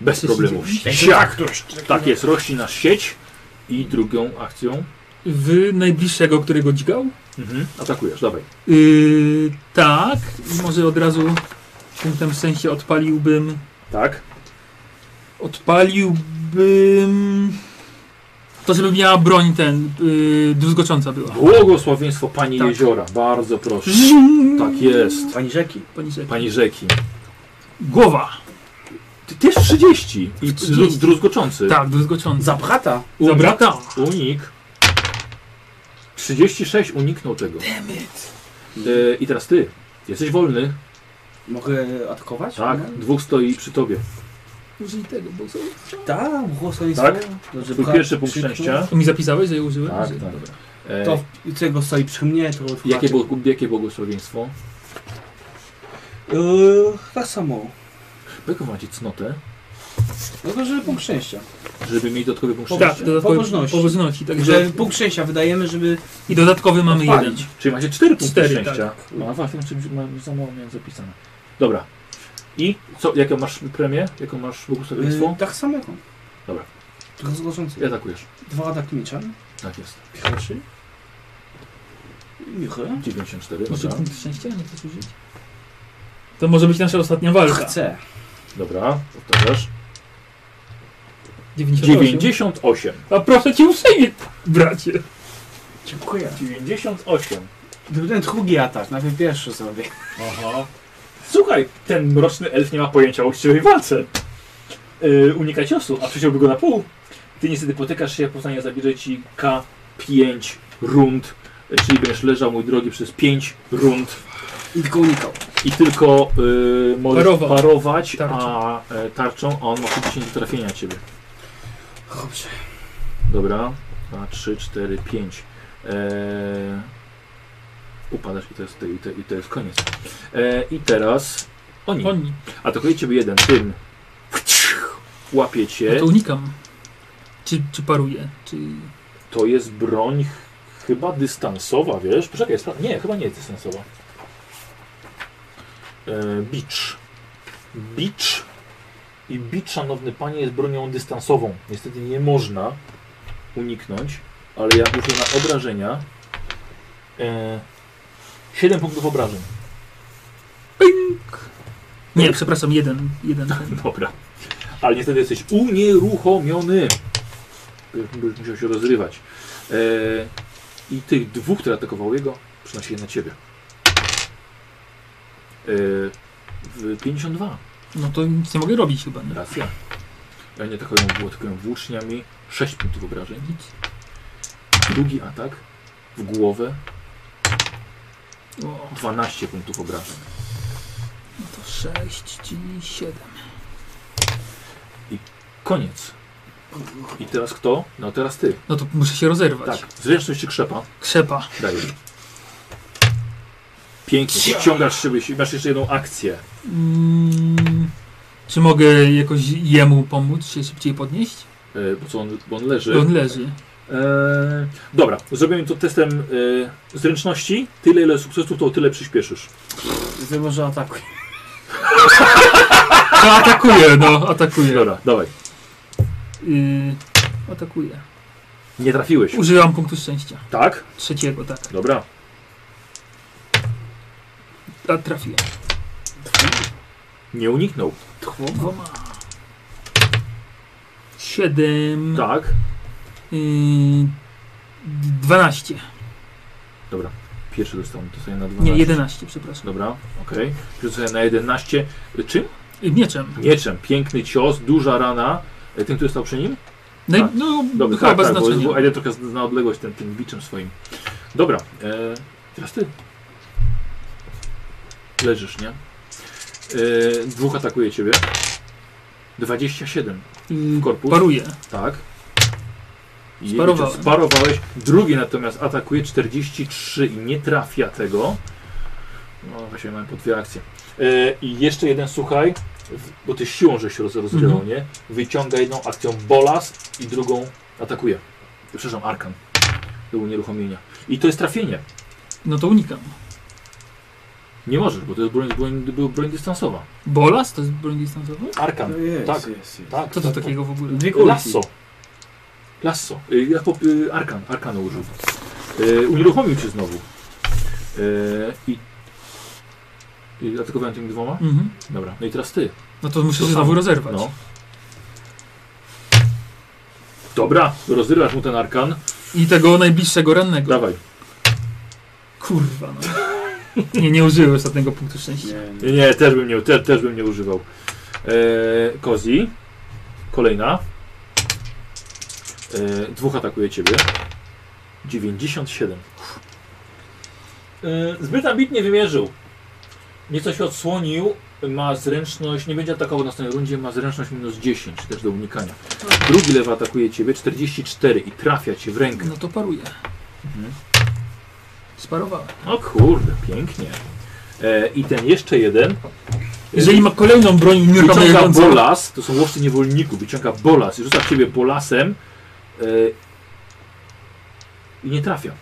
A: Bez
F: Coś
A: problemu.
F: się dzieje.
A: Siak!
F: Tak,
A: Tak jest, rośnie na sieć. I drugą akcją
F: W najbliższego, którego dźgał?
A: mhm. atakujesz, dawaj.
F: Yy, tak. Może od razu w tym- tym sensie odpaliłbym.
A: Tak.
F: Odpaliłbym. To, żeby miała broń ten. Yy, druzgocząca była.
A: Błogosławieństwo Pani
F: Tak.
A: Jeziora. Bardzo proszę.
F: Żum.
A: Tak jest.
G: Pani rzeki.
F: Pani rzeki.
A: Pani Rzeki.
F: Głowa.
A: Ty też 30. I
F: 30.
A: dru- druzgoczący.
F: Tak, druzgocząca.
G: Zabrata.
A: Zabrata. Unik. 36 uniknął tego. E, I teraz ty. Jesteś wolny.
G: Mogę atakować?
A: Tak, dwóch stoi przy tobie.
F: Użyj tego, bo są.
G: Tak, błogosławieństwo.
A: Tak?
G: No, że
A: Twój
G: pcha-
A: pierwszy punkt
G: krzyknął.
A: szczęścia.
F: To mi zapisałeś, że je użyłem?
A: Tak,
F: Że-
A: tak.
F: dobra.
A: E,
G: To w- czego stoi przy mnie, to
A: jakie, było, jakie błogosławieństwo?
G: Yy, tak samo.
A: Jaką macie cnotę,
G: No to, żeby punkt szczęścia.
A: żeby mieć dodatkowy punkt
F: Tak,
A: szczęścia?
F: dodatkowy
G: Pobożności.
F: pobożności, także-
G: Że punkt szczęścia wydajemy, żeby
F: I dodatkowy mamy
G: odpalić.
F: jeden.
A: Czyli macie 4 punkty
F: Cztery,
A: szczęścia. No a właśnie, czymś mam za mało miałem zapisane. Dobra. I co, jaką masz premię? Jaką masz błogosławieństwo?
D: y,
G: Yy, tak samo jak on.
A: Dobra.
G: Tylko zgłoszący.
A: I atakujesz.
G: Dwa ataki mieczem.
A: Tak jest.
G: Pierwszy. Michy.
A: 94,
F: Może
A: dobra.
F: punkt szczęścia nie chcesz użyć? To może być nasza ostatnia walka.
G: Chcę.
A: Dobra, powtarzasz.
F: 98.
A: 98.
F: A proszę cię uprzejmie, bracie.
G: Dziękuję.
A: 98.
G: Gdyby ten drugi atak, najpierw pierwszy zrobię.
A: Aha. Słuchaj, ten mroczny elf nie ma pojęcia o uczciwej walce. Yy, unika ciosu, a przeciąłby go na pół. Ty niestety potykasz się, poznanie zabierze ci K5 rund, e, czyli będziesz leżał, mój drogi, przez 5 rund.
G: I tylko unikał.
A: I tylko yy, możesz
F: Parował.
A: parować,
F: Tarczą.
A: a e, tarczą, a on ma 50 do trafienia ciebie.
G: Dobrze.
A: Dobra, 2, 3, 4, 5. Eee, upadasz i to jest, i to, i to jest koniec. Eee, I teraz oni.
F: Oni.
A: Atakuje ciebie jeden tym. Łapie
F: No
A: cię.
F: to unikam. Czy, czy paruję? Czy...
A: To jest broń ch- chyba dystansowa, wiesz? Poczekaj, spra- nie, chyba nie jest dystansowa. Eee, Bicz. Bicz. I bicz, szanowny panie, jest bronią dystansową. Niestety nie można uniknąć, ale ja użyję na obrażenia. Eee, 7 punktów obrażeń.
F: Nie, przepraszam, jeden. jeden ten.
A: Dobra. Ale niestety jesteś unieruchomiony. Będziesz musiał się rozrywać. Eee, I tych dwóch, które atakowały jego, przynosi je na ciebie. Eee, w 52.
F: No to nic nie mogę robić chyba. Nie?
A: Racja. Ja nie atakują było, atakują włóczniami. 6 punktów obrażeń. Drugi atak w głowę. 12 punktów obrażeń.
F: No to 6, czyli 7.
A: Koniec. I teraz kto? No teraz ty.
F: No to muszę się rozerwać.
A: Tak, zresztą się krzepa.
F: Krzepa.
A: Dajesz. Pięknie, ściągasz siebie, masz jeszcze jedną akcję.
F: Mm, czy mogę jakoś jemu pomóc się szybciej podnieść?
A: E, bo, co on, bo on leży.
F: Bo on leży.
A: E, dobra, zrobimy to testem e, zręczności. Tyle ile sukcesów, to o tyle przyspieszysz.
G: Ty może atakuj.
F: No atakuje, no, atakuje.
A: Dobra, dawaj.
F: Yy, atakuje.
A: Nie trafiłeś.
F: Używam punktu szczęścia.
A: Tak?
F: Trzeciego, tak.
A: Dobra.
F: A trafiłem.
A: Nie uniknął.
F: Dwoma. Siedem.
A: Tak.
F: Yy, dwanaście.
A: Dobra. Pierwszy dostał, to sobie na 12.
F: Nie, 11, przepraszam.
A: Dobra, okej. Okay. Rzucę na 11. Y, Czym?
F: Y, Mieczem.
A: Mieczem. Piękny cios, duża rana. Y, Ten, który stał przy nim?
F: No, i-
A: Tak.
F: no
A: Dobra,
F: chyba
A: tak,
F: bez
A: tak, bo,
F: znaczenia.
A: bo Elia trochę zna- na odległość tym, tym biczem swoim. Dobra, e, teraz ty. Leżysz, nie? E, dwóch atakuje ciebie. 27.
F: Mm,
A: Korpus.
F: paruje.
A: Tak. I
F: Sparowałem.
A: Sparowałeś. Drugi natomiast atakuje 43 i nie trafia tego. No właśnie mamy po dwie akcje. E, I jeszcze jeden, słuchaj, w- bo ty siłą żeś się roz- rozdzielał,
F: Mhm.
A: nie? Wyciąga jedną akcją bolas i drugą atakuje. Przepraszam, arkan. Do unieruchomienia. I to jest trafienie.
F: No to unikam.
A: Nie możesz, bo to jest broń, broń, broń dystansowa.
F: Bolas to jest broń dystansowa?
A: Arkan.
F: No jest,
A: tak.
F: jest, jest.
A: tak.
F: Co to takiego w ogóle?
A: Dwie
F: Dwie
A: kulki.
F: kulki.
A: Lasso. Lasso. Y, Jako y, Arkan. Arkan użył. Y, Unieruchomił cię znowu. Y, I i atakowałem tymi dwoma?
F: Mhm.
A: Dobra. No i teraz ty.
F: No to muszę
A: To
F: się
A: samo.
F: znowu rozerwać.
A: No. Dobra. Rozrywasz mu ten Arkan.
F: I tego najbliższego rannego.
A: Dawaj. Tak.
F: Kurwa no. Nie, nie użyłem ostatniego punktu szczęścia.
A: Nie, nie też, bym nie, te, też bym nie używał. E, Kozi. Kolejna. E, dwóch atakuje ciebie. 97. E, zbyt ambitnie wymierzył. Nieco się odsłonił. Ma zręczność, nie będzie atakował na następnej rundzie, ma zręczność minus 10, też do unikania. Drugi lewy atakuje ciebie, 44 i trafia cię w rękę.
F: No to paruję.
A: Mhm.
F: Sparowałem.
A: O kurde, pięknie. E, I ten jeszcze jeden.
F: Jeżeli ma kolejną broń
A: Wyciąga
F: unieruchamiającą-
A: bolas, to są łowcy niewolników, wyciąga bolas i rzuca w ciebie bolasem e, i nie trafia.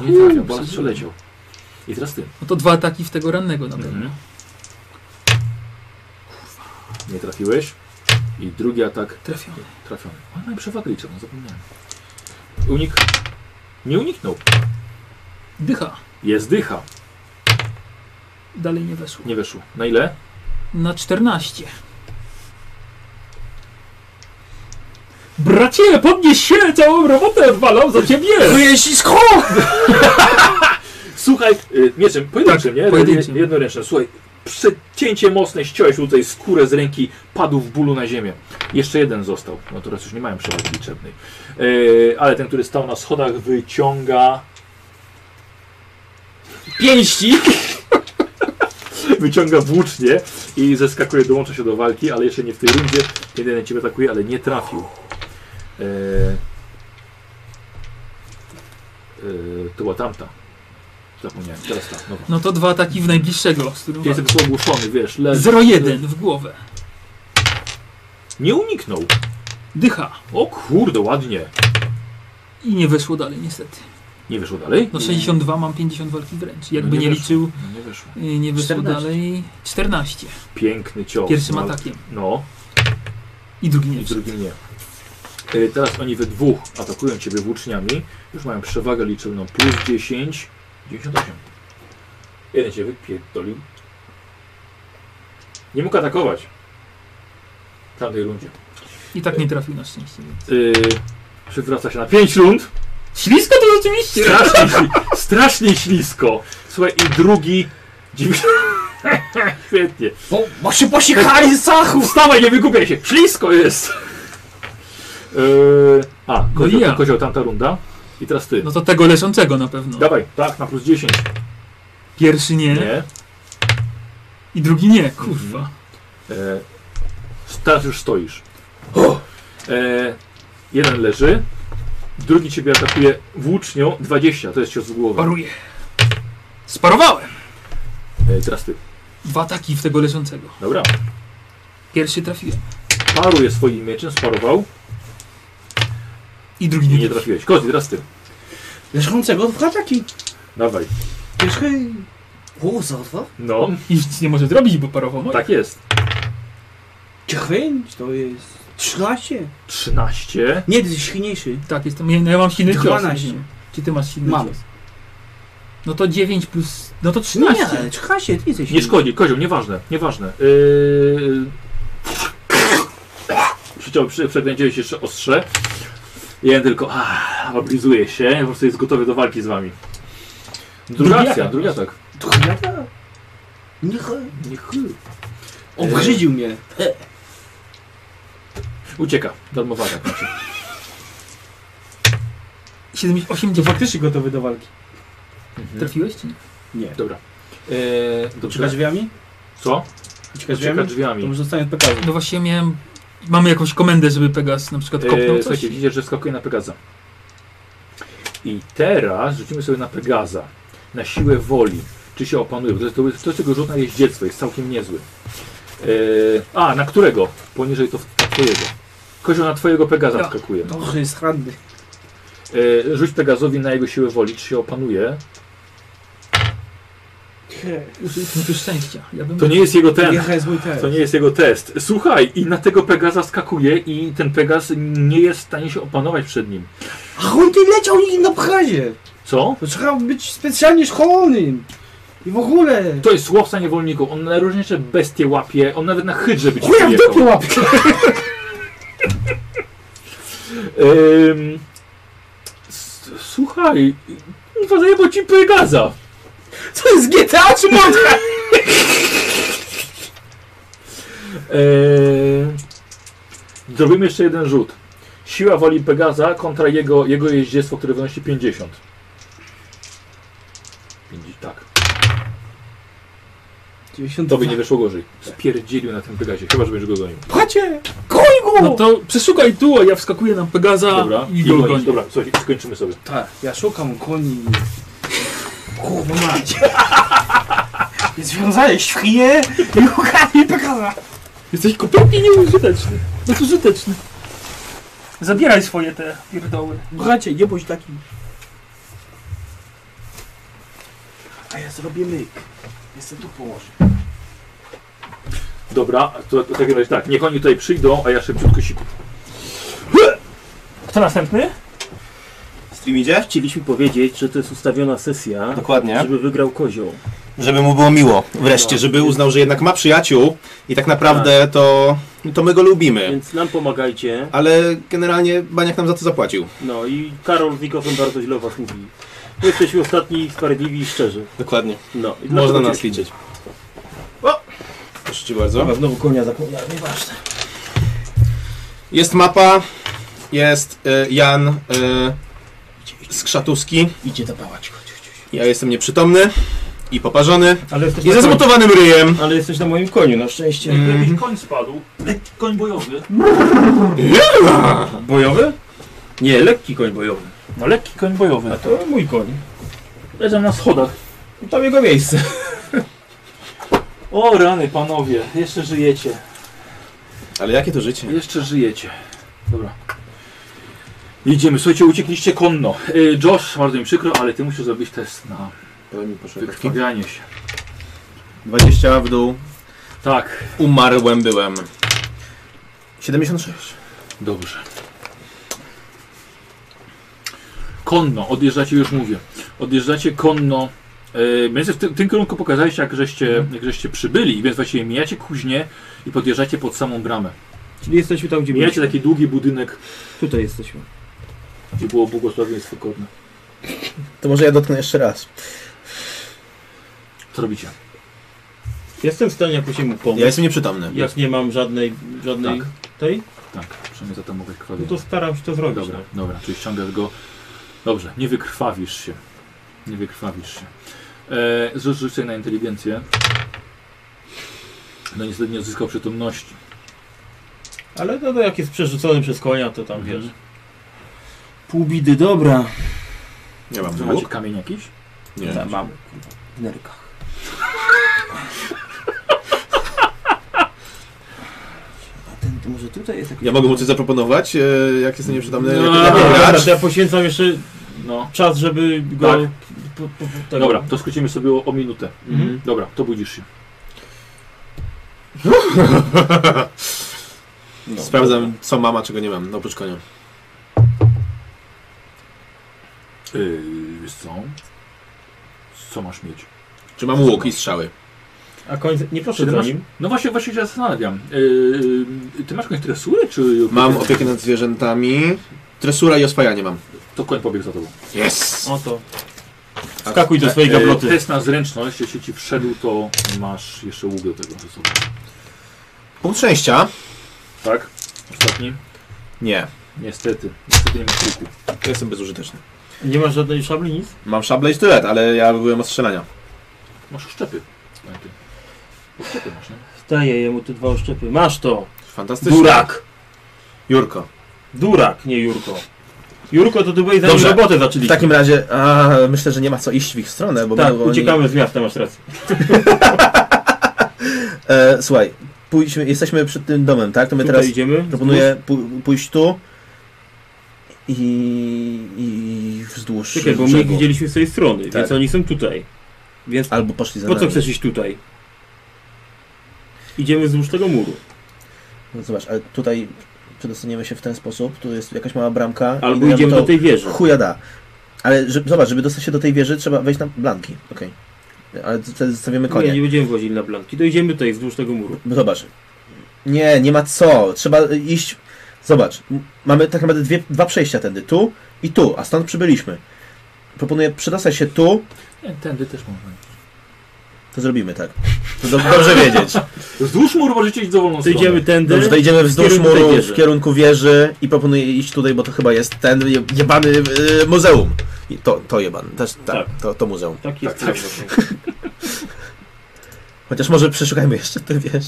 A: Nie
F: Uuu,
A: trafia, bolas
F: przeżył.
A: przeleciał. I teraz ty.
F: No to dwa ataki w tego rannego na pewno.
A: Mhm. Nie trafiłeś. I drugi atak.
F: Trafiony.
A: Trafiony. Ale mam przewagę liczebną, zapomniałem. Unik. Nie uniknął.
F: Dycha.
A: Jest dycha.
F: Dalej nie weszło.
A: Nie weszło. Na ile?
F: Na 14. Bracie, podnieś się! Całą robotę odwalam za ciebie! Wyjeździ z
A: <laughs> Słuchaj, y, mieczem pojedynczym, nie?
F: Tak, pojedynczym.
A: Jed- Jednoręcznym. Słuchaj, przecięcie mocne, ściąłeś mu tutaj skórę z ręki, padł w bólu na ziemię. Jeszcze jeden został. No teraz już nie mają przewagi liczebnej. Y, ale ten, który stał na schodach, wyciąga... Pięści! <laughs> wyciąga włócznie i zeskakuje, dołącza się do walki, ale jeszcze nie w tej rundzie. Jeden ciebie atakuje, ale nie trafił. E... E... To była tamta. Zapomniałem, teraz ta. Dobra.
F: No to dwa ataki w najbliższego, z którym
A: Ja jestem
F: walczę.
A: tu ogłuszony, wiesz, leży.
F: 0-1 w głowę.
A: Nie uniknął.
F: Dycha.
A: O kurde, ładnie.
F: I nie weszło dalej, niestety.
A: Nie wyszło dalej?
F: No 62, mam 50 walki wręcz. Jakby
A: nie
F: nie,
A: weszło.
F: liczył,
A: No, Nie wyszło.
F: y, nie wyszło
A: 14.
F: dalej. 14.
A: Piękny cios.
F: Pierwszym
A: No,
F: atakiem.
A: No.
F: I drugi nie.
A: I drugi nie. E, Teraz oni we dwóch atakują ciebie włóczniami. Już mają przewagę liczebną plus 10, 98. Jeden cię wypierdolił. Nie mógł atakować. W tamtej rundzie.
F: I tak nie trafił na szczęście. więc.
A: Yy, przywraca się na 5 rund.
F: Ślisko to rzeczywiście!
A: Strasznie,
G: <laughs>
A: śli- strasznie ślisko. Słuchaj, i drugi... dziewię- <laughs> Świetnie.
G: Bo, bo się posiekali z zachu!
A: Wstawaj, nie wygubiaj się! Ślisko jest! Yy, a,
F: No i No.
A: kozioł,
F: ja.
A: kozioł tamta runda. I teraz ty.
F: No to tego leżącego na pewno.
A: Dawaj, tak, na plus 10.
F: Pierwszy nie. Mhm.
A: Nie.
F: I drugi nie, kurwa.
A: E, teraz już stoisz. E, jeden leży, drugi ciebie atakuje włócznią 20, to jest cios w głowę.
F: Paruję. Sparowałem!
A: E, teraz ty.
F: Dwa ataki w tego leżącego.
A: Dobra.
F: Pierwszy trafiłem.
A: Paruje swoim mieczem, sparował.
F: I drugi
A: nie, nie trafiłeś. Kozi, teraz ty.
D: Leżącego w ataki.
A: Dawaj.
D: Pierwszy... O, za dwa?
A: No.
F: I nic nie może zrobić, bo parował moje.
A: Tak jest.
D: Dziewięć to jest... 13.
A: 13.
D: Nie, ty jesteś silniejszy.
F: Tak, jestem. Ja ja mam silny cios.
D: 12.
F: Czy ty masz silny
D: Mam.
F: cios? No to 9 plus... No to 13.
D: Nie, ale 13, ty jesteś
A: Nie szkodzi, kozioł, nieważne, nieważne. Yy... Przyciął, przy, przeględziłeś jeszcze ostrze. Jeden tylko ah, oblizuje się, po prostu jest gotowy do walki z wami. Druga
D: Drugi
A: akcja,
D: atak.
A: drugi atak.
D: Drugi atak? Niech...
A: Niech...
D: Obrzydził mnie.
A: Ucieka, darmowa atak. znaczy.
F: 78 to faktycznie
D: gotowy do walki.
A: Mhm.
F: Trafiłeś czy nie?
D: Nie.
A: Dobra. Eee,
D: Ucieka drzwiami?
A: Co?
D: Ucieka drzwiami? To może zostanie od Pegazu.
F: No właśnie miałem... Mamy jakąś komendę, żeby Pegas na przykład kopnął
A: Eee,
F: coś?
A: słuchajcie, widzicie, że skakuje na Pegaza. I teraz rzucimy sobie na Pegaza. Na siłę woli. Czy się opanuje? Bo To, to, to jest jego rzut na jeździectwo, jest całkiem niezły. Eee, a, na którego? Poniżej to w- na twojego. Kozioł na twojego
F: Tak.
A: Pegaza
D: Ja.
A: skakuje.
F: No.
D: Dobrze, jest hradny.
A: Eee, rzuć Pegazowi na jego siłę woli, czy się opanuje.
F: Użyliśmy tu szczęścia. Ja bym...
A: To nie jest jego ten.
F: Jaka jest mój test.
A: To nie jest jego test. Słuchaj, i na tego Pegaza skakuje i ten Pegaz nie jest w stanie się opanować przed nim.
D: A on ty leciał i na pchazie.
A: Co?
D: To trzeba być specjalnie szkolonym. I w ogóle.
A: To jest łowca niewolników. On najróżniejsze bestie łapie. On nawet na hydrze być
D: Chuja w
A: przyjechał.
D: dupie łapie.
A: Ym, s- Słuchaj, chyba zajebał ci Pegaza.
D: Co jest GTA czy modka?
A: Eee, zrobimy jeszcze jeden rzut. Siła woli Pegaza kontra jego, jego jeździectwo, które wynosi 50. 50 tak.
D: 90.
A: Tobie nie wyszło gorzej. Spierdzielił na tym Pegazie, chyba że będziesz go gonił.
D: Pchacie! Koń go!
F: No to przeszukaj tu, a ja wskakuję na Pegaza
A: Dobra,
F: i go
A: gonisz.
F: gonię.
A: Dobra, słuchaj, skończymy sobie.
D: Tak, ja szukam koni. Kurwa mać. <laughs> Jest związane świnie i łukami Pegaza.
F: Jesteś kompletnie nieużyteczny. Znaczy, Bezużyteczny. Zabieraj swoje te pierdoły.
D: Bracie, nie bądź taki. A ja zrobię myk. Jestem tu położę.
A: Dobra, to, to w takim razie tak, niech oni tutaj przyjdą, a ja szybciutko siku.
P: Kto następny?
E: Stream idzie?
P: Chcieliśmy powiedzieć, że to jest ustawiona sesja.
E: Dokładnie.
P: Żeby wygrał kozioł. No.
E: Żeby mu było miło wreszcie, żeby uznał, że jednak ma przyjaciół i tak naprawdę to, to my go lubimy.
Q: Więc nam pomagajcie.
E: Ale generalnie Baniak nam za to zapłacił.
Q: No i Karol z Nikofem bardzo źle o was mówi. My jesteśmy ostatni, sprawiedliwi i szczerzy.
E: Dokładnie.
Q: No, i
E: Można
Q: dlatego
E: nas
Q: cię-
E: liczyć. O! Proszę Ci bardzo.
Q: Chyba
E: znowu konia zapomniałem, nieważne. Jest mapa, jest y, Jan y, Skrzatuski. Idzie do pałaczku. Ja jestem nieprzytomny i poparzony.
I: Ale jesteś
E: I
I: na
E: ze
I: koniu.
E: zmutowanym ryjem.
I: Ale jesteś na moim koniu, na szczęście.
A: Mm.
E: Mhm.
R: Koń spadł. Lekki koń bojowy.
I: Bojowy? Nie, lekki koń bojowy.
P: No lekki koń bojowy.
I: A to mój koń.
A: Leżę na schodach.
I: I tam jego miejsce.
A: O rany panowie, jeszcze żyjecie.
E: Ale jakie to życie?
A: Jeszcze żyjecie. Dobra. Idziemy, słuchajcie, uciekliście konno. Y, Josh, bardzo mi przykro, ale ty musisz zrobić test na wykrwawianie się.
E: 20 w dół.
A: Tak.
E: Umarłem byłem. 76.
A: Dobrze. Konno, odjeżdżacie, już mówię. Odjeżdżacie konno. Yy, więc w tym, tym kierunku pokazaliście, jak żeście, jak żeście przybyli, więc właściwie mijacie kuźnię i podjeżdżacie pod samą bramę.
I: Czyli jesteśmy tam, gdzie
A: Mijacie taki długi budynek,
I: Tutaj jesteśmy.
A: gdzie było błogosławieństwo godne.
S: To może ja dotknę jeszcze raz.
A: Co robicie?
I: Jestem w stanie jakoś mu pomóc.
E: Ja jestem nieprzytomny.
I: Jak nie mam żadnej, żadnej
A: Tak.
I: tej,
A: Tak, przynajmniej zatamować
I: no
A: krwawienie.
I: to staram się to zrobić.
A: Dobra,
I: no.
A: dobra, czyli ściągasz go. Dobrze, nie wykrwawisz się. Nie wykrwawisz się. E, rzu- Rzucaj na inteligencję. No niestety nie odzyskał przytomności.
I: Ale no, no jak jest przerzucony przez konia, to tam wiesz. Pół bidy, dobra.
O: Nie mam
A: Że
O: dwóch?
A: macie kamień jakiś?
O: Nie.
I: Ta, mam.
A: W nerkach.
I: Ten, to może tutaj jest jakiś...
O: Ja mogę mu coś zaproponować, e, jak jestem nieprzytomny?
I: No,
O: jak-
I: dobra,
O: gracz?
I: to ja poświęcam jeszcze czas, żeby go...
A: Tak.
I: po- po- tego-
A: No. Dobra, to skrócimy sobie o, o minutę.
I: Mhm.
A: Dobra, to budzisz się.
O: No, Sprawdzam, co mam, a czego nie mam, No, oprócz konia.
A: Yy, wiesz co? Co masz mieć?
O: Czy mam łuk i strzały?
I: A koń... Nie
A: Ty
I: poszedł za
A: masz-
I: nim?
A: No właśnie, właśnie się zastanawiam. Yy, ty masz kogoś tresury, czy...
O: Mam opiekę nad zwierzętami, tresura i oswajanie mam.
A: To koń pobiegł za tobą.
O: Yes!
I: Oto.
O: A- Wskakuj do swojej
A: e, e,
O: gabloty.
A: Test na zręczność, jeśli ci wszedł, to masz jeszcze łuk do tego ze sobą.
O: Punkt szczęścia.
A: Tak? Ostatni?
O: Nie.
A: Niestety. Niestety nie masz łuku.
O: Ja jestem bezużyteczny.
I: no. Nie masz żadnej szabli, nic?
O: Mam szablę i sztylet, ale ja byłem od strzelania.
A: Masz szczepy. Szczepy masz, nie?
I: Daję jemu te dwa oszczepy. Masz to!
O: Fantastycznie.
I: Durak!
O: Jurko.
I: Durak, nie Jurko. Jurko, to ty byłeś za nim robotę zaczęli.
E: W takim razie a, myślę, że nie ma co iść w ich stronę, bo
I: Tak,
E: będą oni-
I: uciekamy z miasta, masz rację.
E: E, słuchaj, pójdźmy, jesteśmy przed tym domem, tak? To my
I: Tutaj
E: teraz
I: idziemy?
E: proponuję pó- pójść tu i, i wzdłuż
I: Czekaj, bo my ich
E: brzegu.
I: widzieliśmy z tej strony,
E: Tak.
I: więc oni są tutaj.
E: Więc albo poszli za
I: Po co
E: nami.
I: chcesz iść tutaj? Idziemy wzdłuż tego muru.
E: No zobacz, ale tutaj przedostaniemy się w ten sposób, tu jest jakaś mała bramka.
I: Albo
E: i nam
I: idziemy
E: to
I: do tej wieży.
E: Chuja da. Ale że, zobacz, żeby dostać się do tej wieży, trzeba wejść na blanki. Okej. Ale wtedy zostawimy konie.
I: Nie, nie będziemy włazili na blanki. Dojdziemy tutaj wzdłuż tego muru.
E: No Zobacz. Nie, nie ma co. Trzeba y, iść. Zobacz, m- mamy tak naprawdę dwie, dwa przejścia tędy, tu i tu, a stąd przybyliśmy. Proponuję przedostać się tu,
A: Nie, tędy też można.
E: to zrobimy tak. To do,
I: <laughs>
E: dobrze wiedzieć.
A: Wzdłuż muru możecie iść dowolną
E: To
A: stronę.
E: Dobrze, to idziemy wzdłuż
A: Kierunku tej
E: muru
A: wieży.
E: w kierunku wieży i proponuję iść tutaj, bo to chyba jest ten je- jebany y, muzeum. I to, to jeban, też, tak, To, to muzeum.
I: Tak jest.
E: Tak, tak. Chociaż może przeszukajmy jeszcze te wieże.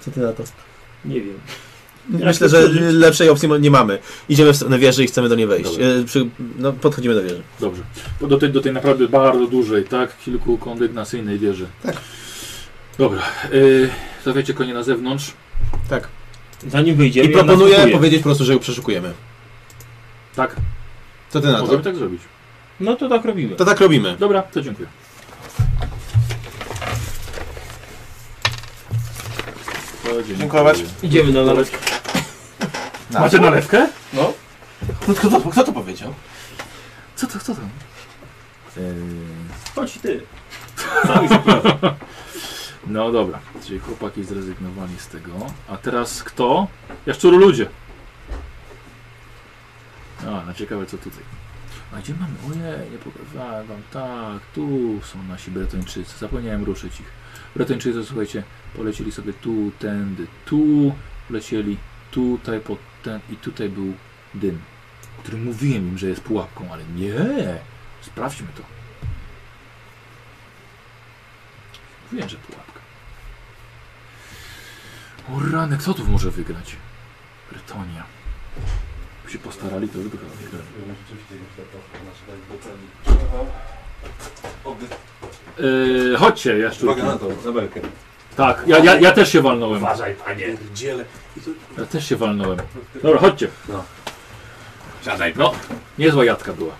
E: Co ty na to?
I: Nie wiem.
E: Myślę, że lepszej opcji mo- nie mamy. Idziemy w stronę wieży i chcemy do niej wejść. E, Przy, no, podchodzimy do wieży.
A: Dobrze. Bo do tej, do tej naprawdę bardzo dużej, tak? Kilkukondygnacyjnej wieży. Tak. Dobra. Yy, stawiacie konie na zewnątrz.
O: Tak.
I: Zanim wyjdziemy.
O: I proponuję powiedzieć po prostu, że ją przeszukujemy.
A: Tak.
O: Co ty na to?
A: Możemy tak zrobić.
I: No to tak robimy.
O: To tak robimy.
A: Dobra, to dziękuję. To dziękuję.
O: Dziękować.
I: Idziemy na nalewkę.
A: Macie nalewkę?
O: No. Kto, kto, to- kto to powiedział?
A: Co to, co tam?
O: Y,
I: Chodź ty.
A: No dobra, czyli chłopaki zrezygnowali z tego. A teraz kto? Jaszczuru ludzie. A, no ciekawe co tutaj. A gdzie mamy? Ojej, nie pokazałem wam. Tak, tu są nasi Bretończycy. Zapomniałem ruszyć ich. Bretończycy, słuchajcie, polecieli sobie tu, tędy, tu. Lecieli tutaj, pod ten i tutaj był dym, który mówiłem im, że jest pułapką, ale nie. Sprawdźmy to. Wiem, że pułapka. O rany, kto tu może wygrać? Bretonia. By się postarali, to by wygrali. Yy, chodźcie, ja szczur.
K: Uwaga na to, na belkę.
A: Tak, ja, ja, ja też się walnąłem.
K: Uważaj, panie. Dziele.
A: Ja też się walnąłem. Dobra, chodźcie.
K: No.
A: Siadaj. No, niezła jadka była.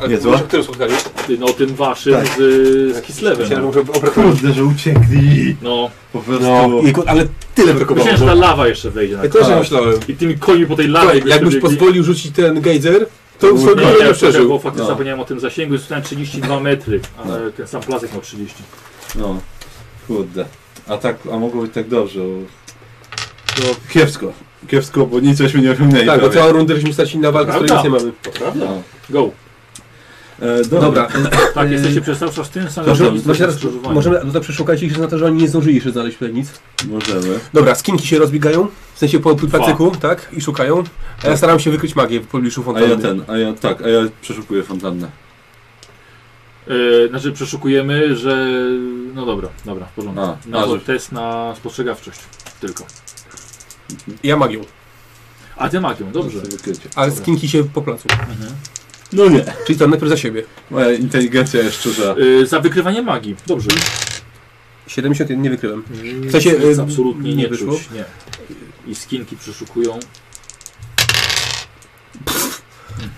K: Ale Niezła? mówisz o którym spotkaniu?
A: Ty, No, tym waszym
K: Tak.
A: z, y, z Kislewem.
K: Myślałem, że
A: no.
K: Kurde, że uciekli.
A: No.
K: Po prostu. No, i kur- ale tyle brakowało.
A: Myślałem, że Tak, ta lawa jeszcze wejdzie na
K: Ja też
A: koniec.
K: tak myślałem.
A: I tymi koni po tej lawie.
K: Słuchaj,
A: by
K: Jakbyś
A: przebiegli.
K: pozwolił rzucić ten gejzer, to
A: Nie,
K: sobie nie
A: nie, nie przeżył.
K: przeżył.
A: Bo faktycznie zapomniałem o tym zasięgu i zostałem 32 metry,
K: No.
A: ale ten sam placek miał 30.
C: No, kurde. A tak, a mogło być tak dobrze. Bo... Kiepsko. Kiepsko, bo nicośmy nie osiągnęli.
K: Tak, bo
C: prawie.
K: całą rundę żeśmy stracili na walkę, z której nic nie mamy.
C: No.
A: Go.
C: E,
K: Dobra.
A: Tak,
K: E,
A: jesteście przez cały czas w tym samym
K: Może,
A: miejscu,
K: może teraz,
A: skrzyżowaniu.
K: możemy no to przeszukać ich na to, że oni nie zdążyli jeszcze znaleźć tutaj nic.
C: Możemy.
K: Dobra, skinki się rozbiegają, w sensie po placyku, tak? I szukają. A ja
C: Tak.
K: staram się wykryć magię w pobliżu
C: A
K: fontanny.
C: ja ten, a ja tak, a ja przeszukuję fontannę.
A: E, znaczy przeszukujemy, że... No dobra, dobra, w porządku.
C: A,
A: na
C: a,
A: to
C: że-
A: test na spostrzegawczość tylko.
O: Ja magią.
A: A ty magią, dobrze.
J: Ale z kinki się poplacą.
A: No nie.
J: Czyli to najpierw za siebie.
C: Moja inteligencja jest szczurza.
A: Y, za wykrywanie magii, dobrze.
J: 71 nie wykryłem.
A: W
J: sensie,
A: jest
J: y,
A: absolutnie
J: nie
A: nie
J: wyszło?
A: czuć, nie. I skinki przeszukują.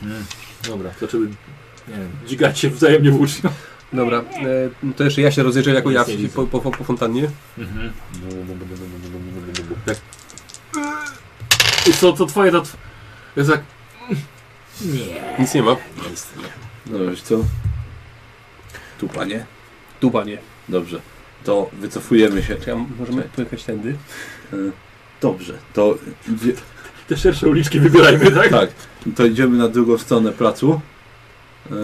A: Mhm. Dobra, zaczęły, nie wiem, dzigać się wzajemnie włócznią.
J: Dobra, e, to jeszcze ja się rozejrzę jako
A: Nic
J: ja
A: nie widzę.
J: po, po, po, po fontannie.
A: Mhm. Tak. I co, co twoje, to... tw- Jest tak... Nie.
J: Nic nie ma.
C: No wiesz co? Tu panie.
J: Tu panie.
C: Dobrze. To wycofujemy się.
J: Czekaj, możemy pojechać tędy?
C: Y, Dobrze, to... Idzie...
A: Te szersze uliczki wybierajmy, tak?
C: Tak. To idziemy na drugą stronę placu.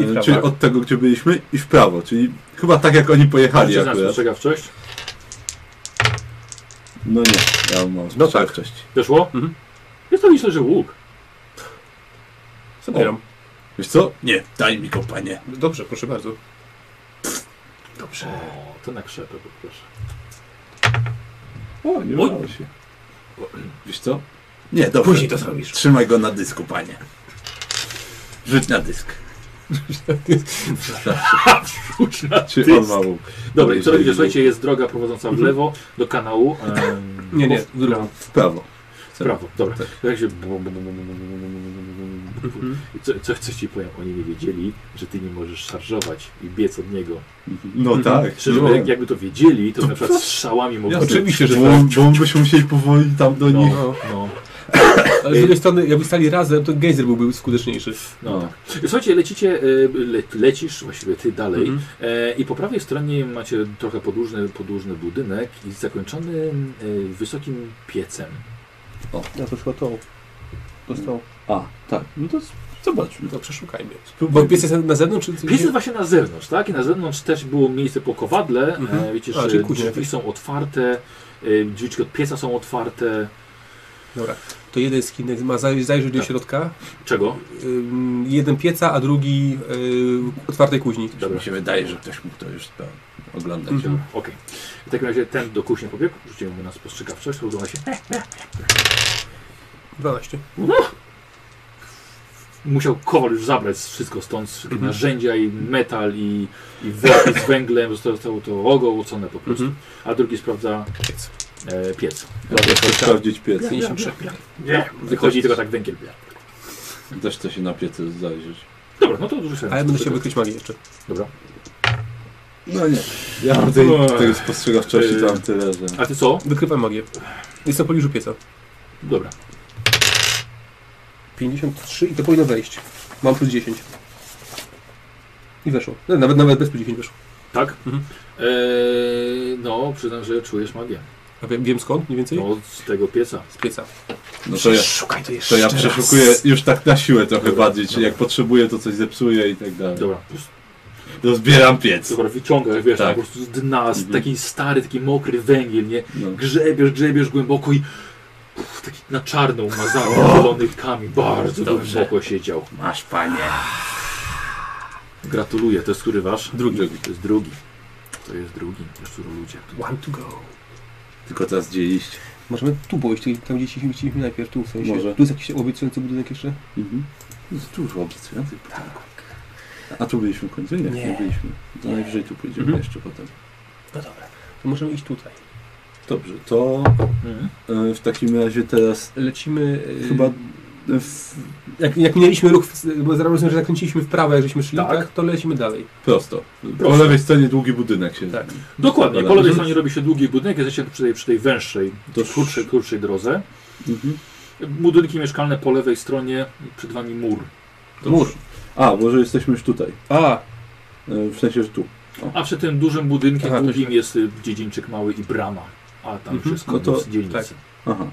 A: I w
C: Y,
A: prawo.
C: czyli od tego, gdzie byliśmy i w prawo, czyli chyba tak jak oni pojechali
A: Czy znasz
C: akurat.
A: spostrzegawczość?
C: No nie, ja mam
A: tak.
C: spostrzegawczość.
A: Weszło? Mhm. Jest to myślę, że łuk.
C: Zabieram. Wiesz co? Nie, daj mi go, panie.
J: Dobrze, proszę bardzo.
A: Dobrze. O, to na krzepę poproszę.
C: O, nie
A: Oj.
C: udało się. Wiesz co? Nie, dobrze.
A: Później to zrobisz.
C: Trzymaj go na dysku, panie. Rzuć na dysk.
A: Wrzuć na
C: Czy
A: dysk.
C: on ma łuk?
A: Dobra, i co
C: Jeżeli
A: robicie?
C: łuk.
A: Słuchajcie, jest droga prowadząca w
C: Mhm.
A: lewo do kanału. em,
J: Nie, nie,
A: w
J: w drugą.
C: W prawo.
A: W prawo, dobra. Jak się... I Co, co, coś ci powiem, oni nie wiedzieli, że ty nie możesz szarżować i biec od niego.
C: No tak.
A: Szczerze,
C: nie
A: Mhm. jak, jakby to wiedzieli, to, na przykład strzałami mogą...
C: bo, bo byśmy musieli powoli tam do nich.
A: tak. No, no.
J: Ale z drugiej strony, jakby stali razem, to gejzer byłby skuteczniejszy.
A: No. tak. Słuchajcie, lecicie, y, le, lecisz właściwie ty dalej
J: Mhm.
A: e, i po prawej stronie macie trochę podłużny, podłużny budynek i zakończony y, wysokim piecem.
J: Ja to szło to. Dostał.
C: A, tak. No to z- zobaczmy.
J: To przeszukajmy.
C: Spróbujmy.
J: Bo pies jest na zewnątrz? Czy
A: Pies jest właśnie na zewnątrz, tak? I na zewnątrz też było miejsce po kowadle.
J: Mhm.
A: E, wiecie,
J: A,
A: że
J: czyli kuźnia.
A: drzwi są otwarte, e, drzwiczki od pieca są otwarte.
J: Dobra, to jeden skinek ma zaj- zajrzeć do
A: Tak.
J: środka.
A: Czego?
J: Mhm. Ym, jeden pieca, a drugi yy, otwartej kuźni.
A: Dobra.
C: Mi się wydaje, że ktoś mógł to już tam oglądać.
A: Mhm. Okej. W takim razie ten do kuźni pobiegł, rzuciłem mu na spostrzegawczość, to udało się.
J: 12.
A: Musiał kowal już zabrać wszystko stąd, wszystkie
J: Mhm.
A: narzędzia i metal i, i worki z węglem, zostało to ogołocone po prostu.
J: Mhm.
A: A drugi sprawdza piec. E, piec.
C: Ja też chcę sprawdzić piec.
A: Nie, wychodzi tylko tak węgiel. bla.
C: Też chce się na piecu zajrzeć.
A: Dobra, no to rzucę.
J: A ja będę chciał wykryć magię jeszcze.
A: Dobra.
C: No nie. Ja mam tej,
A: Oj.
C: tego spostrzegawczości to mam tyle, że...
A: A ty co?
J: Wykrywam magię. Jest to poliżu pieca.
A: Dobra.
J: 53 i to powinno wejść. Mam plus 10. I weszło. No, Nawet, nawet bez plus 10 weszło.
A: Tak? E, no, przyznam, że czujesz magię.
J: A wiem, wiem skąd mniej więcej?
A: No, z tego pieca.
J: Z pieca.
C: No to ja,
J: Szukaj to
C: to
J: jeszcze
C: ja
J: raz.
C: przeszukuję już tak na siłę trochę
A: Dobra,
C: bardziej, czyli jak potrzebuję to coś zepsuję i tak dalej.
A: Dobra.
C: Rozbieram
K: E,
C: piec.
A: Dobra, wyciągasz, wiesz,
C: Tak.
A: po prostu z dna, z
C: Mhm.
A: taki stary, taki mokry węgiel, nie?
C: No.
A: Grzebiesz, grzebiesz głęboko i uff, taki na czarno umazany, zielony kamień, bardzo
C: Dobrze.
A: głęboko siedział.
C: Masz panie.
A: Gratuluję, to jest który wasz?
J: Drugi.
A: To jest drugi. To jest drugi, jeszcze ludzie.
J: One to go.
C: Tylko teraz gdzie iść.
J: Możemy tu pójść, czyli tam gdzieś chcieliśmy najpierw, tu w sensie.
C: Może.
J: Tu jest jakiś obiecujący budynek jeszcze?
C: Mhm. Jest dużo obiecujących budynków. A tu byliśmy w końcu? Nie, nie,
J: Nie.
C: byliśmy. To
J: Nie.
C: najwyżej tu pójdziemy
J: Mhm.
C: jeszcze potem.
J: No dobra. To możemy iść tutaj.
C: Dobrze, to
A: Mhm.
C: e, w takim razie teraz
J: Lecimy... e,
C: chyba... e, W...
J: Jak, jak minęliśmy ruch, w- bo zaraz rozumiem, że zakręciliśmy w prawo, jak żeśmy szli,
A: Tak.
J: tak. to lecimy dalej.
C: Prosto. Po
A: Prosto.
C: lewej stronie długi budynek się...
J: Tak.
A: Dokładnie,
C: Dobra.
A: po lewej
C: Mhm.
A: stronie robi się długi budynek, jesteście przy tej, przy tej węższej,
C: To-
A: krótszej, krótszej drodze.
C: Mhm.
A: Budynki mieszkalne po lewej stronie, przed wami mur.
C: Mur. A, może jesteśmy już tutaj.
J: A,
C: E, W sensie, że tu.
A: A przy tym dużym budynkiem
J: Aha,
A: długim
J: też-
A: jest y, dziedzińczyk mały i brama. A tam już jest
C: No
A: koniec
C: to-
A: dzielnicy.
C: Aha.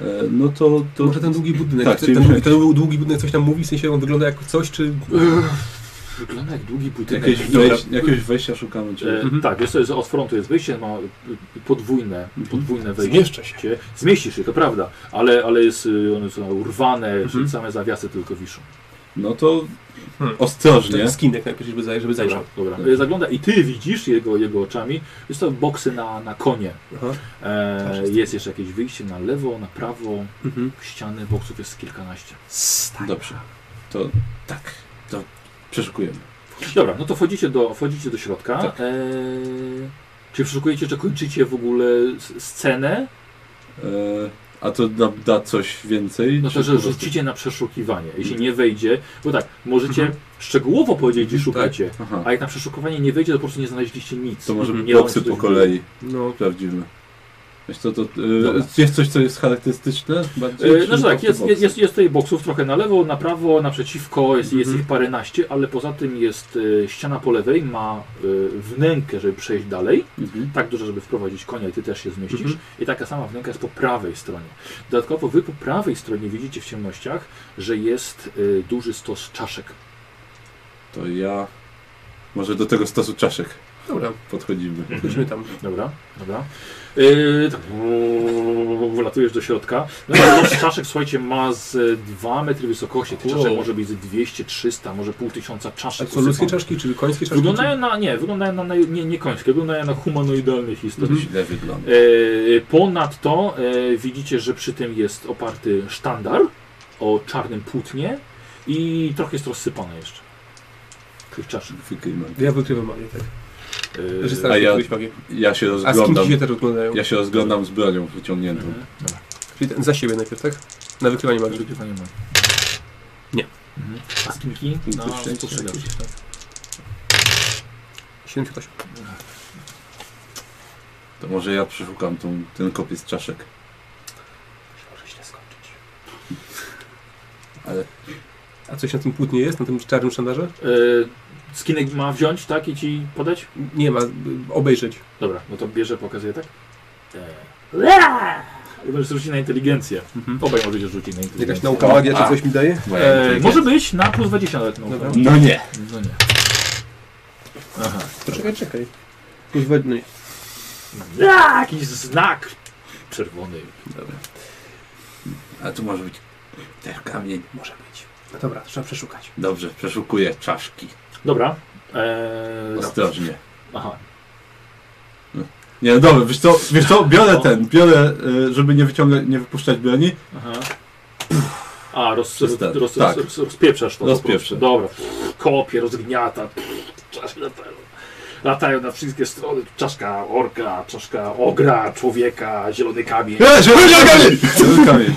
C: E, No to...
J: to
C: to...
J: może ten długi budynek.
C: Tak,
J: ten,
C: czyli
J: ten,
C: muszę-
J: długi, ten długi budynek coś tam mówi, w sensie on wygląda jak coś, czy...
A: Ech, Wygląda jak długi budynek.
C: Jakieś, Mhm.
A: Dobra.
C: wejś... Jakiegoś wejścia szukamy, czy...
A: E, Tak, jest, jest od frontu jest wejście, ma y, y, podwójne,
C: Mhm.
A: podwójne wejście.
J: Zmieszczę się.
C: Mhm.
A: Zmieści się, to prawda, ale, ale jest, y, one są urwane, czy same zawiasy tylko wiszą.
C: No to
A: Hmm.
C: ostrożnie.
A: Ten
C: skinek najpierw, żeby, zaj- żeby
A: Dobra, dobra. Y, Zagląda i ty widzisz jego, jego oczami. Jest to boksy na, na konie. E, jest jeszcze jakieś wyjście na lewo, na prawo. Ściany boksów jest kilkanaście.
C: Dobrze. To tak. To przeszukujemy.
A: Dobra, no to wchodzicie do, wchodzicie do środka. E, czy przeszukujecie, czy kończycie w ogóle s- scenę?
C: E, a to da, da coś więcej?
A: No to,
C: czy
A: że
C: po prostu-
A: rzucicie na przeszukiwanie. Jeśli nie wejdzie, bo tak, możecie szczegółowo powiedzieć, gdzie szukacie,
C: Aha.
A: a jak na przeszukiwanie nie wejdzie, to po prostu nie znaleźliście nic. E,
C: To może
A: nie
C: boksy
A: robicie
C: po
A: coś
C: kolei.
A: No.
C: Sprawdzimy. Wiesz co, to e,
A: Dobra.
C: jest coś, co jest charakterystyczne? bardziej,
A: E,
C: czy
A: Znaczy tak,
C: boksy,
A: jest,
C: boksy?
A: jest, jest, jest tutaj boksów trochę na lewo, na prawo, naprzeciwko, jest, jest ich paręnaście, ale poza tym jest e, ściana po lewej, ma e, wnękę, żeby przejść dalej,
C: Mhm.
A: tak duża, żeby wprowadzić konia i ty też się zmieścisz
O: Mhm.
A: i taka sama wnęka jest po prawej stronie. Dodatkowo wy po prawej stronie widzicie w ciemnościach, że jest e, duży stos czaszek.
C: To ja... Może do tego stosu czaszek.
A: Dobra. Mhm.
C: Podchodzimy.
A: Chodźmy tam. Dobra, dobra. Yy, tak, uuu, wlatujesz do środka. No i
J: <laughs>
A: los czaszek, słuchajcie, ma z 2 metry wysokości. Tych czaszek
J: Wow.
A: może być z 200, 300, może pół tysiąca czaszek.
J: A co, ludzkie
A: usypanych.
J: czaszki, czy końskie czaszki?
A: Wyglądają na, nie, wyglądają na, na nie, nie końskie, wyglądają na humanoidalnych istot.
J: Mhm.
C: To źle wygląda.
A: E, Ponadto e, widzicie, że przy tym jest oparty sztandar o czarnym płótnie i trochę jest rozsypane jeszcze. Tych E, czaszek.
J: Ja wykrywam magię, tak. Że tak.
C: Yy,
J: staram
C: a
J: się
C: ja,
J: wykryć magię.
C: ja się
J: A z
C: rozglądam.
J: kim ci się też rozglądają?
C: Ja się rozglądam z bronią wyciągniętą.
A: Mhm,
J: Czyli ten, za siebie najpierw, tak? Na wykrywanie magii.
A: Wykrywanie magii.
J: Nie.
A: Mhm. A z kimki?
J: Punkty
A: Na
J: szczęścia
A: spostrzegawczość, tak.
J: 78.
C: To może ja przeszukam tą, ten kopiec czaszek. Może źle skończyć. Ale
J: A coś na tym płótnie jest, na tym czarnym sztandarze?
A: Yy, skinek ma wziąć, tak, i ci podać?
J: Nie ma, y, obejrzeć.
A: Dobra, no to bierze, pokazuje, tak? Eee. I Możesz rzucić na inteligencję. Obaj możecie rzucić na inteligencję.
J: Mhm. Jakaś nauka magia czy
A: A.
J: coś mi daje?
A: Moja Eee, inteligencja. może być na plus 20 nawet nauka.
J: Dobra.
A: magia. No nie. Aha.
J: To czekaj, czekaj. Plus dwa- no nie.
A: Eee, Jakiś znak czerwony.
C: Dobra. A tu może być też kamień. Może być.
J: No dobra, trzeba przeszukać.
C: Dobrze, przeszukuję czaszki.
A: Dobra. Eee,
C: Ostrożnie.
A: Aha.
C: Nie, no dobra, wiesz co, wiesz co biorę ten, biorę, y, żeby nie wyciągać, nie wypuszczać broni.
A: Aha. A, roz, roz,
C: Przez
A: roz,
C: ten,
A: roz,
C: tak.
A: roz, rozpieprzasz to. po prostu.
C: Rozpieprzę.
A: Dobra. Kopie, rozgniata. Czaszki latają. Latają na wszystkie strony. Czaszka orka, czaszka ogra, człowieka, zielony kamień.
C: E, zielony kamień! Zielony kamień.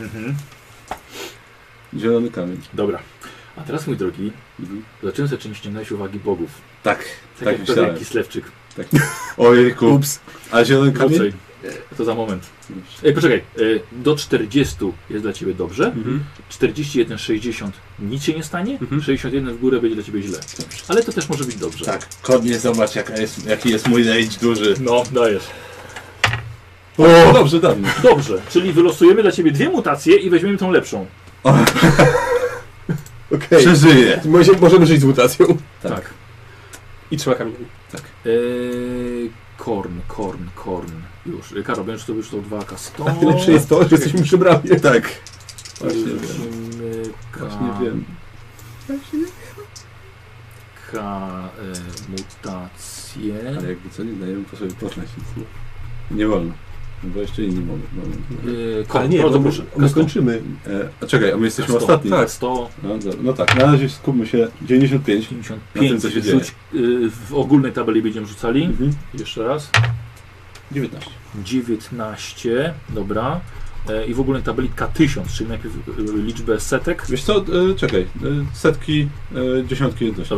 A: Mhm.
C: Zielony kamień.
A: Dobra. A teraz, mój drogi, zacząłem sobie czymś ściągnąć uwagi bogów.
C: Tak,
A: Tak,
C: Mhm. tak
A: jak
C: myślałem.
A: pewien Kislewczyk.
C: Tak. Ojejku. Ups. A zielony kamień?
A: Wrócaj. To za moment. Ej, poczekaj. E, Do 40 jest dla Ciebie dobrze. 41, 60 nic się nie stanie.
C: Mhm.
A: 61 w górę będzie dla Ciebie źle. Ale to też może być dobrze.
C: Tak, kodnie zobacz jaka jest, jaki jest mój rage duży.
A: No, dajesz.
C: O, dobrze, dawno.
A: Dobrze, czyli wylosujemy dla Ciebie dwie mutacje i weźmiemy tą lepszą.
J: Okej.
C: Przeżyję.
J: Może, możemy żyć z mutacją.
A: Tak.
J: I trzeba kamień.
A: Eee, korn, korn, korn. Już. E, Karol, będziesz to już to 2 k 100.
J: A najlepsze jest to, że jesteśmy przy bramie.
C: Tak.
A: Właśnie
C: Właśnie
A: wiem.
C: wiem. Właśnie wiem.
A: K, e, mutacje.
C: Ale jakby co, nie dajemy po sobie poznać nic. Nie wolno. No bo jeszcze inni mogą. E,
A: Yy, Ale nie,
J: No
A: bardzo bo proszę. my- my Gaston.
J: kończymy.
C: a czekaj, a my jesteśmy
A: Gaston.
C: ostatni.
A: Tak. Gaston.
C: No, dobra. no tak, na razie skupmy się 95.
A: 55
C: Na tym, co się dzieje.
A: rzuć, y, w ogólnej tabeli będziemy rzucali.
J: Mhm.
A: Jeszcze raz.
C: 19.
A: 19, dobra. E, I w ogólnej tabeli K1000, czyli najpierw y, liczbę setek.
C: Wiesz co, y, czekaj, y, setki, y, dziesiątki jedności.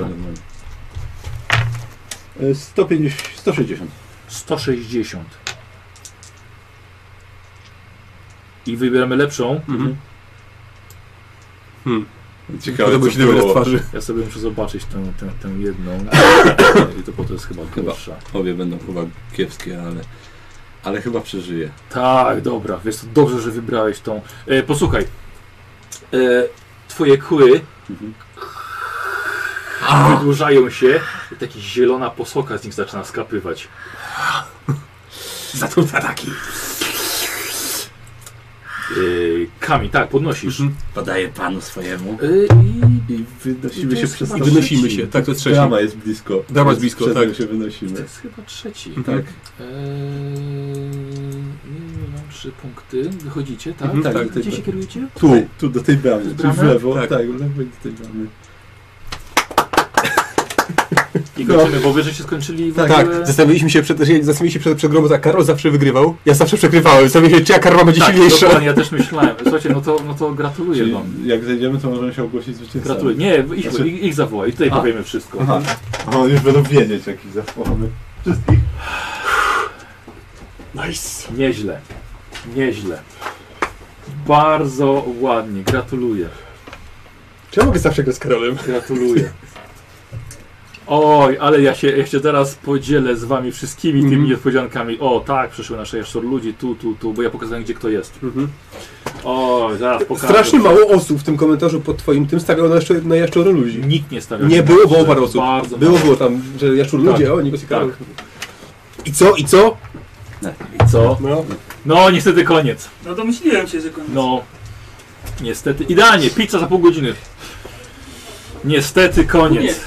C: Y, 150, 160.
A: 160. I wybieramy lepszą.
J: Hmm.
C: Ciekawe, Podobno co się było. wyraz twarzy.
A: Ja sobie muszę zobaczyć tę, tę, tę jedną. I to potem jest chyba
C: Chyba
A: gorsza.
C: obie będą chyba kiepskie, ale, ale chyba przeżyję.
A: Tak, dobra, wiesz co, dobrze, że wybrałeś tą. E, posłuchaj, e, twoje kły
C: Mhm.
A: wydłużają się i taki zielona posoka z nich zaczyna skapywać. Zatrute ataki. E, Kami, tak, podnosisz.
C: Mhm.
A: E,
T: Podaję panu swojemu.
A: I,
C: wynosimy się przez
A: I
C: wynosimy się, tak, to jest trzeci.
A: Drama
C: jest blisko.
O: Drama
C: Jest
O: jest blisko,
C: przed
O: tak.
C: nim się wynosimy.
A: To jest chyba trzeci.
C: Tak.
A: Eee, mam trzy punkty. Wychodzicie, tak?
C: Mhm, tak,
A: Gdzie
C: tak,
A: się
C: tak.
A: kierujecie?
C: Tu, tu do tej bramy,
A: Jest
C: czyli w
A: brama?
C: lewo,
A: Tak.
C: tak, tak w lewo i do tej bramy.
A: I kończymy, bo wyżej się skończyli w
C: Tak,
A: ogóle...
K: Tak, zastanawialiśmy się przed, zastanawialiśmy się przed, przed grą, bo tak Karol zawsze wygrywał. Ja zawsze przegrywałem. Zastanawialiśmy się, czyja karma będzie
A: tak,
K: silniejsza.
A: dokładnie, ja też myślałem. Słuchajcie, no to, no to gratuluję
C: Czyli
A: wam.
C: jak zejdziemy, to możemy się ogłosić zwycięzcami.
A: Gratuluję. Nie, ich,
C: Znaczy-
A: ich, ich zawołaj. Tutaj
C: A.
A: powiemy wszystko.
C: Aha, A oni już będą wiedzieć, jakich zawołamy. Wszystkich.
A: Nice. Nieźle. Nieźle. Bardzo ładnie. Gratuluję.
K: Czy ja mogę zawsze grać z Karolem?
A: Gratuluję. Oj, ale ja się, ja się teraz podzielę z wami wszystkimi tymi
C: Mhm.
A: niespodziankami. O, tak, przyszły nasze jeszcze ludzi tu, tu, tu, bo ja pokazałem gdzie kto jest.
C: Mhm.
A: Oj, zaraz pokażę.
J: Strasznie mało osób w tym komentarzu pod twoim tym stawiało na, jaszczur, na jaszczur ludzi.
A: Nikt nie stawiał.
J: Nie
A: się
J: było,
A: na
J: było
A: krzyż.
J: parę osób.
A: Bardzo
J: było,
A: mało.
J: było tam, że jaszczur ludzie,
A: Tak.
J: o, nie tak.
K: I co, i co?
A: I co? No. niestety koniec.
U: No domyśliłem się, że koniec.
A: No. Niestety. Idealnie, pizza za pół godziny. Niestety koniec.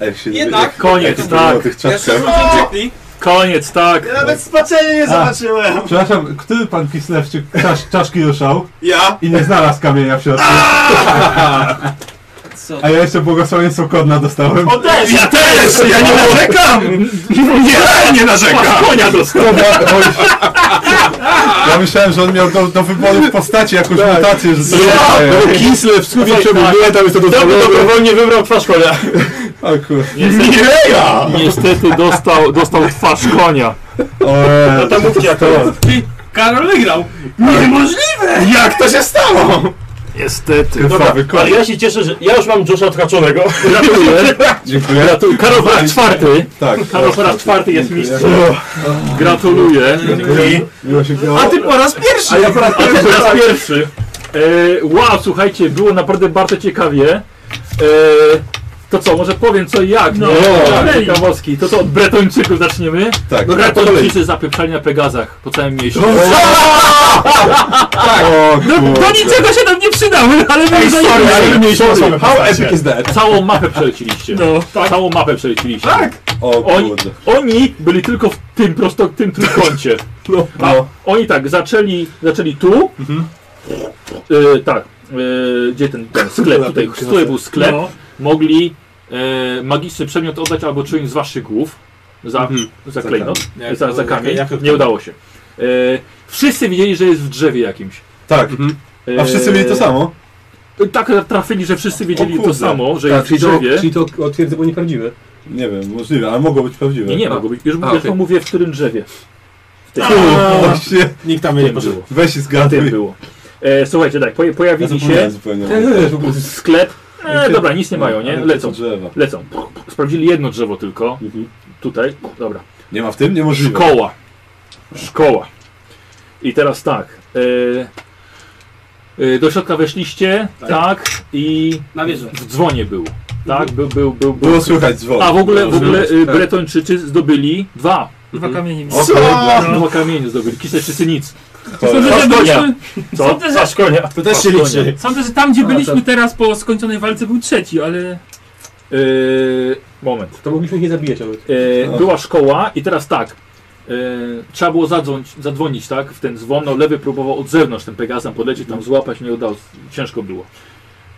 C: A jak się
A: Jednak. Koniec,
C: O
A: tak.
C: tych czaszkach.
D: No.
A: Koniec, tak.
C: Ja nawet
A: spaczenie
C: A, Przepraszam, który pan Kislewczyk czasz, czaszki ruszał?
O: Ja.
C: I nie znalazł kamienia w środku.
D: Co?
C: A ja jeszcze błogosławieństwo kodna dostałem.
O: O, też, ja też, ja nie narzekam.
C: Nie, nie
O: narzekam.
A: No. Konia dostałem.
C: Ja myślałem, że on miał do, do wyboru w postaci jakąś
K: Tak.
C: mutację, że sobie
K: To Kisle w słowie
C: Tak,
K: przemówienia,
C: tak.
K: tam jest to
C: Kto by
K: dozwolone.
C: dobrowolnie
A: wybrał twarz konia.
C: O kur...
K: Mireja!
A: Niestety dostał, dostał twarz konia.
C: Eee,
A: to mówcie jak to
U: Karol wygrał! Niemożliwe!
L: Jak to się stało?
A: Niestety.
L: Dobra,
C: Krwawy
L: ale ja się cieszę, że ja już mam Josha odhaczonego.
A: Gratuluję.
C: Dziękuję.
A: Gratuluję. Karol po raz czwarty.
C: Tak.
A: Karol po raz czwarty jest
C: Dziękuję.
A: mistrzem. Gratuluję.
C: Dziękuję. Miło się grało.
A: A ja po raz pierwszy. Po raz pierwszy. E, wow, słuchajcie, było naprawdę bardzo ciekawie. E, to co, może powiem co i jak, no,
C: No.
A: ciekawostki. To co, od Bretończyków zaczniemy?
C: Tak.
A: No,
C: No tak, po
A: Bretończycy zapieprzali na Pegazach po całym mieście.
K: Tak.
A: No, do niczego się nam nie przydały, ale my
K: Ej,
A: już
K: sorry,
A: zajęliśmy.
K: ale mieliśmy osobę. How
A: Postacie.
C: Tak.
K: epic is that?
A: Całą mapę przeleciliście. No, Całą mapę przeleciliście. Tak. oni, oni byli tylko w tym prosto, tym trójkącie. A oni tak, zaczęli, zaczęli tu. E, tak, e, gdzie ten, ten sklep? Tutaj, tutaj był sklep.
U: No.
A: Mogli e, magiczny przedmiot oddać albo czynić z waszych głów. Za, za
U: Za
A: klejnot,
U: kamień.
A: e, za, za kamień.
U: Jak- jak-
A: Nie udało się. E, wszyscy wiedzieli, że jest w drzewie jakimś.
C: Tak. A
A: E,
C: wszyscy mieli to samo?
A: Tak trafili, że wszyscy wiedzieli to
C: kurde.
A: samo, że
C: Tak,
A: jest w
C: czyli to-
A: drzewie.
C: czyli
J: to twierdzę było nieprawdziwe.
C: Nie wiem, możliwe, ale mogło być prawdziwe.
A: Nie, nie mogło być. Już, mówię, już wam mówię, w którym drzewie. W tym.
C: A, właśnie.
A: Nikt tam
C: nie był. Weź i zgaduj.
A: W tym było. E, słuchajcie, tak, poja- pojawili
C: Ja
A: się
C: zapomniałem zupełnie.
A: sklep. E, dobra, nic nie
C: No,
A: mają, nie?
C: ale
A: Lecą.
C: to drzewa.
A: Lecą. Sprawdzili jedno drzewo tylko.
C: Mhm.
A: Tutaj, dobra.
C: Nie ma w tym? Niemożliwe.
A: Szkoła. Szkoła. I teraz tak. E, e, do środka weszliście, tak, i
D: Na wieżę.
A: w dzwonie był. Tak, był, był, był, był.
C: Było słychać dzwon.
A: A w ogóle, w
C: Było
A: ogóle
C: słychać,
A: e,
C: tak.
A: Bretończycy zdobyli dwa.
U: Dwa kamienie.
A: O kurde, Dwa kamienie zdobyli. Kisleczycy nic.
U: Sądzę, że
A: Twarz konia.
U: byliśmy-
A: Co?
U: Sądzę, że-
A: Twarz konia. Twarz konia.
U: Sądzę, że tam gdzie
A: A,
U: byliśmy
A: tak.
U: teraz po skończonej walce był trzeci, ale...
A: Eee, moment.
J: To mogliśmy ich nie zabijać nawet.
A: Eee,
J: No.
A: Była szkoła i teraz tak. Eee, trzeba było zadzwonić, zadzwonić, tak? W ten dzwon. No, lewy próbował od zewnątrz tym Pegasem podlecieć, tam złapać, nie udało. Ciężko było.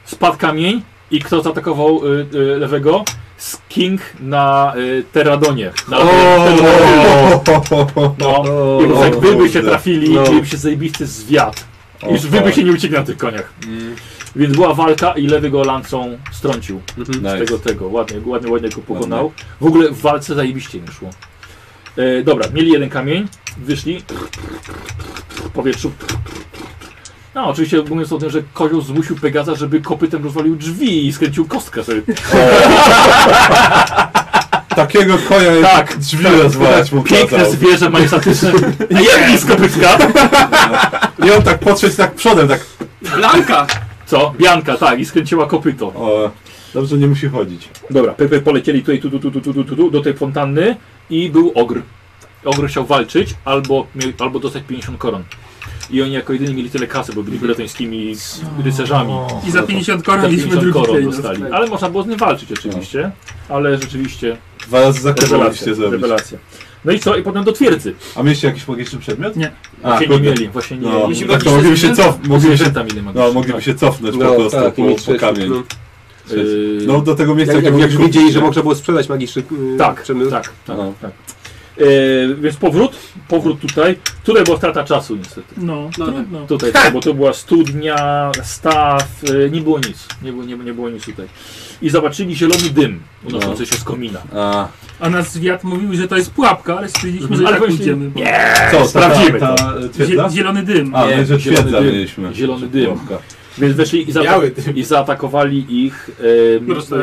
A: Spadł kamień i kto zaatakował y, y, lewego? Sking na y, Teradonie. Na No, i po prostu jak wy by się trafili, no. byliby się zajebisty zwiat.
C: O,
A: Już wy by
C: tak.
A: się nie uciekli na tych koniach.
C: Mm.
A: Więc była walka i lewy go lancą strącił. Z
C: Nice.
A: tego tego. Ładnie, ładnie, ładnie go pokonał. W ogóle w walce zajebiście im szło. E, dobra, mieli jeden kamień, wyszli. W powietrzu. No, oczywiście mówiąc o tym, że kozioł zmusił Pegaza, żeby kopytem rozwalił drzwi i skręcił kostkę sobie.
C: Takiego konia jak
A: Tak,
C: drzwi
A: tak,
C: rozwalać
A: tak.
C: mu
A: Piękne
C: kazał.
A: zwierzę
C: <laughs>
A: majestatyczne. A jak blisko pyska?
C: I on tak podszedł tak przodem, tak...
A: Blanka! Co? Bianka, tak, i skręciła kopyto.
C: O, dobrze nie musi chodzić.
A: Dobra, PP polecieli tutaj tu, tu, tu, tu, tu, tu, tu, tu, do tej fontanny i był ogr. Ogr chciał walczyć albo, mie- albo dostać 50 koron. I oni jako jedyni mieli tyle kasy, bo byli bretońskimi rycerzami.
F: I za 50 koron
A: No Za
F: mieliśmy
A: 50
F: drugi no.
A: koron
F: klejnot.
A: dostali. Ale można było z nim walczyć oczywiście. Ale rzeczywiście...
C: Dwa razy
A: rewelacja,
C: zakończyliście zrobić.
A: Rewelacja. No i co? I potem do twierdzy.
C: A mieliście jakiś magiczny przedmiot?
A: Nie.
C: A,
A: Właśnie nie
C: kurde.
A: mieli, właśnie nie
C: No,
A: mieli.
C: tak to mogliby się cofnąć. Mogliby się,
A: Zwierzęta mieli magiczne,
C: no, mogliby
A: tak.
C: się cofnąć
J: No,
C: po prostu
J: tak,
C: po,
J: mieli
C: po
J: przecież,
C: kamień.
J: no.
A: Yy,
C: No do tego miejsca,
J: jak,
C: gdzie
J: jak, jak
C: mogli
J: wiedzieli,
C: kupić,
J: że
C: nie?
J: można było sprzedać magiczny yy,
A: Tak,
J: przemysł.
A: tak, tak, tak. E, więc powrót, powrót tutaj. Tutaj była strata czasu niestety.
F: No, no, no.
A: Tutaj, tak, bo to była studnia, staw, e, nie było nic. Nie było, nie, nie było nic tutaj. I zobaczyli zielony dym unoszący się z komina.
C: A.
F: A nas wiatr mówił, że to jest pułapka, ale stwierdziliśmy, że
A: Mhm. Ale
F: tak
A: właśnie-
F: pójdziemy.
A: Nie,
C: Co,
A: sprawdzimy
C: ta- ta,
A: to.
C: e, twierdza?
F: Zie- zielony dym.
C: A, no, że
A: zielony
C: twierdza
A: dym,
C: mieliśmy.
A: Zielony
C: Że
A: dym.
C: pułapka.
A: Więc weszli i, zaata-
C: Biały
A: i zaatakowali ich
F: Mroczne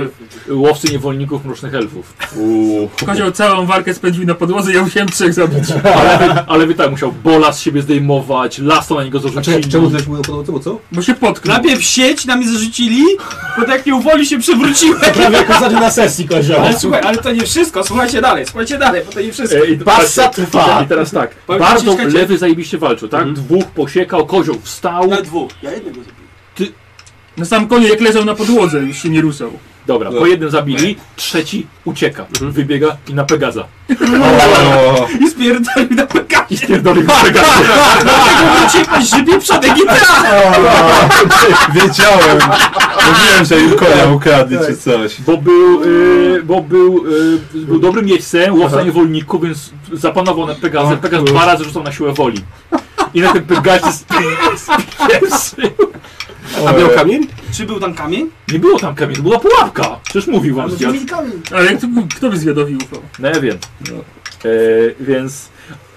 A: e, łowcy niewolników mrocznych elfów. <laughs>
F: Kozioł całą warkę spędził na podłodze, ja musiałem trzech zabić.
A: Ale, wy, ale wy tak musiał bola z siebie zdejmować, lasto na niego zarzucili.
J: Czemu też było podobno, co? co?
F: Bo się potknął.
D: Najpierw sieć na mnie zarzucili, potem jak nie uwoli się przewróciłem.
V: Prawie jak ostatnio na sesji kozioł.
D: Ale słuchaj, ale to nie wszystko, słuchajcie dalej, słuchajcie dalej, bo to nie wszystko.
A: E, i- patrzcie, I teraz tak.
D: Powiem
A: Bardzo
D: ci, czekajcie.
A: lewy zajebiście walczył, tak? Dwóch posiekał, kozioł wstał. Na dwóch.
W: Ja jednego zabiję.
F: Na sam koniec jak leżał na podłodze, już się nie ruszał.
A: Dobra, po jednym zabili, trzeci ucieka. Wybiega i na Pegaza.
D: I spierdolił na pekacie. I
A: spierdolił na pekacie.
D: <laughs> Dlatego uciekłeś żybie przodek i
C: Wiedziałem! Mówiłem, że im konia ukradli czy coś.
A: Bo był, y, bo był, y, był dobrym miejscem, łowca niewolników, więc zapanował nad Pegazem. Pegaz dwa razy rzucał na siłę woli. I na ten Pegazie spieprzył.
D: A miał
A: kamień?
D: Czy był tam kamień?
A: Nie było tam kamienia, to była pułapka. Przecież mówił wam
D: Może
A: zwiad.
D: mieli kamień.
F: Ale jak to, kto by zwiadowi ufał?
A: No ja wiem. E, więc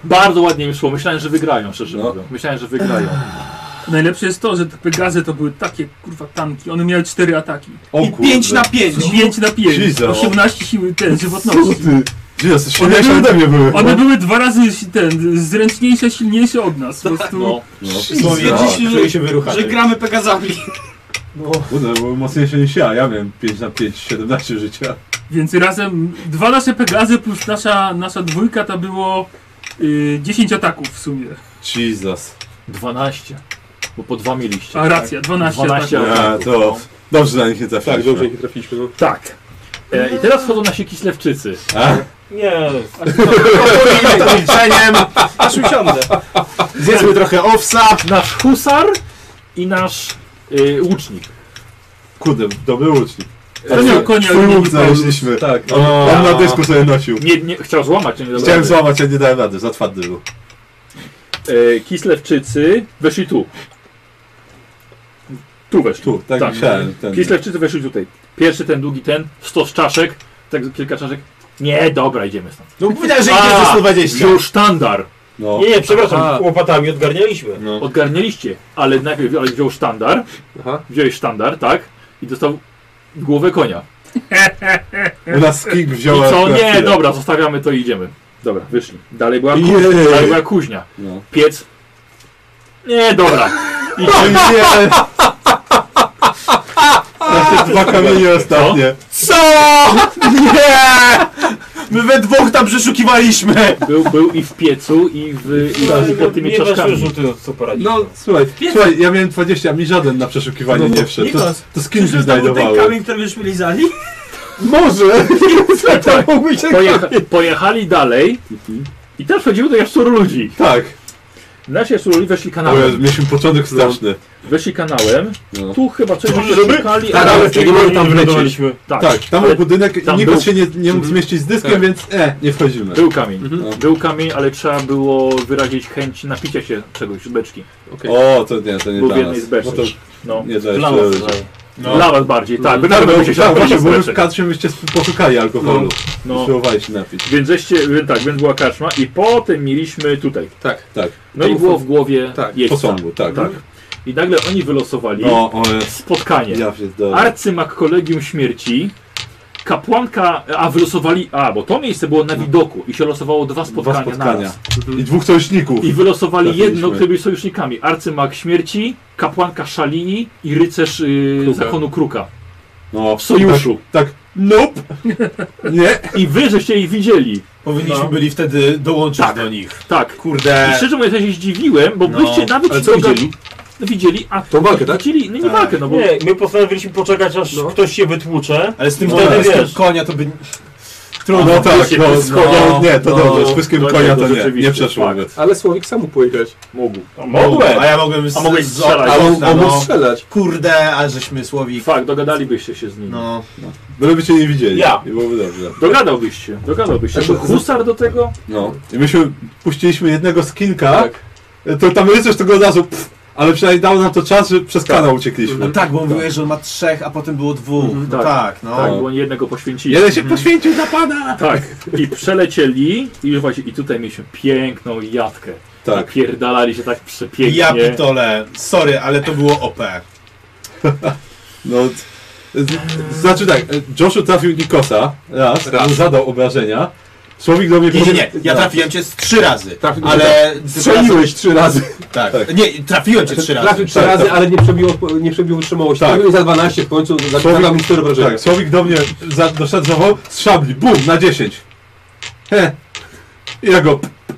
A: bardzo ładnie mi szło. Myślałem, że wygrają, szczerze mówiąc. Myślałem, że wygrają.
F: Najlepsze jest to, że te Pegazy to były takie kurwa tanki. One miały cztery ataki.
C: O
F: I
C: kurde.
F: 5 na 5. 5 na 5.
C: Jesus.
F: 18 siły ten, żywotności.
C: Jezus,
F: One
C: silniejsze ode mnie były.
F: One były dwa razy ten, zręczniejsze, silniejsze od nas. Po
C: Tak,
F: prostu.
A: No.
D: Powiedzieliśmy, że gramy pekazami.
C: Kurde, były mocniejsze niż ja, ja miałem 5 na 5, 17 życia.
F: Więc razem dwa nasze Pegazy plus nasza, nasza dwójka to było y, 10 ataków w sumie.
C: Jesus.
A: 12. Bo po dwa mieliście.
F: A racja, 12 ataków.
C: A, to dobrze na nich nie trafiliśmy.
J: Tak, dobrze ich nie trafiliśmy. No.
A: Tak. E, I teraz wchodzą nasi kislewczycy.
C: A?
V: Nie.
A: To
D: milczeniem. Aż usiądę.
A: Zjedzmy trochę owsa. Nasz husar i nasz y, łucznik.
C: Kurde, dobry łucznik.
A: To nie
C: Twój-
A: o konia,
C: Twój
A: nie
C: łuk
A: o-
C: znaleźliśmy.
A: Tak.
C: O, On na dysku sobie nosił.
A: Nie, nie, chciał złamać, a nie dał
C: Chciałem
A: rady.
C: złamać, a nie dałem rady, za twardy był.
A: E, Kislewczycy weszli tu. Tu weszli.
C: Tu, tak myślałem, ten-
A: Kislewczycy weszli tutaj. Pierwszy ten, długi ten, 100 czaszek, tak kilka czaszek. Nie, dobra, idziemy stąd.
V: No, widać, że idzie
A: A,
V: ze 120.
A: Już sztandar.
C: No.
V: Nie, nie, przepraszam,
A: Aha.
V: łopatami odgarnialiśmy.
A: Odgarnialiście, ale najpierw ale wziął sztandar. Wziąłeś sztandar, tak? I dostał głowę konia.
C: U nas kik wziąłem.
A: I co?
C: akurat
A: Nie,
C: chwilę.
A: dobra, zostawiamy to i idziemy. Dobra, wyszli. Dalej była
C: Jej.
A: kuźnia. Dalej była kuźnia.
C: No.
A: Piec. Nie, dobra. Idziemy.
C: Dwa kamienie ostatnie.
D: Co? Nie! My we dwóch tam przeszukiwaliśmy.
A: Był, był i w piecu, i, w, i, i pod tymi czaszkami.
C: No słuchaj, słuchaj, ja miałem 20, a mi żaden na przeszukiwanie nie wszedł. To,
D: Nikos,
C: to z kimś
D: Czy to był ten
C: znajdowały.
D: kamień, który myśmy lizali?
C: Może!
A: Tak. <laughs>
C: <laughs>
A: Pojecha- pojechali dalej i też chodziło do jaszczuru ludzi.
C: Tak.
A: Nasi jaszczuru ludzi weszli
C: O Jezu,
A: kanałem.
C: mieliśmy początek straszny.
A: Weszli kanałem.
C: No.
A: Tu chyba coś
C: Żeby-
A: żeby szukali,
C: Tak, ale nie mogli tam wlecieć.
A: wylądowaliśmy.
C: Tak, tam
A: ale
C: był budynek i
A: tam
C: nikt
A: był-
C: się nie, nie mógł zmieścić z dyskiem,
A: Tak.
C: więc e, nie wchodzimy.
A: Był kamień.
C: No.
A: Był kamień, ale trzeba było wyrazić chęć napicia się czegoś z beczki.
C: O, to nie, to nie
A: Był w
C: dla
A: jednej
C: nas.
A: z beczek.
C: No to-
A: No.
C: Nie, to
A: Dla
C: jeszcze-
A: was.
C: No.
A: Dla was bardziej, tak. Wy nawet
C: bo-
A: byście się
C: tak, właśnie,
A: napili z
C: bo już
A: beczek.
C: w kadrze byście poszukali alkoholu.
A: No.
C: No. Usiłowali się napić.
A: Więc żeście, więc tak, więc była karczma i potem mieliśmy tutaj.
J: Tak.
C: Tak.
A: No i było w głowie
C: tak,
A: jeźdźca.
C: posągu, tak.
A: I nagle oni wylosowali
C: No, o jest.
A: spotkanie.
C: Ja pierdolę.
A: Arcymak Kolegium Śmierci, kapłanka, a wylosowali, a bo to miejsce było na widoku i się losowało dwa spotkania,
C: No. Dwa
A: na
C: spotkania.
A: raz.
C: I dwóch sojuszników.
A: I wylosowali
C: Trafiliśmy.
A: jedno, które byli sojusznikami. Arcymak Śmierci, kapłanka Szalini i rycerz yy,
C: Kruka.
A: zakonu Kruka.
C: No, w
A: sojuszu.
C: Tak, tak. nope. Nie.
A: I wy żeście ich widzieli.
C: Powinniśmy
A: No.
C: byli wtedy dołączyć
A: Tak.
C: do nich.
A: Tak.
C: Kurde.
A: I szczerze mówiąc, ja się zdziwiłem, bo
C: No,
A: byście nawet
C: ale
A: się
C: co
A: doga-
C: widzieli?
A: No, widzieli, a
C: Tą walkę, tak?
A: Widzieli, no nie
C: Tak.
A: walkę, no bo...
I: Nie, my postanowiliśmy poczekać aż ktoś się wytłucze.
C: Ale z tym,
I: i wtedy
C: z tym
I: wiesz.
C: konia to by... Trudno,
I: No
C: tak,
I: tak,
C: no,
I: no,
C: z konia,
I: no,
C: nie, to
I: no,
C: dobrze, z pyskiem
I: no nie,
C: konia
I: to
C: to nie,
I: rzeczywiście,
C: nie przeszło. nawet.
J: Ale Słowik sam mógł pojechać.
A: Mógł.
I: Mogłem.
C: A ja No, mogłem z,
A: A mogłeś
C: z-
A: strzelać.
C: A mógł-
A: No.
C: a mógł
A: strzelać.
C: Kurde, a żeśmy słowi.
A: Fakt, dogadalibyście się z nim.
C: No. Byleby cię nie widzieli.
A: Ja.
C: I byłoby dobrze.
A: Dogadałbyś się, dogadałbyś się.
C: Tak,
A: Bo
C: to-
A: husar do tego?
C: No. I myśmy puściliśmy jednego z kilka, to tam rycerz tego od razu, pff, ale przynajmniej dał nam to czas, że przez kanał uciekliśmy.
E: No tak, bo mówiłeś, że on ma trzech, a potem było dwóch.
C: Mhm,
E: No tak, no.
A: Tak, bo oni jednego poświęcili.
C: Jeden się
A: Mhm.
C: poświęcił za pana!
A: Tak. I przelecieli i już właśnie, i tutaj mieliśmy piękną jatkę.
C: Tak.
A: Napierdalali się tak przepięknie.
C: Ja pitole, sorry, ale to było OP. No, z- z- znaczy tak, Joshu trafił Nikosa raz, mu zadał obrażenia. Słowik do mnie
E: Nie, nie,
C: powie-
E: nie, ja
C: Tak.
E: trafiłem cię z trzy razy,
C: Trafił-
E: ale...
C: Strzeliłeś trzy razy.
E: Tak. Nie, trafiłem cię trzy razy.
J: Trafił trzy
C: Tak,
J: razy,
C: tak.
J: ale nie przebił, nie przebił wytrzymałości.
C: Tak.
J: Tak. i za 12 w końcu zaczynał mi 4 wrażenia.
C: tak, Słowik do mnie za, doszedł zawoł, z szabli, bum, na 10. He. I ja go... p- p-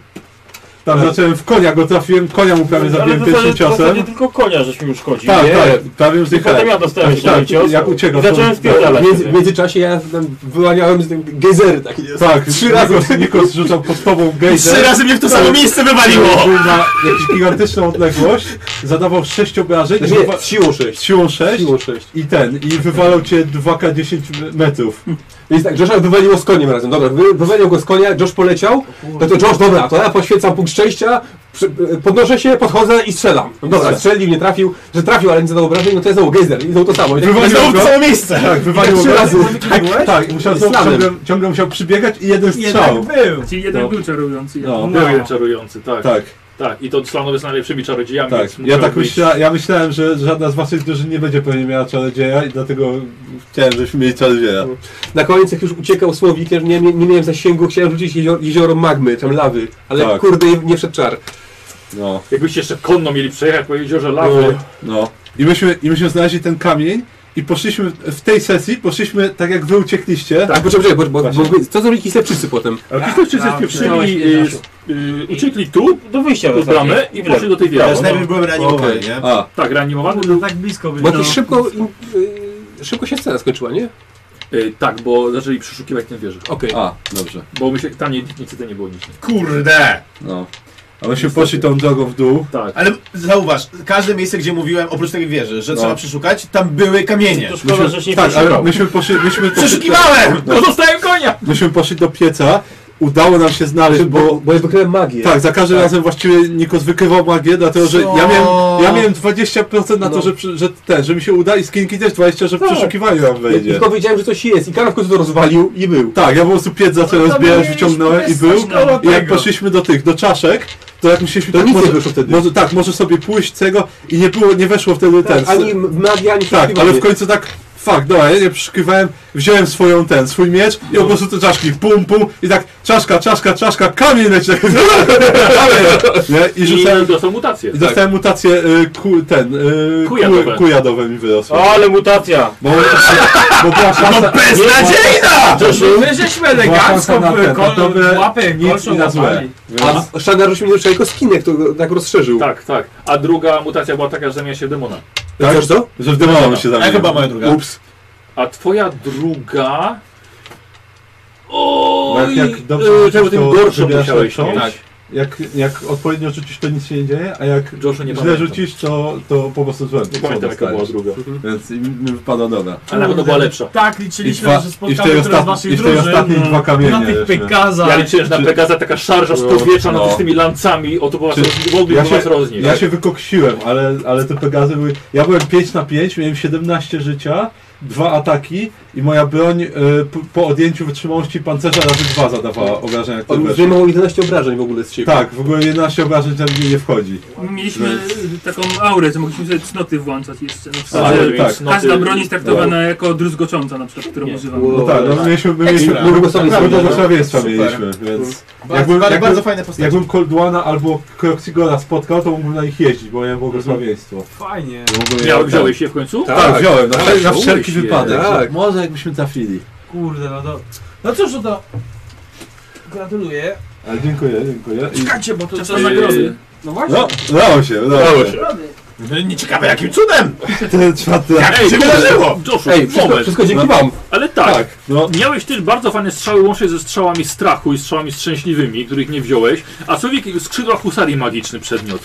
C: Tam zacząłem w konia go trafiłem, konia mu prawie
I: Ale
C: zabiłem
I: w zasadzie,
C: pierwszym
I: w zasadzie
C: ciosem.
I: tylko konia żeśmy już chodzili.
C: Tak,
I: nie?
C: tak, prawie już
I: I potem ja dostałem jeszcze tak, cios.
C: Jak uciekał.
I: I zacząłem
C: to-
I: spierdalać.
J: W międzyczasie ja tam wyłaniałem z tym gejzery takie.
C: Tak,
J: Trzy razy.
C: Nikos, Nikos rzucał pod tobą gejzer.
E: Trzy razy mnie w to samo miejsce wywaliło.
C: Był Na jakąś gigantyczną odległość, zadawał sześć obrażeń.
J: Nie,
C: Wywa-
J: z siłą sześć.
C: Z siłą sześć.
J: Siłą sześć.
C: I ten, i wywalał cię 2K10 metrów.
J: Więc tak, Josha wywaliło z koniem razem, dobra, wy, wywalił go z konia, Josh poleciał, no to Josh, dobra, to ja poświęcam punkt szczęścia, przy, e, podnoszę się, podchodzę i strzelam. No Dobra,
C: Strzel.
J: strzelił, nie trafił, że trafił, ale nie zadał obrażeń, no to ja znowu gejzer i znowu to samo. I
C: Wywalił
J: znowu
C: go.
J: to samo
C: Tak,
J: I
C: wywalił
J: tak trzy
C: go.
J: razy.
C: Tak, tak, musiał znowu
J: Slamem.
C: ciągle, ciągle musiał przybiegać i jeden strzał.
F: był. Czyli jeden
C: No.
F: był czarujący. jeden
C: No.
F: nie.
C: Był
A: Był jeden czarujący, tak.
C: Tak.
A: Tak, i to Slanowy z najlepszymi czarodziejami,
C: Tak,
A: więc
C: ja
A: musiał
C: tak
A: być-
C: myśla, ja myślałem, że żadna z waszych drużyn nie będzie pewnie miała czarodzieja i dlatego chciałem, żebyśmy mieli czarodzieja.
J: Na koniec jak już uciekał Słowik, ja nie, nie miałem zasięgu, chciałem rzucić jezioro, jezioro magmy, tam lawy, ale
C: Tak.
J: kurde, nie wszedł czar.
C: No.
A: Jakbyście jeszcze konno mieli przejechać po jeziorze lawy.
C: No. I myśmy, I myśmy znaleźli ten kamień i poszliśmy w tej sesji, poszliśmy tak jak wy uciekliście.
J: Tak, poczekaj, poczekaj, bo, bo, bo co zrobili Kislepczycy potem?
A: Ale Kistorczycy
C: Tak,
A: spieprzeli, y, y, uciekli tu,
I: do wyjścia
A: tu
I: w zasadzie.
A: bramę
C: znaczy-
I: I
A: i
I: w
A: poszli do
I: lewo.
A: tej
C: Tak.
I: Ale
A: wiary.
I: najpierw byłem reanimowany,
C: nie? A.
A: Tak, reanimowany.
F: No tak blisko
J: Bo
F: byli.
J: jakiś szybko, im, y, szybko się scena skończyła, nie?
A: Y, tak, bo zaczęli przeszukiwać tę wieżę.
J: Okej.
C: A, dobrze.
A: Bo my się, tam nie, niestety nie było nic.
C: Kurde! No. A myśmy poszli tą drogą w dół.
A: Tak.
E: Ale zauważ, każde miejsce, gdzie mówiłem, oprócz tej wieży, że
C: No.
E: trzeba przeszukać, tam były kamienie.
I: To szkoda, że się nie
C: tak, ale
I: przeszukał.
C: myśmy poszli... Myśmy
E: Przeszukiwałem!
C: No,
A: Zostałem konia!
C: myśmy poszli do pieca, udało nam się znaleźć, bo...
J: Bo ja wykryłem magię.
C: Tak, za każdym razem właściwie Nikos wykrywał magię, dlatego że ja miałem, ja miałem 20% na to,
J: No.
C: że, przy- że, ten, że mi się uda i skinki też 20%, że w
J: Tak.
C: przeszukiwaniu nam
J: Ja
C: wejdzie.
J: Tylko wiedziałem, że coś jest i Karol w końcu to rozwalił i był.
C: Tak, ja po prostu piec zacząłem
J: No to
C: zbierać,
J: mieliśmy
C: wyciągnąłem i
J: bez
C: był.
J: coś koło
C: I jak
J: tego.
C: poszliśmy do tych, do czaszek, to jak myśleliśmy,
J: To
C: tak,
J: nic nie
C: może,
J: wyszło wtedy.
C: może tak, może sobie pójść tego i nie było, nie weszło wtedy
J: Tak,
C: ten.
J: ani m- magia, ani
C: tak, ale
J: przeszukiwanie.
C: w końcu tak, fuck, dobra, ja nie przeszukiwałem, wziąłem swoją ten, swój miecz i po prostu te czaszki, pum, pum i tak czaszka, czaszka, czaszka, kamień leci, <laughs> tak, kamień, nie? I rzucałem,
A: I dostał mutację.
C: i dostałem mutację, y, ku, ten, y,
A: Kujadowe.
C: ku, kujadowe mi wyrosło.
I: Ale mutacja!
C: Bo, bo była szansa... No
I: beznadziejna!
C: To się
J: My żeśmy
C: elegancko
J: łapę,
A: kolczą łapali.
J: A Szana rzucił mi jeszcze jego skinek, to go tak rozszerzył.
A: Tak, tak. A druga mutacja była taka, że zamienia się w demona.
C: Tak?
J: Wiesz co?
C: Że w demona mi się zamienił. Ups.
A: A twoja druga...
C: Bo
A: Oj,
C: jak, jak dobrze
A: e,
C: rzucisz,
A: czemu tym
C: to
A: gorszą
C: wybierasz
A: musiałeś
C: lepszą.
A: mieć.
C: Tak. Jak, jak odpowiednio rzucisz, to nic się nie dzieje, a jak
A: Joshu nie
C: źle
A: pamiętam.
C: rzucisz, to, to po prostu złem.
A: Nie pamiętam, jaka była druga.
C: Więc mi mi wypada dobra.
A: Ale na pewno była lepsza.
F: Tak, liczyliśmy, że spotkamy teraz
C: ostatni-
F: waszych
C: I w tej
F: drużyn,
C: ostatniej
F: no.
C: dwa kamienie.
F: Na tych
C: jeszcze.
F: Pegazach.
A: Ja liczyłem, że na
C: Czy-
A: Pegaza taka szarża z
C: No,
A: powietrza
C: no.
A: nad tymi lancami, o to była tak?
C: Czy-
A: mogli
C: ja,
A: ja was
C: się,
A: roznieść.
C: ja się wykoksiłem, ale, ale te Pegazy były... Ja byłem 5 na 5, miałem 17 życia, dwa ataki i moja broń y, po, po odjęciu wytrzymałości pancerza razy dwa zadawała obrażenia. które
J: On
C: weszły.
J: wyjmował 11 obrażeń w ogóle z siebie.
C: Tak, w ogóle 11 obrażeń tam nie wchodzi.
F: Mieliśmy taką aurę, że mogliśmy sobie cnoty włączać jeszcze. No, w sensie,
C: Ale
F: że
C: tak.
F: Każda
C: Cnoty-
F: broń jest traktowana jako druzgocząca na przykład, którą używamy.
C: No tak, no mieliśmy, my mieliśmy
J: Ekstra. Błogosławieństwo.
C: tak, błogosławieństwa
J: Super.
C: mieliśmy, więc...
E: Bardzo- bardzo- bardzo fajne postacie.
C: Jakbym Coldwana albo Croxigora spotkał, to mógłbym na nich jeździć, bo miałem błogosławieństwo.
F: Fajnie.
C: Mogłem
A: no, Ja,
C: je-
A: wziąłeś je w końcu?
C: Mhm. Tak, wziąłem, na,
A: Tak,
C: na wszelki
A: wziąłeś je.
C: wypadek.
A: Tak.
C: Może jakbyśmy trafili.
D: Kurde, no to... No cóż, no to... Gratuluję.
C: Ale dziękuję, dziękuję. I-
D: Czekajcie, bo to
C: Czas
D: co
C: na
D: nagrody.
C: nagrody.
D: No właśnie.
C: No, udało się, udało się.
A: Nie ciekawe jakim cudem!
C: Ten czwarty raz.
A: Ej,
C: się
A: Joshua,
C: wydarzyło?
A: Joshua,
C: Ej, wszystko,
A: moment.
C: wszystko dzięki wam.
A: Ale tak,
C: Tak, no.
A: miałeś też bardzo fajne strzały łącznie ze strzałami strachu i strzałami szczęśliwymi, których nie wziąłeś, a człowiek skrzydła husarii magiczny przedmiot.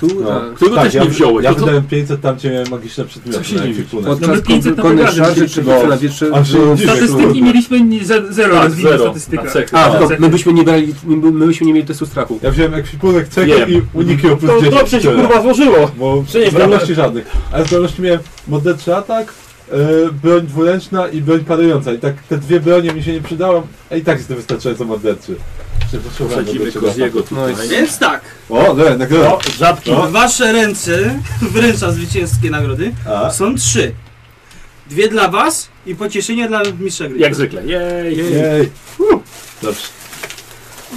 J: Tu,
A: no. Którego też
C: Tak, ja,
A: nie wziąłeś. No
C: Ja
A: to, to,
C: wydałem 500, tam cię miałem magiczne przedmioty.
A: Co się
C: na
A: dziwisz?
C: ekwipunek.
F: No,
A: Podczas Nawet 500 na
C: konnej
A: wygranym
C: szarży
A: się
C: czy
A: dziwisz.
C: no, na wietrze.
A: A że nie dziwię,
U: Statystyki
A: kurwa.
U: mieliśmy ni- ze- zero,
A: Tak,
U: ale zero
A: zero
U: statystykach.
A: na cechy.
J: A,
A: A,
J: to
A: cechy.
J: my byśmy nie brali, nie- my byśmy nie mieli testu strachu.
C: Ja wziąłem ekwipunek
J: Wiem.
C: cechy i uniki o plus
J: To
C: 10.
J: dobrze się,
C: tyle.
J: kurwa, złożyło.
C: Bo
J: Czy nie,
C: zdolności żadnych. Ale zdolności miałem modleczny atak, yy, broń dwuręczna i broń parująca. I tak te dwie bronie mi się nie przydały, a i tak jest to wystarczająco modleczny.
A: Wsadzimy Koziego tutaj.
D: Więc tak.
C: O, dobra, nagroda.
D: No, W wasze ręce <laughs> wręcza zwycięskie nagrody.
C: A.
D: Są trzy. Dwie dla was i pocieszenie dla mistrza gry.
A: Jak zwykle. Jej, jej.
C: Jej. Dobrze.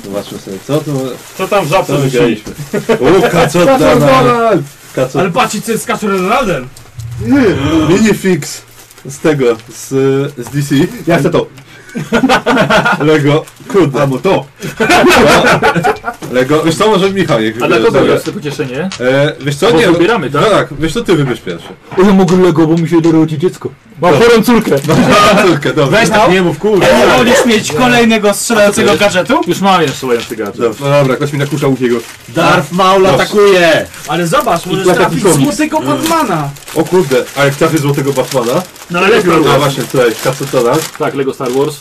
C: Zobaczmy sobie, co to...
L: Co tam w żabce
C: co
L: wygraliśmy?
C: O, kacot
L: <laughs>
C: Donald! Kacot.
D: Ale patrzcie, co jest z Kaczor Donaldem.
C: Nie, Minifix z tego, z, z DC. Ja chcę to. Lego, kurde. Albo to. <laughs> Lego, wiesz co, może Michał niech
A: A dla
C: wybierze
A: kogo
C: sobie.
A: jest to pocieszenie?
C: E, wiesz co,
A: Bo
C: nie,
A: wybieramy, tak?
C: No tak, wiesz co, ty wybierz pierwszy.
K: Ja mogę Lego, bo mi się dorodzi dziecko. Mam
C: Dobra.
K: chorą
C: <laughs>
K: córkę.
C: Dobra, córkę, dobra.
K: Weź tam.
C: Nie mów, kurde.
K: Wolisz mieć kolejnego strzelającego
A: gadżetu? Już mam jeden strzelający gadżet.
C: Dobra, no dobra, ktoś mi nakuszał jego.
A: Darth Maul atakuje!
D: Ale zobacz, możesz
C: płata
D: trafić
C: Titowi.
D: złotego Batmana.
C: O kurde, a jak trafię złotego Batmana?
A: No, ale Lego.
C: No właśnie, tutaj, kacetona.
A: Tak, Lego Star Wars.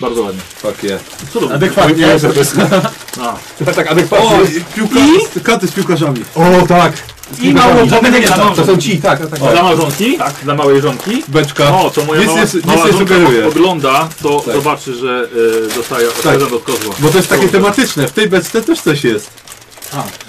A: Bardzo ładnie.
C: Fuck yeah.
A: Co to
C: Adekwatnie. <laughs>
A: A.
C: Tak, adekwatnie. O, piłka, I? Katy z piłkarzami. O, tak. Z
A: I
C: piłkarzami.
A: mało żadnego nie
C: To są ci, tak, tak, tak.
A: Dla małżonki? Tak. Dla małej żonki?
C: Beczka.
A: O, to moja
C: Tak. Nic
A: mała,
C: nie su- nic
A: mała
C: nie
A: żonka
C: sugeruję.
A: ogląda, to zobaczy, że y, dostaje odkazan od kozła.
C: Tak. Bo to jest takie tematyczne, w tej beczce też coś jest.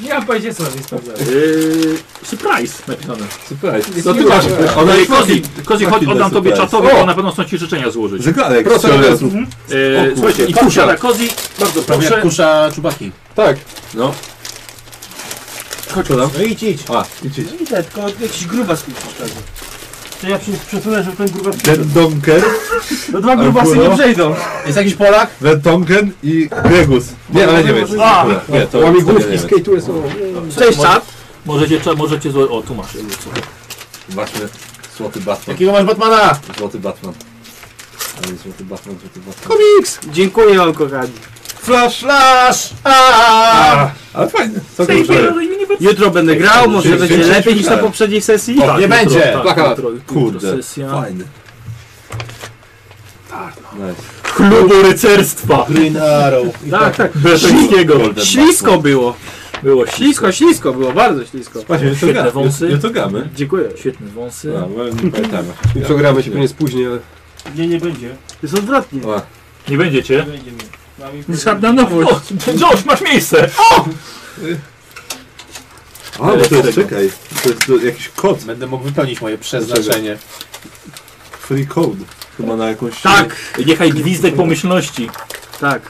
U: Ja powiedziałem, co tam jest tam.
A: Yy, surprise napisane.
C: Surprise. No ty masz. Tak. Ona
A: Ej,
C: jest
A: Kozi,
C: taki-
A: Kozi chodź,
C: taki
A: oddam
C: surprise.
A: tobie czatowi,
C: O!
A: bo na pewno chcą ci życzenia złożyć.
C: Zegarek.
A: Proszę.
C: Strzelę.
A: Mhm.
C: O
A: Yy,
C: kurczę.
A: słuchajcie, i
C: I kusza.
A: kusza dla Kozi, bardzo
C: Prawie jak
A: proszę.
T: Kusza czubaki.
C: Tak. No. Chodź, podam.
T: No idź, idź.
C: A, idź, idź.
T: Idę, tylko jakiś grubas mi przeszkadza.
L: To ja przy- przesunę, żeby ten grubas...
C: Ten Donker.
L: No dwa
C: grubasy
L: grubasy
C: nie
L: nie przejdą.
T: Jest jakiś Polak?
C: Red Tonken i Gregus. Nie, ale nie wiem. co to
A: A.
C: jest. Nie, to
K: Łamigłówki
C: jest.
K: z K2 są.
A: Cześć, czat. Możecie, cza- możecie zło... O, tu masz. jakby co.
C: Właśnie, złoty Batman.
T: Jakiego masz Batmana?
C: Złoty Batman. Ale Złoty Batman, złoty Batman.
T: Komiks!
D: Dziękuję wam, kochani.
T: Flash, flash! Aaaa!
C: Ale fajny. Co to że...
D: Jutro będę grał, może
C: Dzień-
D: będzie
C: dzień-
D: lepiej niż na
C: dziękuję.
D: poprzedniej sesji.
C: O,
T: nie
C: jutro,
T: będzie.
C: tak,
A: Plakat.
C: jutro, jutro
A: Kurde,
C: sesja. Fajny. Nice.
A: Klubu rycerstwa.
T: Green Arrow. I
D: Tak, tak.
A: Brzęskiego.
D: Ślisko było.
A: Było
D: Ślisko, ślisko było, bardzo ślisko.
C: Właśnie, jutro
A: Świetne
C: gra-
A: wąsy.
C: jutro gramy.
D: Dziękuję.
A: Świetne wąsy.
C: No, bo nie pamiętamy.
J: I przegramy się pewnie spóźni, ale...
L: Nie, nie będzie.
D: Jest odwrotnie.
C: O,
A: Nie
L: Nie
A: będziecie?
L: będzie mnie. Mamy-
U: Żadna nowość.
A: O, Josh, masz miejsce! O!
C: A, bo to jest, czekaj, to jest to jakiś kod,
T: Będę mógł wypełnić moje przeznaczenie.
C: free code, chyba na jakąś...
A: Tak! Niechaj gwizdek pomyślności.
D: Tak.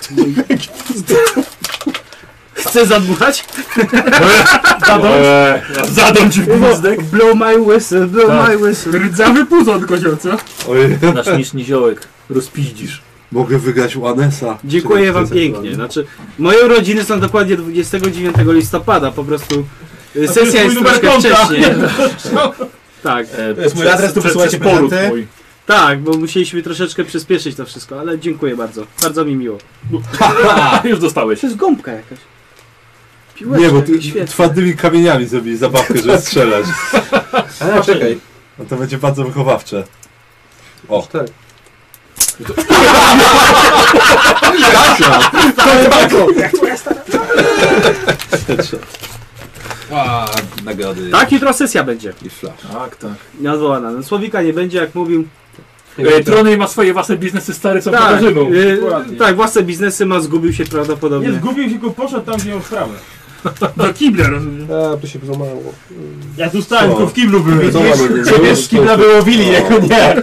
D: Chcę zadmuchać?
A: Eee, Zadam ci w gwizdek.
D: Blow my whistle, blow
A: Tak.
D: my whistle.
U: Rdzawy puzon kozioca.
C: Oj, <laughs>
A: Nasz niszny ziołek. Rozpiździsz.
C: mogę wygrać u Anesa.
D: Dziękuję
C: Czyli
D: wam
C: to jest
D: pięknie. Znaczy, moje urodziny są dokładnie 29 listopada, po prostu y,
A: to jest
D: sesja jest
A: mój numer
D: troszkę
A: konta.
D: wcześniej.
A: <laughs>
D: Tak.
A: To
T: jest mój adres, tu wysyłajcie prezenty.
A: mój.
D: Tak, bo musieliśmy troszeczkę przyspieszyć to wszystko, ale dziękuję bardzo. Bardzo mi miło.
A: <laughs> Już dostałeś.
D: To jest gąbka jakaś.
C: aktualne.
D: Piłeczka,
C: Nie, bo
D: jakiś
C: ty
D: świetny.
C: twardymi kamieniami zrobili zabawkę,
T: <laughs>
C: żeby strzelać.
K: A, czekaj.
C: No to będzie bardzo wychowawcze. O. <laughs>
T: <laughs>
J: Tak.
T: A,
C: Nagrody.
D: Tak, jutro sesja będzie.
C: I flash.
A: Tak, tak.
D: Nazwana. No, Słowika nie będzie, jak mówił.
A: E, Trony ma swoje własne biznesy stary, co
D: Tak,
A: pokażemy.
D: y, tak, własne biznesy ma, zgubił się prawdopodobnie.
L: Nie, zgubił się, go poszedł tam, gdzie miał sprawę.
U: Do kibla, rozumiem.
J: A, to się złamało.
L: Ja tu stałem,
C: Co?
L: tylko w kiblu byłem.
J: Co mamy?
L: Ciebie z kibla wyłowili, jako nie.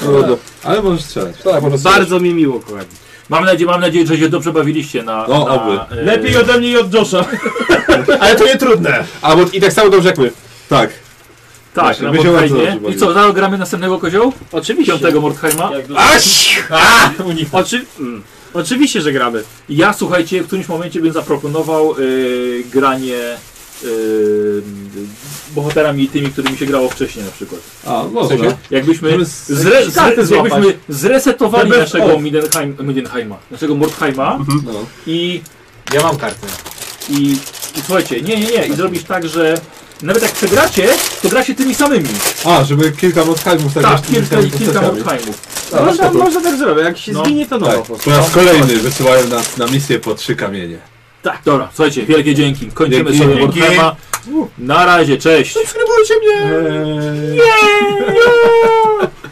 J: Trudno.
C: Ale możesz strzelać.
J: Tak, można strzelać.
D: Bardzo mi miło, kochani.
A: Mam nadzieję, mam nadzieję, że się dobrze bawiliście na...
C: No,
A: na,
C: oby.
A: e,
L: Lepiej ode mnie i od
C: <laughs>
L: Josha.
T: ale to nie trudne.
C: A, bo i tak samo dobrze jak my. Tak.
A: Tak,
C: Właśnie,
A: na
C: my się bardzo
A: Mordheimie.
C: dobrze
A: I co, zaraz gramy następnego kozioł?
D: Oczywiście.
A: Piątego Mordheima?
L: Jak do-
A: Aś!
L: Unik.
D: Oczy... mm.
A: Oczywiście, że gramy. Ja, słuchajcie, w którymś momencie bym zaproponował y, granie y, bohaterami tymi, którymi się grało wcześniej na przykład.
C: A,
A: W
C: można.
A: sensie, Jakbyśmy,
C: Możemy
A: z,
C: z-
A: zre,
C: jakieś karty
A: z, jakbyśmy
C: złapać.
A: zresetowali
C: To bez-
A: naszego
C: o. Mhm.
A: Mindenheim, Mindenheima, naszego Mordheima i... No. Ja mam kartę. I, I słuchajcie, nie, nie, nie, i zrobić tak, że nawet jak przegracie, to gracie tymi samymi.
J: A, żeby kilka Mordheimów
A: Tak,
J: zagrać tymi
A: kilka,
J: samymi
A: kilka
J: postaciami.
A: Mordheimów.
J: A,
A: Można-
J: spoko.
A: można tak zrobić, jak się zginie, to nowo No, po prostu.
C: Tak. Po raz kolejny wysyłają nas na misję po trzy kamienie.
A: Tak, dobra, słuchajcie, wielkie dzięki. Kończymy
C: Dzięki,
A: sobie
C: dzięki.
A: Warhamera. Na razie, cześć. Eee,
C: Subskrybujcie mnie!
A: Nie!